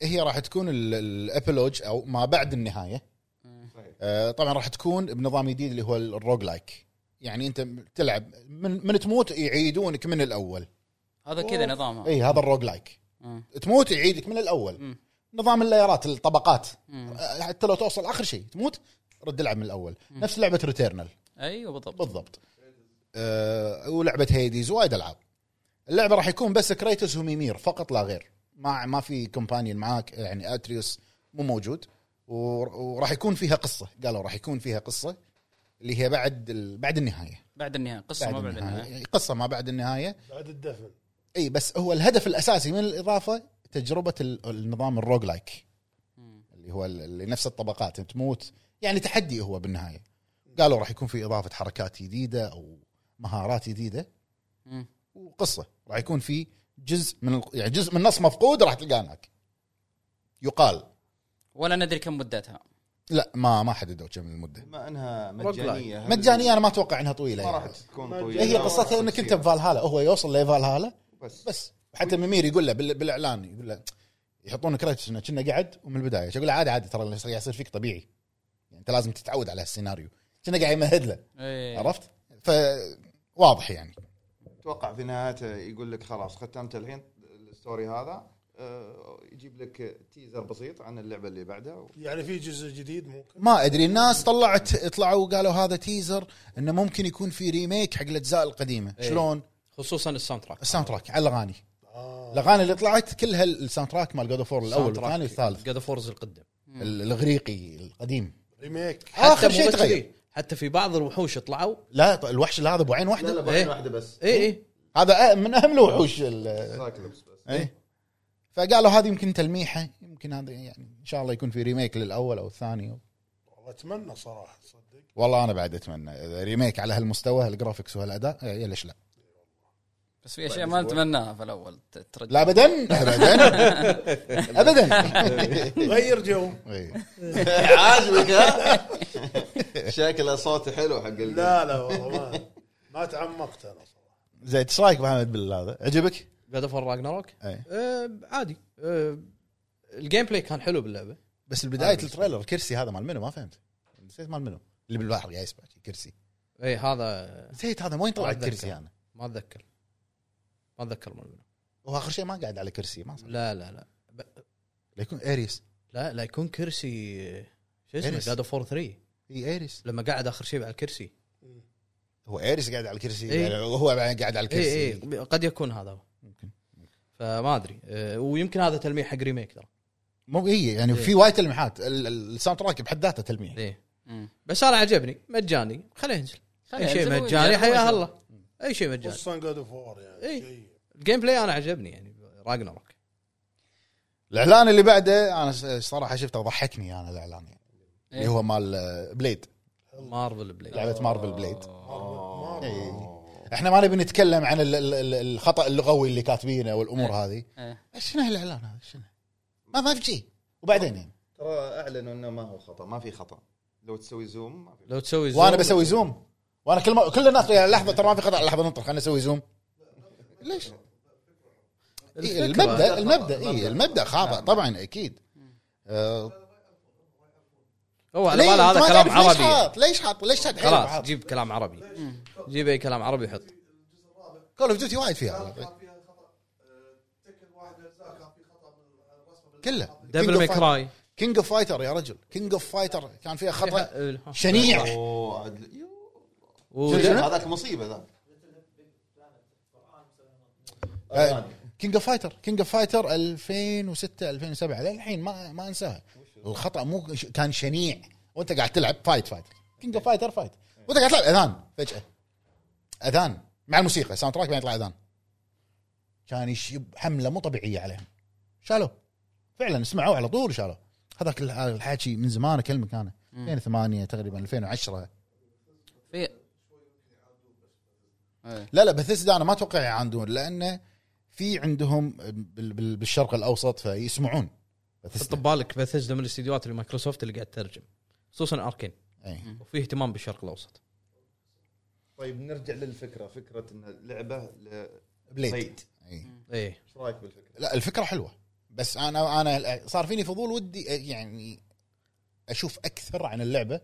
Speaker 4: هي راح تكون ال- الابلوج او ما بعد النهايه
Speaker 3: إيه.
Speaker 4: آه، طبعا راح تكون بنظام جديد اللي هو الروج لايك يعني انت تلعب من, من تموت يعيدونك من الاول
Speaker 3: هذا كذا نظامها
Speaker 4: اي هذا الروج لايك
Speaker 3: مم.
Speaker 4: تموت يعيدك من الاول
Speaker 3: مم.
Speaker 4: نظام اللايرات الطبقات
Speaker 3: مم.
Speaker 4: آه، حتى لو توصل اخر شيء تموت رد العب من الاول نفس لعبه ريتيرنال
Speaker 3: ايوه بالضبط
Speaker 4: بالضبط آه ولعبه هيديز وايد العاب اللعبه راح يكون بس كريتوس وميمير فقط لا غير ما ما في كومبانيون معاك يعني اتريوس مو موجود ور- وراح يكون فيها قصه قالوا راح يكون فيها قصه اللي هي بعد ال... بعد النهايه
Speaker 3: بعد النهايه قصه
Speaker 4: بعد
Speaker 3: ما بعد
Speaker 4: النهايه
Speaker 3: النهايه
Speaker 4: يعني قصه ما بعد النهايه
Speaker 2: بعد الدفن
Speaker 4: اي بس هو الهدف الاساسي من الاضافه تجربه ال- النظام الروج لايك اللي هو ال- اللي نفس الطبقات تموت يعني تحدي هو بالنهايه قالوا راح يكون في اضافه حركات جديده او مهارات جديده
Speaker 3: مم.
Speaker 4: وقصه راح يكون في جزء من ال- يعني جزء من النص مفقود راح تلقاه هناك يقال
Speaker 3: ولا ندري كم مدتها
Speaker 4: لا ما ما حددوا كم المده
Speaker 9: بما انها
Speaker 5: روك لايك.
Speaker 9: مجانيه هل-
Speaker 4: مجانيه انا ما اتوقع انها طويله
Speaker 9: يعني ما راح
Speaker 4: يعني.
Speaker 9: تكون
Speaker 2: ما
Speaker 9: طويله
Speaker 4: هي قصتها انك انت بفالهالا هو يوصل لفالهالا
Speaker 9: بس
Speaker 4: بس حتى ميمير يقول له بال- بالاعلان يقول له يحطون كريتوس انه كنا قعد ومن البدايه يقول له عادي عادي ترى اللي قاعد يصير فيك طبيعي يعني انت لازم تتعود على السيناريو كنا قاعد يمهد له
Speaker 3: إيه.
Speaker 4: عرفت؟ فواضح يعني
Speaker 9: اتوقع في نهايته يقول لك خلاص خدت انت الحين الستوري هذا
Speaker 8: آه، يجيب لك تيزر بسيط عن اللعبه اللي بعدها
Speaker 2: يعني في جزء جديد ممكن
Speaker 4: ما ادري الناس طلعت طلعوا وقالوا هذا تيزر انه ممكن يكون في ريميك حق الاجزاء القديمه
Speaker 5: إيه.
Speaker 4: شلون
Speaker 5: خصوصا الساوند تراك
Speaker 4: الساوند تراك على الاغاني
Speaker 2: آه.
Speaker 4: الاغاني اللي طلعت كلها الساوند تراك مال جود فور الاول
Speaker 5: الساوند تراك
Speaker 4: والثاني والثالث
Speaker 5: جاد فورز القدم
Speaker 4: ال- الاغريقي القديم
Speaker 2: ريميك
Speaker 4: اخر
Speaker 5: حتى مو
Speaker 4: شيء
Speaker 5: بس
Speaker 4: تغير
Speaker 5: ذي، حتى في بعض الوحوش طلعوا
Speaker 4: لا ط- الوحش اللي هذا ابو عين
Speaker 8: لا
Speaker 4: واحده
Speaker 8: لا
Speaker 5: إيه.
Speaker 8: بعين واحده بس
Speaker 5: اي اي
Speaker 4: هذا أ- من اهم الوحوش ال-
Speaker 8: سايكلوبس بس
Speaker 4: ايه فقالوا هذه يمكن تلميحه يمكن هذا يعني ان شاء الله يكون في ريميك للاول او الثاني
Speaker 2: والله اتمنى صراحه تصدق
Speaker 4: والله انا بعد اتمنى إذا ريميك على هالمستوى هالجرافكس وهالاداء إيه، ليش لا؟
Speaker 3: بس في اشياء ما نتمناها في الاول ت- ترجع
Speaker 4: لا ابدا ابدا ابدا
Speaker 2: غير جو
Speaker 4: إيه.
Speaker 8: عاجبك ها شكله صوته حلو حق ال-
Speaker 2: لا لا والله ما, ما تعمقت انا صراحه
Speaker 4: زين ايش رايك أبو حمد بالهذا؟ عجبك؟
Speaker 5: جاد فور راجناروك
Speaker 4: إيه.
Speaker 5: آه عادي آه الجيم بلاي كان حلو باللعبه
Speaker 4: بس البدايه
Speaker 8: آه،
Speaker 4: التريلر الكرسي هذا مال منو ما فهمت نسيت مال منو اللي بالبحر قاعد يسبح كرسي
Speaker 5: اي إيه، هذا
Speaker 4: نسيت هذا وين طلع
Speaker 5: ما أتذكر.
Speaker 4: الكرسي انا؟
Speaker 5: ما اتذكر ما اتذكر من منه
Speaker 4: هو اخر شيء ما قاعد على كرسي ما صار
Speaker 5: لا لا لا
Speaker 4: ليكون اريس
Speaker 5: لا لا يكون كرسي شو اسمه
Speaker 4: إيريس.
Speaker 5: جاد فور 3
Speaker 4: اي اريس
Speaker 5: لما قاعد اخر شيء على الكرسي
Speaker 4: هو اريس قاعد على الكرسي
Speaker 5: إيه.
Speaker 4: يعني هو بعدين قاعد على الكرسي
Speaker 5: اي اي إيه، قد يكون هذا هو
Speaker 4: ممكن.
Speaker 5: فما ادري آه، ويمكن هذا تلميح حق ريميك ترى
Speaker 4: مو اي يعني
Speaker 5: إيه.
Speaker 4: في وايد تلميحات ال- ال- الساوند تراك بحد ذاته تلميح
Speaker 5: اي
Speaker 3: مم.
Speaker 5: بس انا عجبني مجاني خليه ينزل
Speaker 3: خليه
Speaker 5: اي شيء
Speaker 3: ينزل
Speaker 5: مجاني
Speaker 3: ويجرب
Speaker 5: حياه
Speaker 3: ويشوف.
Speaker 5: الله اي شيء مجاني
Speaker 2: خصوصا جود اوف وور يعني
Speaker 5: إيه.
Speaker 2: شيء
Speaker 5: الجيم بلاي انا عجبني يعني راجناروك
Speaker 4: الاعلان اللي بعده انا س- صراحه شفته ضحكني انا الاعلان يعني. اللي
Speaker 3: إيه.
Speaker 4: هو مال آه، بليد
Speaker 5: مارفل بلاي
Speaker 4: لعبه مارفل بليد
Speaker 2: ما- ما-
Speaker 4: إيه. احنا ما نبي نتكلم عن ال- ال- ال- الخطا اللغوي اللي كاتبينه والامور
Speaker 3: إيه.
Speaker 4: هذه
Speaker 3: إيه.
Speaker 4: شنو هالاعلان هذا شنو ما ما في شيء وبعدين يعني
Speaker 8: ترى اعلنوا انه ما هو خطا ما في خطا لو تسوي زوم ما في
Speaker 5: لو تسوي زوم
Speaker 4: وانا بسوي زوم وانا كل ما كل الناس يعني لحظه ترى ما في خطا لحظه ننطر خلينا نسوي زوم ليش؟ إيه
Speaker 5: الفكرة. نعم.
Speaker 4: المبدا المبدا اي المبدا إيه، خاطئ طبعا اكيد آه،
Speaker 5: هو على
Speaker 4: ليه؟
Speaker 5: باله
Speaker 4: أنت
Speaker 5: هذا
Speaker 4: ما
Speaker 5: كلام
Speaker 4: تعرف ليش
Speaker 5: عربي
Speaker 4: حاط؟ ليش حاط ليش حاط
Speaker 5: خلاص جيب كلام عربي
Speaker 3: إيه.
Speaker 5: جيب اي كلام عربي حط
Speaker 4: كول اوف ديوتي وايد فيها كله
Speaker 5: دبل ميك راي
Speaker 4: كينج اوف فايتر يا رجل كينج اوف فايتر كان فيها خطا
Speaker 5: آه،
Speaker 4: شنيع
Speaker 8: اوه عدل يو.
Speaker 5: و-
Speaker 8: هذاك مصيبه ذاك
Speaker 4: أيوة. كينج اوف فايتر كينج اوف فايتر 2006 2007 للحين ما ما انساها الخطا مو ش- كان شنيع وانت قاعد تلعب فايت فايت كينج اوف فايتر فايت وانت قاعد تلعب اذان فجاه اذان مع الموسيقى ساوند تراك بعدين يطلع اذان كان يشيب حمله مو طبيعيه عليهم شالوه فعلا سمعوه على طول شالوه هذاك ال- الحكي من زمان اكلمك انا 2008 تقريبا 2010
Speaker 3: في
Speaker 4: لا لا بثيسدا انا ما اتوقع يعاندون لانه في عندهم بال- بال- بالشرق الاوسط فيسمعون
Speaker 5: حط
Speaker 4: بثيسدا
Speaker 5: ببالك بثيسدا من الاستديوهات اللي مايكروسوفت اللي قاعد تترجم خصوصا اركين
Speaker 4: أي.
Speaker 5: وفي اهتمام بالشرق الاوسط
Speaker 8: طيب نرجع للفكره فكره ان اللعبه ل-
Speaker 4: بليد
Speaker 8: بيت
Speaker 4: أي.
Speaker 5: ايه
Speaker 8: ايش رايك بالفكره؟
Speaker 4: إيه. لا الفكره حلوه بس انا انا صار فيني فضول ودي أ- يعني اشوف اكثر عن اللعبه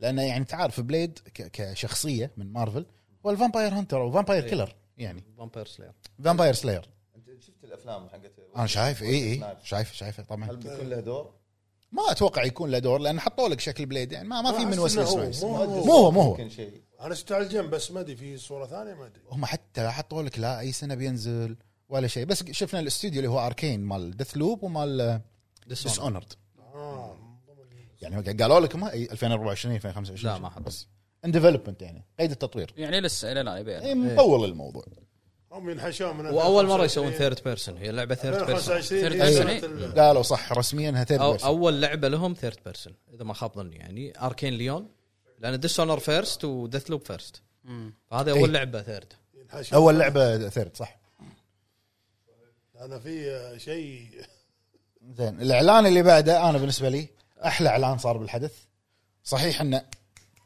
Speaker 4: لانه يعني تعرف بليد ك- كشخصيه من مارفل هو الفامباير هانتر او فامباير
Speaker 5: أي.
Speaker 4: كيلر يعني
Speaker 5: فامباير سلاير
Speaker 4: فامباير سلاير
Speaker 8: انت شفت الافلام حقت
Speaker 4: انا شايف اي اي
Speaker 8: سنايبر.
Speaker 4: شايف شايفه
Speaker 8: هل
Speaker 4: طبعا
Speaker 8: بيكون له دور؟
Speaker 4: ما اتوقع يكون له دور لان حطوا لك شكل بليد يعني ما, ما في
Speaker 2: أحس
Speaker 4: من
Speaker 2: إنه
Speaker 4: وسوس
Speaker 2: هو-
Speaker 4: سنايبس.
Speaker 2: مو هو.
Speaker 4: مو هو مو هو
Speaker 8: يمكن شيء
Speaker 2: انا شفت على الجنب بس ما ادري في صوره ثانيه ما ادري
Speaker 4: هم حتى حطوا لك لا اي سنه بينزل ولا شيء بس شفنا الاستوديو اللي هو اركين مال ديث لوب ومال ديس اونرد
Speaker 2: اه
Speaker 4: يعني قالوا لك ما أي 2024 2025
Speaker 5: لا، ما حطوا.
Speaker 4: بس ان ديفلوبمنت يعني قيد التطوير
Speaker 3: يعني لسه الى لا يبين
Speaker 5: إيه.
Speaker 4: اي مطول الموضوع
Speaker 2: هم ينحشون من
Speaker 5: واول مره يسوون ثيرد بيرسون هي لعبه ثيرد بيرسون
Speaker 2: 2025
Speaker 3: Third
Speaker 2: هي
Speaker 3: person.
Speaker 2: سنة ال-
Speaker 4: قالوا صح رسميا انها
Speaker 5: أو
Speaker 4: ثيرد
Speaker 5: اول لعبه لهم ثيرد بيرسون اذا ما خاب ظني يعني اركين ليون لان ديس اونر فيرست وديث لوب فيرست فهذه
Speaker 4: إيه.
Speaker 5: اول لعبه ثيرد
Speaker 2: ينحشون.
Speaker 4: اول لعبه ثيرد صح
Speaker 2: انا في آه، شيء
Speaker 4: زين الاعلان اللي بعده انا بالنسبه لي احلى اعلان صار بالحدث صحيح انه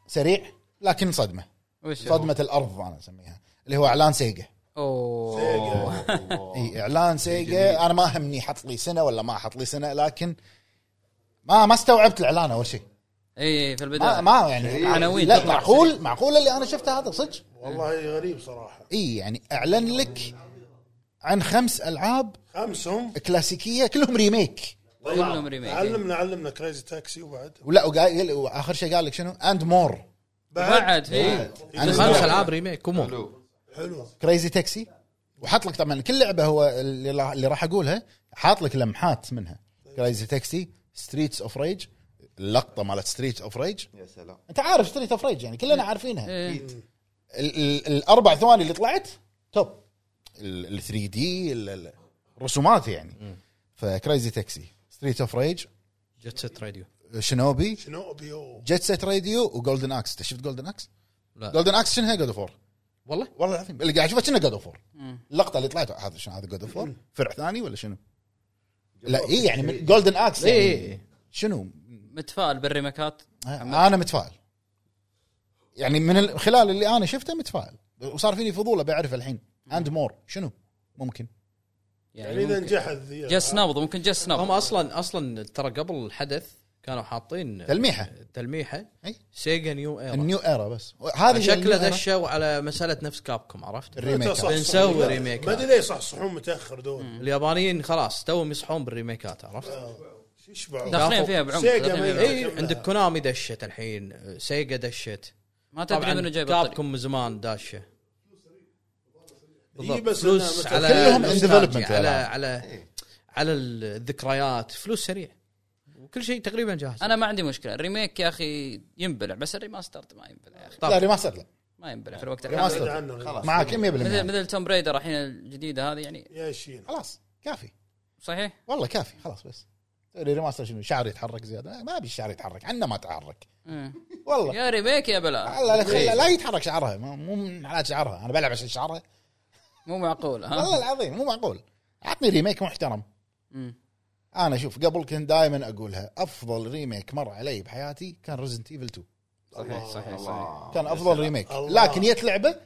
Speaker 4: سريع لكن صدمه
Speaker 3: وش هو؟
Speaker 4: صدمه الارض انا اسميها اللي هو اعلان سيجا
Speaker 3: اوه
Speaker 2: سيجا
Speaker 4: اي اعلان سيجا انا ما همني حط لي سنه ولا ما حط لي سنه لكن ما ما استوعبت الاعلان اول شيء
Speaker 3: اي في البدايه
Speaker 4: ما, ما يعني
Speaker 3: عناوين
Speaker 4: لا
Speaker 3: تطلع
Speaker 4: معقول معقول اللي انا شفته هذا صدق
Speaker 2: والله غريب صراحه
Speaker 4: اي يعني اعلن لك عن خمس العاب طيب.
Speaker 2: خمسهم
Speaker 4: كلاسيكيه كلهم ريميك
Speaker 3: كلهم ريميك
Speaker 2: علمنا علمنا كريزي تاكسي وبعد
Speaker 4: ولا وقايل واخر شيء قال لك شنو اند مور
Speaker 3: بعد في
Speaker 5: خمس العاب ريميك كومو
Speaker 8: حلو
Speaker 2: إيه. حلو
Speaker 4: كريزي تاكسي وحط لك طبعا كل لعبه هو اللي راح- اللي راح اقولها حاط لك لمحات منها كريزي تاكسي ستريتس اوف ريج اللقطه مالت ستريتس اوف ريج
Speaker 8: يا سلام
Speaker 4: انت عارف ستريت اوف ريج يعني كلنا عارفينها
Speaker 3: إيه.
Speaker 4: ال- ال- الاربع ثواني اللي طلعت توب ال 3 دي الرسومات يعني فكريزي تاكسي ستريت اوف ريج
Speaker 5: جت ست راديو
Speaker 4: شنوبي
Speaker 2: شنو ابيو
Speaker 4: جيت سيت راديو وجولدن اكس انت شفت جولدن اكس؟
Speaker 5: لا.
Speaker 4: جولدن اكس شنها جود اوف وور
Speaker 5: والله؟
Speaker 4: والله العظيم اللي قاعد اشوفه شنها جود اوف وور
Speaker 3: مم.
Speaker 4: اللقطه اللي طلعت هذا شنو هذا جود اوف وور فرع ثاني ولا شنو؟ لا اي يعني من جولدن اكس
Speaker 5: إي
Speaker 4: يعني
Speaker 5: إي إي.
Speaker 4: شنو؟
Speaker 3: متفائل بالريميكات
Speaker 4: انا متفائل يعني من ال- خلال اللي انا شفته متفائل وصار فيني فضول ابي اعرف الحين اند مور شنو؟ ممكن
Speaker 2: يعني اذا
Speaker 3: يعني
Speaker 2: نجحت ذي
Speaker 3: جس نبض ممكن جس
Speaker 5: هم
Speaker 3: نبض
Speaker 5: اصلا اصلا ترى قبل الحدث كانوا حاطين
Speaker 4: تلميحه
Speaker 5: تلميحه
Speaker 4: أي.
Speaker 5: سيجا نيو ايرا
Speaker 4: إيه. النيو ايرا بس هذه النيو
Speaker 5: شكله
Speaker 4: إيرا
Speaker 5: دشوا على مساله نفس كابكم عرفت
Speaker 4: الريميك
Speaker 2: صح- صح-
Speaker 5: بنسوي
Speaker 2: صح-
Speaker 5: ريميك.
Speaker 2: ما ادري ليه صح صحون متاخر دول
Speaker 5: اليابانيين خلاص توهم يصحون بالريميكات عرفت
Speaker 2: آه. يشبعوا
Speaker 3: داخلين فيها بعمق
Speaker 2: سيجا
Speaker 3: داخلين فيها
Speaker 4: إيه.
Speaker 2: ما
Speaker 3: بعمق.
Speaker 2: يدري.
Speaker 5: اي عندك كونامي دشت الحين سيجا دشت
Speaker 3: ما تدري منو
Speaker 5: طبعا
Speaker 3: جاي بالطريق
Speaker 5: كابكم من زمان داشه
Speaker 4: إيه،
Speaker 2: إي، بس
Speaker 5: فلوس
Speaker 2: إنها
Speaker 5: على
Speaker 4: كلهم
Speaker 5: nostalgia،
Speaker 4: in development إيه.
Speaker 5: على
Speaker 4: الألعاب.
Speaker 5: على على الذكريات فلوس سريع وكل شيء تقريبا جاهز
Speaker 3: انا ما عندي مشكله الريميك يا اخي ينبلع بس الريماستر ما ينبلع يا اخي
Speaker 4: لا ريماستر لا
Speaker 3: ما ينبلع في الوقت
Speaker 4: ريماستر.
Speaker 3: الحالي
Speaker 2: بعيد عنه.
Speaker 8: خلاص.
Speaker 4: معك 100%
Speaker 3: مثل مثل توم بريدر الحين الجديده هذه يعني
Speaker 2: يا شين
Speaker 4: خلاص كافي
Speaker 3: صحيح
Speaker 4: والله كافي خلاص بس تقولي ريماستر شنو شعر يتحرك زياده ما ابي الشعر يتحرك عنا ما تحرك
Speaker 3: مم.
Speaker 4: والله
Speaker 3: يا ريميك يا بلا إيه.
Speaker 4: الله لا تخلى لا يتحرك شعرها مو- مو من علاج شعرها انا بلعب عشان شعرها
Speaker 3: مو معقول
Speaker 4: والله
Speaker 3: ها
Speaker 4: العظيم مو معقول عطني ريميك محترم
Speaker 3: مم.
Speaker 4: انا شوف قبل كنت دائما اقولها افضل ريميك مر علي بحياتي كان ريزنت ايفل 2
Speaker 3: صحيح صحيح صحيح
Speaker 4: كان افضل ريميك
Speaker 2: آه، الله.
Speaker 4: لكن جت لعبه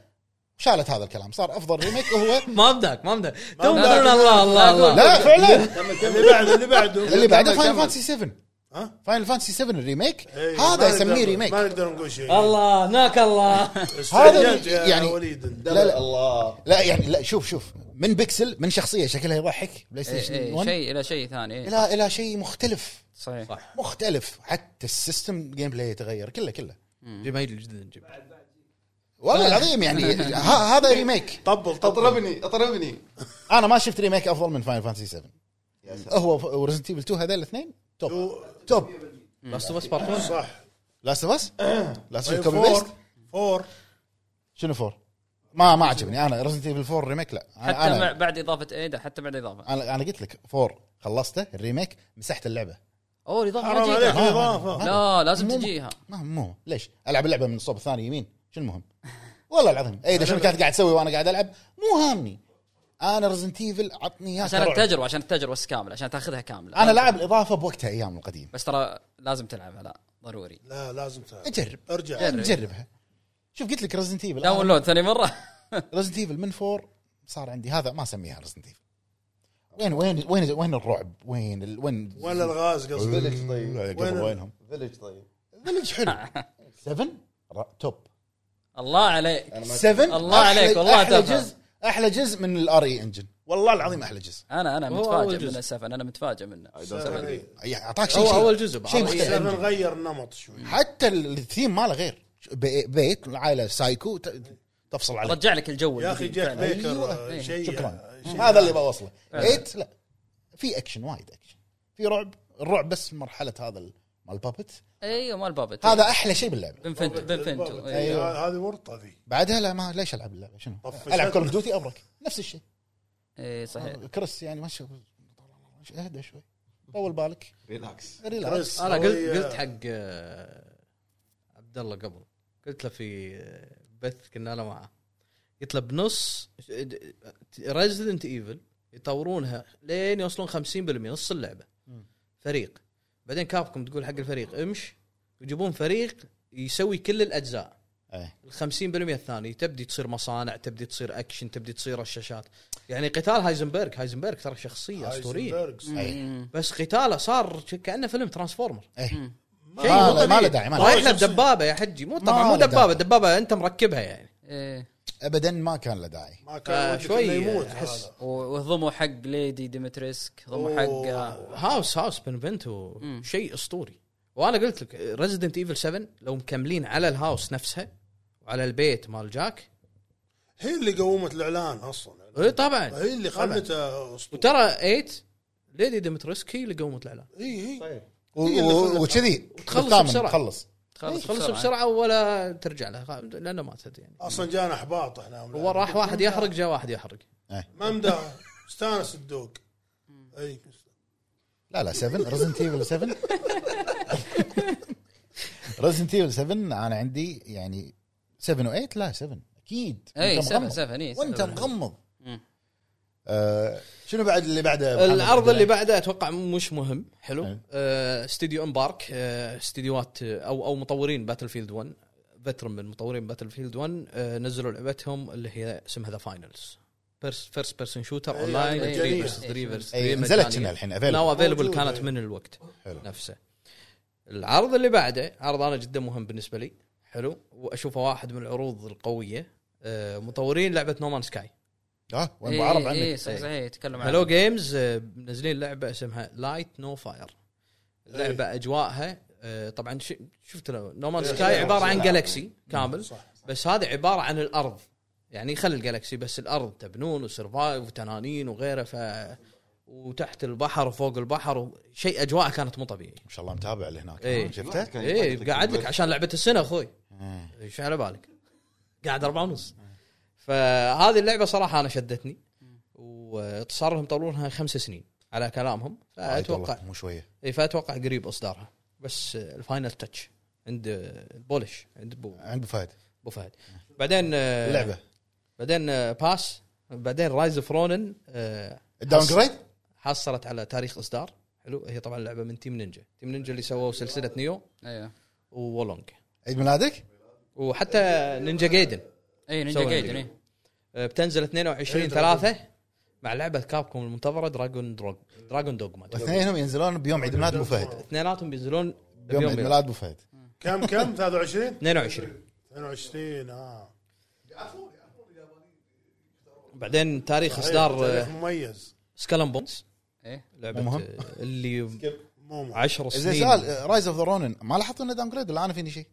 Speaker 4: شالت هذا الكلام صار افضل ريميك هو
Speaker 5: ما بدك ما بدك تو
Speaker 2: بدك.
Speaker 5: يقولون الله الله الله
Speaker 4: لا فعلا
Speaker 2: اللي بعده اللي بعده
Speaker 4: اللي بعده
Speaker 8: كمل،
Speaker 4: فاينل
Speaker 8: كمل.
Speaker 4: فانتسي 7
Speaker 2: ها؟
Speaker 4: فاينل فانتسي 7 الريميك
Speaker 2: إي،
Speaker 4: هذا
Speaker 2: إيه، ما
Speaker 4: يسميه
Speaker 2: نقدر-
Speaker 4: ريميك
Speaker 2: ما نقدر نقول شيء
Speaker 5: الله هناك الله
Speaker 2: استعجلت
Speaker 4: هذا
Speaker 2: يا
Speaker 4: يعني-
Speaker 2: وليد
Speaker 4: لا لا
Speaker 8: الله
Speaker 4: لا يعني لا شوف شوف من بيكسل من شخصيه شكلها يضحك بلاي
Speaker 3: إيه،
Speaker 4: ستيشن
Speaker 3: إيه،
Speaker 4: 1
Speaker 3: شيء الى شيء ثاني إيه.
Speaker 4: الى الى شيء مختلف
Speaker 3: صحيح
Speaker 4: مختلف حتى السيستم جيم بلاي يتغير كله كله
Speaker 5: جيب هاي جدا جيب
Speaker 3: آه.
Speaker 4: والله العظيم يعني ه- هذا ريميك
Speaker 2: طبل طبل
Speaker 8: اطربني اطربني
Speaker 4: انا ما شفت ريميك افضل من فاينل فانتسي 7
Speaker 8: يا سلام
Speaker 4: هو وريزنت ايفل 2 هذول الاثنين توب توب
Speaker 5: لاست اوف اس بارت 1
Speaker 2: صح
Speaker 4: لاست اوف اس لاست اوف كوبي بيست
Speaker 2: فور فور
Speaker 4: شنو فور؟ ما ما عجبني انا ريزنت ايفل 4 ريميك لا أنا-
Speaker 3: حتى
Speaker 4: انا
Speaker 3: مع- بعد اضافه ايدا حتى بعد اضافه
Speaker 4: انا انا قلت لك 4 خلصته الريميك مسحت اللعبه
Speaker 3: اوه الاضافه
Speaker 2: حرام
Speaker 3: ما جيتها.
Speaker 2: عليك
Speaker 4: آه.
Speaker 2: اضافه
Speaker 3: لا لازم
Speaker 4: مو-
Speaker 3: تجيها
Speaker 4: ما مو ليش؟ العب اللعبه من الصوب الثاني يمين شو المهم؟ والله العظيم ايدا شنو كانت قاعد تسوي وانا قاعد العب مو هامني انا ريزنت ايفل عطني اياها
Speaker 3: عشان
Speaker 4: كرعب.
Speaker 3: التجربه عشان التجربه بس كامله عشان تاخذها كامله
Speaker 4: انا لاعب الاضافه بوقتها ايام القديم
Speaker 3: بس ترى لازم تلعبها لا ضروري
Speaker 2: لا لازم تعرف
Speaker 4: اجرب
Speaker 2: ارجع
Speaker 3: جرب.
Speaker 4: نجربها شوف قلت لك ريزنت ايفل
Speaker 3: داونلود ثاني مره
Speaker 4: ريزنت ايفل من فور صار عندي هذا ما اسميها ريزنت ايفل وين وين وين وين الرعب؟ وين ال... وين
Speaker 2: ولا الغاز قصدي
Speaker 8: فيلج طيب
Speaker 4: قبل
Speaker 2: وين-
Speaker 4: وينهم؟
Speaker 8: فيلج طيب
Speaker 4: فيلج حلو 7 توب
Speaker 3: الله عليك
Speaker 4: 7
Speaker 3: الله عليك، والله
Speaker 4: احلى
Speaker 3: تفهم.
Speaker 4: جزء احلى جزء من E الار اي انجن والله العظيم احلى جزء
Speaker 3: انا انا
Speaker 5: هو أول
Speaker 3: متفاجئ
Speaker 5: جزء.
Speaker 3: من السفن انا متفاجئ منه
Speaker 2: سبعين.
Speaker 4: يعني اعطاك شيء
Speaker 5: هو
Speaker 4: شيء-
Speaker 5: أول جزء
Speaker 4: شيء
Speaker 5: بعرض.
Speaker 4: مختلف
Speaker 2: سبعين غير النمط شوي
Speaker 4: حتى الثيم ماله غير بي- بيت العائله سايكو ت- تفصل عليه
Speaker 3: رجع لك الجو
Speaker 2: يا اخي
Speaker 3: القديم
Speaker 2: جاك
Speaker 3: فعلاً.
Speaker 2: بيكر
Speaker 3: إيه.
Speaker 2: شيء
Speaker 4: شكرا
Speaker 2: شيء-
Speaker 4: أيوه، هذا اللي بوصله بيت لا في اكشن وايد اكشن في رعب الرعب بس مرحله هذا ال- مال البابت
Speaker 3: ايوه مال بابت
Speaker 4: هذا احلى شيء باللعبه
Speaker 3: بنفنتو بنفنتو
Speaker 2: إيه،
Speaker 3: أيوة.
Speaker 2: هذه ورطه ذي
Speaker 4: بعدها لا ما ليش العب اللعبه شنو
Speaker 2: طفشت.
Speaker 4: العب كول اوف ديوتي ابرك نفس الشيء
Speaker 3: اي إيه، صحيح
Speaker 4: كريس يعني ما شوف اهدى شوي طول بالك
Speaker 8: ريلاكس
Speaker 4: ريلاكس
Speaker 2: كريس
Speaker 5: انا قلت
Speaker 2: هو-
Speaker 5: قلت حق آه، عبد الله قبل قلت له في آه، بث كنا انا معه قلت له بنص ريزدنت ايفل يطورونها لين يوصلون 50% نص اللعبه فريق بعدين كابكم تقول حق الفريق امش يجيبون فريق يسوي كل الاجزاء
Speaker 4: إيه.
Speaker 5: ال 50% الثاني تبدي تصير مصانع تبدي تصير اكشن تبدي تصير رشاشات يعني قتال هايزنبرغ هايزنبرغ ترى شخصيه اسطوريه
Speaker 2: هايزنبرغ.
Speaker 3: مم.
Speaker 5: بس قتاله صار كانه فيلم ترانسفورمر
Speaker 4: إيه. شيء ما له ما له داعي ما له
Speaker 5: رايح
Speaker 4: داعي.
Speaker 5: له بدبابه يا حجي مو طبعا
Speaker 4: ما
Speaker 5: مو
Speaker 4: له داعي.
Speaker 5: دبابه دبابه انت مركبها يعني
Speaker 3: إيه.
Speaker 4: ابدا ما كان له داعي
Speaker 2: ما كان ودك
Speaker 5: شوي
Speaker 2: إنه يموت
Speaker 5: أحس.
Speaker 2: آه، هذا.
Speaker 3: وضموا حق ليدي ديمتريسك ضموا
Speaker 2: أوه.
Speaker 3: حق آه،
Speaker 5: هاوس هاوس بنفنتو
Speaker 3: مم.
Speaker 5: شيء اسطوري وانا قلت لك ريزدنت ايفل 7 لو مكملين على الهاوس نفسها وعلى البيت مال جاك
Speaker 2: هي اللي قومت الاعلان اصلا
Speaker 5: إيه طبعا
Speaker 2: هي اللي خلته اسطوره
Speaker 5: وترى 8 ليدي ديمتريسك هي اللي قومت الاعلان
Speaker 2: اي اي
Speaker 4: و- و- وكذي
Speaker 5: وتخلص
Speaker 4: بالثامن
Speaker 5: بسرعة.
Speaker 4: تخلص
Speaker 3: تخلص
Speaker 5: خلصوا بسرعه ولا ترجع لها لانه ماتت يعني
Speaker 2: اصلا جانا احباط احنا
Speaker 5: هو راح واحد يحرق جاء واحد يحرق
Speaker 2: ما مدى استانس الدوق اي
Speaker 4: لا لا 7 ريزنت ايفل 7 ريزنت ايفل 7 انا عندي يعني 7 و8 لا 7 اكيد
Speaker 3: اي
Speaker 4: وأنت
Speaker 3: 7
Speaker 4: مغمض.
Speaker 3: 7 اي
Speaker 4: وانت
Speaker 3: سفن.
Speaker 4: مغمض
Speaker 3: إيه، مم.
Speaker 4: آه، شنو بعد اللي بعده محمد؟
Speaker 5: العرض اللي بعده اتوقع مش مهم
Speaker 4: حلو.
Speaker 5: حلو آه، استديو ام بارك آه، استديوهات آه، او او مطورين باتل فيلد 1 فترة من مطورين باتل فيلد 1 آه، نزلوا لعبتهم اللي هي اسمها ذا فاينلز فيرست بيرسون شوتر
Speaker 2: أي،
Speaker 5: اون لاين
Speaker 2: أي،
Speaker 5: 3
Speaker 2: أي.
Speaker 5: فيرسز 3 فيرسز
Speaker 4: يعني أي،
Speaker 5: 3
Speaker 4: نزلت شنو الحين
Speaker 5: ناو
Speaker 4: available.
Speaker 5: افيلبل
Speaker 2: موجودة،
Speaker 5: كانت
Speaker 2: أي.
Speaker 5: من الوقت
Speaker 4: حلو.
Speaker 5: نفسه العرض اللي بعده عرض انا جدا مهم بالنسبه لي حلو واشوفه واحد من العروض القويه آه، مطورين لعبه نومان سكاي
Speaker 4: اه وين معرب عنك
Speaker 3: اي إيه، صحيح صحيح يتكلم
Speaker 5: هلو
Speaker 3: عن
Speaker 5: جيمز آه، منزلين لعبه اسمها لايت نو فاير لعبه اجواءها آه، طبعا ش- شفت نومان سكاي عباره عن جالكسي كامل بس هذه عباره عن الارض يعني خلي الجالكسي بس الارض تبنون وسرفايف وتنانين وغيره ف وتحت البحر وفوق البحر شيء اجواءه كانت مو طبيعيه
Speaker 4: ما شاء الله متابع اللي هناك
Speaker 5: إيه.
Speaker 4: شفته؟ آه،
Speaker 8: كان
Speaker 5: ايه
Speaker 8: يقعد
Speaker 5: قاعد لك
Speaker 8: بس.
Speaker 5: عشان لعبه السنه اخوي ايش على بالك؟ قاعد أربعة ونص فهذه اللعبه صراحه انا شدتني وصار لهم طولونها خمس سنين على كلامهم
Speaker 4: وايد والله،
Speaker 5: فاتوقع
Speaker 4: مو شويه
Speaker 5: اي فاتوقع قريب اصدارها بس آه، الفاينل تاتش عند آه، البولش عند بو
Speaker 4: عند فهد
Speaker 5: بو فهد بعدين آه،
Speaker 4: اللعبه
Speaker 5: بعدين آه، باس بعدين رايز اوف رونن آه،
Speaker 4: الداون جريد
Speaker 5: حصلت على تاريخ اصدار حلو هي طبعا لعبه من تيم نينجا تيم نينجا اللي سووا سلسله نيو
Speaker 3: ايوه
Speaker 5: وولونج
Speaker 4: عيد ميلادك؟
Speaker 5: وحتى نينجا جايدن
Speaker 3: اي إيه، نينجا
Speaker 5: سوى
Speaker 3: جايدن
Speaker 5: نينجا.
Speaker 3: اي
Speaker 5: آه، بتنزل
Speaker 2: إيه،
Speaker 5: 22 3 مع لعبه كابكوم المنتظره دراجون دروج دراجون دوغما
Speaker 4: واثنينهم ينزلون بيوم عيد ميلاد ابو فهد
Speaker 5: اثنيناتهم بينزلون
Speaker 4: بيوم عيد ميلاد ابو فهد
Speaker 2: كم كم 23
Speaker 5: 22
Speaker 2: 22 اه
Speaker 5: بعدين تاريخ اصدار
Speaker 2: تاريخ مميز
Speaker 5: سكالم بونز
Speaker 3: ايه
Speaker 5: لعبه
Speaker 4: مهم.
Speaker 5: آه، اللي
Speaker 2: مو مو-
Speaker 5: 10
Speaker 4: زين
Speaker 5: سنين
Speaker 4: سؤال آه، رايز اوف ذا رونن ما لاحظت انه داون جريد ولا انا فيني شيء؟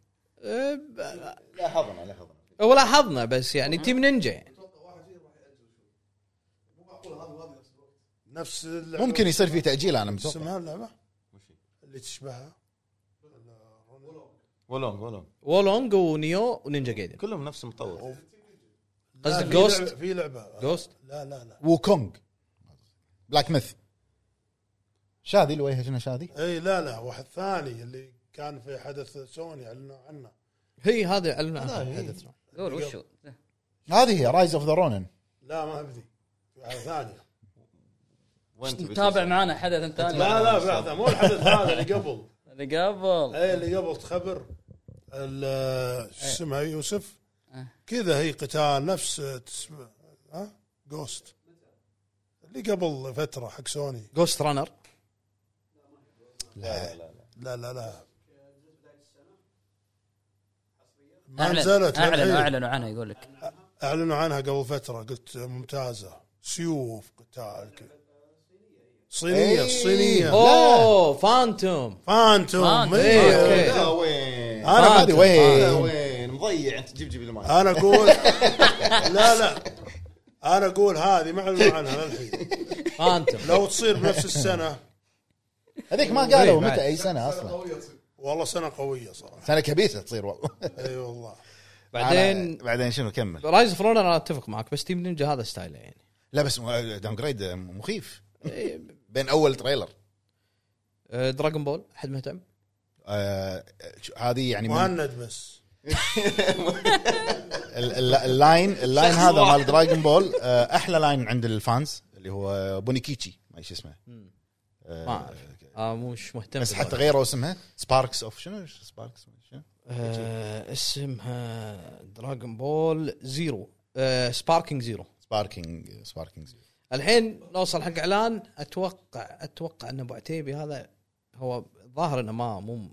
Speaker 5: آه،
Speaker 9: لاحظنا لاحظنا
Speaker 5: هو لاحظنا بس يعني تيم نينجا يعني.
Speaker 2: نفس اللعبة.
Speaker 4: ممكن يصير في تاجيل انا متوقع
Speaker 2: اسمها اللعبه اللي تشبهها
Speaker 8: ولونج ولونج
Speaker 5: وولونج ونيو ونينجا جايدن
Speaker 8: كلهم نفس المطور
Speaker 2: لا،
Speaker 5: قصدك
Speaker 2: في
Speaker 5: Ghost؟
Speaker 2: لعبة- في لعبه
Speaker 5: جوست
Speaker 2: لا لا لا
Speaker 4: وكونغ بلاك ميث شاذي اللي وجهه شنو شاذي؟
Speaker 2: اي لا لا واحد ثاني اللي كان في حدث سوني اعلنوا عنه
Speaker 5: هي هذا اعلن عنها
Speaker 2: هي.
Speaker 5: حدث.
Speaker 3: قول وشو
Speaker 4: هذه هي رايز اوف ذا رونن
Speaker 2: لا ما ابدي في واحد ثاني
Speaker 8: وين تبي
Speaker 3: تابع
Speaker 8: توصل؟
Speaker 3: معانا حدث ثاني
Speaker 2: لا لا في واحد ثاني. مو الحدث هذا اللي قبل
Speaker 3: اللي قبل
Speaker 2: اي إيه، اللي قبل تخبر ال- شو اسمها يوسف
Speaker 3: إيه.
Speaker 2: كذا هي قتال نفس اه، تسمى ها جوست اللي قبل فتره حق سوني
Speaker 5: جوست رانر
Speaker 2: لا لا لا ما
Speaker 3: اعلن
Speaker 2: نزلت
Speaker 3: اعلن
Speaker 2: للحين.
Speaker 3: اعلنوا عنها يقول لك
Speaker 2: اعلنوا عنها قبل فتره قلت ممتازه سيوف قتال كذا صينيه
Speaker 4: إيه.
Speaker 2: الصينيه
Speaker 5: اوه فانتوم
Speaker 2: فانتوم
Speaker 3: فانتوم.
Speaker 2: إيه.
Speaker 5: اوكي
Speaker 8: لا وين
Speaker 2: انا ما
Speaker 4: هذه
Speaker 2: أدري.
Speaker 8: لا
Speaker 4: وين؟
Speaker 8: وين مضيع انت جيب جيب الماي
Speaker 2: انا اقول لا لا انا اقول هذه ما اعلنوا عنها للحين
Speaker 5: فانتوم
Speaker 2: لو تصير بنفس السنه
Speaker 4: هذيك ما قالوا
Speaker 5: بعد.
Speaker 4: متى اي سنه اصلا
Speaker 2: والله سنه قويه صراحه
Speaker 4: سنه كبيسه تصير والله
Speaker 2: اي والله
Speaker 5: بعدين
Speaker 4: أنا- بعدين شنو كمل
Speaker 5: رايز اوف رونر انا اتفق معك بس تيم نينجا هذا ستايله يعني
Speaker 4: لا بس داون جريد مخيف إيه. بين اول تريلر
Speaker 5: آه، دراغون بول احد مهتم؟
Speaker 4: آه، هذه يعني من
Speaker 2: مهند بس
Speaker 4: ال- ال- اللاين اللاين هذا مال دراجون بول آه، احلى لاين عند الفانز اللي هو بونيكيتشي ما ايش اسمه آه،
Speaker 5: ما اعرف آه مش مهتم
Speaker 4: بس حتى
Speaker 5: بالوضع.
Speaker 4: غيروا اسمها سباركس اوف شنو سباركس شنو
Speaker 5: آه اسمها دراغون بول زيرو آه سباركينج زيرو
Speaker 4: سباركينج سباركينج
Speaker 5: الحين نوصل حق اعلان اتوقع اتوقع ان ابو عتيبي هذا هو ظاهر انه ما مو
Speaker 4: ها،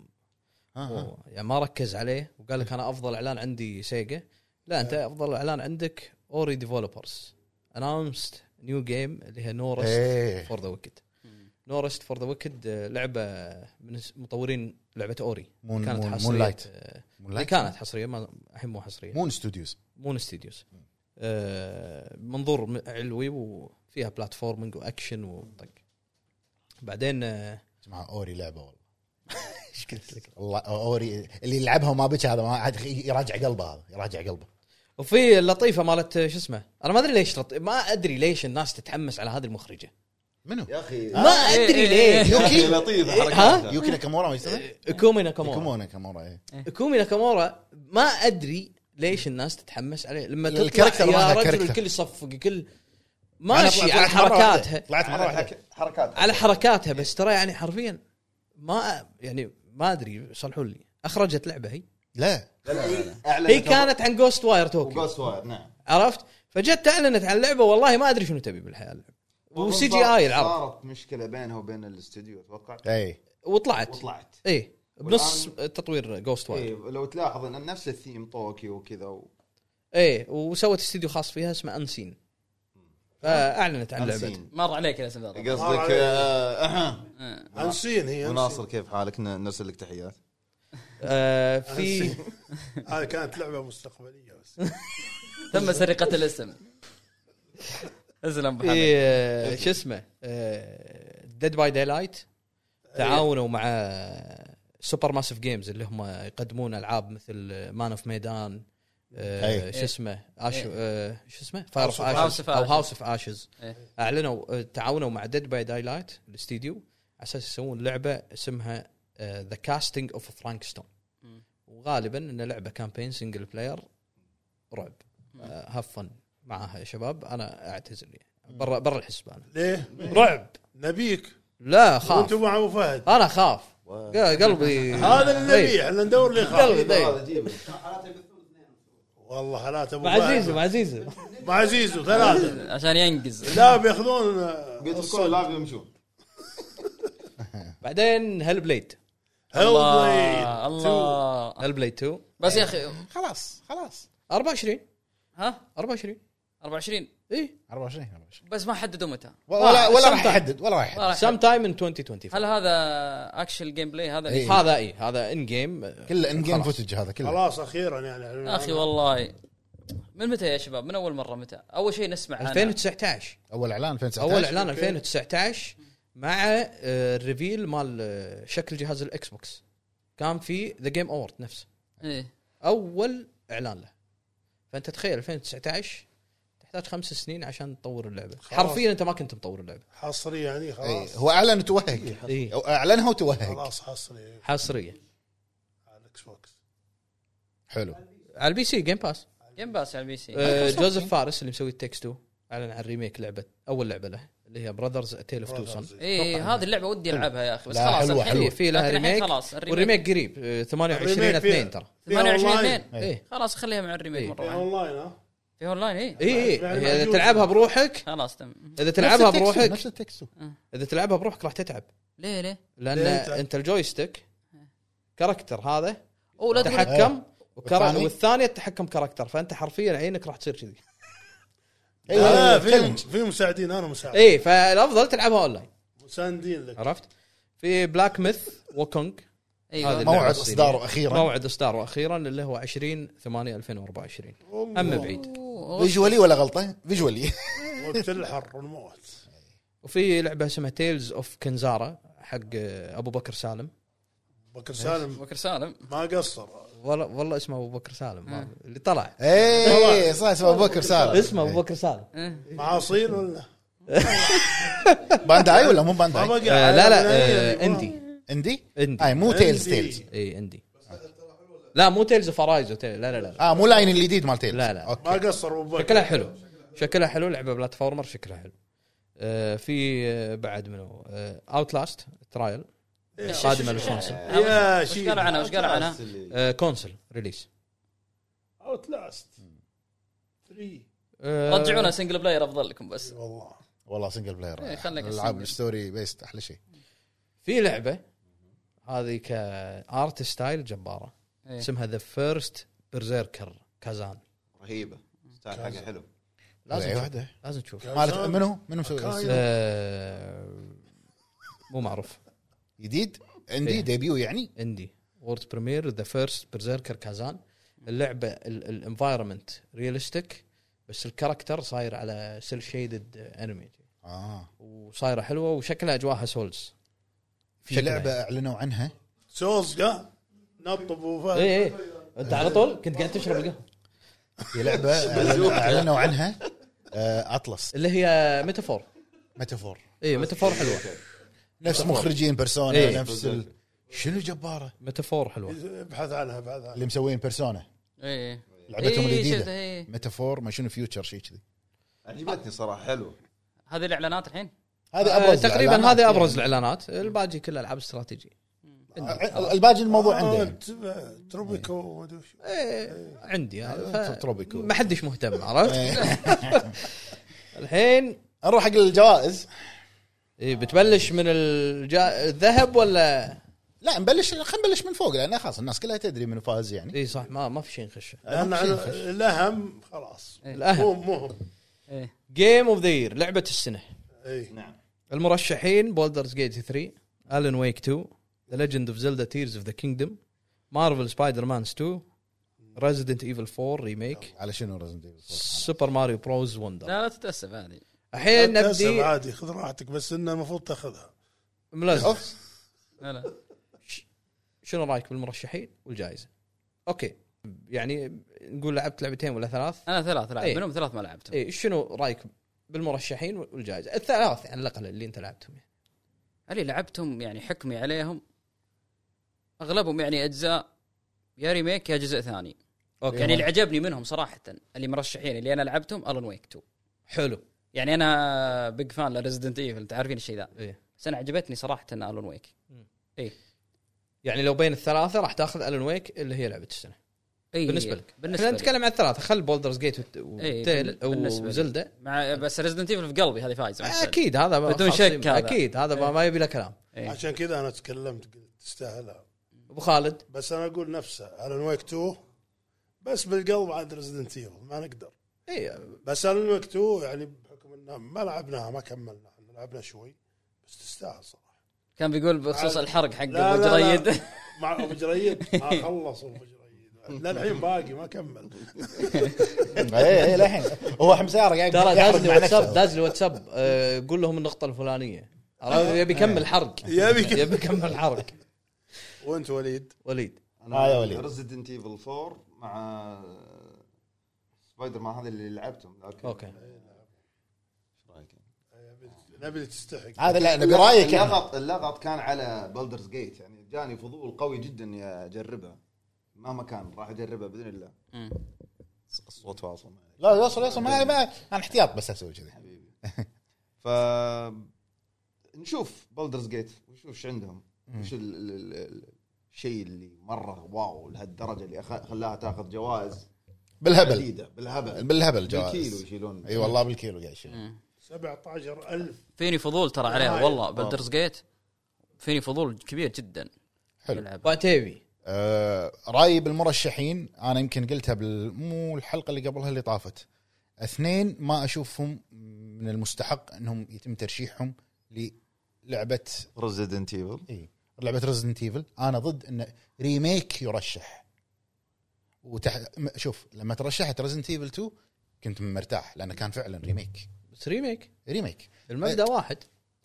Speaker 4: ها.
Speaker 5: هو يعني ما ركز عليه وقال لك انا افضل اعلان عندي سيجا لا
Speaker 4: إيه.
Speaker 5: انت افضل اعلان عندك اوري ديفلوبرز اناونست نيو جيم اللي هي نورست
Speaker 4: إيه.
Speaker 11: ايه
Speaker 5: فور ذا ويكد نورست فور ذا ويكد لعبه آه، من س- مطورين لعبه اوري
Speaker 4: مون
Speaker 5: كانت
Speaker 4: مون,
Speaker 5: حصريه
Speaker 4: مون لايت
Speaker 5: آه،
Speaker 4: مون
Speaker 5: هي
Speaker 4: لايت
Speaker 5: كانت حصريه ما الحين مو حصريه
Speaker 4: مون ستوديوز
Speaker 5: مون ستوديوز آه، منظور م- علوي وفيها بلاتفورمينج واكشن وطق بعدين آه،
Speaker 4: جماعه اوري لعبه والله
Speaker 5: ايش قلت لك؟
Speaker 4: والله اوري اللي يلعبها وما بكى هذا ما عاد يراجع قلبه هذا يراجع قلبه
Speaker 5: وفي اللطيفه مالت آه، شو اسمه انا ما ادري ليش لط... ما ادري ليش الناس تتحمس على هذه المخرجه
Speaker 4: منو؟
Speaker 8: يا اخي
Speaker 5: ما ادري ليش
Speaker 8: يا
Speaker 4: يوكي
Speaker 8: لطيفه
Speaker 5: ها؟
Speaker 8: حركاتها
Speaker 4: يوكي ناكامورا ما
Speaker 5: إيه،
Speaker 4: يسمى؟
Speaker 5: كومي ناكامورا
Speaker 4: كومونا كامورا ايه
Speaker 5: كومي ناكامورا ما ادري ليش الناس تتحمس عليه لما
Speaker 4: الكاركتر
Speaker 5: تطلع يا
Speaker 4: مالها
Speaker 5: رجل
Speaker 4: كاركتر.
Speaker 5: الكل يصفق الكل
Speaker 4: أنا
Speaker 5: ماشي
Speaker 4: طلعت-
Speaker 5: على
Speaker 4: طلعت مرة واحدة.
Speaker 5: حركاتها
Speaker 4: طلعت مره واحده
Speaker 8: حركات- حركات
Speaker 5: على حركاتها بس ترى يعني حرفيا ما يعني ما ادري صلحوا لي اخرجت لعبه هي
Speaker 4: لا
Speaker 8: لا، لا، هي أعلنت
Speaker 5: هي كانت عن جوست واير توكيو
Speaker 8: وجوست واير نعم
Speaker 5: عرفت فجت اعلنت عن لعبه والله ما ادري شنو تبي بالحياه اللعبة. وسي جي اي
Speaker 9: آه.
Speaker 5: العرض
Speaker 8: صارت مشكله بينها وبين الاستديو اتوقع
Speaker 4: اي
Speaker 5: وطلعت
Speaker 8: وطلعت
Speaker 5: اي بنص
Speaker 8: والآن-
Speaker 5: تطوير جوست
Speaker 8: إيه
Speaker 5: واير
Speaker 8: لو تلاحظ ان نفس الثيم طوكيو وكذا و...
Speaker 5: اي إيه. وسوت استديو خاص فيها اسمه انسين فاعلنت عن لعبتها
Speaker 8: أنسين.
Speaker 3: مر عليك الاسم ذا
Speaker 8: قصدك آه، أها.
Speaker 2: انسين هي
Speaker 8: وناصر كيف حالك ن- نرسل لك تحيات
Speaker 5: آه، في
Speaker 2: أنسين. هذه كانت لعبه مستقبليه بس
Speaker 3: تم سرقه الاسم اسلم
Speaker 5: في
Speaker 4: إيه.
Speaker 3: محمد
Speaker 5: آه، شو اسمه آه، ديد باي داي لايت تعاونوا مع سوبر ماسيف جيمز اللي هم يقدمون العاب مثل مان اوف ميدان آه،
Speaker 4: أي.
Speaker 5: شو اسمه اش
Speaker 3: إيه.
Speaker 5: آه، شو اسمه فاير اوف
Speaker 3: House
Speaker 5: اشز
Speaker 3: of
Speaker 5: او
Speaker 3: Ashes.
Speaker 5: هاوس اوف اشز
Speaker 3: إيه.
Speaker 5: اعلنوا آه، تعاونوا مع ديد باي داي لايت الاستديو على اساس يسوون لعبه اسمها آه، ذا كاستنج اوف فرانكستون
Speaker 3: مم.
Speaker 5: وغالبا ان لعبه كامبين سنجل بلاير رعب آه،
Speaker 3: مم.
Speaker 5: هاف فن معاها يا شباب انا اعتذر يعني برا برا الحسبان
Speaker 2: ليه؟
Speaker 5: رعب
Speaker 2: نبيك
Speaker 5: لا
Speaker 2: وانت
Speaker 5: خاف
Speaker 2: مع ابو فهد
Speaker 5: انا خاف قل- قلبي
Speaker 2: هذا اللي
Speaker 5: ضيق.
Speaker 2: نبيه احنا ندور لي
Speaker 5: طيب. قلبي طيب.
Speaker 2: خالد
Speaker 5: ضيق
Speaker 2: والله حالات ابو
Speaker 5: مع
Speaker 2: فهد.
Speaker 5: عزيزو مع عزيزو
Speaker 2: مع عزيزو ثلاثه
Speaker 3: عشان ينقز
Speaker 2: لا بياخذون آه،
Speaker 8: قلت لكم لاعب يمشون
Speaker 5: بعدين هل بليد
Speaker 2: Hellblade
Speaker 4: إيه.
Speaker 3: الله الله
Speaker 5: هل بليد 2
Speaker 3: بس يا اخي
Speaker 4: خلاص خلاص
Speaker 5: 24
Speaker 3: ها
Speaker 5: 24
Speaker 3: 24
Speaker 5: اي
Speaker 4: 24 24
Speaker 3: بس ما حددوا متى
Speaker 4: ولا ولا راح
Speaker 5: sometime.
Speaker 4: يحدد ولا راح يحدد
Speaker 3: ما راح
Speaker 5: سم تايم ان 2025
Speaker 3: هل هذا اكشن جيم بلاي هذا
Speaker 4: إيه.
Speaker 3: اللي
Speaker 5: هذا اي هذا ان جيم
Speaker 4: كله ان جيم
Speaker 5: خلاص.
Speaker 4: فوتج هذا كله
Speaker 2: خلاص اخيرا يعني
Speaker 3: يا اخي والله من متى يا شباب من اول مره متى اول شيء
Speaker 5: آه،
Speaker 3: نسمع عنه.
Speaker 5: 2019
Speaker 4: اول اعلان 2019
Speaker 5: اول اعلان 2019 مع آه، الريفيل مال آه، شكل جهاز الاكس بوكس كان في ذا جيم اوورد نفسه
Speaker 3: إيه.
Speaker 5: اول اعلان له فانت تخيل 2019 تحتاج خمس سنين عشان تطور اللعبه حرفيا انت ما كنت مطور اللعبه
Speaker 2: حصري يعني
Speaker 4: إي،
Speaker 2: خلاص
Speaker 4: إيه، هو اعلن وتوهق
Speaker 5: إيه.
Speaker 4: أو اعلنها وتوهق
Speaker 2: خلاص حصري
Speaker 5: حصريه
Speaker 2: على الاكس بوكس
Speaker 4: حلو
Speaker 5: على البي سي جيم باس
Speaker 3: جيم باس إيه، على البي
Speaker 4: إيه.
Speaker 3: سي
Speaker 5: آه، جوزيف فارس اللي مسوي التكس 2 اعلن عن ريميك لعبه اول لعبه له اللي هي براذرز تيل اوف توسون
Speaker 2: Brothers.
Speaker 3: اي إيه، هذه اللعبه ودي العبها يا اخي بس
Speaker 4: لا،
Speaker 3: خلاص
Speaker 4: حلوة،
Speaker 3: الحين
Speaker 4: حلوة.
Speaker 5: في لها
Speaker 3: لكن الحين
Speaker 5: ريميك
Speaker 3: خلاص الريميك
Speaker 5: والريميك قريب آه، 28
Speaker 2: آه، الريميك فيها-
Speaker 5: 2 ترى
Speaker 2: فيها
Speaker 3: 28
Speaker 2: أونلاين.
Speaker 3: 2
Speaker 4: إيه.
Speaker 5: ايه
Speaker 3: خلاص خليها مع الريميك
Speaker 5: إيه.
Speaker 3: مره
Speaker 2: فيها
Speaker 3: واحده
Speaker 2: اونلاين ها
Speaker 3: في اونلاين اي
Speaker 5: اي
Speaker 2: يعني
Speaker 5: اذا
Speaker 2: موجودة.
Speaker 5: إيه، تلعبها بروحك
Speaker 3: خلاص تم
Speaker 5: اذا تلعبها
Speaker 4: نفس التكست،
Speaker 5: بروحك
Speaker 4: نفس التكست
Speaker 5: اذا تلعبها بروحك راح تتعب
Speaker 3: ليه ليه
Speaker 5: لان
Speaker 2: ليه تتعب؟
Speaker 5: انت الجويستيك كاركتر هذا
Speaker 3: او لا تقول
Speaker 5: تحكم
Speaker 2: آه.
Speaker 5: وكرا...
Speaker 4: والثاني؟
Speaker 5: والثاني التحكم كاركتر فانت حرفيا عينك راح تصير كذي
Speaker 2: لا
Speaker 5: إيه. أيوة،
Speaker 4: ايوه
Speaker 2: في
Speaker 4: تشالنج
Speaker 2: في مساعدين انا مساعد
Speaker 5: اي فالافضل إيه، تلعبها اونلاين
Speaker 2: مساندين لك
Speaker 5: عرفت في بلاك ميث وكونج هذه
Speaker 3: ايوه
Speaker 5: اللعبة
Speaker 4: موعد
Speaker 5: الصينية.
Speaker 4: اصداره اخيرا
Speaker 5: موعد اصداره اخيرا اللي هو 20 8 2024 هم بعيد
Speaker 4: فيجولي ولا غلطه فيجولي
Speaker 2: وقت الحر والموت
Speaker 5: وفي لعبه اسمها تيلز اوف كنزارا حق ابو بكر سالم
Speaker 2: بكر سالم
Speaker 3: بكر سالم
Speaker 2: ما قصر
Speaker 5: والله والله اسمه ابو بكر سالم
Speaker 3: آه.
Speaker 5: ما- اللي طلع آه،
Speaker 4: اي إيه، صح اسمه ابو بكر سالم
Speaker 5: إيه. اسمه ابو بكر سالم
Speaker 2: معاصين ولا
Speaker 4: إيه. بانداي ولا مو
Speaker 2: ما
Speaker 4: بانداي
Speaker 2: بقى
Speaker 3: يعني
Speaker 5: آه، لا لا آه،
Speaker 2: عندي
Speaker 5: اندي
Speaker 4: اندي
Speaker 3: آه.
Speaker 5: اندي
Speaker 4: اي مو تيلز
Speaker 2: إندي.
Speaker 4: تيلز
Speaker 5: اي اندي لا مو تيلز اوف ارايز لا لا لا لا
Speaker 4: اه مو لاين الجديد مال تيلز
Speaker 5: لا، لا.
Speaker 4: اوكي
Speaker 2: ما قصر أبو بكر.
Speaker 5: شكلها حلو شكلها حلو لعبه بلاتفورمر شكلها حلو آه، في آه، بعد منو آه، اوت لاست ترايل
Speaker 3: إيه.
Speaker 5: قادمه للكونسل
Speaker 2: يا
Speaker 3: وش
Speaker 2: شيخ
Speaker 3: قالوا عنها وش قالوا عنها
Speaker 5: كونسل ريليس
Speaker 2: اوت لاست 3
Speaker 5: آه،
Speaker 3: رجعونا سنجل بلاير افضل لكم بس
Speaker 2: والله
Speaker 4: والله سنجل بلاير
Speaker 3: إيه، خليك
Speaker 4: العاب
Speaker 3: single.
Speaker 4: الستوري بيست احلى شيء
Speaker 5: في لعبه هذه كارت ستايل جباره
Speaker 3: إيه.
Speaker 5: اسمها ذا فيرست برزيركر كازان
Speaker 8: رهيبه ستايل حقه حلو
Speaker 4: لازم
Speaker 5: لازم
Speaker 4: تشوف.
Speaker 5: تشوف. لازم تشوف
Speaker 4: إيه، مالت منو منو مسوي
Speaker 5: آه، مو معروف
Speaker 4: جديد عندي
Speaker 5: إيه.
Speaker 4: ديبيو يعني
Speaker 5: عندي وورد بريمير ذا فيرست برزيركر كازان اللعبه الانفايرمنت ريالستيك بس الكاركتر صاير على سيل شيدد انمي
Speaker 4: اه
Speaker 5: وصايره حلوه وشكلها اجواها سولز
Speaker 4: في
Speaker 5: يعني.
Speaker 4: لعبه اعلنوا عنها
Speaker 2: سوز قا نطب وفهد
Speaker 5: اي اي انت إيه، على طول كنت قاعد تشرب القهوه
Speaker 4: في لعبه أعلنوا- اعلنوا عنها آه، اطلس
Speaker 5: اللي هي إيه، ميتافور
Speaker 4: ميتافور
Speaker 5: اي ميتافور حلوه
Speaker 4: نفس مخرجين بيرسونا
Speaker 5: إيه.
Speaker 4: نفس ال... شنو جباره
Speaker 5: ميتافور حلوه
Speaker 2: ابحث عنها ابحث عنها
Speaker 4: اللي مسوين بيرسونا
Speaker 3: ايه
Speaker 4: لعبتهم
Speaker 3: إيه،
Speaker 4: الجديده
Speaker 3: شفتها، إيه.
Speaker 4: ميتافور ما شنو فيوتشر شيء كذي
Speaker 8: عجبتني صراحه حلو
Speaker 3: هذه الاعلانات الحين
Speaker 4: هذا
Speaker 5: آه،
Speaker 4: ابرز
Speaker 5: تقريبا
Speaker 4: الإعلانات.
Speaker 5: هذه ابرز الاعلانات الباقي كلها العاب استراتيجي
Speaker 4: آه، الباقي الموضوع عنده يعني.
Speaker 2: عنده تروبيكو ومدري وش.
Speaker 5: إيه، عندي هذا ف-
Speaker 4: تروبيكو
Speaker 5: ما حدش مهتم عرفت الحين
Speaker 4: إيه. نروح حق الجوائز
Speaker 5: إيه بتبلش من الجا... الذهب ولا
Speaker 4: لا نبلش خلينا نبلش من فوق لان خلاص الناس كلها تدري منو فاز يعني
Speaker 5: اي إيه، صح ما ما في شيء نخشه
Speaker 2: لان على- الاهم خلاص مو
Speaker 5: الاهم
Speaker 2: مهم إيه.
Speaker 3: ايه
Speaker 5: جيم اوف ذا يير لعبه السنه
Speaker 2: اي
Speaker 5: المرشحين بولدرز جيت 3 الن ويك 2 ذا ليجند اوف زلدا تيرز اوف ذا كينجدم مارفل سبايدر مانز 2 ريزدنت ايفل 4 ريميك
Speaker 4: على شنو رزنت
Speaker 5: سوبر ماريو بروز وندر
Speaker 3: لا لا تتاسف هذه
Speaker 5: الحين
Speaker 2: تسب
Speaker 5: إيه، نبدي
Speaker 2: عادي خذ راحتك بس انه المفروض تاخذها
Speaker 5: ملازم
Speaker 3: لا لا
Speaker 5: شنو رايك بالمرشحين والجائزه؟ اوكي يعني نقول لعبت لعبتين ولا ثلاث
Speaker 3: انا ثلاث لعب
Speaker 5: إيه.
Speaker 3: منهم ثلاث ما لعبتهم
Speaker 5: اي شنو رايك بالمرشحين والجائزه؟ الثلاث على الاقل اللي انت لعبتهم يعني.
Speaker 3: اللي لعبتهم يعني حكمي عليهم اغلبهم يعني اجزاء يا ريميك يا جزء ثاني
Speaker 5: اوكي
Speaker 3: يعني اللي عجبني منهم صراحه اللي مرشحين اللي انا لعبتهم الون ويك 2
Speaker 5: حلو
Speaker 3: يعني انا بيج فان لريزدنت ايفل انت عارفين الشيء ذا
Speaker 5: إيه.
Speaker 3: بس انا عجبتني صراحه ان الون ويك
Speaker 5: يعني لو بين الثلاثه راح تاخذ الن ويك اللي هي لعبه السنه
Speaker 3: اي
Speaker 5: بالنسبه لك
Speaker 3: بالنسبه
Speaker 5: احنا
Speaker 3: إيه. لي
Speaker 5: نتكلم عن الثلاثه خل بولدرز جيت
Speaker 3: إيه،
Speaker 5: وتيل
Speaker 3: بال- بالنسبة لي.
Speaker 5: وزلده
Speaker 3: مع بس ريزدنت ايفل في قلبي هذه فايزه ما يحتاج.
Speaker 5: اكيد هذا ما-
Speaker 3: بدون
Speaker 5: خلاص،
Speaker 3: شك هذا.
Speaker 5: اكيد هذا ما- ما يبي له كلام
Speaker 3: إيه.
Speaker 2: عشان كذا انا تكلمت قلت تستاهلها
Speaker 5: ابو خالد
Speaker 2: بس انا اقول نفسه الون ويك 2 بس بالقلب عاد ريزدنت ايفل ما نقدر
Speaker 3: إيه.
Speaker 5: اي
Speaker 2: بس الون ويك 2 يعني بحكم انه ما لعبناها ما كملنا إحنا لعبنا شوي بس تستاهل صراحه
Speaker 3: كان بيقول بخصوص
Speaker 2: عاد-
Speaker 3: الحرق حق
Speaker 2: لا،
Speaker 3: ابو
Speaker 2: لا، لا.
Speaker 3: جريد
Speaker 2: مع ابو جريد ما خلص ابو جريد للحين باقي ما كمل
Speaker 4: اي اي للحين هو حمساره قاعد
Speaker 5: ترى
Speaker 4: يحرق
Speaker 5: داز لي
Speaker 4: مع نفسه.
Speaker 5: واتساب داز لي واتساب آه، قول لهم النقطه الفلانيه عرفت؟
Speaker 3: آه.
Speaker 5: يبي يكمل حرق
Speaker 2: يبي كذا.
Speaker 5: يبي يكمل حرق
Speaker 2: وانت وليد
Speaker 5: وليد
Speaker 4: آه يا وليد.
Speaker 8: ريزدنت ايفل 4 مع سبايدر مان هذا اللي لعبتهم لكن
Speaker 5: اوكي
Speaker 8: إيش رأيك؟
Speaker 2: نبي تستحق
Speaker 4: هذا لا نبي رايك يعني.
Speaker 8: اللغط اللغط كان على بولدرز جيت يعني جاني فضول قوي جدا إني اجربها مهما كان راح اجربها باذن الله
Speaker 3: مم.
Speaker 8: الصوت فاصل
Speaker 4: لا يوصل يوصل ما ما انا احتياط بس اسوي كذي
Speaker 8: حبيبي ف نشوف بولدرز جيت ونشوف ايش عندهم ايش ال- ال- ال- ال- الشيء اللي مره واو لهالدرجه اللي أخ- خلاها تاخذ جوائز
Speaker 4: بالهبل
Speaker 8: جديده بالهبل
Speaker 4: بالهبل أيوه.
Speaker 8: بالكيلو
Speaker 4: جواز
Speaker 8: يشيلون
Speaker 4: اي والله بالكيلو قاعد يشيل
Speaker 2: 17000
Speaker 3: فيني فضول ترى عليها
Speaker 2: نهاية.
Speaker 3: والله بلدرز جيت فيني فضول كبير جدا
Speaker 4: حلو.
Speaker 3: يلعب.
Speaker 5: وعتيبي
Speaker 4: آه، رايي بالمرشحين انا يمكن قلتها بال مو الحلقه اللي قبلها اللي طافت اثنين ما اشوفهم من المستحق انهم يتم ترشيحهم للعبه
Speaker 8: ريزدنت ايفل
Speaker 4: اي لعبه ريزدنت ايفل انا ضد ان ريميك يرشح وتح... م- شوف لما ترشحت ريزدنت ايفل 2 كنت مرتاح لانه كان فعلا ريميك
Speaker 5: بس ريميك
Speaker 4: ريميك
Speaker 3: إيه.
Speaker 5: المبدا واحد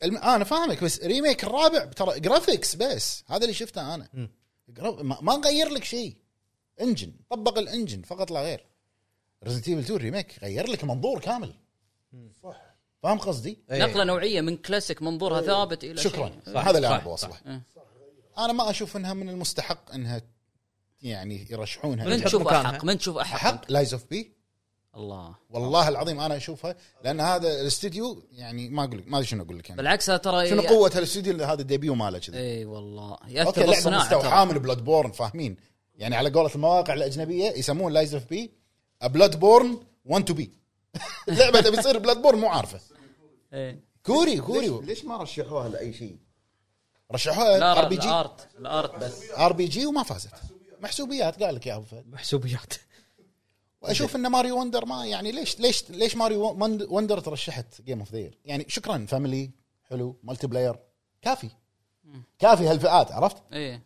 Speaker 4: الم... انا فاهمك بس ريميك الرابع ترى جرافيكس بس هذا اللي شفته انا
Speaker 5: مم.
Speaker 4: جرا- ما ما نغير لك شيء انجن طبق الانجن فقط لا غير ريزنت ايفل 2 ريميك غير لك منظور كامل
Speaker 2: صح
Speaker 4: فاهم قصدي؟
Speaker 5: إيه.
Speaker 3: نقله نوعيه من كلاسيك منظورها ثابت الى
Speaker 4: شكرا
Speaker 3: شيء.
Speaker 4: هذا اللي انا
Speaker 5: صح،
Speaker 4: بوصله
Speaker 3: مم.
Speaker 4: انا ما اشوف انها من المستحق انها يعني
Speaker 3: من
Speaker 4: يرشحونها
Speaker 5: تحط
Speaker 3: تشوف
Speaker 5: مكانها.
Speaker 3: احق من تشوف احق
Speaker 4: حق لايز اوف بي
Speaker 3: الله
Speaker 4: والله العظيم انا اشوفها لان هذا الاستديو يعني ما اقول لك ما ادري شنو اقول لك يعني
Speaker 3: بالعكس هذا ترى
Speaker 4: شنو قوه هالاستديو اللي هذا الديبيو ماله كذي
Speaker 3: اي والله
Speaker 4: اوكي
Speaker 3: ياثر
Speaker 4: لعبه
Speaker 3: بالصناعه
Speaker 4: مستوحاه
Speaker 3: ترى.
Speaker 4: من بلاد بورن فاهمين يعني على قولة المواقع الاجنبيه يسمون لايز اوف بي بلاد بورن 1 تو بي لعبه تبي تصير بلاد بورن مو عارفه
Speaker 3: إيه.
Speaker 4: كوري كوري
Speaker 8: ليش ما رشحوها لاي شيء؟
Speaker 4: رشحوها
Speaker 3: لا
Speaker 4: ار بي جي
Speaker 3: الارت الارت بس
Speaker 4: ار بي جي وما فازت محسوبيات قال لك يا ابو فهد
Speaker 5: محسوبيات
Speaker 4: واشوف ان ماريو وندر ما يعني ليش ليش ليش ماريو وند- وندر ترشحت جيم اوف ذا يعني شكرا فاميلي حلو مالتي بلاير كافي كافي هالفئات عرفت
Speaker 3: ايه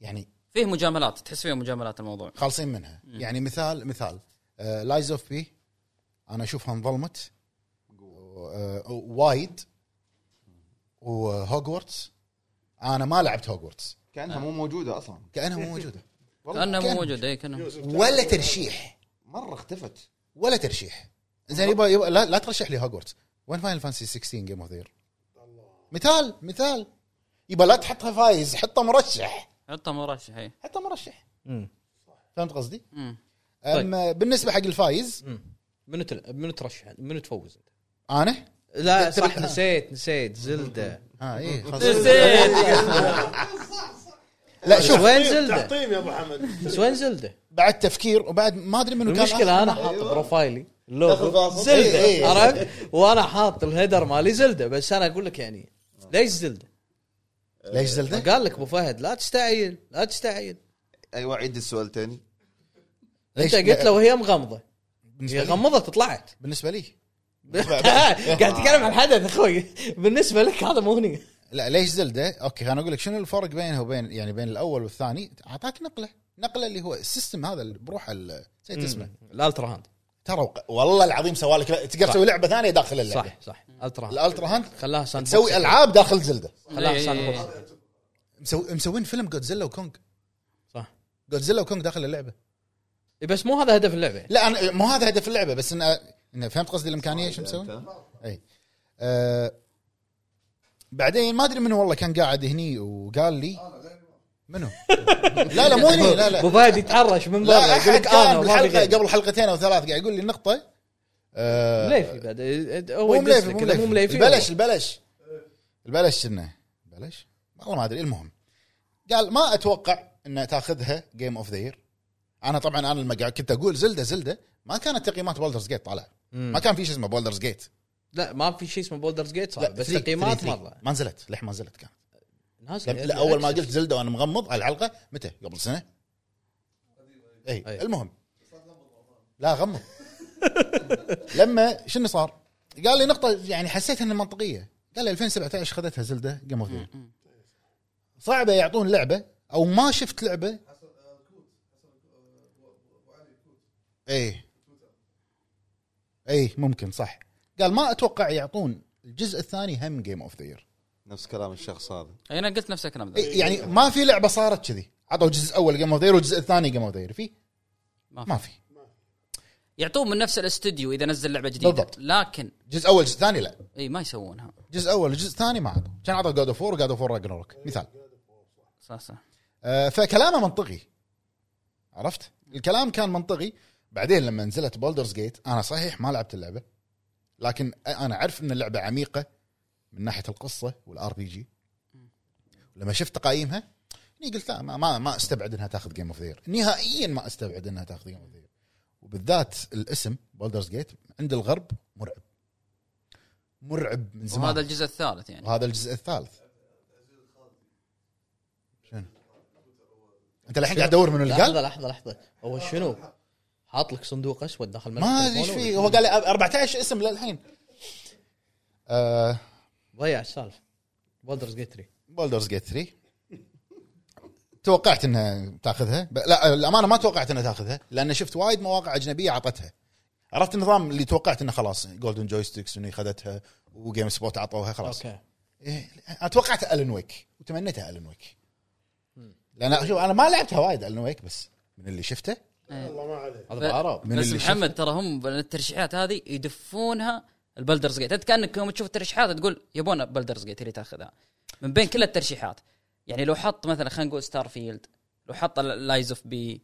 Speaker 4: يعني
Speaker 3: فيه مجاملات تحس فيه مجاملات الموضوع
Speaker 4: خالصين منها يعني مثال مثال آه، لايز اوف بي انا اشوفها انظلمت آه، وايد وهوجورتس انا ما لعبت هوجورتس
Speaker 9: كانها مو موجوده اصلا
Speaker 4: كانها مو موجوده
Speaker 3: كانه مو
Speaker 4: كأنه.
Speaker 3: موجود اي كانه
Speaker 4: ولا ترشيح
Speaker 9: مره اختفت
Speaker 4: ولا ترشيح زين يبا, يبا لا, لا ترشح لي هوجورتس وين فاينل فانسي 16 جيم اوف ذير مثال مثال يبا لا تحطها فايز حطها مرشح
Speaker 3: حطه مرشح اي
Speaker 4: حطها مرشح
Speaker 5: مم.
Speaker 4: فهمت قصدي؟
Speaker 3: مم.
Speaker 4: اما بالنسبه حق الفايز
Speaker 5: منو تل... منو ترشح منو تفوز انت؟
Speaker 4: انا
Speaker 5: لا
Speaker 4: تبي-
Speaker 5: صح نسيت نسيت زلدة
Speaker 4: اه اي لا
Speaker 5: لا
Speaker 4: شوف
Speaker 5: وين زلدة؟
Speaker 2: تعطيم يا ابو حمد
Speaker 5: بس وين زلدة؟
Speaker 4: بعد تفكير وبعد ما ادري منو كان
Speaker 5: المشكلة انا
Speaker 4: آخر
Speaker 5: حاط
Speaker 4: واحد.
Speaker 5: بروفايلي
Speaker 9: داخل
Speaker 5: اللوجو
Speaker 9: فاصل.
Speaker 4: إيه، إيه،
Speaker 5: زلدة
Speaker 4: إيه.
Speaker 5: عرفت؟ وانا حاط الهيدر مالي زلدة بس انا اقول لك يعني ليش زلدة؟
Speaker 4: ليش زلده؟
Speaker 5: قال لك ابو فهد لا تستعجل لا تستعجل
Speaker 9: ايوه عيد السؤال تاني
Speaker 5: انت
Speaker 4: ليش-
Speaker 5: قلت له وهي مغمضة هي
Speaker 4: بالنسبه لي,
Speaker 5: غمضت طلعت
Speaker 4: بالنسبة لي.
Speaker 5: قاعد تتكلم عن حدث اخوي بالنسبة لك هذا مو هني
Speaker 4: لا ليش زلده؟ اوكي انا اقول لك شنو الفرق بينها وبين يعني بين الاول والثاني؟ اعطاك نقله نقله اللي هو السيستم هذا اللي بروحه ال- نسيت اسمه
Speaker 5: الالترا هاند
Speaker 4: ترى وق- والله العظيم سوالك تقدر
Speaker 5: صح.
Speaker 4: تسوي لعبه ثانيه داخل اللعبه
Speaker 5: صح صح الترا هاند
Speaker 4: الالترا هاند
Speaker 5: خلاها ساند
Speaker 4: تسوي العاب داخل زلده
Speaker 5: خلاها
Speaker 3: إيه.
Speaker 5: ساند بوكس
Speaker 4: مسوي مسوين فيلم جودزيلا وكونج
Speaker 5: صح
Speaker 4: جودزيلا وكونج داخل اللعبه
Speaker 5: إيه، بس مو هذا هدف اللعبه يعني.
Speaker 4: لا انا مو هذا هدف اللعبه بس انه إنه فهمت قصدي الامكانيه شو مسوي؟ اي آه بعدين ما ادري منو والله كان قاعد هني وقال لي منو؟ لا لا مو هني لا
Speaker 5: ابو
Speaker 4: لا
Speaker 5: فهد يتعرش من برا
Speaker 4: لا
Speaker 5: يقول
Speaker 4: احد
Speaker 5: لك
Speaker 4: كان
Speaker 5: انا وما في
Speaker 4: بالحلقه
Speaker 5: غير
Speaker 4: قبل حلقتين او ثلاث قاعد يقول لي النقطه آه
Speaker 5: مليفي بعد إيه، هو
Speaker 4: مو
Speaker 5: يدس
Speaker 4: مليفي
Speaker 5: لك،
Speaker 4: مو مليفي
Speaker 5: لا، مو مليفي
Speaker 4: البلش
Speaker 5: هو.
Speaker 4: البلش البلش انه بلش والله ما ادري المهم قال ما اتوقع انه تاخذها جيم اوف ذا يير انا طبعا انا لما قاعد كنت اقول زلده زلده ما كانت تقييمات بولدرز جيت طالع ما كان في شيء اسمه بولدرز جيت
Speaker 5: لا ما في شيء اسمه بولدرز جيت صح
Speaker 4: لا
Speaker 5: بس
Speaker 4: ثري-
Speaker 5: تقييمات
Speaker 4: ثري- ثري.
Speaker 5: مره
Speaker 4: ما نزلت لح ما نزلت كان
Speaker 5: نازل
Speaker 4: يعني لا, لا اول ما قلت زلده وانا مغمض على الحلقه متى قبل سنه اي
Speaker 5: أي.
Speaker 4: المهم لا غمض لما شنو صار؟ قال لي نقطه يعني حسيت انها منطقيه قال لي 2017 خذتها زلده جيم اوف صعبه يعطون لعبه او ما شفت لعبه اي اي إيه. ممكن صح قال ما اتوقع يعطون الجزء الثاني هم جيم اوف ذا يير
Speaker 9: نفس كلام الشخص هذا
Speaker 3: اي انا قلت نفس الكلام ذا
Speaker 4: إيه، يعني ما في لعبه صارت كذي عطوا جزء اول جيم اوف ذير والجزء الثاني جيم اوف ذير في
Speaker 3: ما في.
Speaker 4: ما في
Speaker 3: يعطوه من نفس الاستوديو اذا نزل لعبه جديده
Speaker 4: بالضبط.
Speaker 3: لكن
Speaker 4: جزء اول جزء ثاني لا
Speaker 3: اي ما يسوونها
Speaker 4: جزء اول جزء ثاني ما عطوا كان عطوا جود اوف وور وجود اوف وور راجنروك مثال
Speaker 3: صح صح
Speaker 4: آه فكلامه منطقي عرفت الكلام كان منطقي بعدين لما نزلت بولدرز جيت انا صحيح ما لعبت اللعبه لكن انا عارف ان اللعبه عميقه من ناحيه القصه والار بي جي لما شفت تقايمها اني قلت لا ما, ما, ما استبعد انها تاخذ جيم اوف ذير نهائيا ما استبعد انها تاخذ جيم اوف ذير وبالذات الاسم بولدرز جيت عند الغرب مرعب مرعب من زمان
Speaker 3: وهذا الجزء الثالث يعني
Speaker 4: وهذا الجزء الثالث شنو؟ انت الحين قاعد تدور من اللي
Speaker 5: لحظه
Speaker 4: قال؟
Speaker 5: لحظه لحظه هو شنو حاط لك صندوق اسود داخل ملف
Speaker 4: ما ادري
Speaker 5: تليفونه
Speaker 4: ايش
Speaker 5: ولا
Speaker 4: فيه هو قال لي 14 اسم للحين آه
Speaker 5: ضيع السالفه بولدرز جيت 3
Speaker 4: بولدرز جيت 3 توقعت انها تاخذها ب- لا الامانه ما توقعت انها تاخذها لان شفت وايد مواقع اجنبيه عطتها عرفت النظام اللي توقعت انه خلاص جولدن جويستكس انه خذتها وجيم سبوت عطوها خلاص
Speaker 5: اوكي
Speaker 4: إيه، انا توقعت الن ويك وتمنيتها الن ويك لان شوف انا ما لعبتها وايد الن ويك بس من اللي شفته
Speaker 2: الله ما عليك
Speaker 5: هذا
Speaker 3: ف-
Speaker 5: بعرب
Speaker 4: من
Speaker 3: بس
Speaker 4: اللي
Speaker 3: محمد ترى هم الترشيحات هذه يدفونها البلدرز جيت انت كانك يوم تشوف الترشيحات تقول يبون بلدرز جيت اللي تاخذها من بين كل الترشيحات يعني لو حط مثلا خلينا نقول ستار فيلد لو حط لايز اوف بي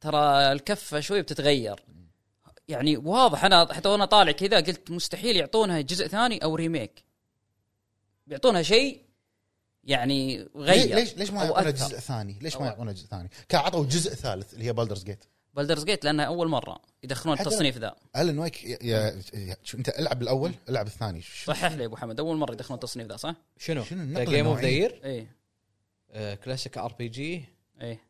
Speaker 3: ترى الكفه شوي بتتغير يعني واضح انا حتى وانا طالع كذا قلت مستحيل يعطونها جزء ثاني او ريميك بيعطونها شيء يعني غير
Speaker 4: ليش ليش ما
Speaker 3: أو
Speaker 4: يعطونا
Speaker 3: أكثر.
Speaker 4: جزء ثاني؟ ليش ما
Speaker 3: أو-
Speaker 4: يعطونا جزء ثاني؟ كان عطوا جزء ثالث اللي هي بلدرز جيت
Speaker 3: بلدرز جيت لانها اول مره يدخلون
Speaker 4: حتى-
Speaker 3: التصنيف ذا
Speaker 4: الن ويك يا, يا, يا شو انت العب الاول العب الثاني شو
Speaker 3: صحح لي ابو حمد اول مره يدخلون التصنيف ذا صح؟
Speaker 5: شنو؟
Speaker 4: شنو النقلة
Speaker 5: جيم اوف ذا
Speaker 4: النوعية؟
Speaker 5: يير
Speaker 3: ايه
Speaker 5: آه، كلاسيك ار بي جي
Speaker 3: ايه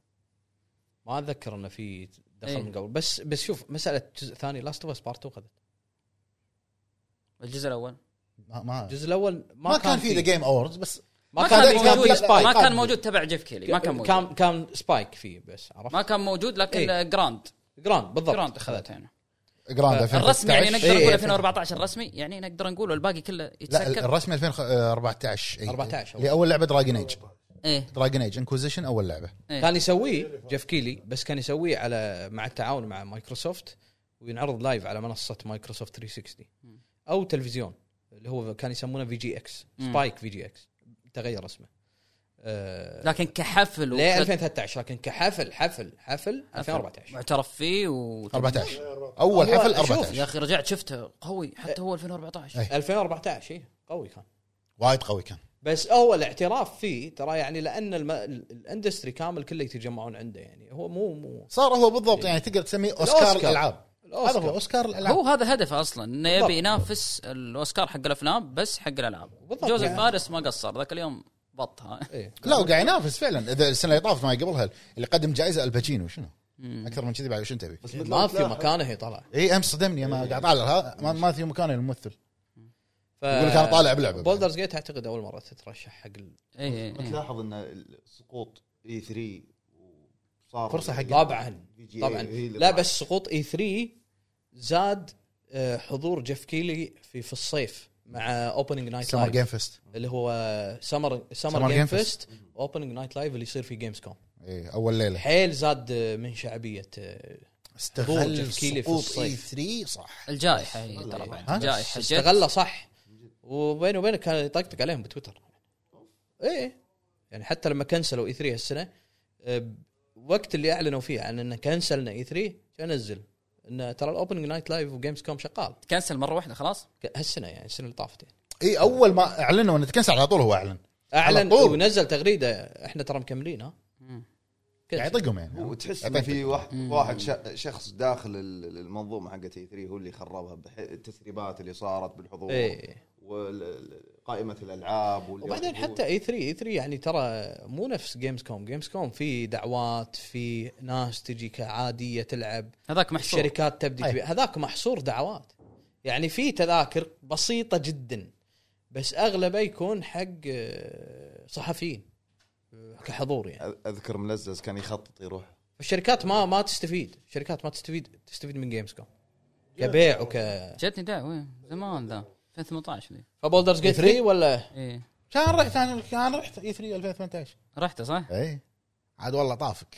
Speaker 5: ما اتذكر انه في دخل
Speaker 3: إيه.
Speaker 5: من قبل بس بس شوف مساله جزء ثاني لاست اوف اس بارت 2 خذت
Speaker 3: الجزء الاول
Speaker 4: ما ما,
Speaker 5: الجزء الاول ما,
Speaker 4: ما كان في ذا
Speaker 5: فيه.
Speaker 4: جيم اووردز بس
Speaker 5: ما كان
Speaker 4: كان-
Speaker 5: موجود
Speaker 4: كان-
Speaker 5: سبايك
Speaker 3: ما
Speaker 4: كان
Speaker 3: كان
Speaker 4: موجود.
Speaker 3: موجود تبع جيف كيلي ما كان موجود
Speaker 5: كان كان سبايك فيه بس عرفت
Speaker 3: ما كان موجود لكن
Speaker 5: إيه.
Speaker 3: جراند
Speaker 5: جراند بالضبط
Speaker 3: جراند اخذته هنا
Speaker 4: جراند
Speaker 3: الرسم يعني
Speaker 4: 2019.
Speaker 3: نقدر نقول
Speaker 5: إيه.
Speaker 3: 2014 الرسمي يعني نقدر نقول والباقي كله
Speaker 4: لا ال-
Speaker 3: يتسكر
Speaker 4: الرسمي 2014 اي
Speaker 5: 14
Speaker 4: إيه. اللي اول لعبه دراجن ايج
Speaker 3: ايه
Speaker 4: دراجن ايج انكوزيشن اول لعبه
Speaker 3: طيب. إيه.
Speaker 5: كان يسويه جيف كيلي بس كان يسويه على مع التعاون مع مايكروسوفت وينعرض لايف على منصه مايكروسوفت 360 او تلفزيون اللي هو كان يسمونه في جي اكس
Speaker 3: مم.
Speaker 5: سبايك في جي اكس تغير اسمه آه
Speaker 3: لكن كحفل
Speaker 5: ليه
Speaker 3: وكت-
Speaker 5: 2013 لكن كحفل حفل حفل 2014
Speaker 3: معترف فيه و
Speaker 4: 14 اول
Speaker 5: هو-
Speaker 4: حفل
Speaker 5: شوف،
Speaker 4: 14
Speaker 3: يا اخي رجعت شفته قوي حتى هو 2014
Speaker 4: إيه.
Speaker 5: 2014 اي قوي كان
Speaker 4: وايد قوي كان
Speaker 5: بس هو الاعتراف فيه ترى يعني لان الم... الاندستري كامل كله يتجمعون عنده يعني هو مو مو
Speaker 4: صار هو بالضبط يعني تقدر تسميه اوسكار
Speaker 5: الأوسكار.
Speaker 4: الالعاب هذا هو
Speaker 5: الاوسكار
Speaker 4: اوسكار الالعاب
Speaker 3: هو هذا هدفه اصلا انه
Speaker 5: بالضبط.
Speaker 3: يبي ينافس الاوسكار حق الافلام بس حق الالعاب
Speaker 5: بالضبط
Speaker 3: جوزيف
Speaker 5: يعني.
Speaker 3: فارس ما قصر ذاك اليوم بطها
Speaker 5: إيه.
Speaker 4: لا وقاعد ينافس فعلا اذا السنه اللي طافت ما قبلها اللي قدم جائزه الباتشينو شنو؟ اكثر من كذي بعد شنو تبي؟
Speaker 11: بس مثل
Speaker 5: ما في
Speaker 11: تلاحظ-
Speaker 5: مكانه طلع
Speaker 4: اي امس صدمني ما قاعد طالع هذا ما, ما في مكان الممثل
Speaker 5: ف...
Speaker 4: يقول لك انا طالع بلعبه
Speaker 5: بولدرز جيت اعتقد اول مره تترشح حق ال-
Speaker 3: اي
Speaker 5: إيه.
Speaker 8: ما تلاحظ ان سقوط اي
Speaker 12: E
Speaker 8: 3 وصار
Speaker 4: فرصة
Speaker 12: يعني
Speaker 4: حق-
Speaker 5: طبعاً.
Speaker 8: VGA هي
Speaker 5: طبعا
Speaker 8: اللي
Speaker 5: لا
Speaker 8: طلعت.
Speaker 5: بس سقوط اي 3 زاد آه، حضور جيف كيلي في في الصيف مع اوبننج نايت
Speaker 4: سمر
Speaker 5: لايف
Speaker 4: جيم فيست
Speaker 5: اللي هو سمر
Speaker 4: Summer
Speaker 5: سمر جيم
Speaker 4: Game Fest.
Speaker 5: فيست اوبننج نايت لايف اللي يصير في جيمز كوم
Speaker 4: اي اول ليله
Speaker 5: حيل زاد آه، من شعبيه آه، حضور
Speaker 4: استغل
Speaker 5: جيف كيلي في
Speaker 4: سقوط اي
Speaker 5: الصيف.
Speaker 4: 3 صح
Speaker 3: الجائحه هي ترى بعد
Speaker 4: ها؟
Speaker 3: الجائحه جت
Speaker 5: استغله صح وبينه وبينه كان يطقطق عليهم بتويتر ايه يعني حتى لما كنسلوا اي 3 هالسنه آه، وقت اللي اعلنوا فيه عن انه كنسلنا اي 3 كان نزل انه ترى الاوبننج نايت لايف وجيمز كوم شغال
Speaker 3: كنسل مره واحده خلاص
Speaker 5: ك- هالسنه يعني السنه اللي طافت يعني
Speaker 4: اي اول إيه، ما اعلنوا انه تكنسل على طول هو اعلن على
Speaker 5: اعلن
Speaker 4: طول.
Speaker 5: ونزل تغريده احنا ترى مكملين ها
Speaker 3: مم.
Speaker 5: كنسل.
Speaker 4: قاعد يطقهم يعني
Speaker 8: وتحس
Speaker 4: يعطيك
Speaker 8: ان في
Speaker 4: طقطقة.
Speaker 8: واحد واحد ش- شخص داخل ال- المنظومه حقت اي 3 هو اللي خربها بح- التسريبات اللي صارت بالحضور
Speaker 5: ايه
Speaker 8: وقائمه الالعاب واللي
Speaker 5: وبعدين
Speaker 8: راح يروح.
Speaker 5: حتى اي 3 اي 3 يعني ترى مو نفس جيمز كوم جيمز كوم في دعوات في ناس تجي كعاديه تلعب
Speaker 3: هذاك محشور
Speaker 5: الشركات تبدي
Speaker 4: أي.
Speaker 5: تبيع هذاك محصور دعوات يعني في تذاكر بسيطه جدا بس اغلبه يكون حق آه، صحفيين آه، كحضور يعني
Speaker 8: أ- اذكر ملزز كان يخطط يروح
Speaker 5: الشركات ما ما تستفيد الشركات ما تستفيد تستفيد من جيمز كوم كبيع وك
Speaker 3: جتني دعوه زمان ذا 2018 ذي
Speaker 5: فبولدرز جيت 3 ولا
Speaker 3: ايه
Speaker 4: كان رحت انا كان رحت E اي 3 2018
Speaker 3: رحته صح؟
Speaker 4: اي إيه. عاد والله طافك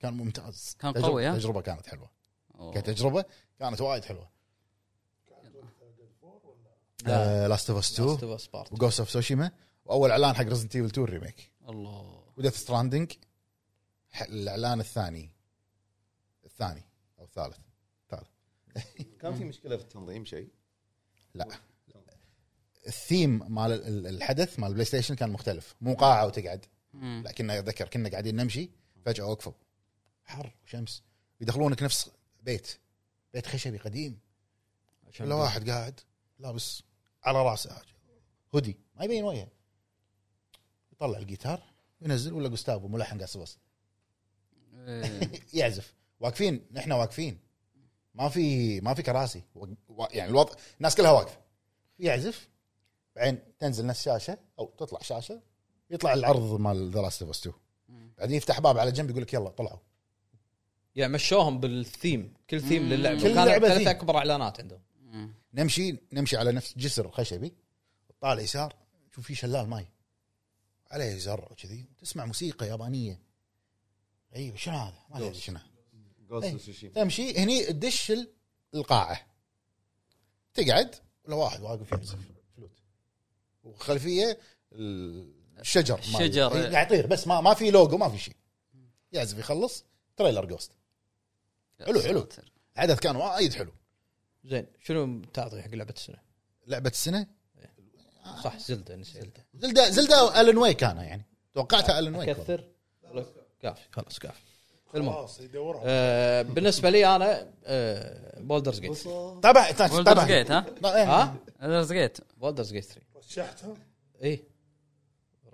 Speaker 4: كان ممتاز
Speaker 3: كان
Speaker 4: تجربة-
Speaker 3: قوي، ها؟
Speaker 4: تجربه كانت حلوه
Speaker 3: أوه.
Speaker 4: كتجربه كانت وايد حلوه
Speaker 5: لا
Speaker 4: لاست اوف اس
Speaker 5: Last
Speaker 4: 2
Speaker 5: of Us Part.
Speaker 4: وجوست اوف سوشيما واول اعلان حق ريزنت ايفل 2 ريميك
Speaker 3: الله
Speaker 4: وديث ستراندنج الاعلان الثاني الثاني او الثالث
Speaker 8: كان في مشكله في التنظيم شيء
Speaker 4: لا الثيم مال ال- الحدث مال البلاي ستيشن كان مختلف مو قاعه وتقعد
Speaker 3: مم.
Speaker 4: لا كنا اتذكر كنا قاعدين نمشي فجاه وقفوا حر وشمس يدخلونك نفس بيت بيت خشبي قديم
Speaker 5: عشان
Speaker 4: ولا واحد قاعد لابس على راسه حاجة. هودي ما يبين وجهه يطلع الجيتار ينزل ولا جوستافو ملحن قاعد صوص
Speaker 3: إيه.
Speaker 4: يعزف واقفين نحن واقفين ما في ما في كراسي و- و- يعني الوضع الناس كلها واقفه يعزف بعدين تنزل نفس شاشه او تطلع شاشه يطلع العرض مال ذا لاست اوف 2 بعدين يفتح باب على جنب يقول لك يلا طلعوا
Speaker 5: يعني مشوهم بالثيم كل ثيم
Speaker 3: مم.
Speaker 5: للعبه
Speaker 4: كل
Speaker 5: كانت
Speaker 4: لعبة
Speaker 5: ثلاث
Speaker 4: theme.
Speaker 5: اكبر اعلانات عندهم
Speaker 3: مم.
Speaker 4: نمشي نمشي على نفس جسر خشبي طالع يسار شوف في شلال ماي عليه زرع وكذي تسمع موسيقى يابانيه ايوه شنو هذا؟ ما ادري شنو هذا.
Speaker 8: جوست
Speaker 4: إيه.
Speaker 8: اوف سوشيما
Speaker 4: تمشي هني تدش ال- القاعه تقعد ولا واحد واقف يعزف فلوت وخلفيه ال- الشجر مال-
Speaker 3: الشجر.
Speaker 4: إيه، قاعد يطير بس ما ما في لوجو ما في شيء يعزف يخلص تريلر جوست حلو، حلو. الحدث كان وايد حلو
Speaker 5: زين شنو تعطي حق لعبه السنه؟
Speaker 4: لعبه السنه
Speaker 5: صح زلده نسيت
Speaker 4: زلدا زلدا الن واي كان يعني توقعتها الن واي والله.
Speaker 5: اكثر ولا- كافي خلاص كافي المهم
Speaker 2: خلاص يدورها
Speaker 5: آه، بالنسبه لي انا آه، بولدرز جيت
Speaker 4: طبعا
Speaker 3: ولدرز
Speaker 4: طبعا
Speaker 3: جيت ها؟
Speaker 4: طبعاً.
Speaker 5: ها
Speaker 3: ولدرز جيت
Speaker 5: بولدرز جيت 3
Speaker 2: رشحتها
Speaker 5: اي إيه.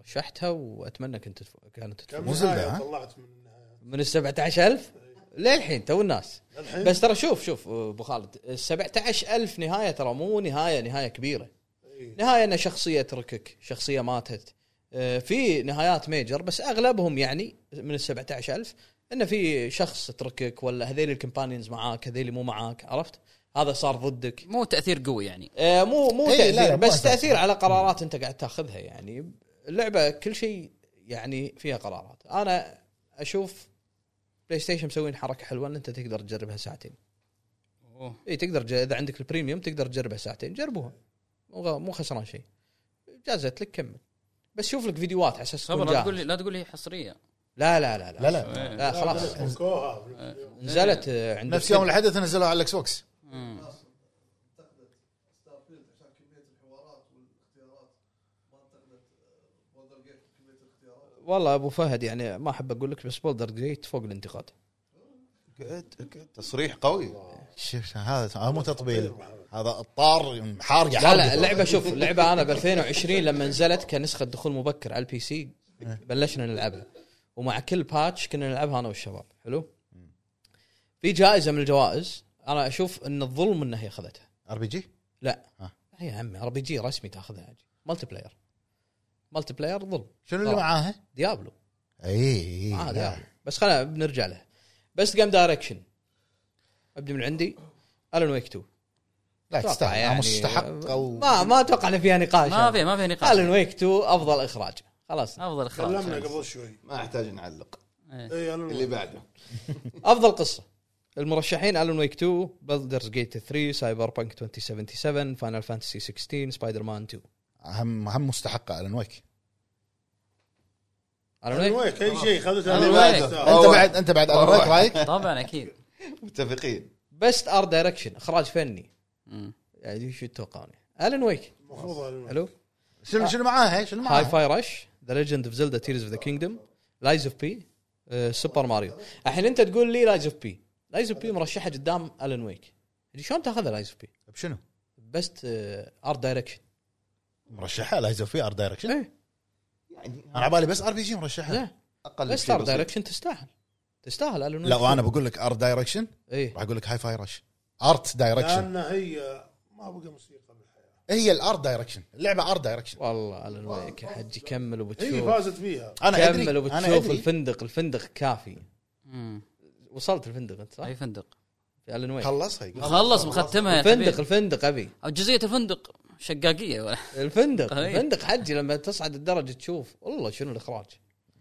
Speaker 5: رشحتها واتمنى كنت تفو... كانت
Speaker 2: كم
Speaker 5: تفوز
Speaker 4: مو زلدة،
Speaker 2: نهاية
Speaker 4: ها؟
Speaker 2: طلعت من النهاية؟
Speaker 5: من ال 17000 للحين تو الناس بس ترى شوف شوف ابو خالد ال 17000 نهايه ترى مو نهايه نهايه كبيره
Speaker 2: إيه.
Speaker 5: نهايه ان شخصيه تركك شخصيه ماتت آه، في نهايات ميجر بس اغلبهم يعني من ال 17000 انه في شخص تركك ولا هذيل الكمبانيونز معاك هذيل مو معاك عرفت هذا صار ضدك
Speaker 3: مو تاثير قوي يعني
Speaker 5: آه، مو مو
Speaker 4: إيه، لا،
Speaker 5: تاثير
Speaker 4: لا، مو
Speaker 5: بس
Speaker 4: أساسي.
Speaker 5: تاثير على قرارات انت قاعد تاخذها يعني اللعبه كل شيء يعني فيها قرارات انا اشوف بلاي ستيشن مسوين حركه حلوه ان انت تقدر تجربها ساعتين
Speaker 3: أوه.
Speaker 5: اي تقدر تج- اذا عندك البريميوم تقدر تجربها ساعتين جربوها مو غ- مو خسران شيء جازت لك كمل بس شوف لك فيديوهات على اساس
Speaker 3: صبر
Speaker 5: تكون
Speaker 3: لا
Speaker 5: جاهز.
Speaker 3: تقول لي لا تقول لي حصريه
Speaker 5: لا لا لا
Speaker 4: لا
Speaker 5: لا
Speaker 4: لا
Speaker 3: إيه.
Speaker 5: لا خلاص
Speaker 2: فكوها.
Speaker 5: نزلت آه، عندك
Speaker 4: نفس يوم الحدث نزلوها على الاكس بوكس
Speaker 3: مم.
Speaker 5: والله ابو فهد يعني ما احب اقول لك بس بولدر جيت فوق الانتقاد
Speaker 4: تصريح قوي شوف هذا هذا مو تطبيل هذا اطار حار
Speaker 5: لا لا اللعبه شوف اللعبه انا ب 2020 لما نزلت كنسخه دخول مبكر على البي سي إيه. بلشنا نلعبها ومع كل باتش كنا نلعبها انا والشباب حلو في جائزه من الجوائز انا اشوف ان الظلم انها هي اخذتها
Speaker 4: ار بي جي
Speaker 5: لا
Speaker 4: ها.
Speaker 5: هي يا عمي ار بي جي رسمي تاخذها مالتي بلاير مالتي بلاير ظلم
Speaker 4: شنو اللي إيه،
Speaker 5: طبعاً.
Speaker 4: معاها؟
Speaker 5: ديابلو
Speaker 4: اي
Speaker 5: آه
Speaker 4: اي
Speaker 5: ديابلو بس خلينا بنرجع لها بس قام دايركشن ابدا من عندي الون ويك 2
Speaker 4: لا
Speaker 5: أتوقع
Speaker 4: تستاهل يعني مستحق او
Speaker 5: ما ما اتوقع ان فيها نقاش
Speaker 3: ما في ما في
Speaker 5: الون
Speaker 3: نقاش
Speaker 5: ويك 2 افضل اخراج خلاص
Speaker 3: افضل
Speaker 2: تكلمنا
Speaker 3: خلاص
Speaker 2: قبل شوي
Speaker 6: ما احتاج نعلق
Speaker 2: اي انا
Speaker 6: اللي بعده
Speaker 5: افضل قصه المرشحين الون ويك 2 بلدرز جيت 3 سايبر بانك 2077 فاينل فانتسي 16 سبايدر مان 2
Speaker 4: اهم اهم مستحقه الون ويك
Speaker 5: الون
Speaker 2: أنا
Speaker 5: ويك
Speaker 2: ويك اي شيء خذته
Speaker 3: اللي
Speaker 2: أنا ويك.
Speaker 3: بعده.
Speaker 4: انت بعد انت بعد الون ويك رايك؟
Speaker 3: طبعا اكيد
Speaker 6: متفقين
Speaker 5: بست ار دايركشن اخراج فني
Speaker 3: مم.
Speaker 5: يعني شو تتوقعون الون ويك
Speaker 2: المفروض أنا ويك.
Speaker 5: حلو
Speaker 4: شنو شنو معاها؟ شنو
Speaker 5: هاي
Speaker 4: معاها؟
Speaker 5: فاي رش ذا ليجند اوف زلدا تيرز اوف ذا كينجدوم لايز اوف بي سوبر ماريو uh, الحين انت تقول لي لايز اوف بي لايز اوف بي مرشحه قدام الون ويك شلون تاخذها لايز اوف بي؟
Speaker 4: بشنو؟
Speaker 5: بست ار دايركشن
Speaker 4: مرشحه لايز اوف ار دايركشن
Speaker 5: ايه
Speaker 4: انا على بالي بس ار بي جي مرشحه
Speaker 5: لا
Speaker 6: اقل
Speaker 5: بست ار دايركشن تستاهل تستاهل الون ويك
Speaker 4: لا وانا بقول لك ار دايركشن
Speaker 5: ايه
Speaker 4: راح اقول لك هاي فاي رش ارت دايركشن
Speaker 2: لان هي ما بقى موسيقى بالحياه
Speaker 4: هي الارت دايركشن اللعبه ارت دايركشن
Speaker 5: والله الون ويك يا حجي كمل
Speaker 4: إيه،
Speaker 2: هي
Speaker 5: وبتشوف
Speaker 2: فازت فيها
Speaker 4: انا ادري انا
Speaker 5: كمل وبتشوف
Speaker 4: ادري
Speaker 5: الفندق الفندق كافي
Speaker 3: مم.
Speaker 5: وصلت الفندق انت صح؟
Speaker 3: اي فندق
Speaker 5: في الون ويك
Speaker 11: خلصها يقول.
Speaker 3: مخلص مختمها يا
Speaker 5: الفندق
Speaker 3: حبيبي.
Speaker 5: الفندق ابي
Speaker 3: أو جزئيه الفندق شقاقيه ولا-
Speaker 5: الفندق
Speaker 3: أي.
Speaker 5: الفندق حجي لما تصعد الدرجه تشوف والله شنو الاخراج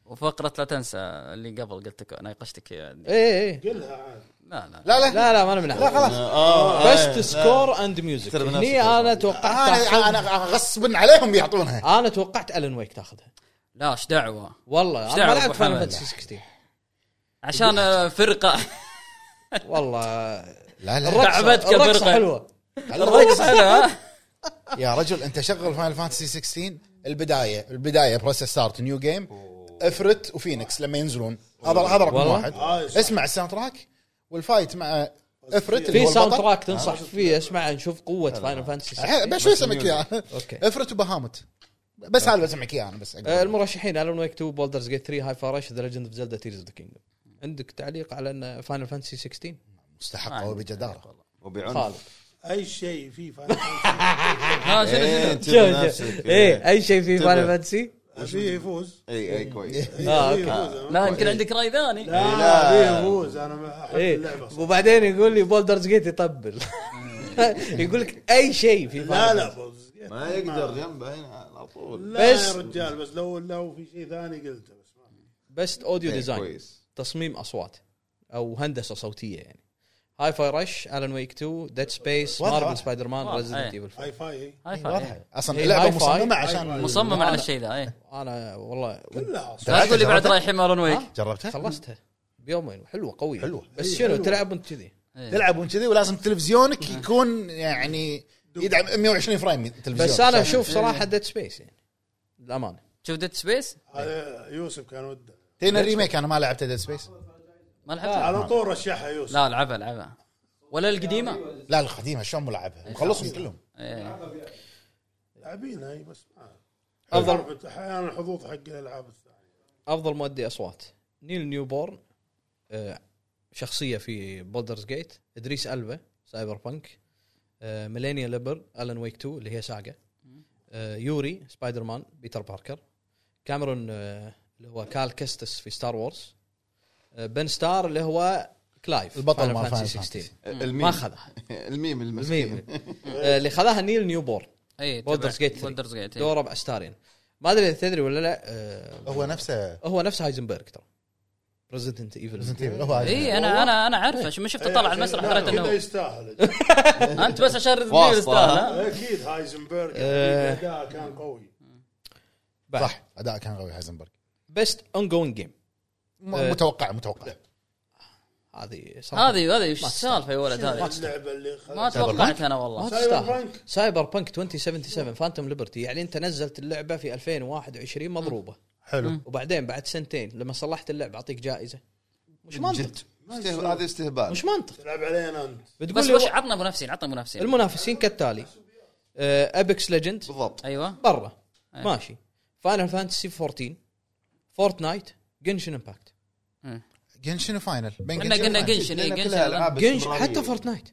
Speaker 3: وفقره لا تنسى اللي قبل قلت لك ناقشتك فيها دي.
Speaker 5: ايه ايه
Speaker 2: قلها عاد
Speaker 3: لا لا
Speaker 4: لا لا
Speaker 5: لا لا ما انا منها
Speaker 6: اه
Speaker 5: بست سكور اند ميوزك
Speaker 6: ترى بنفسك
Speaker 5: هني انا توقعت
Speaker 4: انا
Speaker 5: تاخذ-
Speaker 4: انا غصبا عليهم يعطونها
Speaker 5: انا توقعت الون ويك تاخذها
Speaker 3: لا ايش دعوه
Speaker 5: والله
Speaker 3: إيش
Speaker 5: انا ما
Speaker 3: دعوة
Speaker 5: لعبت
Speaker 3: أبو
Speaker 5: فاينل
Speaker 3: حمد؟
Speaker 5: فانتسي 16
Speaker 3: عشان آه، فرقه
Speaker 5: والله
Speaker 4: لا لا
Speaker 5: الرقصه
Speaker 3: تعبتك يا
Speaker 5: الرقصة
Speaker 3: فرقة.
Speaker 5: حلوه
Speaker 3: الرقص حلو
Speaker 4: يا رجل انت شغل فاينل فانتسي 16 البدايه البدايه بروسيس ستارت نيو جيم افرت وفينيكس لما ينزلون هذا هذا رقم
Speaker 5: والله؟
Speaker 4: واحد
Speaker 2: هاي صح.
Speaker 4: اسمع الساوند تراك والفايت مع افرت اللي
Speaker 5: في
Speaker 4: هو
Speaker 5: ساوند
Speaker 4: البطل آه.
Speaker 5: تراك تنصح فيه اسمع نشوف قوه فاينل فانتسي
Speaker 4: الحين بس شو اسمك اياه
Speaker 5: اوكي
Speaker 4: افرت وبهامت بس هذا بسمعك اياه انا بس
Speaker 5: آه، المرشحين الون ويك 2 بولدرز جيت 3 هاي فارش ذا ليجند اوف زلدا تيرز اوف ذا كينجدوم عندك تعليق على ان فاينل فانتسي 16
Speaker 4: مستحقه وبجداره
Speaker 5: خالد
Speaker 6: وبعنف
Speaker 2: اي شيء في فاينل
Speaker 3: ها شنو
Speaker 6: إيه،
Speaker 3: شنو
Speaker 6: انت بنفسك.
Speaker 5: ايه اي شيء في
Speaker 6: انتبه.
Speaker 5: فاينل فانتسي
Speaker 2: فيه يفوز
Speaker 8: إيه،
Speaker 6: اي اي كويس
Speaker 5: آه،
Speaker 2: فيه
Speaker 5: أوكي.
Speaker 2: يفوز. أنا-
Speaker 3: لا يمكن عندك راي ثاني
Speaker 2: لا فيه يفوز انا ما احب اللعبه
Speaker 5: ايه
Speaker 2: صح.
Speaker 5: وبعدين يقول لي بولدرز جيت يطبل يقول لك اي شيء في
Speaker 2: لا
Speaker 5: Final
Speaker 2: لا
Speaker 5: Fantasy.
Speaker 2: فوز
Speaker 6: ما يقدر جنبه هنا على طول
Speaker 2: لا يا
Speaker 5: بس-
Speaker 2: رجال بس لو لو في شيء ثاني قلته بس ما في.
Speaker 5: بست اوديو
Speaker 6: إيه،
Speaker 5: ديزاين
Speaker 6: كويس
Speaker 5: تصميم اصوات او هندسه صوتيه يعني هاي فاي رش الان ويك 2 ديد سبيس
Speaker 4: واضح،
Speaker 5: مارفل
Speaker 4: واضح.
Speaker 5: سبايدر مان
Speaker 3: واضح،
Speaker 5: ريزدنت
Speaker 3: إيه.
Speaker 5: ايفل
Speaker 2: هاي فاي هي.
Speaker 3: هاي
Speaker 4: واضح
Speaker 3: فاي
Speaker 4: اصلا
Speaker 5: إيه،
Speaker 4: اللعبه
Speaker 5: هاي فاي.
Speaker 4: مصممه عشان
Speaker 3: مصمم على الشيء ذا اي
Speaker 5: انا والله
Speaker 2: لا أصلاً.
Speaker 3: لا تقول لي بعد
Speaker 4: جربتها؟
Speaker 3: رايحين مارون ويك
Speaker 5: ها؟
Speaker 4: جربتها
Speaker 5: خلصتها بيومين حلوه قويه
Speaker 4: حلوة.
Speaker 5: بس
Speaker 2: إيه،
Speaker 5: شنو
Speaker 2: حلوة.
Speaker 5: تلعب وانت كذي
Speaker 4: تلعب وانت كذي ولازم تلفزيونك يكون يعني يدعم 120 فريم تلفزيون
Speaker 5: بس انا اشوف صراحه ديد سبيس يعني للامانه
Speaker 3: شوف ديد سبيس
Speaker 2: هذا يوسف كان وده
Speaker 4: تينا الريميك انا ما لعبت ديد سبيس
Speaker 3: ما لعبتها
Speaker 2: على طول رشحها يوسف
Speaker 3: لا العبها العبها ولا القديمه
Speaker 4: لا القديمه شلون ملعبها مخلصهم كلهم
Speaker 3: إيه.
Speaker 2: لاعبينها هي بس ما
Speaker 5: افضل
Speaker 2: عرفت احيانا الحظوظ حق الالعاب الثانيه
Speaker 5: افضل مؤدي اصوات نيل نيوبورن آه، شخصيه في بولدرز جيت ادريس البا سايبر بانك آه، ميلينيا ليبر الان ويك 2 اللي هي ساقه آه، يوري سبايدر مان بيتر باركر كاميرون آه، اللي هو كال كستس في ستار وورز آه، بن ستار اللي هو كلايف
Speaker 4: البطل
Speaker 5: Final
Speaker 4: مال
Speaker 5: Fantasy
Speaker 4: Final
Speaker 5: 16.
Speaker 12: الميم
Speaker 5: ما خذها
Speaker 12: الميم المسكين
Speaker 5: الميم آه، اللي خذاها نيل نيوبور
Speaker 3: اي
Speaker 5: Baldur's Gate 3.
Speaker 3: بولدرز جيت
Speaker 5: دوره باستاريان ما ادري اذا تدري ولا لا آه،
Speaker 4: هو نفسه
Speaker 5: هو نفس هايزنبرغ ترى بريزدنت ايفل
Speaker 4: Resident Evil. هو
Speaker 5: إيه،
Speaker 3: اي انا انا انا عارفه شو- ما شفت طلع على المسرح
Speaker 2: لا،
Speaker 3: دريت
Speaker 2: كذا
Speaker 3: انه
Speaker 2: يستاهل
Speaker 3: هو. انت بس عشان
Speaker 12: واصلة.
Speaker 3: تستاهل
Speaker 2: اكيد هايزنبرغ
Speaker 5: آه.
Speaker 2: الاداء كان قوي
Speaker 4: صح اداء كان قوي هايزنبرغ
Speaker 5: بيست اون جوينج جيم إيه.
Speaker 4: م- متوقع متوقع
Speaker 5: هذه صراحة
Speaker 3: هذه هذه وش
Speaker 5: ما
Speaker 3: السالفه يا ولد هذه
Speaker 2: اللعبه اللي خ-
Speaker 3: ما توقعت انا والله
Speaker 5: ما
Speaker 2: سايبر
Speaker 5: تستاهل سايبر بانك 2077 فانتوم ليبرتي يعني انت نزلت اللعبه في 2021 مضروبه
Speaker 4: حلو
Speaker 5: وبعدين بعد سنتين لما صلحت اللعبه اعطيك جائزه مش منطق
Speaker 12: استهبال- هذا استهبال
Speaker 5: مش منطق
Speaker 2: تلعب علينا انت
Speaker 5: بتقول
Speaker 3: بس
Speaker 5: لي
Speaker 3: وش
Speaker 5: و-
Speaker 3: عطنا منافسين عطنا منافسين
Speaker 5: المنافسين كالتالي ابيكس ليجند
Speaker 12: بالضبط
Speaker 3: ايوه
Speaker 5: برا
Speaker 3: أي.
Speaker 5: ماشي فاينل فانتسي 14 فورتنايت جنشن امباكت
Speaker 4: جنشن فاينل بين
Speaker 3: قلنا قلنا
Speaker 4: وفاينل.
Speaker 3: جنشن اي
Speaker 12: لأن
Speaker 3: جنشن
Speaker 12: كلها
Speaker 3: الآن.
Speaker 12: العاب
Speaker 5: جنش
Speaker 12: استمرارية.
Speaker 5: حتى فورتنايت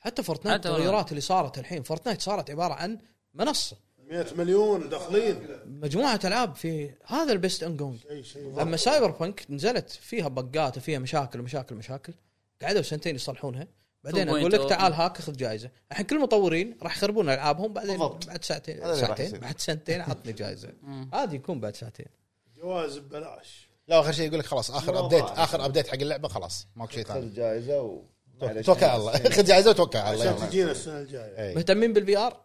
Speaker 5: حتى فورتنايت
Speaker 3: إيه. حتى
Speaker 5: التغيرات اللي صارت الحين فورتنايت صارت عباره عن منصه
Speaker 2: 100 مليون داخلين
Speaker 5: مجموعه العاب في هذا البيست ان جونج
Speaker 2: اي شيء
Speaker 5: اما سايبر بانك نزلت فيها بقات وفيها مشاكل مشاكل مشاكل قعدوا سنتين يصلحونها بعدين
Speaker 3: 2.0.
Speaker 5: اقول لك تعال هاك خذ جائزه الحين كل المطورين راح يخربون العابهم بعدين
Speaker 12: بالضبط.
Speaker 5: بعد ساعتين
Speaker 12: هذا اللي راح
Speaker 5: ساعتين
Speaker 12: يصير.
Speaker 5: بعد سنتين عطني جائزه عادي يكون بعد ساعتين
Speaker 2: جوائز ببلاش
Speaker 4: لا اخر شيء يقول لك خلاص اخر ابديت اخر ابديت حق اللعبه خلاص ماكو شيء ثاني
Speaker 9: خذ جائزه و
Speaker 4: توكل على الله خذ جائزه وتوكل على الله
Speaker 2: عشان
Speaker 4: يلا.
Speaker 2: تجينا السنه الجايه
Speaker 4: إي.
Speaker 5: مهتمين بالفي ار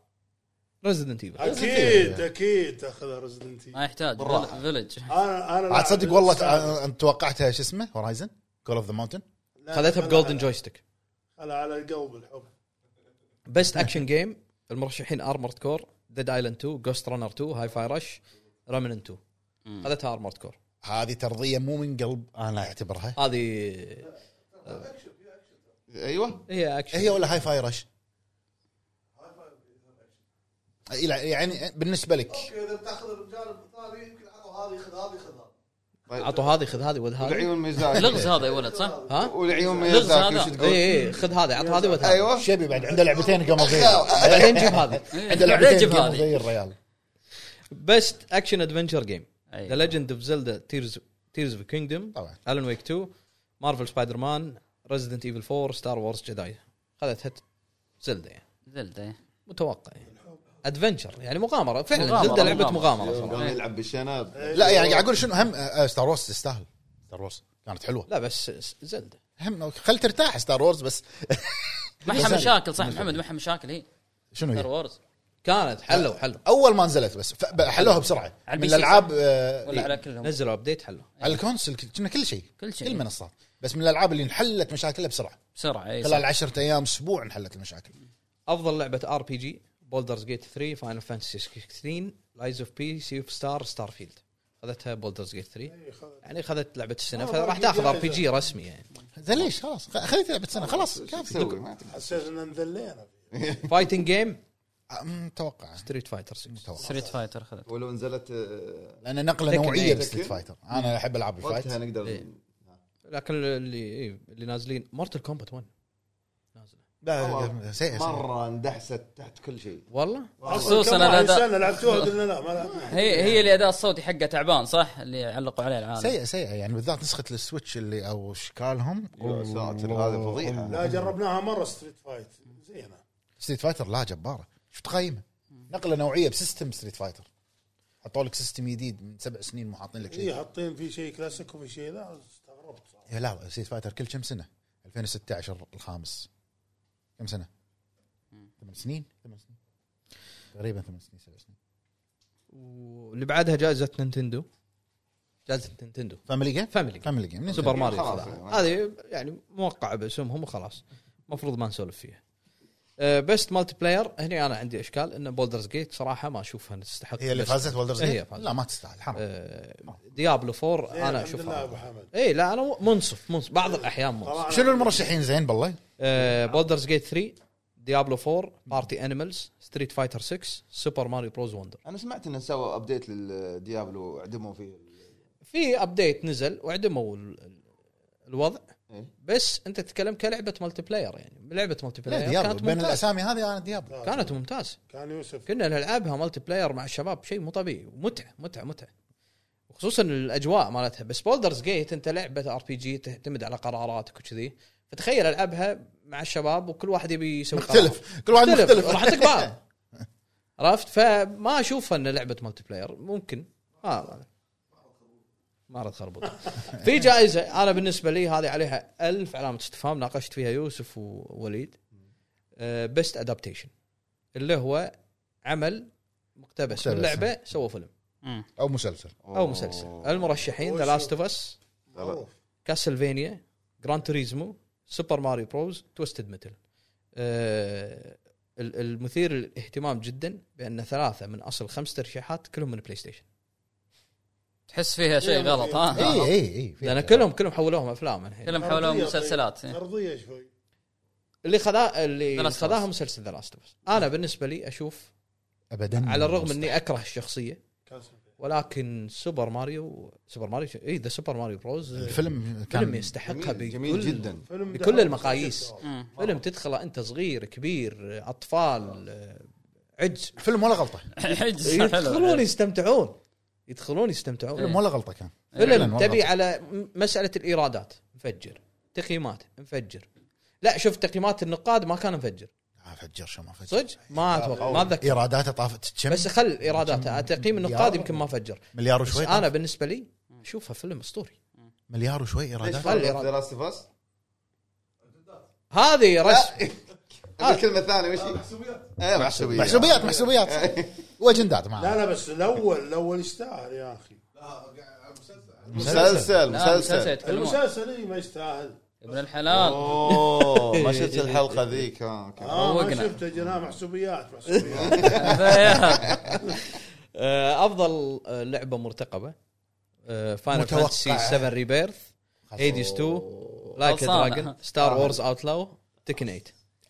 Speaker 5: ريزدنت ايفل
Speaker 2: اكيد اكيد تاخذها ريزدنت
Speaker 3: ما يحتاج
Speaker 12: بالراحة.
Speaker 3: فيلج
Speaker 2: انا انا
Speaker 4: عاد
Speaker 2: لاعب
Speaker 4: تصدق والله
Speaker 2: الأستاذ.
Speaker 4: أنا- انت توقعتها شو اسمه هورايزن كول اوف ذا ماونتن
Speaker 2: لا،
Speaker 5: خذيتها
Speaker 2: أنا
Speaker 5: بجولدن
Speaker 2: على-
Speaker 5: جويستيك
Speaker 2: انا على القلب الحب
Speaker 5: بيست اكشن جيم المرشحين ارمورد كور ديد ايلاند 2 جوست رانر 2 هاي فاي رش رامنن 2 خذتها ارمورد كور
Speaker 4: هذه ترضيه مو من قلب انا اعتبرها
Speaker 5: هذه
Speaker 11: أيوة.
Speaker 12: ايوه
Speaker 5: هي اكشن
Speaker 4: هي ولا هاي فاي رش إي لا، يعني بالنسبه لك
Speaker 11: اذا بتاخذ الجانب الثاني يمكن هذه خذ هذه خذ هذه
Speaker 5: عطوا هذه خذ هذه وذ هذه
Speaker 12: والعيون ميزاكي
Speaker 3: لغز هذا يا ولد صح؟
Speaker 5: ها
Speaker 12: والعيون
Speaker 3: لغز
Speaker 12: ميزاكي
Speaker 3: هذا.
Speaker 12: وش تقول؟
Speaker 5: اي اي إيه، خذ هذه عط هذه وذ هذه
Speaker 11: أيوة.
Speaker 12: ايوه
Speaker 4: شبي بعد عنده لعبتين قام غير
Speaker 5: بعدين جيب هذه
Speaker 4: عنده لعبتين
Speaker 3: جيب إيه،
Speaker 4: قام
Speaker 3: هذه
Speaker 4: غير ريال
Speaker 5: بيست اكشن ادفنشر جيم ذا
Speaker 3: أي.
Speaker 5: ليجند اوف زلدا تيرز تيرز اوف كينجدم
Speaker 4: طبعا
Speaker 5: الون ويك 2 مارفل سبايدر مان ريزدنت ايفل 4 ستار وورز جداي خذتها زلدا يعني
Speaker 3: زلدة إيه.
Speaker 5: متوقع يعني ادفنشر يعني مغامره فعلا
Speaker 3: مغامرة،
Speaker 5: زلدا لعبه
Speaker 3: مغامرة. إيه.
Speaker 5: مغامره صراحه
Speaker 12: قام يلعب بالشنب
Speaker 4: لا يعني قاعد اقول شنو هم ستار وورز تستاهل ستار وورز كانت حلوه
Speaker 5: لا بس زلدا
Speaker 4: هم خل ترتاح ستار وورز بس
Speaker 3: ما
Speaker 4: بس
Speaker 3: حها
Speaker 4: هذه.
Speaker 3: مشاكل صح محمد ما حها مشاكل إيه؟ هي
Speaker 4: شنو
Speaker 3: ستار
Speaker 4: هي؟
Speaker 3: وورز
Speaker 5: كانت حلو حلو
Speaker 4: اول ما نزلت بس ف- حلوها بسرعه
Speaker 3: على
Speaker 4: من
Speaker 3: البي سي
Speaker 4: الالعاب
Speaker 3: ولا
Speaker 4: آه،
Speaker 3: على كلهم
Speaker 5: نزلوا ابديت حلو
Speaker 4: على الكونسل كل- كنا كل شيء
Speaker 3: كل شيء.
Speaker 4: كل منصات بس من الالعاب اللي انحلت مشاكلها بسرعه
Speaker 3: بسرعه اي صح.
Speaker 4: خلال 10 ايام اسبوع انحلت المشاكل
Speaker 5: افضل لعبه ار بي جي بولدرز جيت 3 فاينل فانتسي 16 لايز اوف بي سي اوف ستار ستار فيلد خذتها بولدرز جيت 3
Speaker 2: إيه،
Speaker 5: يعني خذت لعبه
Speaker 12: آه،
Speaker 5: السنه فراح تاخذ ار بي جي رسمي يعني
Speaker 4: زين ليش خلاص خ- خليت لعبه سنه خلاص كافي
Speaker 12: تسوي ما تقدر.
Speaker 2: حسيت ان انذلينا
Speaker 5: فايتنج جيم
Speaker 4: متوقع
Speaker 5: ستريت فايتر 6
Speaker 4: متوقع
Speaker 3: ستريت فايتر خذت
Speaker 12: ولو نزلت آه،
Speaker 4: لان نقله
Speaker 5: تكن
Speaker 4: نوعيه
Speaker 5: إيه.
Speaker 4: بستريت فايتر انا احب العاب
Speaker 12: وقتها
Speaker 4: الفايت
Speaker 12: نقدر
Speaker 5: إيه. لكن اللي إيه، اللي نازلين مورتل كومبات 1 نازله
Speaker 4: لا، سيئة، سيئة.
Speaker 12: مره اندحست تحت كل شيء
Speaker 5: والله
Speaker 3: خصوصاً
Speaker 2: أصلاً كم
Speaker 3: الأداء.
Speaker 2: سنه لعبتوها قلنا لا ما لعبناها
Speaker 3: هي هي اللي اداء الصوتي حقه تعبان صح اللي علقوا عليه العالم
Speaker 4: سيئه سيئه يعني بالذات نسخه السويتش اللي او اشكالهم
Speaker 12: يا ساتر هذا فضيحه
Speaker 2: لا جربناها مره ستريت فايت زينه
Speaker 4: ستريت فايتر لا جباره شو تقيمه نقله نوعيه بسيستم ستريت فايتر حطوا لك سيستم جديد من سبع سنين مو حاطين لك
Speaker 2: هي
Speaker 4: شيء
Speaker 2: إيه، حاطين في شيء كلاسيك وفي شيء لا استغربت صراحة.
Speaker 4: إيه، لا ستريت فايتر كل كم سنه 2016 الخامس كم سنه؟ ثمان سنين ثمان سنين تقريبا ثمان سنين سبع سنين
Speaker 5: واللي بعدها جائزه نينتندو جائزه نينتندو
Speaker 4: فاميلي جيم؟
Speaker 5: فاميلي
Speaker 4: فاميلي جيم
Speaker 5: سوبر ماريو
Speaker 12: خلاص
Speaker 5: خذها.
Speaker 12: يعني.
Speaker 5: هذه يعني موقعه باسمهم وخلاص المفروض ما نسولف فيها آه، بيست مالتي بلاير هنا انا عندي اشكال ان بولدرز جيت صراحه ما اشوفها إن تستحق
Speaker 4: هي اللي
Speaker 5: best.
Speaker 4: فازت ولدرز
Speaker 5: إيه، هي
Speaker 4: جيم؟
Speaker 5: فازت.
Speaker 4: لا ما تستاهل حرام
Speaker 5: آه، ديابلو 4
Speaker 2: زين،
Speaker 5: انا
Speaker 2: الحمد لله ابو
Speaker 5: اشوفها
Speaker 2: حمد
Speaker 5: اي إيه، لا انا منصف منصف بعض الاحيان منصف آه،
Speaker 2: طبعاً
Speaker 4: شنو المرشحين زين بالله؟
Speaker 5: بولدرز جيت 3 ديابلو 4 بارتي انيمالز ستريت فايتر 6 سوبر ماريو بروز وندر
Speaker 12: انا سمعت انه سوى ابديت للديابلو عدموا فيه
Speaker 5: في ابديت نزل وعدموا ال- ال- الوضع
Speaker 12: إيه.
Speaker 5: بس انت تتكلم كلعبه مالتي بلاير يعني لعبه مالتي
Speaker 4: لا
Speaker 5: بلاير
Speaker 4: ديابلو
Speaker 5: كانت آه.
Speaker 4: بين
Speaker 5: ممتازه
Speaker 4: الاسامي هذه انا ديابلو
Speaker 5: كانت ممتازه
Speaker 2: كان يوسف
Speaker 5: كنا نلعبها مالتي بلاير مع الشباب شيء مو طبيعي ومتعه متعه متعه وخصوصا الاجواء مالتها بس بولدرز جيت انت لعبه ار بي جي تعتمد على قراراتك وكذي فتخيل العبها مع الشباب وكل واحد يبي يسوي قرار.
Speaker 4: مختلف كل واحد مختلف
Speaker 5: راح تكبر عرفت فما اشوف ان لعبه مالتي بلاير ممكن ما معرض خربط في جائزه انا بالنسبه لي هذه عليها ألف علامه استفهام ناقشت فيها يوسف ووليد بيست ادابتيشن اللي هو عمل مقتبس من
Speaker 4: مقتبس.
Speaker 5: لعبه سووا فيلم
Speaker 4: او مسلسل
Speaker 5: او مسلسل المرشحين ذا لاست اوف اس كاسلفينيا جران توريزمو سوبر ماريو بروز توستد ميتل آه ال- المثير للاهتمام جدا بان ثلاثه من اصل خمس ترشيحات كلهم من بلاي ستيشن
Speaker 3: تحس فيها شيء غلط ها
Speaker 4: اي اي اي إيه، في-
Speaker 5: لان آه. كلهم كلهم حولوهم افلام الحين
Speaker 3: كلهم حولهم مسلسلات إيه.
Speaker 2: ارضيه طيب. شوي
Speaker 5: اللي خذا
Speaker 3: The
Speaker 5: اللي
Speaker 3: Last of Us. نعم.
Speaker 5: خذاها مسلسل ذا لاست انا بالنسبه لي اشوف
Speaker 4: ابدا
Speaker 5: على الرغم اني اكره الشخصيه
Speaker 2: كاسل.
Speaker 5: ولكن سوبر ماريو سوبر ماريو اي ذا سوبر ماريو بروز
Speaker 4: الفيلم
Speaker 5: فيلم
Speaker 4: كان
Speaker 5: يستحقها
Speaker 12: جميل-
Speaker 5: بكل
Speaker 12: جميل جدا
Speaker 2: فيلم
Speaker 5: بكل
Speaker 2: دعم
Speaker 5: المقاييس.
Speaker 2: ستة آلاف.
Speaker 3: مم.
Speaker 5: فيلم تدخله انت صغير كبير اطفال آه، عجز
Speaker 4: الفيلم ولا غلطه
Speaker 5: إيه.
Speaker 3: حجز
Speaker 5: يدخلون
Speaker 3: حلو إيه.
Speaker 5: يستمتعون يدخلون يستمتعون
Speaker 4: الفيلم ولا غلطه كان
Speaker 5: فيلم
Speaker 4: والله.
Speaker 5: تبي على م- مساله الايرادات مفجر تقييمات مفجر لا شوف تقييمات النقاد ما كان مفجر
Speaker 4: آه، فجر شو ما فجر
Speaker 5: صدق ما اتوقع ما اتذكر
Speaker 4: ايراداته طافت كم
Speaker 5: بس خل ايراداته تقييم النقاد يمكن ما فجر
Speaker 4: مليار
Speaker 5: بس
Speaker 4: وشوي
Speaker 5: انا بالنسبه لي اشوفها فيلم اسطوري
Speaker 4: مليار وشوي
Speaker 12: ليش
Speaker 4: ايراداته
Speaker 5: خلي
Speaker 12: فرق
Speaker 5: رأي.
Speaker 12: ذا لاست اوف اس؟
Speaker 5: هذه رسم آه.
Speaker 12: الكلمه الثانيه وش هي؟ إيه، محسوبيات
Speaker 4: محسوبيات محسوبيات واجندات
Speaker 2: لا
Speaker 4: معاه
Speaker 2: لا بس الاول الاول يستاهل يا اخي
Speaker 12: مسلسل
Speaker 3: لا مسلسل
Speaker 12: مسلسل
Speaker 3: يتكلمون
Speaker 2: المسلسل اي ما يستاهل
Speaker 3: ابن
Speaker 5: آه.
Speaker 3: الحلال
Speaker 12: اوه ما شفت الحلقه ذيك
Speaker 11: آه،
Speaker 12: ها، أوكي.
Speaker 2: اه ما
Speaker 3: روقنا.
Speaker 2: شفته جناه محسوبيات محسوبيات
Speaker 5: آه، افضل آه، لعبه مرتقبه فاينل
Speaker 4: متوقعة.
Speaker 5: فانتسي 7 ريبيرث ايديز 2 لايك
Speaker 3: خلصانة.
Speaker 5: دراجون ستار
Speaker 3: آه.
Speaker 5: وورز اوتلاو تكن 8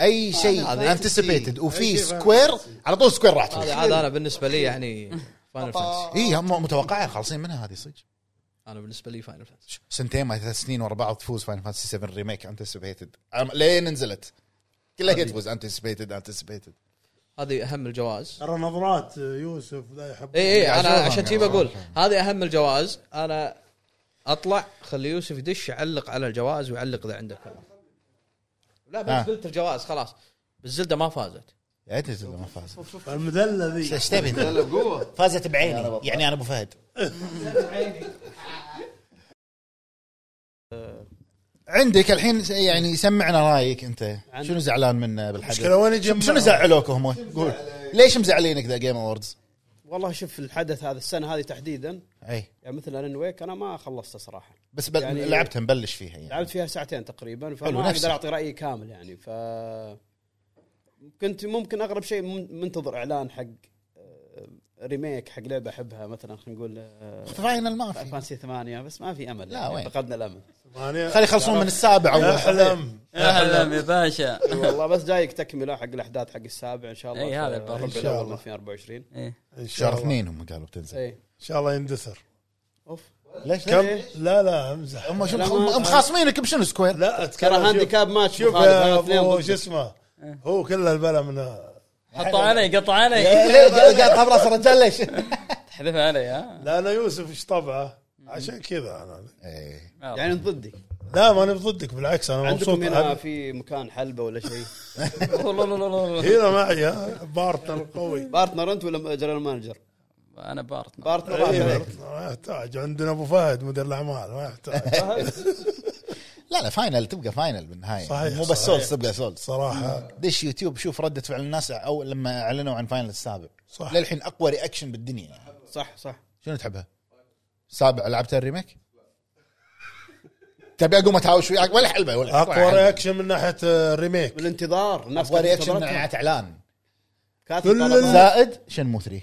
Speaker 4: اي شيء
Speaker 5: هذا
Speaker 4: انتسبيتد وفي
Speaker 2: أي شيء
Speaker 4: سكوير على طول سكوير راح تفوز
Speaker 5: هذا هذا انا بالنسبه لي يعني فاينل فانتسي
Speaker 4: اي هم متوقعه خالصين منها هذه صدق
Speaker 5: انا بالنسبه لي فاينل فانتسي
Speaker 4: سنتين ما ثلاث سنين ورا بعض تفوز فاين فانتسي 7 ريميك انتسبيتد لين نزلت كلها هي تفوز انتسبيتد انتسبيتد
Speaker 5: هذه اهم الجوائز
Speaker 2: ترى نظرات يوسف لا يحب
Speaker 5: اي
Speaker 7: إيه،
Speaker 5: اي انا
Speaker 4: عشان-
Speaker 5: إيه، عشان كذي بقول هذه اهم الجوائز انا اطلع خلي يوسف يدش يعلق على الجوائز ويعلق اذا عنده كلام لا
Speaker 4: ها.
Speaker 5: بس قلت الجوائز خلاص بس زلده ما فازت
Speaker 4: يا تنزل ما فازت
Speaker 2: المذله ذي
Speaker 4: ايش تبي
Speaker 12: لا، لا، بقوه
Speaker 4: فازت بعيني يعني انا ابو فهد عندك الحين س- يعني سمعنا رايك انت شنو زعلان منه
Speaker 2: مشكلة
Speaker 4: بالحدث
Speaker 2: وين يجمعهم؟
Speaker 4: شنو زعلوك هم قول ليش مزعلينك ذا جيم اووردز
Speaker 7: والله شوف الحدث هذا السنه هذه تحديدا
Speaker 4: اي
Speaker 7: يعني مثل الان ويك انا ما خلصته صراحه
Speaker 4: بس بل...
Speaker 7: يعني-
Speaker 4: لعبتها مبلش فيها يعني
Speaker 7: لعبت فيها ساعتين تقريبا فما
Speaker 4: حلو،
Speaker 7: اقدر
Speaker 4: نفسه.
Speaker 7: اعطي رايي كامل يعني ف كنت ممكن اغرب شيء من- منتظر اعلان حق آه، ريميك حق لعبه احبها مثلا خلينا نقول آه،
Speaker 4: فاينل ما في
Speaker 7: فانسي ثمانية بس ما في امل
Speaker 4: لا،
Speaker 7: يعني
Speaker 4: وين؟
Speaker 7: فقدنا الامل
Speaker 2: أنا
Speaker 4: خلي يخلصون من السابع اول
Speaker 2: احلم
Speaker 3: اهلا يا باشا
Speaker 7: إي إيه، والله بس جايك تكمله حق الاحداث حق السابع ان شاء الله
Speaker 3: إي، هذا البر.
Speaker 7: الربع
Speaker 2: إن شاء
Speaker 7: الاول
Speaker 2: الله.
Speaker 7: 2024
Speaker 2: ان شاء
Speaker 4: شهر
Speaker 2: الله ان
Speaker 4: اثنين هم قالوا بتنزل
Speaker 7: اي
Speaker 2: شاء الله يندثر
Speaker 7: اوف
Speaker 4: ليش
Speaker 2: كم
Speaker 4: ليش؟
Speaker 2: لا لا امزح
Speaker 4: هم شو
Speaker 7: لا،
Speaker 4: هم
Speaker 7: ما-
Speaker 4: هم خاصمينك بشنو سكوير
Speaker 2: لا
Speaker 7: ترى
Speaker 2: اتكلم شوف-
Speaker 7: هانديكاب ماتش
Speaker 2: شوف
Speaker 7: مخالف، أنا
Speaker 2: يا
Speaker 7: اثنين
Speaker 2: أبو
Speaker 7: ضدك.
Speaker 2: شو اسمه
Speaker 7: إيه.
Speaker 2: هو كله البلا من
Speaker 3: حطوا علي قطع علي
Speaker 4: ليه قاعد قاعد طاب راس الرجال ليش؟
Speaker 3: تحذفها علي ها
Speaker 2: لا انا يوسف ايش طبعه عشان كذا انا
Speaker 4: إيه.
Speaker 7: يعني ضدي
Speaker 2: لا ما انا ضدك بالعكس انا مبسوط
Speaker 7: عندكم هنا
Speaker 2: هنا
Speaker 7: في مكان حلبه ولا شيء
Speaker 3: والله لا لا لا.
Speaker 2: هنا معي ها، بارتنر قوي
Speaker 7: بارتنر انت ولا جنرال مانجر؟
Speaker 3: انا بارتنر
Speaker 7: بارتنر
Speaker 2: إيه،
Speaker 7: بارتنر.
Speaker 2: بارتنر، ما يحتاج عندنا ابو فهد مدير الاعمال ما يحتاج
Speaker 4: لا لا فاينل تبقى فاينل بالنهايه
Speaker 2: صحيح،
Speaker 4: مو بس
Speaker 2: صحيح.
Speaker 4: سولز تبقى سولز
Speaker 2: صراحه
Speaker 4: دش يوتيوب شوف رده فعل الناس او لما اعلنوا عن فاينل السابع
Speaker 2: صح
Speaker 4: للحين اقوى رياكشن بالدنيا يعني.
Speaker 7: صح صح
Speaker 4: شنو تحبها؟ سابع لعبت الريميك؟ تبي اقوم اتهاوش وياك ولا حلبه ولا
Speaker 2: اقوى رياكشن من ناحيه آه، ريميك
Speaker 7: بالانتظار الناس
Speaker 4: اقوى
Speaker 7: كانت
Speaker 4: رياكشن من
Speaker 7: انتظرتها.
Speaker 4: اعلانات اعلان
Speaker 7: كاتب
Speaker 2: كل
Speaker 7: طلبات.
Speaker 4: زائد شنمو 3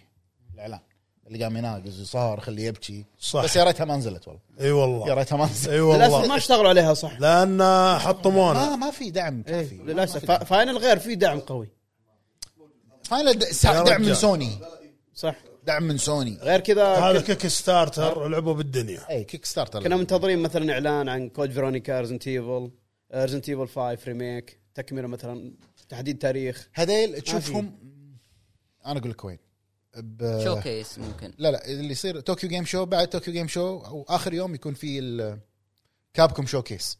Speaker 4: الاعلان اللي قام يناقز وصار خليه يبكي
Speaker 2: صح.
Speaker 4: بس يا ريتها ما نزلت والله
Speaker 2: اي
Speaker 4: يا
Speaker 2: والله
Speaker 4: ريتها ما نزلت
Speaker 2: اي
Speaker 7: للاسف ما
Speaker 2: والله
Speaker 7: اشتغلوا عليها صح
Speaker 2: لان آه، حطمونا
Speaker 4: ما ما في دعم كافي ما- ما
Speaker 7: للاسف
Speaker 4: في
Speaker 7: فا-
Speaker 4: دعم.
Speaker 7: فاينل غير في دعم قوي
Speaker 4: فاينل د-
Speaker 2: يا
Speaker 4: دعم
Speaker 2: رجال.
Speaker 4: من سوني
Speaker 7: صح
Speaker 4: دعم من سوني
Speaker 7: غير كذا
Speaker 2: هذا
Speaker 7: كل-
Speaker 2: كيك ستارتر لعبوا بالدنيا
Speaker 4: اي كيك ستارتر
Speaker 7: كنا منتظرين مثلا اعلان عن كود فيرونيكا ريزنت ايفل ريزنت ايفل 5 ريميك تكمله مثلا تحديد تاريخ
Speaker 4: هذيل تشوفهم انا اقول لك وين ب...
Speaker 3: شو كيس ممكن
Speaker 4: لا لا اللي يصير طوكيو جيم شو بعد طوكيو جيم شو واخر يوم يكون في الكابكوم شو كيس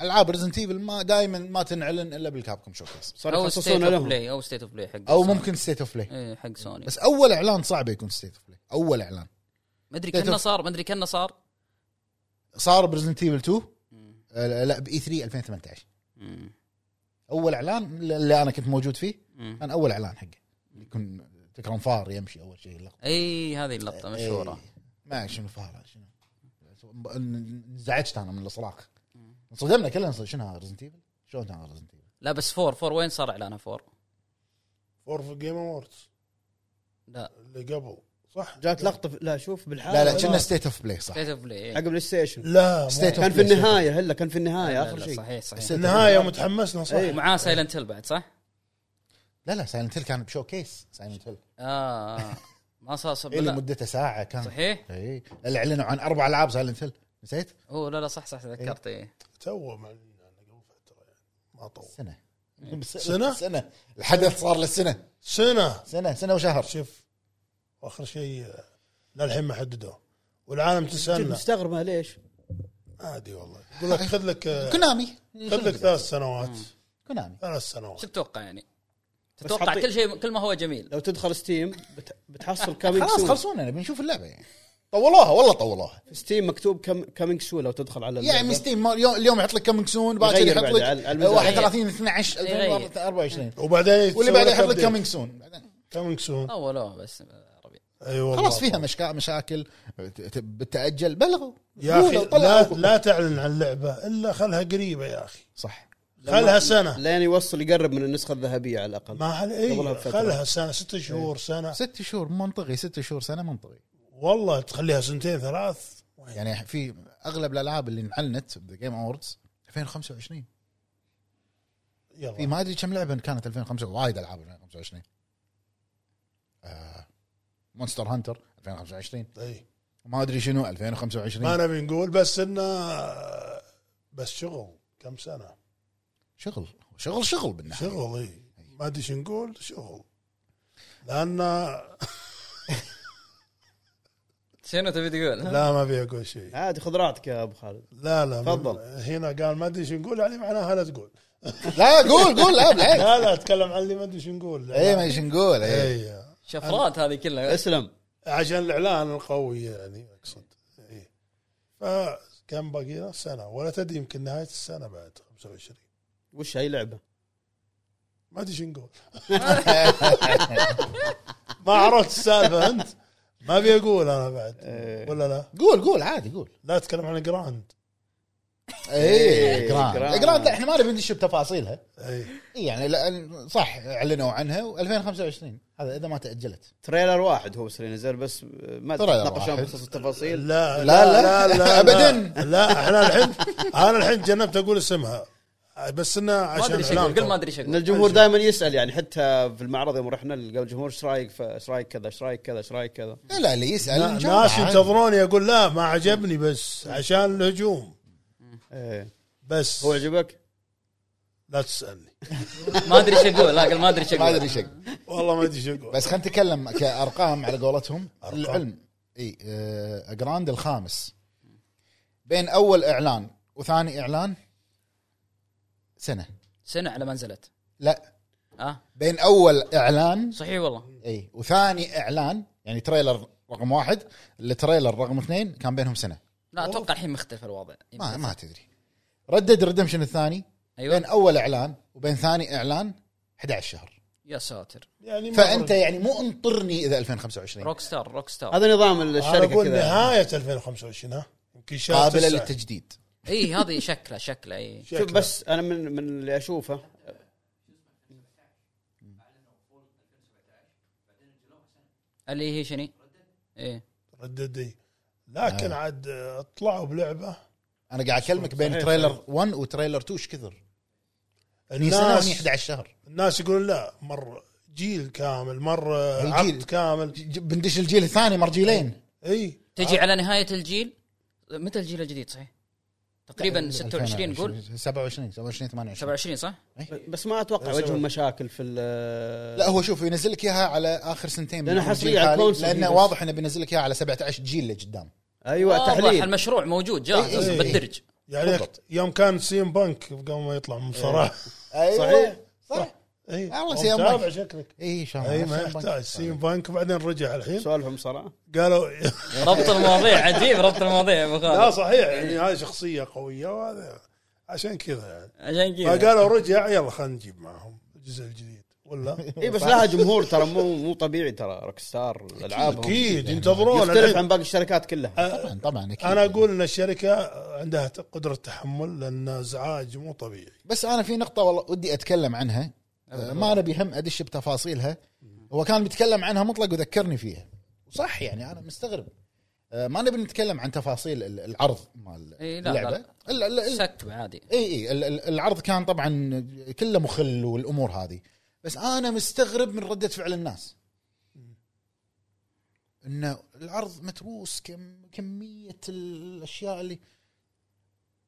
Speaker 4: العاب ريزنت ايفل ما دائما ما تنعلن الا بالكابكوم شو كيس
Speaker 7: صاروا
Speaker 3: او ستيت
Speaker 7: يخصصون
Speaker 3: اوف
Speaker 7: لهم
Speaker 3: بلاي او ستيت اوف بلاي حق
Speaker 4: او
Speaker 3: سوني.
Speaker 4: ممكن ستيت اوف بلاي
Speaker 3: إيه، حق سوني
Speaker 4: بس اول اعلان صعب يكون ستيت اوف بلاي اول اعلان
Speaker 3: ما ادري
Speaker 4: State
Speaker 3: كنا
Speaker 4: of-
Speaker 3: صار ما ادري كنا صار
Speaker 4: صار بريزنت ايفل 2 آه، لا باي 3 2018
Speaker 3: مم.
Speaker 4: اول اعلان اللي انا كنت موجود فيه
Speaker 3: مم.
Speaker 4: كان اول اعلان حقه يكون تكرم فار يمشي اول شيء اللقطه
Speaker 3: اي هذه اللقطه مشهوره
Speaker 4: إيه. ما شنو فار شنو انزعجت انا من الاصراخ انصدمنا كلنا انصدم- شنو هذا ريزنت ايفل؟ شلون هذا ريزنت ايفل؟
Speaker 3: لا بس فور فور وين صار اعلانها فور؟
Speaker 2: فور في جيم اووردز
Speaker 3: لا
Speaker 2: اللي قبل صح
Speaker 7: جات لقطه في- لا شوف بالحاله
Speaker 4: لا لا كنا ستيت اوف بلاي صح
Speaker 3: ستيت اوف بلاي
Speaker 7: حق بلاي ستيشن
Speaker 2: لا مو-
Speaker 4: ستيت
Speaker 7: كان
Speaker 4: اوف
Speaker 7: آه، في النهايه هلا كان في النهايه
Speaker 3: لا،
Speaker 7: اخر
Speaker 3: لا،
Speaker 7: شيء
Speaker 3: صحيح صحيح
Speaker 2: النهايه متحمسنا صح
Speaker 7: إيه.
Speaker 3: ومعاه سايلنت هيل بعد صح؟
Speaker 4: لا لا سايلنت هيل كان بشو كيس سايلنت هيل
Speaker 3: اه آه. ما صار صب
Speaker 4: اللي
Speaker 3: لا.
Speaker 4: مدته ساعه كان
Speaker 3: صحيح؟
Speaker 4: اي اللي اعلنوا عن اربع العاب سايلنت هيل نسيت؟
Speaker 3: هو لا لا صح صح تذكرت ايه
Speaker 2: تو معلنين عنه قبل فتره يعني ما طول
Speaker 4: سنه
Speaker 2: سنة؟
Speaker 4: سنه الحدث صار للسنه
Speaker 2: سنه
Speaker 4: سنه سنه وشهر
Speaker 2: شوف واخر شيء آه، للحين ما حددوه والعالم
Speaker 7: جد
Speaker 2: تسالنا
Speaker 7: مستغربه ليش؟
Speaker 2: عادي والله يقول لك خذ لك آه،
Speaker 4: كونامي
Speaker 2: خذ لك ثلاث سنوات
Speaker 4: كونامي
Speaker 2: ثلاث
Speaker 3: شو
Speaker 2: سنوات
Speaker 3: تتوقع يعني؟
Speaker 7: بس
Speaker 3: تتوقع
Speaker 7: حطي-
Speaker 3: كل شيء كل ما هو جميل
Speaker 7: لو تدخل ستيم بت... بتحصل كامينج
Speaker 4: خلاص
Speaker 7: سون
Speaker 4: خلصونا نبي نشوف اللعبه يعني طولوها والله طولوها
Speaker 7: ستيم مكتوب كم... كامينج سون لو تدخل على
Speaker 4: يعني
Speaker 7: اللعبة.
Speaker 4: ستيم ما- اليوم اليوم يحط لك كامينج سون باكر
Speaker 7: يغير
Speaker 4: يحط
Speaker 7: بعد
Speaker 4: لك
Speaker 7: على- على الميزانية.
Speaker 4: 31 12
Speaker 3: يغير.
Speaker 4: 2024
Speaker 2: وبعدين
Speaker 4: واللي بعده يحط لك كامينج سون
Speaker 2: كامينج سون
Speaker 3: اولوه بس آه، ربيع
Speaker 2: اي والله
Speaker 4: خلاص فيها مشكا مشاكل ت- ت- بتاجل بلغوا
Speaker 2: يا اخي
Speaker 4: قولوا، طلعوا.
Speaker 2: لا لا تعلن عن لعبه الا خلها قريبه يا اخي
Speaker 4: صح
Speaker 2: خلها سنه
Speaker 7: لين يوصل يقرب من النسخه الذهبيه على الاقل
Speaker 2: ما حل...
Speaker 7: قبلها
Speaker 2: اي
Speaker 7: بفترة.
Speaker 2: خلها سنه ست
Speaker 4: إيه.
Speaker 2: شهور سنه
Speaker 4: ست شهور منطقي ست شهور سنه منطقي
Speaker 2: والله تخليها سنتين ثلاث
Speaker 4: يعني في اغلب الالعاب اللي انعلنت بجيم اووردز 2025 في
Speaker 2: يلا
Speaker 4: ما ادري كم لعبه كانت 2005 وايد العاب 2025 آه مونستر هانتر 2025
Speaker 2: اي
Speaker 4: ما ادري شنو 2025
Speaker 2: ما نبي نقول بس انه بس شغل كم سنه
Speaker 4: شغل شغل شغل بالنهايه
Speaker 2: شغل اي ما ادري شو نقول شغل لان
Speaker 3: شنو تبي تقول؟
Speaker 2: لا ما في اقول شيء
Speaker 7: عادي خذ راحتك يا ابو خالد
Speaker 2: لا لا
Speaker 7: تفضل.
Speaker 2: هنا قال ما ادري شو نقول يعني معناها لا تقول
Speaker 4: لا قول قول لا بالعكس
Speaker 2: لا لا اتكلم عن اللي ما ادري شو نقول
Speaker 4: اي إيه، ما ايش نقول اي
Speaker 2: اي
Speaker 3: شفرات هذه كلها
Speaker 7: اسلم
Speaker 2: عشان الاعلان القوي يعني اقصد اي فكم باقي لنا؟ سنه ولا تدري يمكن نهايه السنه بعد 25
Speaker 7: وش هاي لعبه؟
Speaker 2: ما ادري شو نقول ما عرفت السالفه انت ما ابي اقول انا بعد ولا لا
Speaker 4: قول قول عادي قول
Speaker 2: لا اتكلم عن جراند
Speaker 4: اي
Speaker 7: جراند.
Speaker 4: جراند جراند إيه، لا، احنا ما نبي ندش بتفاصيلها
Speaker 2: اي
Speaker 4: اي يعني لأن صح اعلنوا عنها و2025 هذا اذا ما تاجلت
Speaker 7: تريلر واحد هو بس اللي نزل بس ما
Speaker 4: تريلر
Speaker 7: تناقشون
Speaker 4: واحد.
Speaker 7: بخصوص التفاصيل
Speaker 2: لا
Speaker 4: لا،
Speaker 2: لا لا
Speaker 4: أبداً.
Speaker 2: لا احنا الحين انا الحين جنبت اقول اسمها بس انه
Speaker 3: ما
Speaker 2: عشان
Speaker 3: ادري شو
Speaker 2: إعلان
Speaker 3: اقول قل ما
Speaker 2: قوي.
Speaker 3: ادري شو
Speaker 7: ان
Speaker 3: اقول
Speaker 7: الجمهور دائما يسال يعني حتى في المعرض يوم رحنا قبل الجمهور ايش رايك ف- ايش رايك كذا ايش رايك كذا ايش رايك كذا
Speaker 4: لا لا اللي يسال
Speaker 2: نا-
Speaker 4: نجاوب
Speaker 2: ناس
Speaker 4: عادي.
Speaker 2: ينتظروني اقول لا ما عجبني بس عشان الهجوم
Speaker 7: إيه.
Speaker 2: بس
Speaker 7: هو عجبك؟
Speaker 2: لا تسالني
Speaker 3: ما ادري شو اقول لا قل ما ادري شو
Speaker 4: ما
Speaker 3: اقول
Speaker 4: ادري شق
Speaker 2: والله ما ادري شو اقول
Speaker 4: بس خلينا نتكلم كارقام على قولتهم
Speaker 2: أرقام.
Speaker 4: العلم اي آه، جراند الخامس بين اول اعلان وثاني اعلان سنه
Speaker 3: سنه على ما نزلت
Speaker 4: لا
Speaker 3: اه
Speaker 4: بين اول اعلان
Speaker 3: صحيح والله
Speaker 4: اي وثاني اعلان يعني تريلر رقم واحد لتريلر رقم اثنين كان بينهم سنه
Speaker 3: لا اتوقع الحين مختلف الوضع
Speaker 4: ما ما تدري ردد ريدمشن الثاني بين
Speaker 3: ايوه
Speaker 4: اول اعلان وبين ثاني اعلان 11 شهر
Speaker 3: يا ساتر
Speaker 2: يعني ما
Speaker 4: فانت
Speaker 2: أدري.
Speaker 4: يعني مو انطرني اذا 2025
Speaker 3: روك ستار روك ستار
Speaker 7: هذا نظام
Speaker 2: انا
Speaker 7: الشركه
Speaker 2: اقول
Speaker 7: كذا
Speaker 2: نهايه 2025 ها يمكن شهر
Speaker 4: قابله
Speaker 2: تسعة.
Speaker 4: للتجديد
Speaker 3: اي هذه شكله شكله اي
Speaker 7: شوف بس انا من من اللي اشوفه
Speaker 3: اللي هي شني؟ ايه
Speaker 2: رددي لكن عاد آه، طلعوا بلعبه
Speaker 4: انا قاعد اكلمك بين
Speaker 7: صحيح،
Speaker 4: تريلر 1 وتريلر 2 ايش كثر؟ هني سنه وهني
Speaker 2: الناس
Speaker 4: 11 شهر
Speaker 2: الناس يقولون لا مره جيل كامل مر عقد
Speaker 4: الجيل.
Speaker 2: كامل
Speaker 4: ج- بندش الجيل الثاني مرجيلين
Speaker 2: اي
Speaker 3: تجي على نهايه الجيل متى الجيل الجديد صحيح؟ تقريبا 26 قول
Speaker 4: 27 27 28
Speaker 3: 27 صح؟
Speaker 7: بس ما اتوقع وجههم مشاكل في ال-
Speaker 4: لا هو شوف ينزل لك اياها على اخر سنتين من
Speaker 7: لأنه
Speaker 4: عمر الجيل
Speaker 7: حصرية على
Speaker 4: الحالي،
Speaker 7: الكونسول
Speaker 4: لانه
Speaker 7: بس.
Speaker 4: واضح انه بينزل لك اياها على 17 جيل لقدام
Speaker 7: ايوه
Speaker 3: واضح
Speaker 7: تحليل
Speaker 3: المشروع موجود جاهز
Speaker 4: إي إي
Speaker 3: أصلاً
Speaker 4: إي.
Speaker 3: بالدرج
Speaker 2: يعني
Speaker 4: بالضبط.
Speaker 2: يوم كان سيم بانك قبل ما يطلع من صراحه
Speaker 4: ايوه صح
Speaker 2: اي
Speaker 4: والله
Speaker 2: والله
Speaker 4: سيم
Speaker 2: سيم بانك
Speaker 4: بانك.
Speaker 2: شكلك
Speaker 4: اي شلون
Speaker 2: اي ما يحتاج سيم بانك بعدين رجع الحين
Speaker 7: سوالفهم صراحه
Speaker 2: قالوا
Speaker 3: ربط المواضيع عجيب ربط المواضيع يا ابو
Speaker 2: لا
Speaker 3: خالد
Speaker 2: صحيح يعني هاي شخصيه قويه وهذا عشان كذا يعني
Speaker 3: عشان كذا
Speaker 2: فقالوا رجع يلا خلينا نجيب معهم الجزء الجديد ولا
Speaker 7: اي إيه، بس لها جمهور ترى مو مو طبيعي ترى روك ستار العابهم
Speaker 2: اكيد ينتظرون
Speaker 7: يختلف
Speaker 2: الحين.
Speaker 7: عن باقي الشركات كلها
Speaker 4: طبعا طبعا اكيد
Speaker 2: انا اقول ان الشركه عندها قدره تحمل لان ازعاج مو طبيعي
Speaker 4: بس انا في نقطه والله ودي اتكلم عنها آه، ما نبي هم ادش بتفاصيلها هو كان بيتكلم عنها مطلق وذكرني فيها وصح يعني انا مستغرب آه، ما نبي نتكلم عن تفاصيل ال- العرض مال
Speaker 3: إي، إيه، لا،
Speaker 4: اللعبه
Speaker 3: لا.
Speaker 4: ال- ال- ال-
Speaker 3: سكب عادي
Speaker 4: اي اي ال- ال- العرض كان طبعا كله مخل والامور هذه بس انا مستغرب من رده فعل الناس انه العرض متروس كم كميه الاشياء اللي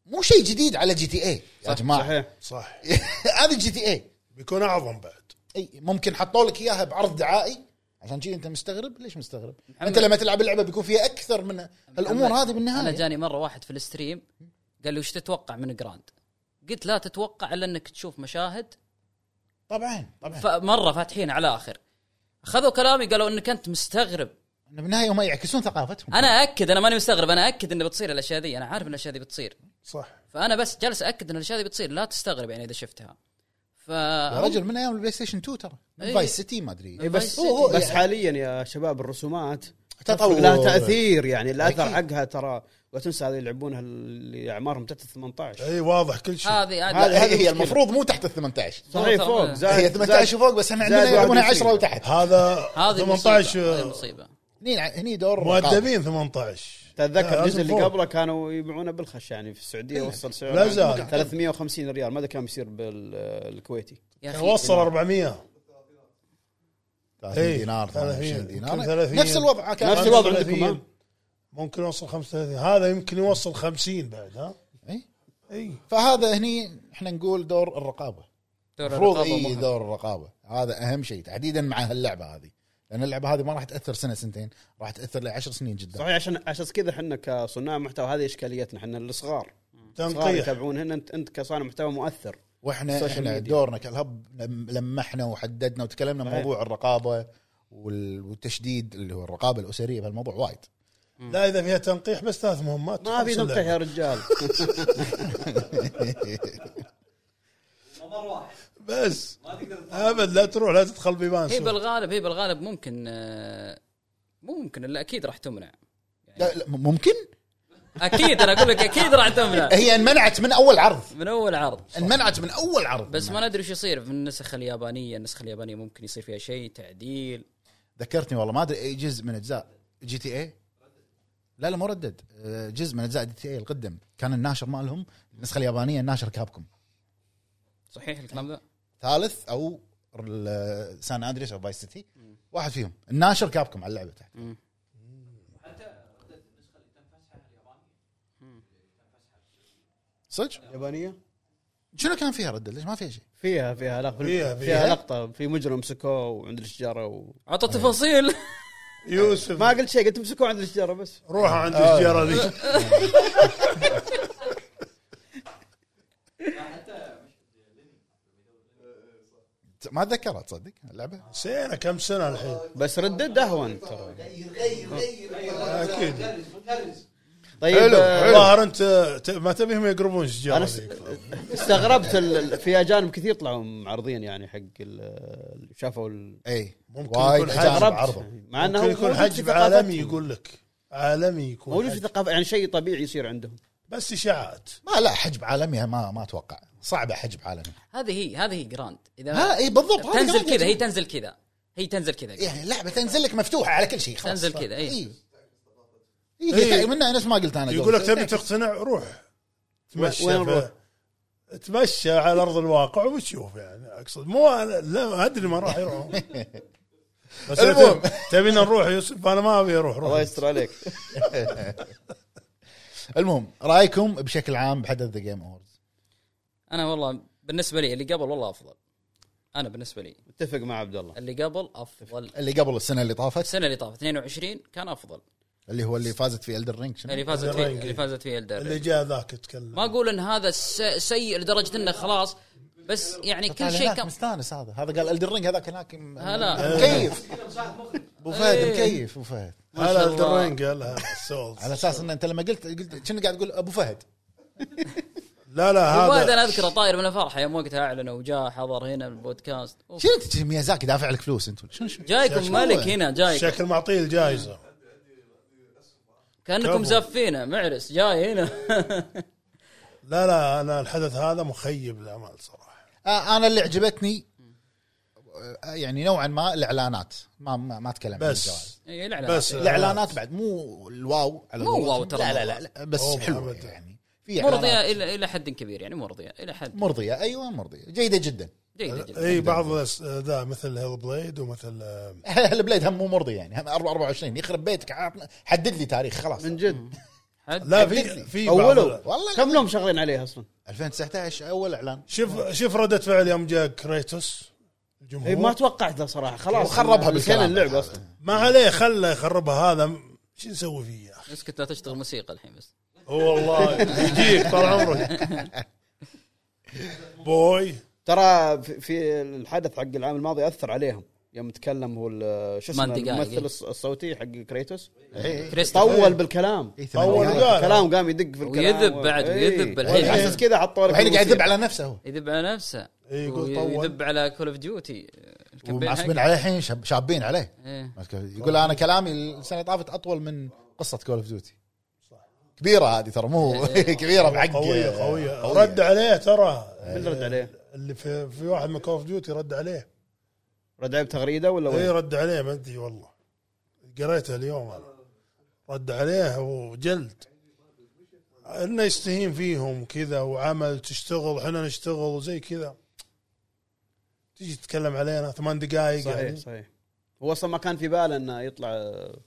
Speaker 4: مو شيء جديد على جي تي اي يا جماعه
Speaker 7: صحيح
Speaker 2: صح
Speaker 4: هذه جي تي اي
Speaker 2: بيكون اعظم بعد
Speaker 4: اي ممكن حطوا لك اياها بعرض دعائي عشان شي انت مستغرب ليش مستغرب؟ انت لما تلعب اللعبه بيكون فيها اكثر من الامور
Speaker 3: محمد،
Speaker 4: هذه بالنهايه
Speaker 3: انا جاني مره واحد في الستريم قال لي وش تتوقع من جراند؟ قلت لا تتوقع الا انك تشوف مشاهد
Speaker 4: إيه. طبعا طبعا
Speaker 3: فمره فاتحين على اخر خذوا كلامي قالوا انك انت مستغرب
Speaker 4: إنه بالنهايه هم يعكسون ثقافتهم
Speaker 3: انا اكد انا ماني مستغرب انا اكد ان بتصير الاشياء ذي انا عارف ان الاشياء ذي بتصير
Speaker 2: صح
Speaker 3: فانا بس جالس ااكد ان الاشياء ذي بتصير لا تستغرب يعني اذا شفتها ف
Speaker 4: يا رجل من ايام البلاي ستيشن 2 ترى
Speaker 3: إي.
Speaker 4: من فايس سيتي ما ادري
Speaker 3: إي، بس-
Speaker 4: هو- هو
Speaker 7: بس
Speaker 4: يعني
Speaker 7: حاليا يا شباب الرسومات
Speaker 4: تطور.
Speaker 7: لها تاثير يعني الاثر
Speaker 4: أكيد.
Speaker 7: حقها ترى لا تنسى هذه يلعبونها اللي اعمارهم تحت ال 18
Speaker 2: اي واضح كل شيء
Speaker 3: هذه
Speaker 4: هذه
Speaker 3: عادي
Speaker 4: هذه هي المفروض مو تحت ال 18
Speaker 7: صحيح
Speaker 3: ترى-
Speaker 7: فوق زائد
Speaker 4: هي 18 وفوق بس احنا عندنا
Speaker 7: زائد واحد
Speaker 4: يلعبونها
Speaker 7: وعشرين.
Speaker 4: 10 وتحت
Speaker 2: هذا
Speaker 3: هذه المصيبة. هذه
Speaker 2: 18
Speaker 3: المصيبه
Speaker 4: هني هني دور الرقابة.
Speaker 2: مؤدبين يعني 18
Speaker 7: تتذكر
Speaker 2: لازم
Speaker 7: الجزء اللي
Speaker 2: آه، فوق.
Speaker 7: قبله كانوا يبيعونه بالخش يعني في
Speaker 4: إيه.
Speaker 7: السعوديه وصل سعره
Speaker 2: لا زال.
Speaker 7: 350 ريال ماذا كان بيصير بالكويتي
Speaker 3: يا
Speaker 2: كان
Speaker 3: اخي
Speaker 2: وصل 400
Speaker 4: 30
Speaker 2: إي،
Speaker 4: دينار 28
Speaker 2: يمكن
Speaker 4: دينار
Speaker 2: 30.
Speaker 4: نفس الوضع كان
Speaker 7: نفس الوضع عندكم ها؟
Speaker 2: 30. ممكن يوصل 35 هذا يمكن يوصل 50 بعد ها
Speaker 4: إي.
Speaker 2: اي
Speaker 4: إيه؟ فهذا هني احنا نقول دور الرقابه
Speaker 3: دور
Speaker 4: المفروض
Speaker 3: الرقابة
Speaker 4: اي
Speaker 3: مهم.
Speaker 4: دور الرقابه هذا اهم شيء تحديدا مع هاللعبه هذه لان اللعبه هذه ما راح تاثر سنه سنتين راح تاثر لعشر سنين جدا
Speaker 7: صحيح عشان عشان كذا احنا كصناع محتوى هذه اشكاليتنا احنا الصغار صغار
Speaker 2: تنقيح
Speaker 7: يتابعون هنا انت انت كصانع محتوى مؤثر
Speaker 4: واحنا
Speaker 7: السوشيال
Speaker 4: احنا
Speaker 7: ميديا.
Speaker 4: دورنا كالهب لم- لمحنا وحددنا وتكلمنا
Speaker 7: صحيح.
Speaker 4: موضوع الرقابه وال- والتشديد اللي هو الرقابه الاسريه بهالموضوع وايد
Speaker 2: لا اذا فيها تنقيح بس ثلاث مهمات
Speaker 7: ما في
Speaker 2: خلص
Speaker 7: نقطه
Speaker 2: اللعبة.
Speaker 7: يا رجال
Speaker 2: بس ابد لا تروح لا تدخل بيبان
Speaker 3: هي
Speaker 2: سوق.
Speaker 3: بالغالب هي بالغالب ممكن آه، مو ممكن الا اكيد راح تمنع
Speaker 7: يعني
Speaker 4: لا, لا م- ممكن
Speaker 3: اكيد انا اقول لك اكيد راح تمنع
Speaker 4: هي انمنعت من اول عرض
Speaker 3: من اول عرض
Speaker 4: انمنعت من اول عرض
Speaker 3: بس ما ندري وش يصير في النسخ اليابانيه النسخه اليابانيه ممكن يصير فيها شيء تعديل
Speaker 4: ذكرتني والله ما ادري اي جزء من اجزاء جي تي اي لا لا مو ردد آه، جزء من اجزاء جي تي اي القدم كان الناشر مالهم النسخه اليابانيه الناشر كابكم
Speaker 3: صحيح الكلام ذا
Speaker 4: ثالث او ال- سان اندريس او فايس سيتي واحد فيهم الناشر كابكم على اللعبه تحت
Speaker 3: مم.
Speaker 4: صدق
Speaker 7: يابانيه
Speaker 4: شنو كان فيها ردد ليش ما فيها شيء
Speaker 7: فيها فيها لقطه
Speaker 2: فيها-
Speaker 7: فيها,
Speaker 2: فيها.
Speaker 7: فيها لقطه في مجرم مسكوه وعند الشجره و...
Speaker 3: عطى تفاصيل
Speaker 2: يوسف
Speaker 7: ما قلت آه. شيء قلت مسكوه عند الشجره بس
Speaker 2: روح عند الشجره ذي
Speaker 4: ت- ما اتذكرها تصدق اللعبه
Speaker 2: سينا كم سنه الحين
Speaker 7: بس ردد اهون ترى
Speaker 2: اكيد
Speaker 7: طيب آه،
Speaker 2: الظاهر انت ت- ما تبيهم يقربون الشجره
Speaker 7: انا است-
Speaker 2: ذيك.
Speaker 7: استغربت ال- ال- في اجانب كثير طلعوا معرضين يعني حق ال- شافوا ال-
Speaker 4: اي
Speaker 2: ممكن
Speaker 4: إيه. وايد
Speaker 2: يكون
Speaker 4: اجانب
Speaker 2: حجر.
Speaker 4: عرضه
Speaker 7: مع انه
Speaker 2: ممكن يكون
Speaker 7: موجود في
Speaker 2: حجم
Speaker 7: ثقافتهم.
Speaker 2: عالمي يقول لك عالمي يكون
Speaker 7: موجود في
Speaker 2: حجم.
Speaker 7: ثقافه يعني شيء طبيعي يصير عندهم
Speaker 2: بس اشاعات
Speaker 4: ما لا حجب عالمي ما ما اتوقع صعبه حجب عالمي
Speaker 3: هذه هي هذه هي جراند اذا
Speaker 4: ها إيه. اي بالضبط هذا
Speaker 3: آه. تنزل
Speaker 4: قاعد
Speaker 3: كذا هي تنزل كذا هي تنزل كذا
Speaker 4: يعني اللعبه تنزل لك مفتوحه على كل شيء خلاص
Speaker 3: تنزل كذا، إيه. إي.
Speaker 4: اي
Speaker 2: إي.
Speaker 4: إي، منها نفس ما قلت انا
Speaker 2: إيه.
Speaker 4: طيب.
Speaker 2: يقول لك
Speaker 4: قبل.
Speaker 2: تبي تقتنع روح تمشى
Speaker 7: وين
Speaker 2: ف-
Speaker 7: نروح؟
Speaker 2: تمشى على ارض الواقع وتشوف يعني اقصد مو أنا لا ادري ما راح يروح بس
Speaker 12: المهم.
Speaker 2: المهم تبينا نروح يوسف انا ما ابي اروح روح
Speaker 12: الله يستر عليك
Speaker 4: المهم رايكم بشكل عام بحدث ذا جيم اووردز
Speaker 3: انا والله بالنسبه لي اللي قبل والله افضل انا بالنسبه لي
Speaker 7: اتفق مع عبد الله
Speaker 3: اللي قبل افضل
Speaker 4: اللي قبل السنه اللي طافت
Speaker 3: السنه اللي طافت 22 كان افضل
Speaker 4: اللي هو اللي فازت في الدر رينج
Speaker 3: اللي فازت فيه اللي فازت فيه الدر
Speaker 2: اللي جاء ذاك يتكلم
Speaker 3: ما اقول ان هذا س- سيء لدرجه انه خلاص بس يعني كل شيء كان
Speaker 4: طيب، مستانس هذا هذا قال الدر رينج هذاك هناك م-
Speaker 3: هلا.
Speaker 4: مكيف ابو فهد
Speaker 3: إيه.
Speaker 4: مكيف ابو فهد
Speaker 3: ما شاء
Speaker 2: هلا
Speaker 3: الله.
Speaker 2: الدرينج هلا السولز
Speaker 4: على اساس ان انت لما قلت قلت كنا قاعد تقول ابو فهد
Speaker 2: لا لا
Speaker 3: وبعد
Speaker 2: هذا
Speaker 3: انا اذكره طاير من الفرحه يوم وقتها اعلنوا وجاء حضر هنا البودكاست أوف.
Speaker 4: شنو أنت ميازاكي دافع لك فلوس انت شنو شنو
Speaker 3: جايكم ملك هنا جايكم
Speaker 2: شكل معطيه الجائزه
Speaker 3: كانكم
Speaker 2: كفو.
Speaker 3: زفينه معرس جاي هنا
Speaker 2: لا لا انا الحدث هذا مخيب للامال صراحه
Speaker 4: آه، انا اللي عجبتني آه، يعني نوعا ما الاعلانات ما ما, ما اتكلم عن الجوائز.
Speaker 2: بس
Speaker 3: إيه، الإعلان.
Speaker 2: بس
Speaker 4: الاعلانات بعد مو الواو على
Speaker 3: مو
Speaker 4: قولتهم.
Speaker 3: واو ترى.
Speaker 4: لا, لا لا لا بس
Speaker 2: أوه،
Speaker 4: حلوه
Speaker 2: أبداً.
Speaker 4: يعني في
Speaker 3: مرضيه
Speaker 4: إعلانات
Speaker 3: الى الى حد كبير يعني مرضيه الى حد
Speaker 4: مرضيه ايوه مرضيه جيده جدا
Speaker 3: جيده جدا
Speaker 2: اي بعض الأس- ذا مثل هيل بليد ومثل آه،
Speaker 4: البليد هم مو مرضي يعني هم 24 يخرب بيتك عطنا- حدد لي تاريخ خلاص
Speaker 7: من جد
Speaker 3: حد
Speaker 2: لا في في بعض
Speaker 7: اولوا
Speaker 4: والله
Speaker 7: كم لهم شغالين عليه اصلا
Speaker 4: 2019 اول اعلان
Speaker 2: شوف شوف رده فعل يوم جاء كريتوس الجمهور
Speaker 7: اي إيه، ما توقعت له صراحه خلاص
Speaker 4: وخربها
Speaker 7: بالكلام
Speaker 4: بالكلام.
Speaker 7: اللعبه اصلا
Speaker 2: ما عليه خله يخربها هذا م- شو نسوي فيه يا اخي
Speaker 3: اسكت لا تشتغل موسيقى الحين بس
Speaker 2: هو والله يجيك طال عمرك بوي
Speaker 7: ترى في- في الحدث حق العام الماضي اثر عليهم يوم تكلم هو ال- شو اسمه
Speaker 3: مانتي قاعد،
Speaker 7: الممثل
Speaker 3: إيه.
Speaker 7: الص- الصوتي حق كريتوس
Speaker 3: كريستوفر
Speaker 7: طول بالكلام
Speaker 4: إيه، ثمانية.
Speaker 2: اول قال
Speaker 7: كلام قام يدق في الكلام
Speaker 3: ويذب بعد،
Speaker 7: إيه.
Speaker 3: ويذب الحين.
Speaker 7: على اساس كذا حطوا لك
Speaker 4: الحين إيه. قاعد يذب
Speaker 7: الموسيقى.
Speaker 4: على نفسه هو
Speaker 3: يذب على نفسه
Speaker 2: إي، يقول
Speaker 3: ويذب
Speaker 2: طول
Speaker 3: على كول اوف ديوتي
Speaker 4: ومعصبين عليه الحين شاب- شابين عليه
Speaker 3: إيه.
Speaker 4: يقول انا كلامي السنه اللي طافت اطول من قصه كول اوف ديوتي كبيره هذه ترى مو
Speaker 7: إيه.
Speaker 4: آه، كبيره بعق
Speaker 2: قوية قوية رد عليه ترى
Speaker 7: من رد عليه؟
Speaker 2: اللي في, في واحد من كول اوف ديوتي رد عليه
Speaker 7: رد عليه بتغريده ولا
Speaker 2: اي
Speaker 4: إيه،
Speaker 7: وين؟
Speaker 2: إيه، رد عليه ما ادري والله قريته اليوم انا رد عليه وجلد انه يستهين فيهم كذا وعمل تشتغل احنا نشتغل وزي كذا تيجي تتكلم علينا ثمان دقائق
Speaker 4: إيه.
Speaker 7: صحيح
Speaker 2: يعني
Speaker 7: صحيح هو اصلا ما كان في باله انه يطلع آه،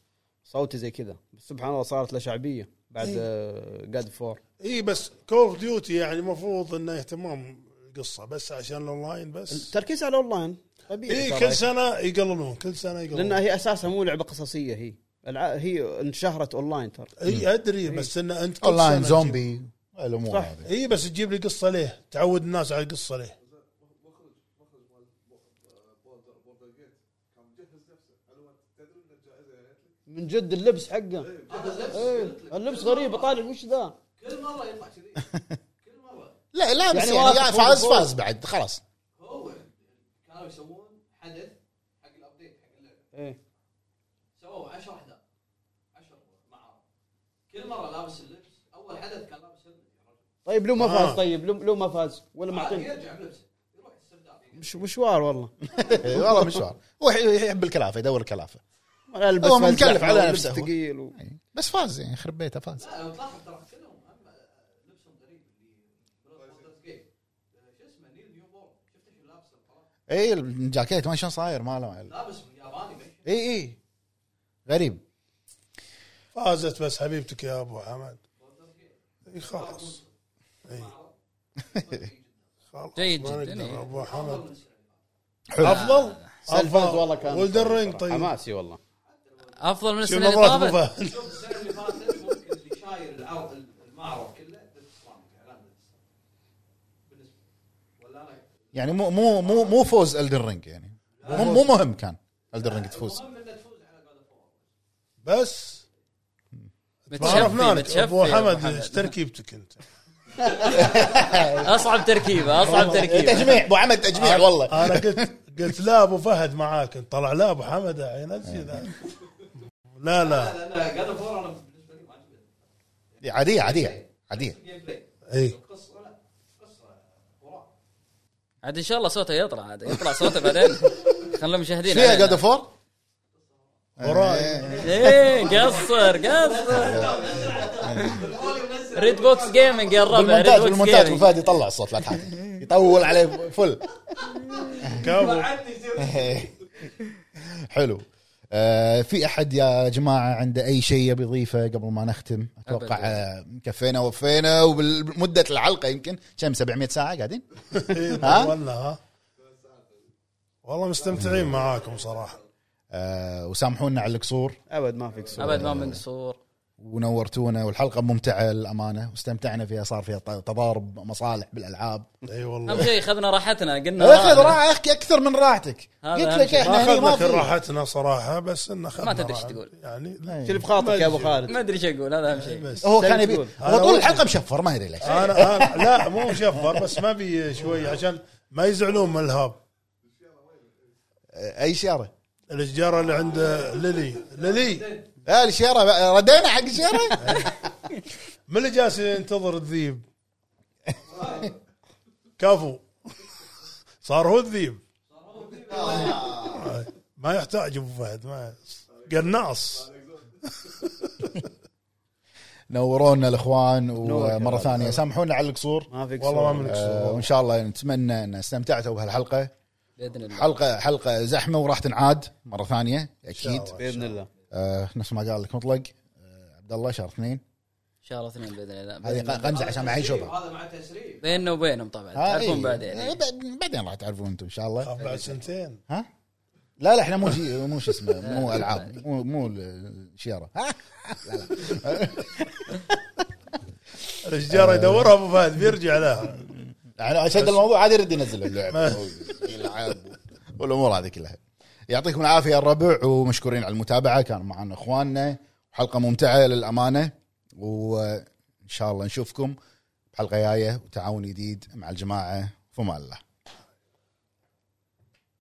Speaker 7: صوتي زي كذا بس سبحان الله صارت له شعبيه بعد آه،
Speaker 2: إيه.
Speaker 7: جاد فور
Speaker 2: اي إيه، بس كول اوف ديوتي يعني المفروض انه اهتمام القصه بس عشان الاونلاين بس
Speaker 7: التركيز على الاونلاين
Speaker 4: إيه،
Speaker 7: طبيعي
Speaker 2: اي
Speaker 7: ترى.
Speaker 2: كل سنه يقللون كل سنه
Speaker 7: لان
Speaker 2: يقللون
Speaker 7: هي اساسها مو لعبه قصصيه هي الع... هي انشهرت اونلاين ترى
Speaker 2: اي ادري إيه، بس انه انت كل
Speaker 4: اونلاين
Speaker 2: سنة
Speaker 4: زومبي الامور
Speaker 7: صح.
Speaker 4: هذه
Speaker 2: تجيب- اي بس تجيب لي قصه ليه؟ تعود الناس على القصه ليه؟
Speaker 7: من جد اللبس حقه إيه، اللبس غريب طالع وش ذا
Speaker 4: لا لا بس
Speaker 7: يعني
Speaker 4: يعني,
Speaker 7: واثق
Speaker 4: يعني
Speaker 7: هو
Speaker 4: فاز
Speaker 7: الفوز.
Speaker 4: فاز بعد خلاص
Speaker 13: كانوا يسوون حدث حق الابديت حق اللعبه
Speaker 7: إيه.
Speaker 13: سووا 10 احداث 10 معارض كل مره لابس اللبس اول حدث كان لابس هلمت يا رجل
Speaker 7: طيب لو ما
Speaker 2: آه.
Speaker 7: فاز طيب لو, لو ما فاز ولا
Speaker 13: عادي
Speaker 7: معطيه
Speaker 13: يرجع بلبسه يروح استبدال
Speaker 7: مش مشوار والله
Speaker 4: إيه، والله مشوار هو يحب الكلافه يدور الكلافه
Speaker 7: البس
Speaker 4: هو
Speaker 7: فزلة
Speaker 4: مكلف على
Speaker 7: ولبس
Speaker 4: نفسه هو.
Speaker 7: ثقيل و...
Speaker 4: يعني بس فاز يعني خرب بيته فاز
Speaker 13: لا لو تلاحظ ترى كلهم اما لبسهم غريب اللي جيم آه، شو اسمه نيل نيو بورن شفت شو لابسه خلاص
Speaker 4: اي إيه، الجاكيت ما شلون صاير ماله
Speaker 13: لابس ياباني بس
Speaker 4: اي اي إيه. غريب
Speaker 2: فازت بس حبيبتك يا ابو حمد اي خلاص اي خلاص
Speaker 3: جيد
Speaker 2: ما
Speaker 3: جداً،
Speaker 2: نقدر.
Speaker 3: إي.
Speaker 2: ابو حمد
Speaker 4: حلو
Speaker 2: افضل
Speaker 7: سالفة والله كان
Speaker 2: والدرينج طيب
Speaker 7: حماسي والله
Speaker 3: افضل من
Speaker 2: شوف
Speaker 3: السنه اللي
Speaker 2: نظرات ابو
Speaker 3: طافت
Speaker 2: فهد
Speaker 13: شوف السنه اللي فاتت ممكن اللي شاير العرض المعرض كله ديث ستراندنج اعلان ديث ستراندنج بالنسبه لي. ولا انا
Speaker 4: يعني مو مو مو مو فوز الدن رينج يعني مو مو مهم كان الدن رينج تفوز
Speaker 13: المهم انك تفوز على جود اوف وور
Speaker 2: بس ما
Speaker 3: متشفي-
Speaker 2: عرفناك
Speaker 3: متشفي
Speaker 2: ابو
Speaker 3: يا
Speaker 2: حمد ايش تركيبتك انت؟
Speaker 3: اصعب تركيبه اصعب تركيبه
Speaker 4: إيه، تجميع ابو عمد تجميع والله
Speaker 2: انا قلت قلت لا ابو فهد معاك انت طلع لا ابو حمد ينزل لا لا
Speaker 13: لا لا جود اوف وور انا بالنسبه لي ما عجبتني
Speaker 4: عاديه عاديه عاديه
Speaker 13: جيم بلاي
Speaker 2: اي
Speaker 13: قصه لا قصه وراء
Speaker 3: عاد ان شاء الله صوته يطلع عاد يطلع صوته بعدين خلوا المشاهدين
Speaker 4: فيها
Speaker 3: علينا.
Speaker 4: جاد فور
Speaker 2: وراي
Speaker 3: ايه إيه، قصر قصر ريد بوكس جيمنج يا الربع ريد
Speaker 4: بالمونتاج
Speaker 3: بوكس
Speaker 4: بالمونتاج
Speaker 3: جيمنج
Speaker 4: وفهد يطلع الصوت لا تحاتي يطول عليه فل
Speaker 2: كفو
Speaker 4: حلو آه في احد يا جماعه عنده اي شيء يبي يضيفه قبل ما نختم اتوقع
Speaker 3: أبداً.
Speaker 4: آه، كفينا ووفينا وبمده الحلقه يمكن كم 700 ساعه قاعدين ها؟
Speaker 2: طولنا ها والله مستمتعين معاكم صراحه
Speaker 4: آه وسامحونا على القصور
Speaker 7: ابد ما في قصور
Speaker 3: ابد ما من قصور
Speaker 4: ونورتونا والحلقه ممتعه للامانه واستمتعنا فيها صار فيها ط- تضارب مصالح بالالعاب
Speaker 2: اي
Speaker 3: اهم
Speaker 2: والله
Speaker 3: شيء اخذنا راحتنا قلنا
Speaker 4: اخذ راحه يا اخي اكثر من راحتك
Speaker 3: هذا
Speaker 4: قلت
Speaker 3: أهم
Speaker 4: لك
Speaker 3: شيء.
Speaker 4: احنا
Speaker 2: ما
Speaker 4: هني
Speaker 2: اخذنا
Speaker 4: ما
Speaker 2: كل
Speaker 4: في
Speaker 2: راحتنا صراحه بس ان اخذنا
Speaker 3: ما تدري إيش
Speaker 2: راحة.
Speaker 3: تقول.
Speaker 2: يعني لا.
Speaker 4: إيه.
Speaker 7: شيل بخاطرك يا ابو خالد
Speaker 3: ما ادري ايش اقول هذا اهم شيء
Speaker 4: هو
Speaker 7: سلم
Speaker 4: كان يبي
Speaker 7: تقول.
Speaker 4: هو
Speaker 2: أنا
Speaker 4: طول
Speaker 2: قلت.
Speaker 4: الحلقه مشفر ما يدري ليش
Speaker 2: انا انا لا مو مشفر بس ما بي شوي عشان ما يزعلون من الهاب
Speaker 4: آه، اي شيره
Speaker 2: الاشجاره اللي عند ليلي ليلي
Speaker 4: آه الشيره بقى- ردينا حق الشيره
Speaker 2: من اللي جالس ينتظر الذيب كفو صار هو الذيب ما يحتاج ابو فهد ما قناص
Speaker 4: نورونا الاخوان
Speaker 7: نورك يا
Speaker 4: ومره
Speaker 7: رب.
Speaker 4: ثانيه سامحونا على القصور
Speaker 7: ما في قصور
Speaker 2: والله ما من
Speaker 4: آه، وان
Speaker 2: قصور
Speaker 4: شاء الله نتمنى ان استمتعتوا بهالحلقه
Speaker 3: باذن الله
Speaker 4: حلقه حلقه زحمه وراح تنعاد مره ثانيه اكيد
Speaker 2: الله.
Speaker 7: باذن الله
Speaker 4: آه نفس ما قال لك مطلق آه عبد الله شهر اثنين
Speaker 3: ان شاء الله اثنين باذن الله
Speaker 4: هذه
Speaker 3: بإذن الله.
Speaker 4: ق- قمزه عشان ما حد يشوفها
Speaker 13: هذا مع تسريب
Speaker 3: بيننا وبينهم طبعا
Speaker 4: آه، إيه.
Speaker 3: تعرفون بعدين
Speaker 4: آه، بعد- بعدين راح تعرفون انتم ان شاء الله
Speaker 2: بعد سنتين
Speaker 4: ها لا لا احنا مو شي مو شو اسمه مو العاب مو مو الشيره ها؟
Speaker 2: الاشجاره يدورها ابو فهد بيرجع لها
Speaker 4: يعني اشد الموضوع عادي يرد ينزل اللعب يلعب والامور هذه كلها يعطيكم العافيه يا الربع ومشكورين على المتابعه كان معنا اخواننا حلقه ممتعه للامانه وان شاء الله نشوفكم بحلقه جايه وتعاون جديد مع الجماعه فما الله